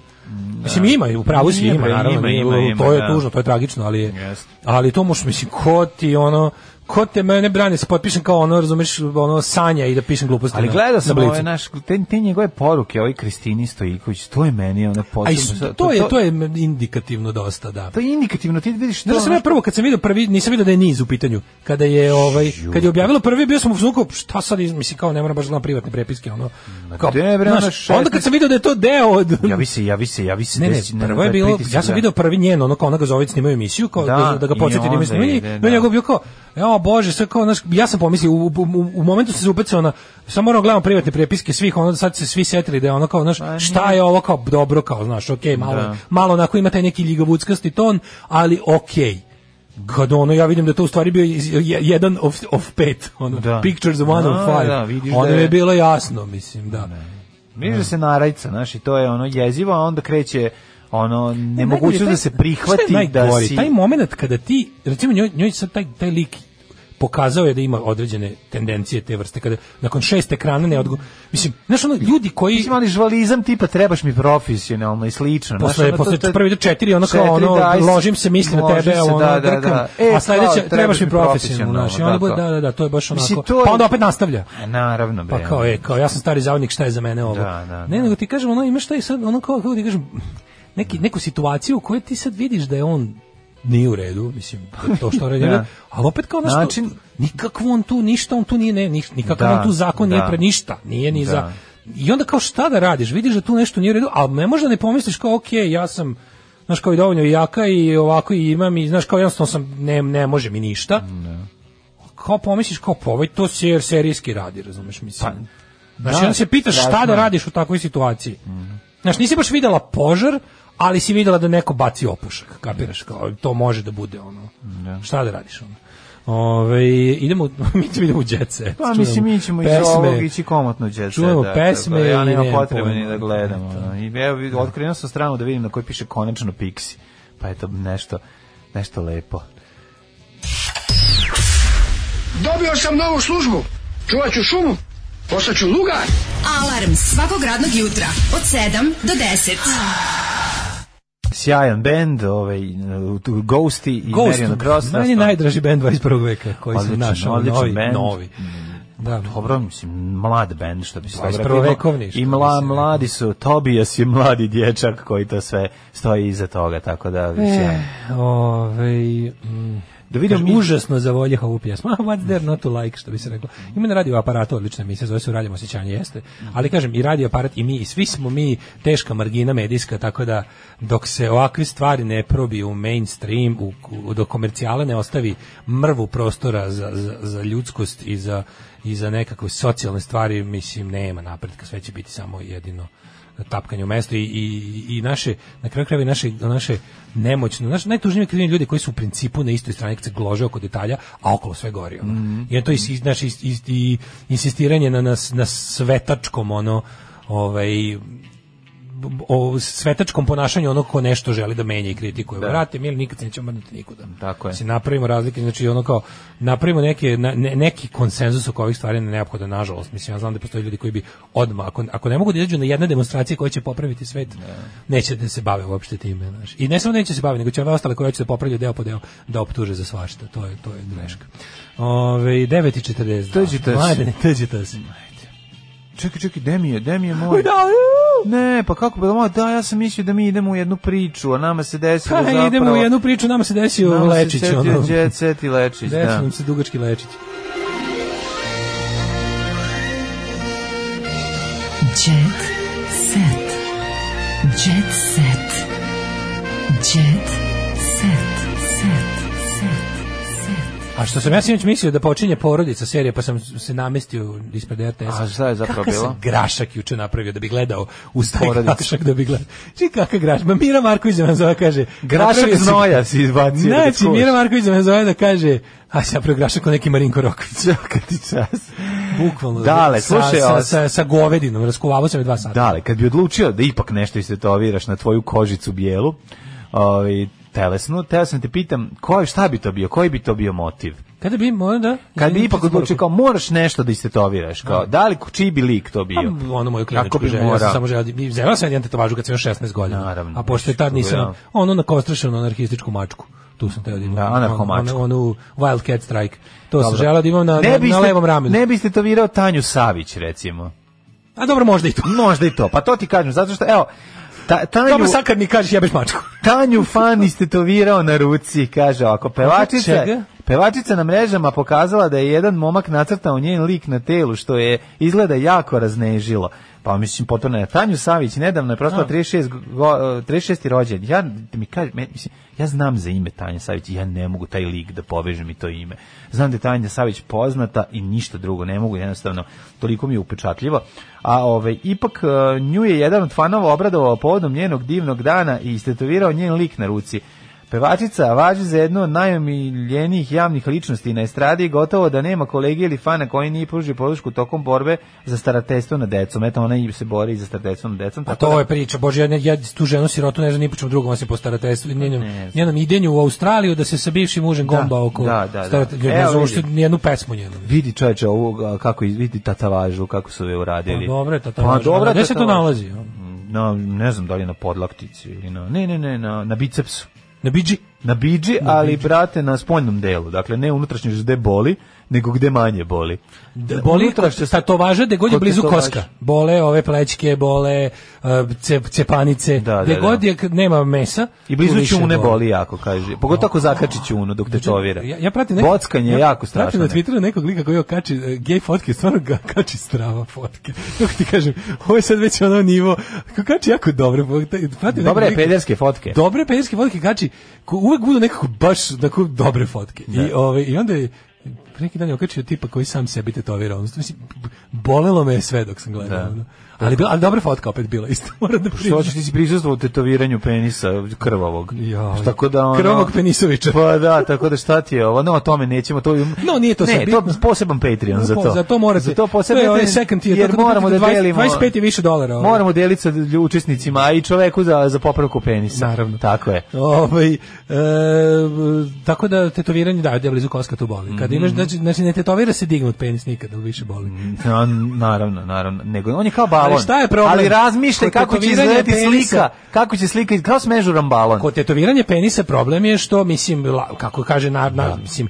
[SPEAKER 6] Mislim, ima, i u pravu si,
[SPEAKER 5] Ima,
[SPEAKER 6] ima,
[SPEAKER 5] ima,
[SPEAKER 6] naravno,
[SPEAKER 5] ima,
[SPEAKER 6] ima,
[SPEAKER 5] ima,
[SPEAKER 6] to je
[SPEAKER 5] da.
[SPEAKER 6] tužno, to je tragično, ali je,
[SPEAKER 5] Jeste.
[SPEAKER 6] ali to možeš, mislim, ko ti ono, ko te mene brani, se potpišem kao ono, razumeš, ono, sanja i da pišem gluposti
[SPEAKER 5] Ali ovaj
[SPEAKER 6] na-
[SPEAKER 5] gledao sam
[SPEAKER 6] na Blicu.
[SPEAKER 5] ove naš, te, te njegove poruke, ovoj Kristini Stojiković, to je meni ona
[SPEAKER 6] A i
[SPEAKER 5] posebno.
[SPEAKER 6] s- to je to je indikativno dosta, da.
[SPEAKER 5] to je indikativno, ti vidiš to.
[SPEAKER 6] Da sam ja
[SPEAKER 5] ono-
[SPEAKER 6] prvo kad sam video prvi nisam video da je niz u pitanju. Kada je ovaj kad je objavilo prvi bio sam u fuzonu kao, šta sad iz- mislim kao ne moram baš da gledam privatne prepiske ono. Kao,
[SPEAKER 5] gde, bre, ono,
[SPEAKER 6] znaš, onda kad
[SPEAKER 5] 16
[SPEAKER 6] sam video da je to deo od
[SPEAKER 5] Javi ono- se, javi se, javi se.
[SPEAKER 6] Ne, ne,
[SPEAKER 5] desi-
[SPEAKER 6] prvo je
[SPEAKER 5] taj
[SPEAKER 6] bilo,
[SPEAKER 5] pritisak,
[SPEAKER 6] ja sam
[SPEAKER 5] da.
[SPEAKER 6] video prvi njen, ono kao ona ga zove snimaju emisiju, kao da,
[SPEAKER 5] Da,
[SPEAKER 6] da, ga
[SPEAKER 5] i
[SPEAKER 6] podsjeti da ima
[SPEAKER 5] onda
[SPEAKER 6] snimanje,
[SPEAKER 5] ide,
[SPEAKER 6] no
[SPEAKER 5] da.
[SPEAKER 6] njegov bio kao, evo bože, sve kao, znaš, ja sam pomislio, u, u, u- u momentu sam se upecao na, samo moram gledam privatne prepiske svih, onda sad se svi setili da je ono kao, znaš,
[SPEAKER 5] Pa
[SPEAKER 6] šta
[SPEAKER 5] nije.
[SPEAKER 6] je ovo kao, dobro kao, znaš, okej, malo,
[SPEAKER 5] Da.
[SPEAKER 6] malo onako ima taj neki ljigavuckasti ton, ali okej. Kad ono, ja vidim da je to u stvari bio iz- je- jedan of, of pet, ono,
[SPEAKER 5] Da.
[SPEAKER 6] pictures of one
[SPEAKER 5] Da,
[SPEAKER 6] of five.
[SPEAKER 5] da, vidiš
[SPEAKER 6] ono
[SPEAKER 5] da je-
[SPEAKER 6] je bilo jasno, mislim, da.
[SPEAKER 5] Vidiš da se narajca, znaš, i to je ono jezivo, a onda kreće ono nemogućnost
[SPEAKER 6] E, Najgore,
[SPEAKER 5] da se
[SPEAKER 6] taj- šta
[SPEAKER 5] prihvati
[SPEAKER 6] je najgore?
[SPEAKER 5] da si...
[SPEAKER 6] Taj moment kada ti, recimo njoj, njoj sad taj, taj lik pokazao je da ima određene tendencije te vrste, kada nakon šest ekrana ne odgo... Mislim, znaš ono, ljudi koji...
[SPEAKER 5] Mislim, ali žvalizam tipa trebaš mi profesionalno i slično. znaš,
[SPEAKER 6] Posle,
[SPEAKER 5] ono, to-
[SPEAKER 6] posle
[SPEAKER 5] to-
[SPEAKER 6] prvi do četiri, ono kao
[SPEAKER 5] četiri,
[SPEAKER 6] ono,
[SPEAKER 5] daj,
[SPEAKER 6] ložim se, mislim na
[SPEAKER 5] ložim
[SPEAKER 6] tebe,
[SPEAKER 5] se,
[SPEAKER 6] ono,
[SPEAKER 5] da, da,
[SPEAKER 6] drkam,
[SPEAKER 5] da. E,
[SPEAKER 6] a sledeće,
[SPEAKER 5] kao,
[SPEAKER 6] trebaš mi profesionalno, znaš, i onda
[SPEAKER 5] tako.
[SPEAKER 6] bude, da, da, da, to je baš
[SPEAKER 5] Mislim,
[SPEAKER 6] onako,
[SPEAKER 5] to
[SPEAKER 6] pa
[SPEAKER 5] je-
[SPEAKER 6] onda opet nastavlja.
[SPEAKER 5] A, Naravno, bre. ono,
[SPEAKER 6] Pa kao, e, kao, ja sam stari zavodnik, šta je za mene ovo?
[SPEAKER 5] Da, da,
[SPEAKER 6] ne, nego ti kažem, ono, imaš taj sad, ono, kao, kako ti kažem, neki, neku situaciju u kojoj ti sad vidiš da je on nije u redu, mislim, to što radi,
[SPEAKER 5] Da.
[SPEAKER 6] ali opet kao naš,
[SPEAKER 5] Način-
[SPEAKER 6] Način... nikakvo on tu ništa, on tu nije, ne, nik- nikakav
[SPEAKER 5] Da,
[SPEAKER 6] on tu zakon nije
[SPEAKER 5] da.
[SPEAKER 6] pre ništa, nije ni
[SPEAKER 5] Da.
[SPEAKER 6] za... I onda kao šta da radiš, vidiš da tu nešto nije u redu, ali ne možda ne pomisliš kao, ok, ja sam, znaš, kao i dovoljno i jaka i ovako i imam i, znaš, kao jednostavno sam, ne, ne može mi ništa,
[SPEAKER 5] Mm.
[SPEAKER 6] kao pomisliš kao pa ovaj to ser, serijski radi, razumeš mislim. znači
[SPEAKER 5] Pa, da,
[SPEAKER 6] onda se pitaš šta
[SPEAKER 5] strašno
[SPEAKER 6] da
[SPEAKER 5] je. Mhm.
[SPEAKER 6] radiš u takvoj situaciji. Znaš, nisi baš videla požar, ali si videla da neko baci opušak, kapiraš, kao to može da bude ono. Šta da radiš ono? Ove, idemo, mi ćemo idemo u jet set.
[SPEAKER 5] Pa mislim, mi ćemo iz
[SPEAKER 6] Pesme.
[SPEAKER 5] ovog ići komotno u jet set,
[SPEAKER 6] Čujemo
[SPEAKER 5] da,
[SPEAKER 6] pesme
[SPEAKER 5] tako da ja
[SPEAKER 6] i
[SPEAKER 5] nema
[SPEAKER 6] nemam
[SPEAKER 5] potrebe
[SPEAKER 6] pojma.
[SPEAKER 5] ni da gledam. ono. I evo, vid- otkrenuo sam stranu da vidim na kojoj piše konačno Pixi. Pa eto, nešto, nešto lepo.
[SPEAKER 12] Dobio sam novu službu. Čuvat ću šumu. Postaću lugar.
[SPEAKER 11] Alarm svakog radnog jutra od 7 do 10.
[SPEAKER 5] Sjajan bend, ovaj, uh, tu Ghosti i
[SPEAKER 6] Ghost,
[SPEAKER 5] Marion Cross.
[SPEAKER 6] meni je
[SPEAKER 5] znaš,
[SPEAKER 6] najdraži band 21. veka koji sam
[SPEAKER 5] Odličan,
[SPEAKER 6] našao,
[SPEAKER 5] odličan Mhm.
[SPEAKER 6] novi,
[SPEAKER 5] bend.
[SPEAKER 6] novi. Da.
[SPEAKER 5] Dobro, mislim, mlad bend, što bi se dobro
[SPEAKER 6] 21.
[SPEAKER 5] reklo.
[SPEAKER 6] vekovni, što
[SPEAKER 5] I
[SPEAKER 6] bi
[SPEAKER 5] mla,
[SPEAKER 6] se reklo.
[SPEAKER 5] mladi su, Tobias je mladi dječak koji to sve stoji iza toga, tako da, sjajno.
[SPEAKER 6] E, ovaj, mm,
[SPEAKER 5] Da vidim
[SPEAKER 6] kaže,
[SPEAKER 5] mi-
[SPEAKER 6] užasno zavoljeh ovu pjesmu. Ah, What's there not to like, što bi se reklo. Ima na radio aparatu odlična emisija, zove se U radijom osjećanje, jeste. Ali kažem, i radio aparat i mi, i svi smo mi teška margina medijska, tako da dok se ovakve stvari ne probiju u mainstream, u, u, do komercijala ne ostavi mrvu prostora za, za, za ljudskost i za, i za nekakve socijalne stvari, mislim, nema napretka, sve će biti samo jedino tapkanje u mestu i, i, i naše na kraju krajeva i naše naše nemoćno naš najtužnije krivine ljudi koji su u principu na istoj strani kad se glože oko detalja a okolo sve gori ono. i onda to is, is, naš, is, is- i insistiranje na, na, na svetačkom ono ovaj o svetačkom ponašanju onog ko nešto želi da menja i kritikuje. Da. Vrate, mi nikad se nećemo mrdnuti nikuda.
[SPEAKER 5] Tako je.
[SPEAKER 6] Mislim, napravimo razlike, znači ono kao, napravimo neke, na- ne- neki konsenzus oko ovih stvari ne neophoda, nažalost. Mislim, ja znam da postoje ljudi koji bi odmah, ako, ako ne mogu da izađu na jedne demonstracije koje će popraviti svet, neće da se bave uopšte time. Znaš. I ne samo neće se baviti, nego će ove ostale koje hoće da popravljaju deo po deo da optuže za svašta. To je, to je greška. Ove, 9.42.
[SPEAKER 5] Tuđitas.
[SPEAKER 6] Mladene, tuđitas.
[SPEAKER 5] Čekaj, čekaj, gde mi je, gde mi je moj? Ne, pa kako bilo, ma, da, ja sam mislio da mi idemo u jednu priču, a nama se desilo
[SPEAKER 6] Pa,
[SPEAKER 5] zapravo...
[SPEAKER 6] idemo u jednu priču, nama se desio
[SPEAKER 5] Nama se
[SPEAKER 6] Lečić.
[SPEAKER 5] setio
[SPEAKER 6] ono.
[SPEAKER 5] Jet Set i Lečić,
[SPEAKER 6] Desio
[SPEAKER 5] da.
[SPEAKER 6] nam se dugački Lečić.
[SPEAKER 11] Jet set. Jet set. Jet set. Set.
[SPEAKER 6] A što sam ja sinoć mislio da počinje porodica serija, pa sam se namestio ispred RTS-a.
[SPEAKER 5] A šta je zapravo
[SPEAKER 6] Kakav
[SPEAKER 5] bilo?
[SPEAKER 6] sam grašak juče napravio da bi gledao u taj
[SPEAKER 5] Porodicu.
[SPEAKER 6] grašak da bi gledao. Či kakav grašak? Ma Mira Marković da me zove kaže...
[SPEAKER 5] Grašak
[SPEAKER 6] napravio si-
[SPEAKER 5] znoja si izbacio. da
[SPEAKER 6] Znači,
[SPEAKER 5] čuvaš.
[SPEAKER 6] Mira Marković da me zove da kaže a sam napravio grašak ko neki Marinko Roković.
[SPEAKER 5] Čekaj ti čas.
[SPEAKER 6] Bukvalno.
[SPEAKER 5] Dale,
[SPEAKER 6] sa,
[SPEAKER 5] slušaj,
[SPEAKER 6] sa,
[SPEAKER 5] ali-
[SPEAKER 6] sa, sa govedinom, raskuvavao sam je dva sata.
[SPEAKER 5] Dale, kad bi odlučio da ipak nešto istetoviraš na tvoju kožicu bijelu, ovaj, telesnu, teo sam te pitam, ko, šta bi to bio, koji bi to bio motiv?
[SPEAKER 6] Kada bi, moram da...
[SPEAKER 5] Kad bi
[SPEAKER 6] Izvini,
[SPEAKER 5] ipak
[SPEAKER 6] sad sam
[SPEAKER 5] odlučio
[SPEAKER 6] morao-
[SPEAKER 5] kao moraš nešto da istetoviraš, kao da li čiji bi lik to bio?
[SPEAKER 6] Pa, ono moju
[SPEAKER 5] Kako
[SPEAKER 6] kliničku
[SPEAKER 5] bi
[SPEAKER 6] želju, ja
[SPEAKER 5] morao?
[SPEAKER 6] sam samo želio, i želeo sam jedan tetovažu kad sam još 16 godina.
[SPEAKER 5] Naravno,
[SPEAKER 6] A pošto je tad
[SPEAKER 5] ništa
[SPEAKER 6] nisam,
[SPEAKER 5] drugo,
[SPEAKER 6] ono na kostrašenu anarhističku mačku. Tu sam teo da imam.
[SPEAKER 5] Da, anarhomačku.
[SPEAKER 6] Onu, onu, Wildcat Strike. To sam
[SPEAKER 5] Dobro.
[SPEAKER 6] želeo da imam na,
[SPEAKER 5] Ne
[SPEAKER 6] na,
[SPEAKER 5] biste-
[SPEAKER 6] na levom ramenu.
[SPEAKER 5] Ne biste to virao Tanju Savić, recimo.
[SPEAKER 6] A dobro, možda i to.
[SPEAKER 5] Možda i to. Pa to ti kažem, zato što, evo, ta, Tanju,
[SPEAKER 6] Dobro, sad kad mi kažeš jebeš mačku.
[SPEAKER 5] Tanju fan istetovirao na ruci, kaže ovako, pevačica,
[SPEAKER 6] Čega?
[SPEAKER 5] pevačica na mrežama pokazala da je jedan momak nacrtao njen lik na telu, što je izgleda jako raznežilo. Pa mislim, potpuno je. Tanju Savić nedavno je prošla 36, go, e, 36. rođen. Ja, mi kaže, me- mislim, ja znam za ime Tanja Savić, i ja ne mogu taj lik da povežem i to ime. Znam da je Tanja Savić poznata i ništa drugo, ne mogu jednostavno, toliko mi je upečatljivo. A ovaj, ipak e, nju je jedan od fanova obradovao povodom njenog divnog dana i istetovirao njen lik na ruci. Pevačica važi za jednu od najomiljenijih javnih ličnosti na estradi i gotovo da nema kolege ili fana koji nije pružio podršku tokom borbe za starateljstvo na decom. Eto, ona i se bori i za starateljstvo na decom.
[SPEAKER 6] Pa
[SPEAKER 5] tako
[SPEAKER 6] to
[SPEAKER 5] da-
[SPEAKER 6] je priča, bože, ja, ne- ja tu ženu sirotu ne znam ni po čemu drugom osim po starateljstvu, i njenom, njenom idenju u Australiju da se sa bivšim mužem gomba oko
[SPEAKER 5] da, da, da.
[SPEAKER 6] starateljstva,
[SPEAKER 5] Evo,
[SPEAKER 6] ne znam uopšte
[SPEAKER 5] vidi.
[SPEAKER 6] nijednu pesmu njenu.
[SPEAKER 5] Vidi čoveče ovog, a, kako iz- vidi tatavažu, kako su je uradili.
[SPEAKER 6] Pa dobro je tatavaža. A gde se to
[SPEAKER 5] tatavaža.
[SPEAKER 6] nalazi, ono? a?
[SPEAKER 5] Na, ne znam da li je na podlaktici ili na... Ne, ne, ne, na, na bicepsu.
[SPEAKER 6] Na biđi?
[SPEAKER 5] Na biđi,
[SPEAKER 6] Na
[SPEAKER 5] ali
[SPEAKER 6] biđi.
[SPEAKER 5] brate na spoljnom delu. Dakle, ne unutrašnje gde boli, nego gde manje boli.
[SPEAKER 6] Da, boli
[SPEAKER 5] Unutrašnje-
[SPEAKER 6] šta to važe da god je
[SPEAKER 5] Kod
[SPEAKER 6] blizu
[SPEAKER 5] tetovaže.
[SPEAKER 6] koska. Bole ove plećke, bole uh, cep, cepanice, da,
[SPEAKER 5] da,
[SPEAKER 6] god je k- nema mesa.
[SPEAKER 5] I blizu
[SPEAKER 6] tu više
[SPEAKER 5] ćune boli jako, kaže. Pogotovo ako zakači ćunu dok te čovira.
[SPEAKER 6] Ja, ja pratim neko,
[SPEAKER 5] Bockanje je jako strašno.
[SPEAKER 6] Pratim na Twitteru nekog lika koji kači e, gej fotke, stvarno ga kači strava fotke. Kako ti kažem, ovo je sad već ono nivo, kako kači jako dobre fotke. Pratim nekog
[SPEAKER 5] Dobre
[SPEAKER 6] lika-
[SPEAKER 5] pederske fotke.
[SPEAKER 6] Dobre pederske fotke kači, ko- uvek budu nekako baš tako dobre fotke. I, ovaj, I onda je pre neki dan je okačio tipa koji sam sebi tetovira. Ono, mislim, b- bolelo me je sve dok sam gledao. ono. Ali, bila- ali dobra fotka opet bila isto. Moram da
[SPEAKER 5] Što
[SPEAKER 6] priznam.
[SPEAKER 5] hoćeš ti si prisustvovao tetoviranju penisa krvavog.
[SPEAKER 6] Ja,
[SPEAKER 5] tako da ono,
[SPEAKER 6] krvavog penisovića.
[SPEAKER 5] Pa da, tako da šta ti je ovo? No, o tome nećemo. To,
[SPEAKER 6] No, nije to
[SPEAKER 5] ne,
[SPEAKER 6] sad
[SPEAKER 5] to
[SPEAKER 6] bitno.
[SPEAKER 5] poseban Patreon
[SPEAKER 6] No,
[SPEAKER 5] za
[SPEAKER 6] po-
[SPEAKER 5] to.
[SPEAKER 6] za to morate.
[SPEAKER 5] Za to poseban
[SPEAKER 6] To je ovaj
[SPEAKER 5] Patreon,
[SPEAKER 6] second tier,
[SPEAKER 5] jer
[SPEAKER 6] tako da
[SPEAKER 5] moramo da
[SPEAKER 6] 20
[SPEAKER 5] delimo.
[SPEAKER 6] 25 i više dolara, ovaj.
[SPEAKER 5] Moramo deliti sa lju- učesnicima, a i čoveku za, za popravku penisa.
[SPEAKER 6] Naravno.
[SPEAKER 5] Tako je.
[SPEAKER 6] Ovaj, e, tako da tetoviranje da, da blizu koska tu boli. Kad
[SPEAKER 5] Mhm.
[SPEAKER 6] imaš znači, znači ne tetovira se dignut penis nikad, ali više boli.
[SPEAKER 5] Na- naravno, naravno. Nego on je kao balon.
[SPEAKER 6] Ali šta je problem?
[SPEAKER 5] Ali razmišljaj
[SPEAKER 6] Kod
[SPEAKER 5] kako će
[SPEAKER 6] tetoviranja
[SPEAKER 5] izgledati
[SPEAKER 6] penisa-
[SPEAKER 5] slika, kako će slika, iz- kao smežuran balon.
[SPEAKER 6] Kod tetoviranja penisa problem je što mislim la- kako kaže na, na mislim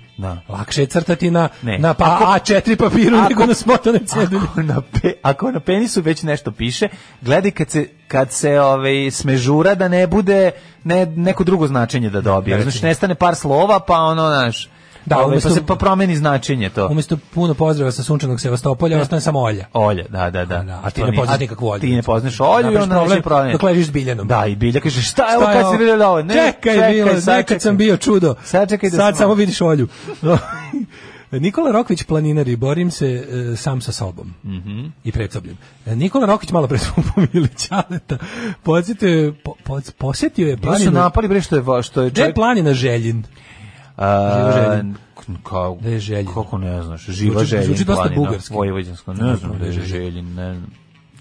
[SPEAKER 6] lakše je crtati na
[SPEAKER 5] Ne.
[SPEAKER 6] na pa
[SPEAKER 5] Ako-
[SPEAKER 6] A4 papiru
[SPEAKER 5] Ako-
[SPEAKER 6] nego na smotane cedulje.
[SPEAKER 5] Ako na, pe, ako na penisu već nešto piše, gledaj kad se, kad se ovaj, smežura da ne bude ne, neko drugo značenje da dobije.
[SPEAKER 6] Recimo.
[SPEAKER 5] Znači, nestane par slova, pa ono, znaš,
[SPEAKER 6] Da,
[SPEAKER 5] ovaj,
[SPEAKER 6] umesto-
[SPEAKER 5] pa se pa promeni značenje to.
[SPEAKER 6] Umesto puno pozdrava sa sunčanog Sevastopolja, ostane samo olja.
[SPEAKER 5] Olje, da, da, da.
[SPEAKER 6] a ti ne
[SPEAKER 5] nije-
[SPEAKER 6] poznaš
[SPEAKER 5] a
[SPEAKER 6] nikakvu olju.
[SPEAKER 5] Ti ne poznaš olju i
[SPEAKER 6] Napraviš
[SPEAKER 5] onda
[SPEAKER 6] problem
[SPEAKER 5] je problem.
[SPEAKER 6] dok ležiš s biljanom.
[SPEAKER 5] Da, i bilja kaže, šta je
[SPEAKER 6] Šta
[SPEAKER 5] ovo
[SPEAKER 6] je
[SPEAKER 5] kad
[SPEAKER 6] ovo?
[SPEAKER 5] si vidjela ovo? Ne,
[SPEAKER 6] čekaj, bilo,
[SPEAKER 5] sad
[SPEAKER 6] nekad
[SPEAKER 5] čekaj.
[SPEAKER 6] sam bio čudo.
[SPEAKER 5] Sad čekaj da
[SPEAKER 6] Sad
[SPEAKER 5] smo-
[SPEAKER 6] samo vidiš olju. Nikola Rokvić planinari, borim se e, sam sa sobom
[SPEAKER 5] Mhm.
[SPEAKER 6] i predsobljem. E, Nikola Rokvić malo pred svom pomili Ćaleta, podsjetio je, po, pods- posjetio je
[SPEAKER 5] Gde su
[SPEAKER 6] planinu,
[SPEAKER 5] napali, bre, što je, va- što je
[SPEAKER 6] gde je
[SPEAKER 5] čovjek...
[SPEAKER 6] planina Željin? Živa
[SPEAKER 5] A,
[SPEAKER 6] želja.
[SPEAKER 5] kao,
[SPEAKER 6] Gde je Željin?
[SPEAKER 5] Kako ne znaš, živa
[SPEAKER 6] Zvuči-
[SPEAKER 5] želja.
[SPEAKER 6] zvuči dosta bugarski.
[SPEAKER 5] Vojvođansko, ne znam gde je željin, ne znam.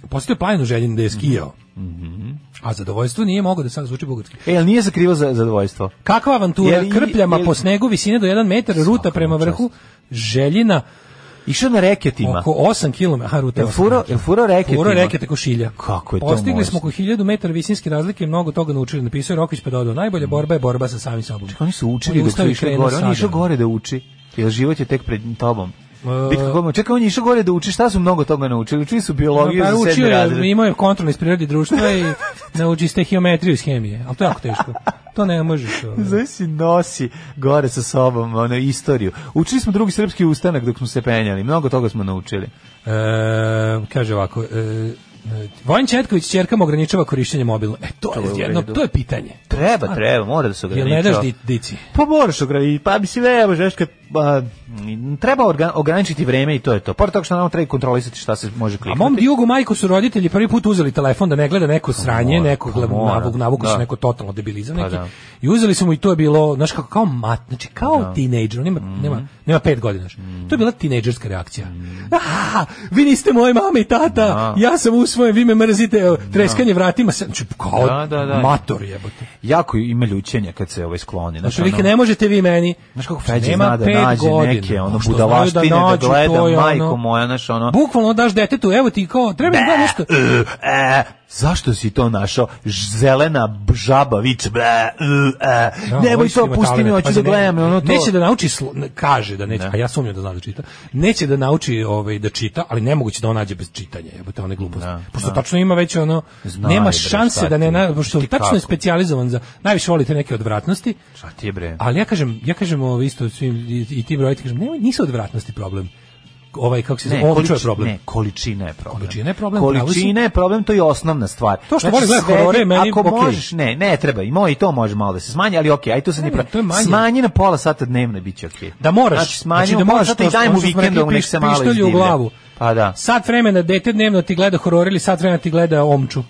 [SPEAKER 6] Posjetio je planinu Željin gde je skijao.
[SPEAKER 5] Mhm.
[SPEAKER 6] A zadovoljstvo nije mogo da sad zvuči bugarski.
[SPEAKER 5] E, jel nije zakrivo za zadovoljstvo?
[SPEAKER 6] Kakva avantura,
[SPEAKER 5] Je li-
[SPEAKER 6] krpljama
[SPEAKER 5] je li-
[SPEAKER 6] po snegu, visine do 1 metar, ruta prema
[SPEAKER 5] mu čast.
[SPEAKER 6] vrhu, Željina,
[SPEAKER 5] Išao na reketima.
[SPEAKER 6] oko 8 km. Aha, ruta je
[SPEAKER 5] Jel
[SPEAKER 6] osam
[SPEAKER 5] furo,
[SPEAKER 6] kilometara.
[SPEAKER 5] jel furo reketima?
[SPEAKER 6] Furo reke tako šilja.
[SPEAKER 5] Kako je to
[SPEAKER 6] Postigli
[SPEAKER 5] moćno?
[SPEAKER 6] smo oko 1000 metara visinske razlike i mnogo toga naučili. Napisao je Rokić pa dodao. Najbolja borba je borba sa samim sobom.
[SPEAKER 5] Mm. Oni su
[SPEAKER 6] On
[SPEAKER 5] učili
[SPEAKER 6] je
[SPEAKER 5] dok
[SPEAKER 6] ustao
[SPEAKER 5] su
[SPEAKER 6] i
[SPEAKER 5] išli
[SPEAKER 6] krenuo
[SPEAKER 5] gore. On je
[SPEAKER 6] sada.
[SPEAKER 5] išao gore da uči. Jel život je tek pred tobom?
[SPEAKER 6] E,
[SPEAKER 5] Bitka kod- Čekaj, on je išao gore da uči. Šta su mnogo toga naučili? Učili su biologiju
[SPEAKER 6] Pa,
[SPEAKER 5] za sedmi
[SPEAKER 6] učio
[SPEAKER 5] razred.
[SPEAKER 6] je, imao je kontrol iz prirode i društva i nauči ste geometriju iz hemije. Ali to je jako teško. To ne možeš. ono.
[SPEAKER 5] Znaš si nosi gore sa sobom ono, istoriju. Učili smo drugi srpski ustanak dok smo se penjali. Mnogo toga smo naučili.
[SPEAKER 6] E, kaže ovako, e, e, Vojn Četković čerkama ograničava korišćenje mobilno. E, to,
[SPEAKER 5] To je u
[SPEAKER 6] je jedno,
[SPEAKER 5] redu.
[SPEAKER 6] to je pitanje.
[SPEAKER 5] Treba, treba, mora da se
[SPEAKER 6] Jel
[SPEAKER 5] ograničava.
[SPEAKER 6] ne daš di- dici?
[SPEAKER 5] Pa moraš ograničiti, pa mislim, ne možeš kad... pa, m, treba orga- ograničiti vreme i to je to. Pored toga što nam treba i kontrolisati šta se može
[SPEAKER 6] A
[SPEAKER 5] kliknuti.
[SPEAKER 6] mom Diogu majku su roditelji prvi put uzeli telefon da ne gleda neko sranje,
[SPEAKER 5] mora,
[SPEAKER 6] neko
[SPEAKER 5] pa
[SPEAKER 6] gleda
[SPEAKER 5] mora,
[SPEAKER 6] navuk, navuku
[SPEAKER 5] da.
[SPEAKER 6] se neko totalno debilizam
[SPEAKER 5] Pa
[SPEAKER 6] neki.
[SPEAKER 5] da.
[SPEAKER 6] I uzeli su mu i to je bilo, znaš kako, kao mat, znači kao tinejdžer, on ima,
[SPEAKER 5] Mm.
[SPEAKER 6] nema, nema pet godina. znaš. To je bila tinejdžerska reakcija. A, vi niste moje mame i tata, ja sam usvojen, vi me mrzite, evo, treskanje vratima se, znači kao
[SPEAKER 5] Da, da, da.
[SPEAKER 6] mator jebote.
[SPEAKER 5] Jako ima ljućenja kad se ovaj skloni.
[SPEAKER 6] Znači, vi
[SPEAKER 5] ono-
[SPEAKER 6] ne možete vi meni.
[SPEAKER 5] Znaš kako Feđa
[SPEAKER 6] Nema
[SPEAKER 5] zna da
[SPEAKER 6] pet
[SPEAKER 5] nađe
[SPEAKER 6] godina. Pa
[SPEAKER 5] neke ono
[SPEAKER 6] Što znaju da
[SPEAKER 5] budalaštine da,
[SPEAKER 6] nađu,
[SPEAKER 5] gleda,
[SPEAKER 6] to je ono-
[SPEAKER 5] majko moja, znaš ono...
[SPEAKER 6] Bukvalno daš detetu, evo ti kao, treba da gledam nešto.
[SPEAKER 5] e, e, zašto si to našao? Ž- Zelena b- žaba viče, ble, e, e,
[SPEAKER 6] Da,
[SPEAKER 5] nemoj
[SPEAKER 6] oni su
[SPEAKER 5] to,
[SPEAKER 6] ima
[SPEAKER 5] pusti mi,
[SPEAKER 6] talenat,
[SPEAKER 5] hoću
[SPEAKER 6] pazi,
[SPEAKER 5] da
[SPEAKER 6] pa ne-
[SPEAKER 5] gledam, ono to.
[SPEAKER 6] Neće da nauči, slo- ne, kaže da neće,
[SPEAKER 5] Ne.
[SPEAKER 6] a ja sumnjam da zna da čita. Neće da nauči ovaj, da čita, ali nemoguće da on nađe bez čitanja, jebote, one gluposti.
[SPEAKER 5] Da,
[SPEAKER 6] pošto
[SPEAKER 5] da.
[SPEAKER 6] tačno ima već ono,
[SPEAKER 5] Znaju,
[SPEAKER 6] nema
[SPEAKER 5] bre,
[SPEAKER 6] šanse
[SPEAKER 5] šta
[SPEAKER 6] da ne,
[SPEAKER 5] ti-
[SPEAKER 6] na, pošto
[SPEAKER 5] ti
[SPEAKER 6] tačno
[SPEAKER 5] kako.
[SPEAKER 6] je specijalizovan za, najviše volite neke odvratnosti,
[SPEAKER 5] Šta ti je bre?
[SPEAKER 6] ali ja kažem, ja kažem ovo isto svim, i, i tim roditeljima, kažem, nemoj, nisu odvratnosti problem. Ovaj, kako se
[SPEAKER 5] Ne,
[SPEAKER 6] zove, ovo
[SPEAKER 5] količ-
[SPEAKER 6] je problem.
[SPEAKER 5] ne, količina je problem.
[SPEAKER 6] Količina je problem, pravo si.
[SPEAKER 5] Količina je problem, to je osnovna stvar. Znači,
[SPEAKER 6] To što voli gleda
[SPEAKER 5] svedi-
[SPEAKER 6] horore, meni
[SPEAKER 5] Ako
[SPEAKER 6] okej.
[SPEAKER 5] možeš, ne, ne treba, i moj i to može malo da se smanji, ali okej, aj tu se
[SPEAKER 6] Ne,
[SPEAKER 5] ne,
[SPEAKER 6] ne, to je manje.
[SPEAKER 5] Smanji na pola sata dnevno i bit će okej.
[SPEAKER 6] Da moraš.
[SPEAKER 5] Znači, smanji na
[SPEAKER 6] da
[SPEAKER 5] pola
[SPEAKER 6] moraš,
[SPEAKER 5] sata
[SPEAKER 6] to
[SPEAKER 5] i
[SPEAKER 6] što-
[SPEAKER 5] daj mu
[SPEAKER 6] ono što smo rekli,
[SPEAKER 5] vikendom, nek se
[SPEAKER 6] piš-
[SPEAKER 5] malo
[SPEAKER 6] pištolju u
[SPEAKER 5] izdivlja.
[SPEAKER 6] glavu.
[SPEAKER 5] Pa da.
[SPEAKER 6] Sat vremena dete dnevno ti gleda horor ili sat vremena ti gleda omču.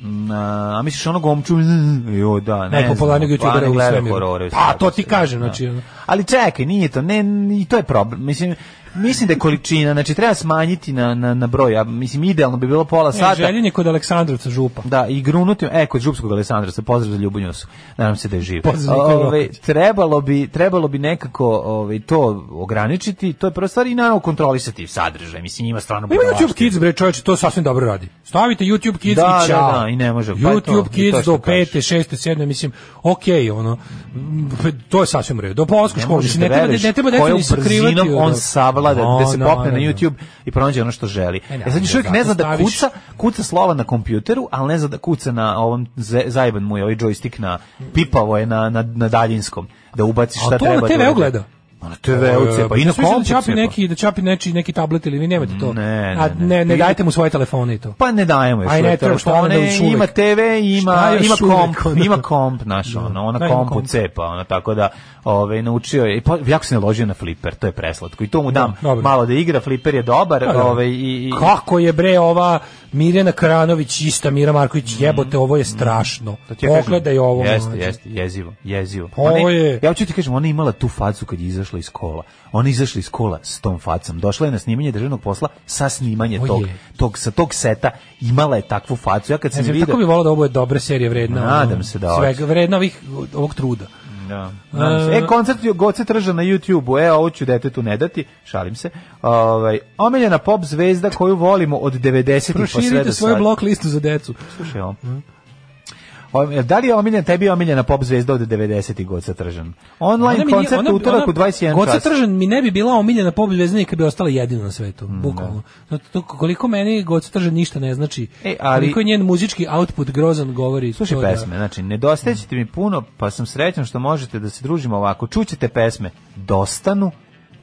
[SPEAKER 5] Mm, A, a misliš ono gomču? mm, Jo, da, ne
[SPEAKER 6] Najpopularnijeg
[SPEAKER 5] znam.
[SPEAKER 6] youtubera
[SPEAKER 5] Pa, ne
[SPEAKER 6] u
[SPEAKER 5] gleda
[SPEAKER 6] svemiru.
[SPEAKER 5] horore u
[SPEAKER 6] Pa,
[SPEAKER 5] svemiru,
[SPEAKER 6] to ti
[SPEAKER 5] sve,
[SPEAKER 6] kažem, znači,
[SPEAKER 5] da.
[SPEAKER 6] ono.
[SPEAKER 5] Ali čekaj, nije to, ne, i to je problem. Mislim, mislim da je količina, znači treba smanjiti na, na, na broj, a mislim idealno bi bilo pola
[SPEAKER 6] Sada.
[SPEAKER 5] sata.
[SPEAKER 6] Željen je kod Aleksandrovca župa.
[SPEAKER 5] Da, i grunuti, e, kod Župskog Alessandra, se pozdrav za Ljubonjosu, nadam se da je živ.
[SPEAKER 6] Pozdrav za Nikolu
[SPEAKER 5] Ovaj, trebalo, bi, trebalo bi nekako ovaj, to ograničiti, to je prva stvar i naravno kontrolisati sadržaj, mislim njima stvarno
[SPEAKER 6] Ima
[SPEAKER 5] budalaštine.
[SPEAKER 6] YouTube Kids, bre, čovječe, to sasvim dobro radi. Stavite YouTube Kids
[SPEAKER 5] Da,
[SPEAKER 6] i čao.
[SPEAKER 5] da, da, i ne može, pa je to,
[SPEAKER 6] YouTube
[SPEAKER 5] i to
[SPEAKER 6] Kids
[SPEAKER 5] što
[SPEAKER 6] do
[SPEAKER 5] kažeš.
[SPEAKER 6] pete, šeste, sedme, mislim, okej, ono, m, to je sasvim u redu. Do polsku
[SPEAKER 5] Ne
[SPEAKER 6] školu,
[SPEAKER 5] možeš
[SPEAKER 6] mislim,
[SPEAKER 5] da
[SPEAKER 6] ne treba,
[SPEAKER 5] veruješ
[SPEAKER 6] ne treba deca
[SPEAKER 5] kojom
[SPEAKER 6] ni sakrivati.
[SPEAKER 5] brzinom
[SPEAKER 6] ono.
[SPEAKER 5] on savlada
[SPEAKER 6] No,
[SPEAKER 5] da se
[SPEAKER 6] no,
[SPEAKER 5] popne na
[SPEAKER 6] no, no.
[SPEAKER 5] YouTube i pronađe ono što želi.
[SPEAKER 6] E,
[SPEAKER 5] E, sad još
[SPEAKER 6] naravno,
[SPEAKER 5] uvijek ne zna da
[SPEAKER 6] zato staviš-
[SPEAKER 5] kuca, kuca slova na kompjuteru, ali ne zna da kuca na ovom, ze- zajeban mu je ovaj joystick na, pipavo je na, na, na daljinskom, da ubaci šta
[SPEAKER 6] A to na
[SPEAKER 5] treba. da
[SPEAKER 6] TV
[SPEAKER 5] uradi.
[SPEAKER 6] gleda.
[SPEAKER 5] Ma Na
[SPEAKER 6] E,
[SPEAKER 5] TV cepa pa
[SPEAKER 6] Sve
[SPEAKER 5] i na
[SPEAKER 6] više pa da
[SPEAKER 5] kompu
[SPEAKER 6] čapi
[SPEAKER 5] cepa.
[SPEAKER 6] neki, da čapi neki, neki tablet ili vi nemate to.
[SPEAKER 5] Ne,
[SPEAKER 6] A
[SPEAKER 5] ne, ne.
[SPEAKER 6] ne, ne dajte mu svoje telefone i to.
[SPEAKER 5] Pa ne dajemo još
[SPEAKER 6] Aj, ne,
[SPEAKER 5] svoje
[SPEAKER 6] treba, šta onda
[SPEAKER 5] telefone,
[SPEAKER 6] još uvek?
[SPEAKER 5] ima TV, ima,
[SPEAKER 6] Šta još
[SPEAKER 5] ima
[SPEAKER 6] uvek,
[SPEAKER 5] komp,
[SPEAKER 6] ono?
[SPEAKER 5] ima komp naš, ono, ona
[SPEAKER 6] Da, ima
[SPEAKER 5] kompu
[SPEAKER 6] komp.
[SPEAKER 5] cepa, ono, tako da ove, naučio je, i pa, jako se naložio na fliper, to je preslatko, i to mu dam
[SPEAKER 6] dobro.
[SPEAKER 5] malo da igra, fliper je dobar,
[SPEAKER 6] Pa da.
[SPEAKER 5] ove, ovaj, i, i,
[SPEAKER 6] Kako je bre ova Mirjana Karanović ista Mira Marković jebote ovo je strašno.
[SPEAKER 5] Mm. ti ja kažem,
[SPEAKER 6] Pogledaj ovo.
[SPEAKER 5] Jeste,
[SPEAKER 6] mlađe. Pa
[SPEAKER 5] jeste, jezivo, jezivo.
[SPEAKER 6] Ovo
[SPEAKER 5] Ona je-
[SPEAKER 6] je-
[SPEAKER 5] Ja hoću ti kažem, ona je imala tu facu kad je izašla iz kola. Ona je izašla iz kola s tom facom. Došla je na snimanje državnog posla sa snimanje
[SPEAKER 6] O
[SPEAKER 5] tog,
[SPEAKER 6] je.
[SPEAKER 5] tog, sa tog seta. Imala je takvu facu. Ja kad
[SPEAKER 6] Ne
[SPEAKER 5] sam
[SPEAKER 6] znam,
[SPEAKER 5] vidio...
[SPEAKER 6] tako bi volao da ovo je dobra serija vredna. ono,
[SPEAKER 5] Nadam se da
[SPEAKER 6] Svega, vredna ovih, ovog truda.
[SPEAKER 5] Da. nadam se.
[SPEAKER 6] E,
[SPEAKER 5] E, koncert Goce trža na YouTube-u, e, ovo ću detetu ne dati, šalim se. Ovaj, omiljena pop zvezda koju volimo od 90-ih pa sve do
[SPEAKER 6] Proširite svoju
[SPEAKER 5] sad.
[SPEAKER 6] blok listu za decu.
[SPEAKER 5] Slušaj, ovo. O, e, Da li je omiljena, tebi je omiljena pop zvezda od 90-ih Goca Tržan? Online
[SPEAKER 6] Ona mi nije-
[SPEAKER 5] koncert
[SPEAKER 6] ona-
[SPEAKER 5] u utorak
[SPEAKER 6] ona-
[SPEAKER 5] u 21
[SPEAKER 6] Goca
[SPEAKER 5] čas.
[SPEAKER 6] Tržan mi ne bi bila omiljena pobjedvezna i kad bi ostala jedina na svetu,
[SPEAKER 5] Mm,
[SPEAKER 6] bukvalno. Zato to koliko meni Goca Tržan ništa ne znači.
[SPEAKER 5] E, ali-
[SPEAKER 6] Koliko je njen muzički output grozan govori.
[SPEAKER 5] Slušaj
[SPEAKER 6] to da-
[SPEAKER 5] pesme, znači, nedostajećete mi puno, pa sam srećan što možete da se družimo ovako. Čućete pesme, dostanu,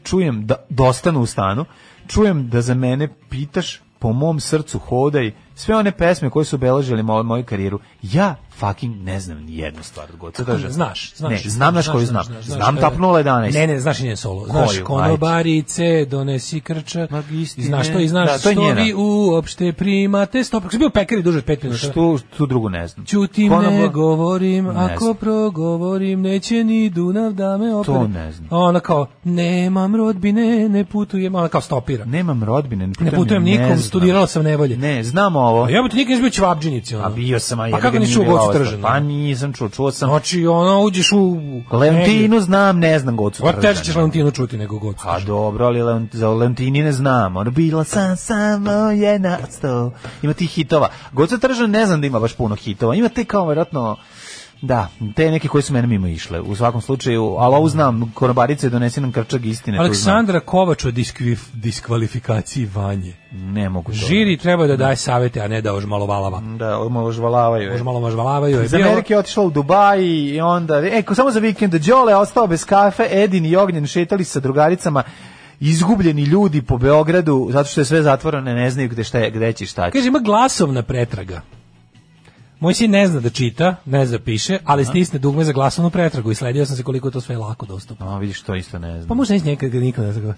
[SPEAKER 5] čujem da dostanu u stanu, čujem da za mene pitaš po mom srcu hodaj, sve one pesme koje su obeležile mo moju karijeru, ja fucking ne znam ni jednu stvar od Goca Tržana.
[SPEAKER 6] Znaš, znaš.
[SPEAKER 5] Ne, znam naš koju znam. Znam
[SPEAKER 6] e,
[SPEAKER 5] tapnula 11.
[SPEAKER 6] Ne, ne, znaš i njen solo. Znaš,
[SPEAKER 5] Koju?
[SPEAKER 6] konobarice, donesi krča.
[SPEAKER 5] Magistine.
[SPEAKER 6] Znaš to i znaš
[SPEAKER 5] Da, to
[SPEAKER 6] što
[SPEAKER 5] je njena.
[SPEAKER 6] vi uopšte primate. Stop, ako si bio pekari duže od pet minuta.
[SPEAKER 5] Što, tu drugu ne znam.
[SPEAKER 6] Ćutim, ne
[SPEAKER 5] Konobar-
[SPEAKER 6] govorim,
[SPEAKER 5] ono Ne
[SPEAKER 6] ako
[SPEAKER 5] znam.
[SPEAKER 6] progovorim, neće ni Dunav da me opere.
[SPEAKER 5] ne znam.
[SPEAKER 6] A Ona kao, nemam rodbine, ne putujem, ona kao stopira.
[SPEAKER 5] Nemam rodbine, ne putujem,
[SPEAKER 6] Ne putujem
[SPEAKER 5] ni-
[SPEAKER 6] nikom,
[SPEAKER 5] znam.
[SPEAKER 6] studirala sam nevolje.
[SPEAKER 5] Ne, znam ovo.
[SPEAKER 6] A ja bi ti nikad nisi bio čvabđinici. Ono.
[SPEAKER 5] A bio sam, a
[SPEAKER 6] Pa
[SPEAKER 5] jebi
[SPEAKER 6] kako
[SPEAKER 5] ga,
[SPEAKER 6] nisi
[SPEAKER 5] nije
[SPEAKER 6] u
[SPEAKER 5] bila
[SPEAKER 6] Gocu
[SPEAKER 5] ova stvar.
[SPEAKER 6] Tržanu?
[SPEAKER 5] Pa nisam čuo, čuo sam.
[SPEAKER 6] Znači, ono, uđeš u...
[SPEAKER 5] Leontinu Pa, znam, ne znam Gocu
[SPEAKER 6] Ovo teže ćeš
[SPEAKER 5] Tržana.
[SPEAKER 6] Leontinu čuti nego Gocu
[SPEAKER 5] A dobro, ali Leont, za Leontini ne znam. Ono bila sam samo jedna od sto. Ima tih hitova. Goca Tržan ne znam da ima baš puno hitova. Ima te kao, vjerojatno, Da, te neke koje su mene mimo išle. U svakom slučaju, ali ovu znam, konobarice donesi nam krčak istine. to znam.
[SPEAKER 6] Aleksandra Kovač o diskvif- diskvalifikaciji Vanje.
[SPEAKER 5] Ne mogu to.
[SPEAKER 6] Žiri treba da daje savete, a ne da ožmalovalava.
[SPEAKER 5] Da, malo žvalavaju. je.
[SPEAKER 6] Ožmalo mažvalavaju. je
[SPEAKER 5] Iz
[SPEAKER 6] bio-
[SPEAKER 5] Amerike je otišla u Dubaj i onda, e, ko- samo za vikend, Đole ostao bez kafe, Edin i Ognjen šetali sa drugaricama, izgubljeni ljudi po Beogradu, zato što je sve zatvoreno, ne znaju gde, šta je, gde će i šta će.
[SPEAKER 6] Kaže, ima glasovna pretraga. Moj sin ne zna da čita, ne zna da piše, ali stisne dugme za glasovnu pretragu i sledio sam se koliko je to sve lako dostupno.
[SPEAKER 5] A, vidiš, to isto ne znam.
[SPEAKER 6] Pa možda nisi nekad ga nikad ne zna.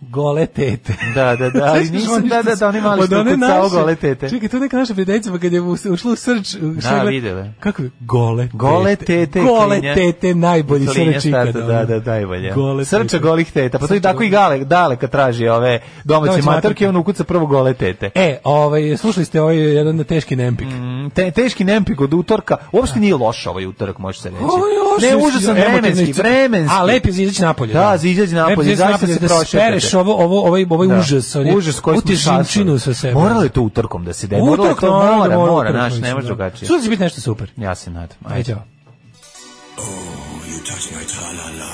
[SPEAKER 6] Gole tete.
[SPEAKER 5] Da, da, da, ali
[SPEAKER 6] Sećaš
[SPEAKER 5] nisam,
[SPEAKER 6] oni
[SPEAKER 5] da,
[SPEAKER 6] što
[SPEAKER 5] da,
[SPEAKER 6] su-
[SPEAKER 5] da, oni mali
[SPEAKER 6] od
[SPEAKER 5] što
[SPEAKER 6] one
[SPEAKER 5] kucao
[SPEAKER 6] naše-
[SPEAKER 5] gole tete.
[SPEAKER 6] Čekaj, to neka naša prijateljica, pa kad je us- ušla u srč,
[SPEAKER 5] Da, videla.
[SPEAKER 6] Kako je? Gole tete.
[SPEAKER 5] Gole tete,
[SPEAKER 6] Gole
[SPEAKER 5] klinja.
[SPEAKER 6] tete, najbolji srč ikada.
[SPEAKER 5] starta, da, da, najbolje.
[SPEAKER 6] Gole
[SPEAKER 5] Srča
[SPEAKER 6] tete.
[SPEAKER 5] golih teta, pa to i
[SPEAKER 6] Srča
[SPEAKER 5] tako i
[SPEAKER 6] golih.
[SPEAKER 5] gale, dale kad traži ove domaće
[SPEAKER 6] Domaće
[SPEAKER 5] matorke,
[SPEAKER 6] matorke.
[SPEAKER 5] on ukuca prvo gole tete.
[SPEAKER 6] E, ovaj, slušali ste ovaj jedan teški nempik.
[SPEAKER 5] Mm, Te, teški nempik od utorka, uopšte nije loš ovaj utorak, može se reći.
[SPEAKER 6] Ovo je loše.
[SPEAKER 5] Ne, užasan
[SPEAKER 6] Emotivno
[SPEAKER 5] Pa vremenski,
[SPEAKER 6] iscrp-
[SPEAKER 5] vremenski.
[SPEAKER 6] A lep je za izaći napolje.
[SPEAKER 5] Da, za izaći napolje,
[SPEAKER 6] Lep je za izaći
[SPEAKER 5] zaista se
[SPEAKER 6] napolje, da
[SPEAKER 5] prošetate.
[SPEAKER 6] spereš ovo, ovo, ovaj, ovaj
[SPEAKER 5] Da.
[SPEAKER 6] užas. on je-
[SPEAKER 5] Užas koji
[SPEAKER 6] ovu
[SPEAKER 5] smo
[SPEAKER 6] težinčinu
[SPEAKER 5] sastavili.
[SPEAKER 6] sa sebe.
[SPEAKER 5] Moralo je to utorkom da se desi. Moralo je
[SPEAKER 6] Utorak
[SPEAKER 5] to
[SPEAKER 6] naravno,
[SPEAKER 5] mora, mora,
[SPEAKER 6] utorak,
[SPEAKER 5] znaš, ne
[SPEAKER 6] mislim,
[SPEAKER 5] može
[SPEAKER 6] da.
[SPEAKER 5] drugačije.
[SPEAKER 6] Sutra će biti nešto super.
[SPEAKER 5] Ja se nadam.
[SPEAKER 6] Ajde, ćao.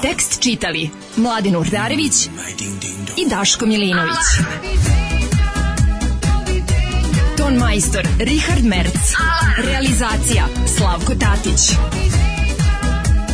[SPEAKER 4] Tekst čitali Mladin Urdarević i Daško Milinović. Ton majstor Richard Merc. Realizacija Slavko Tatić.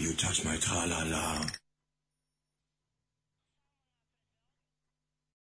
[SPEAKER 10] You touch my tra-la-la.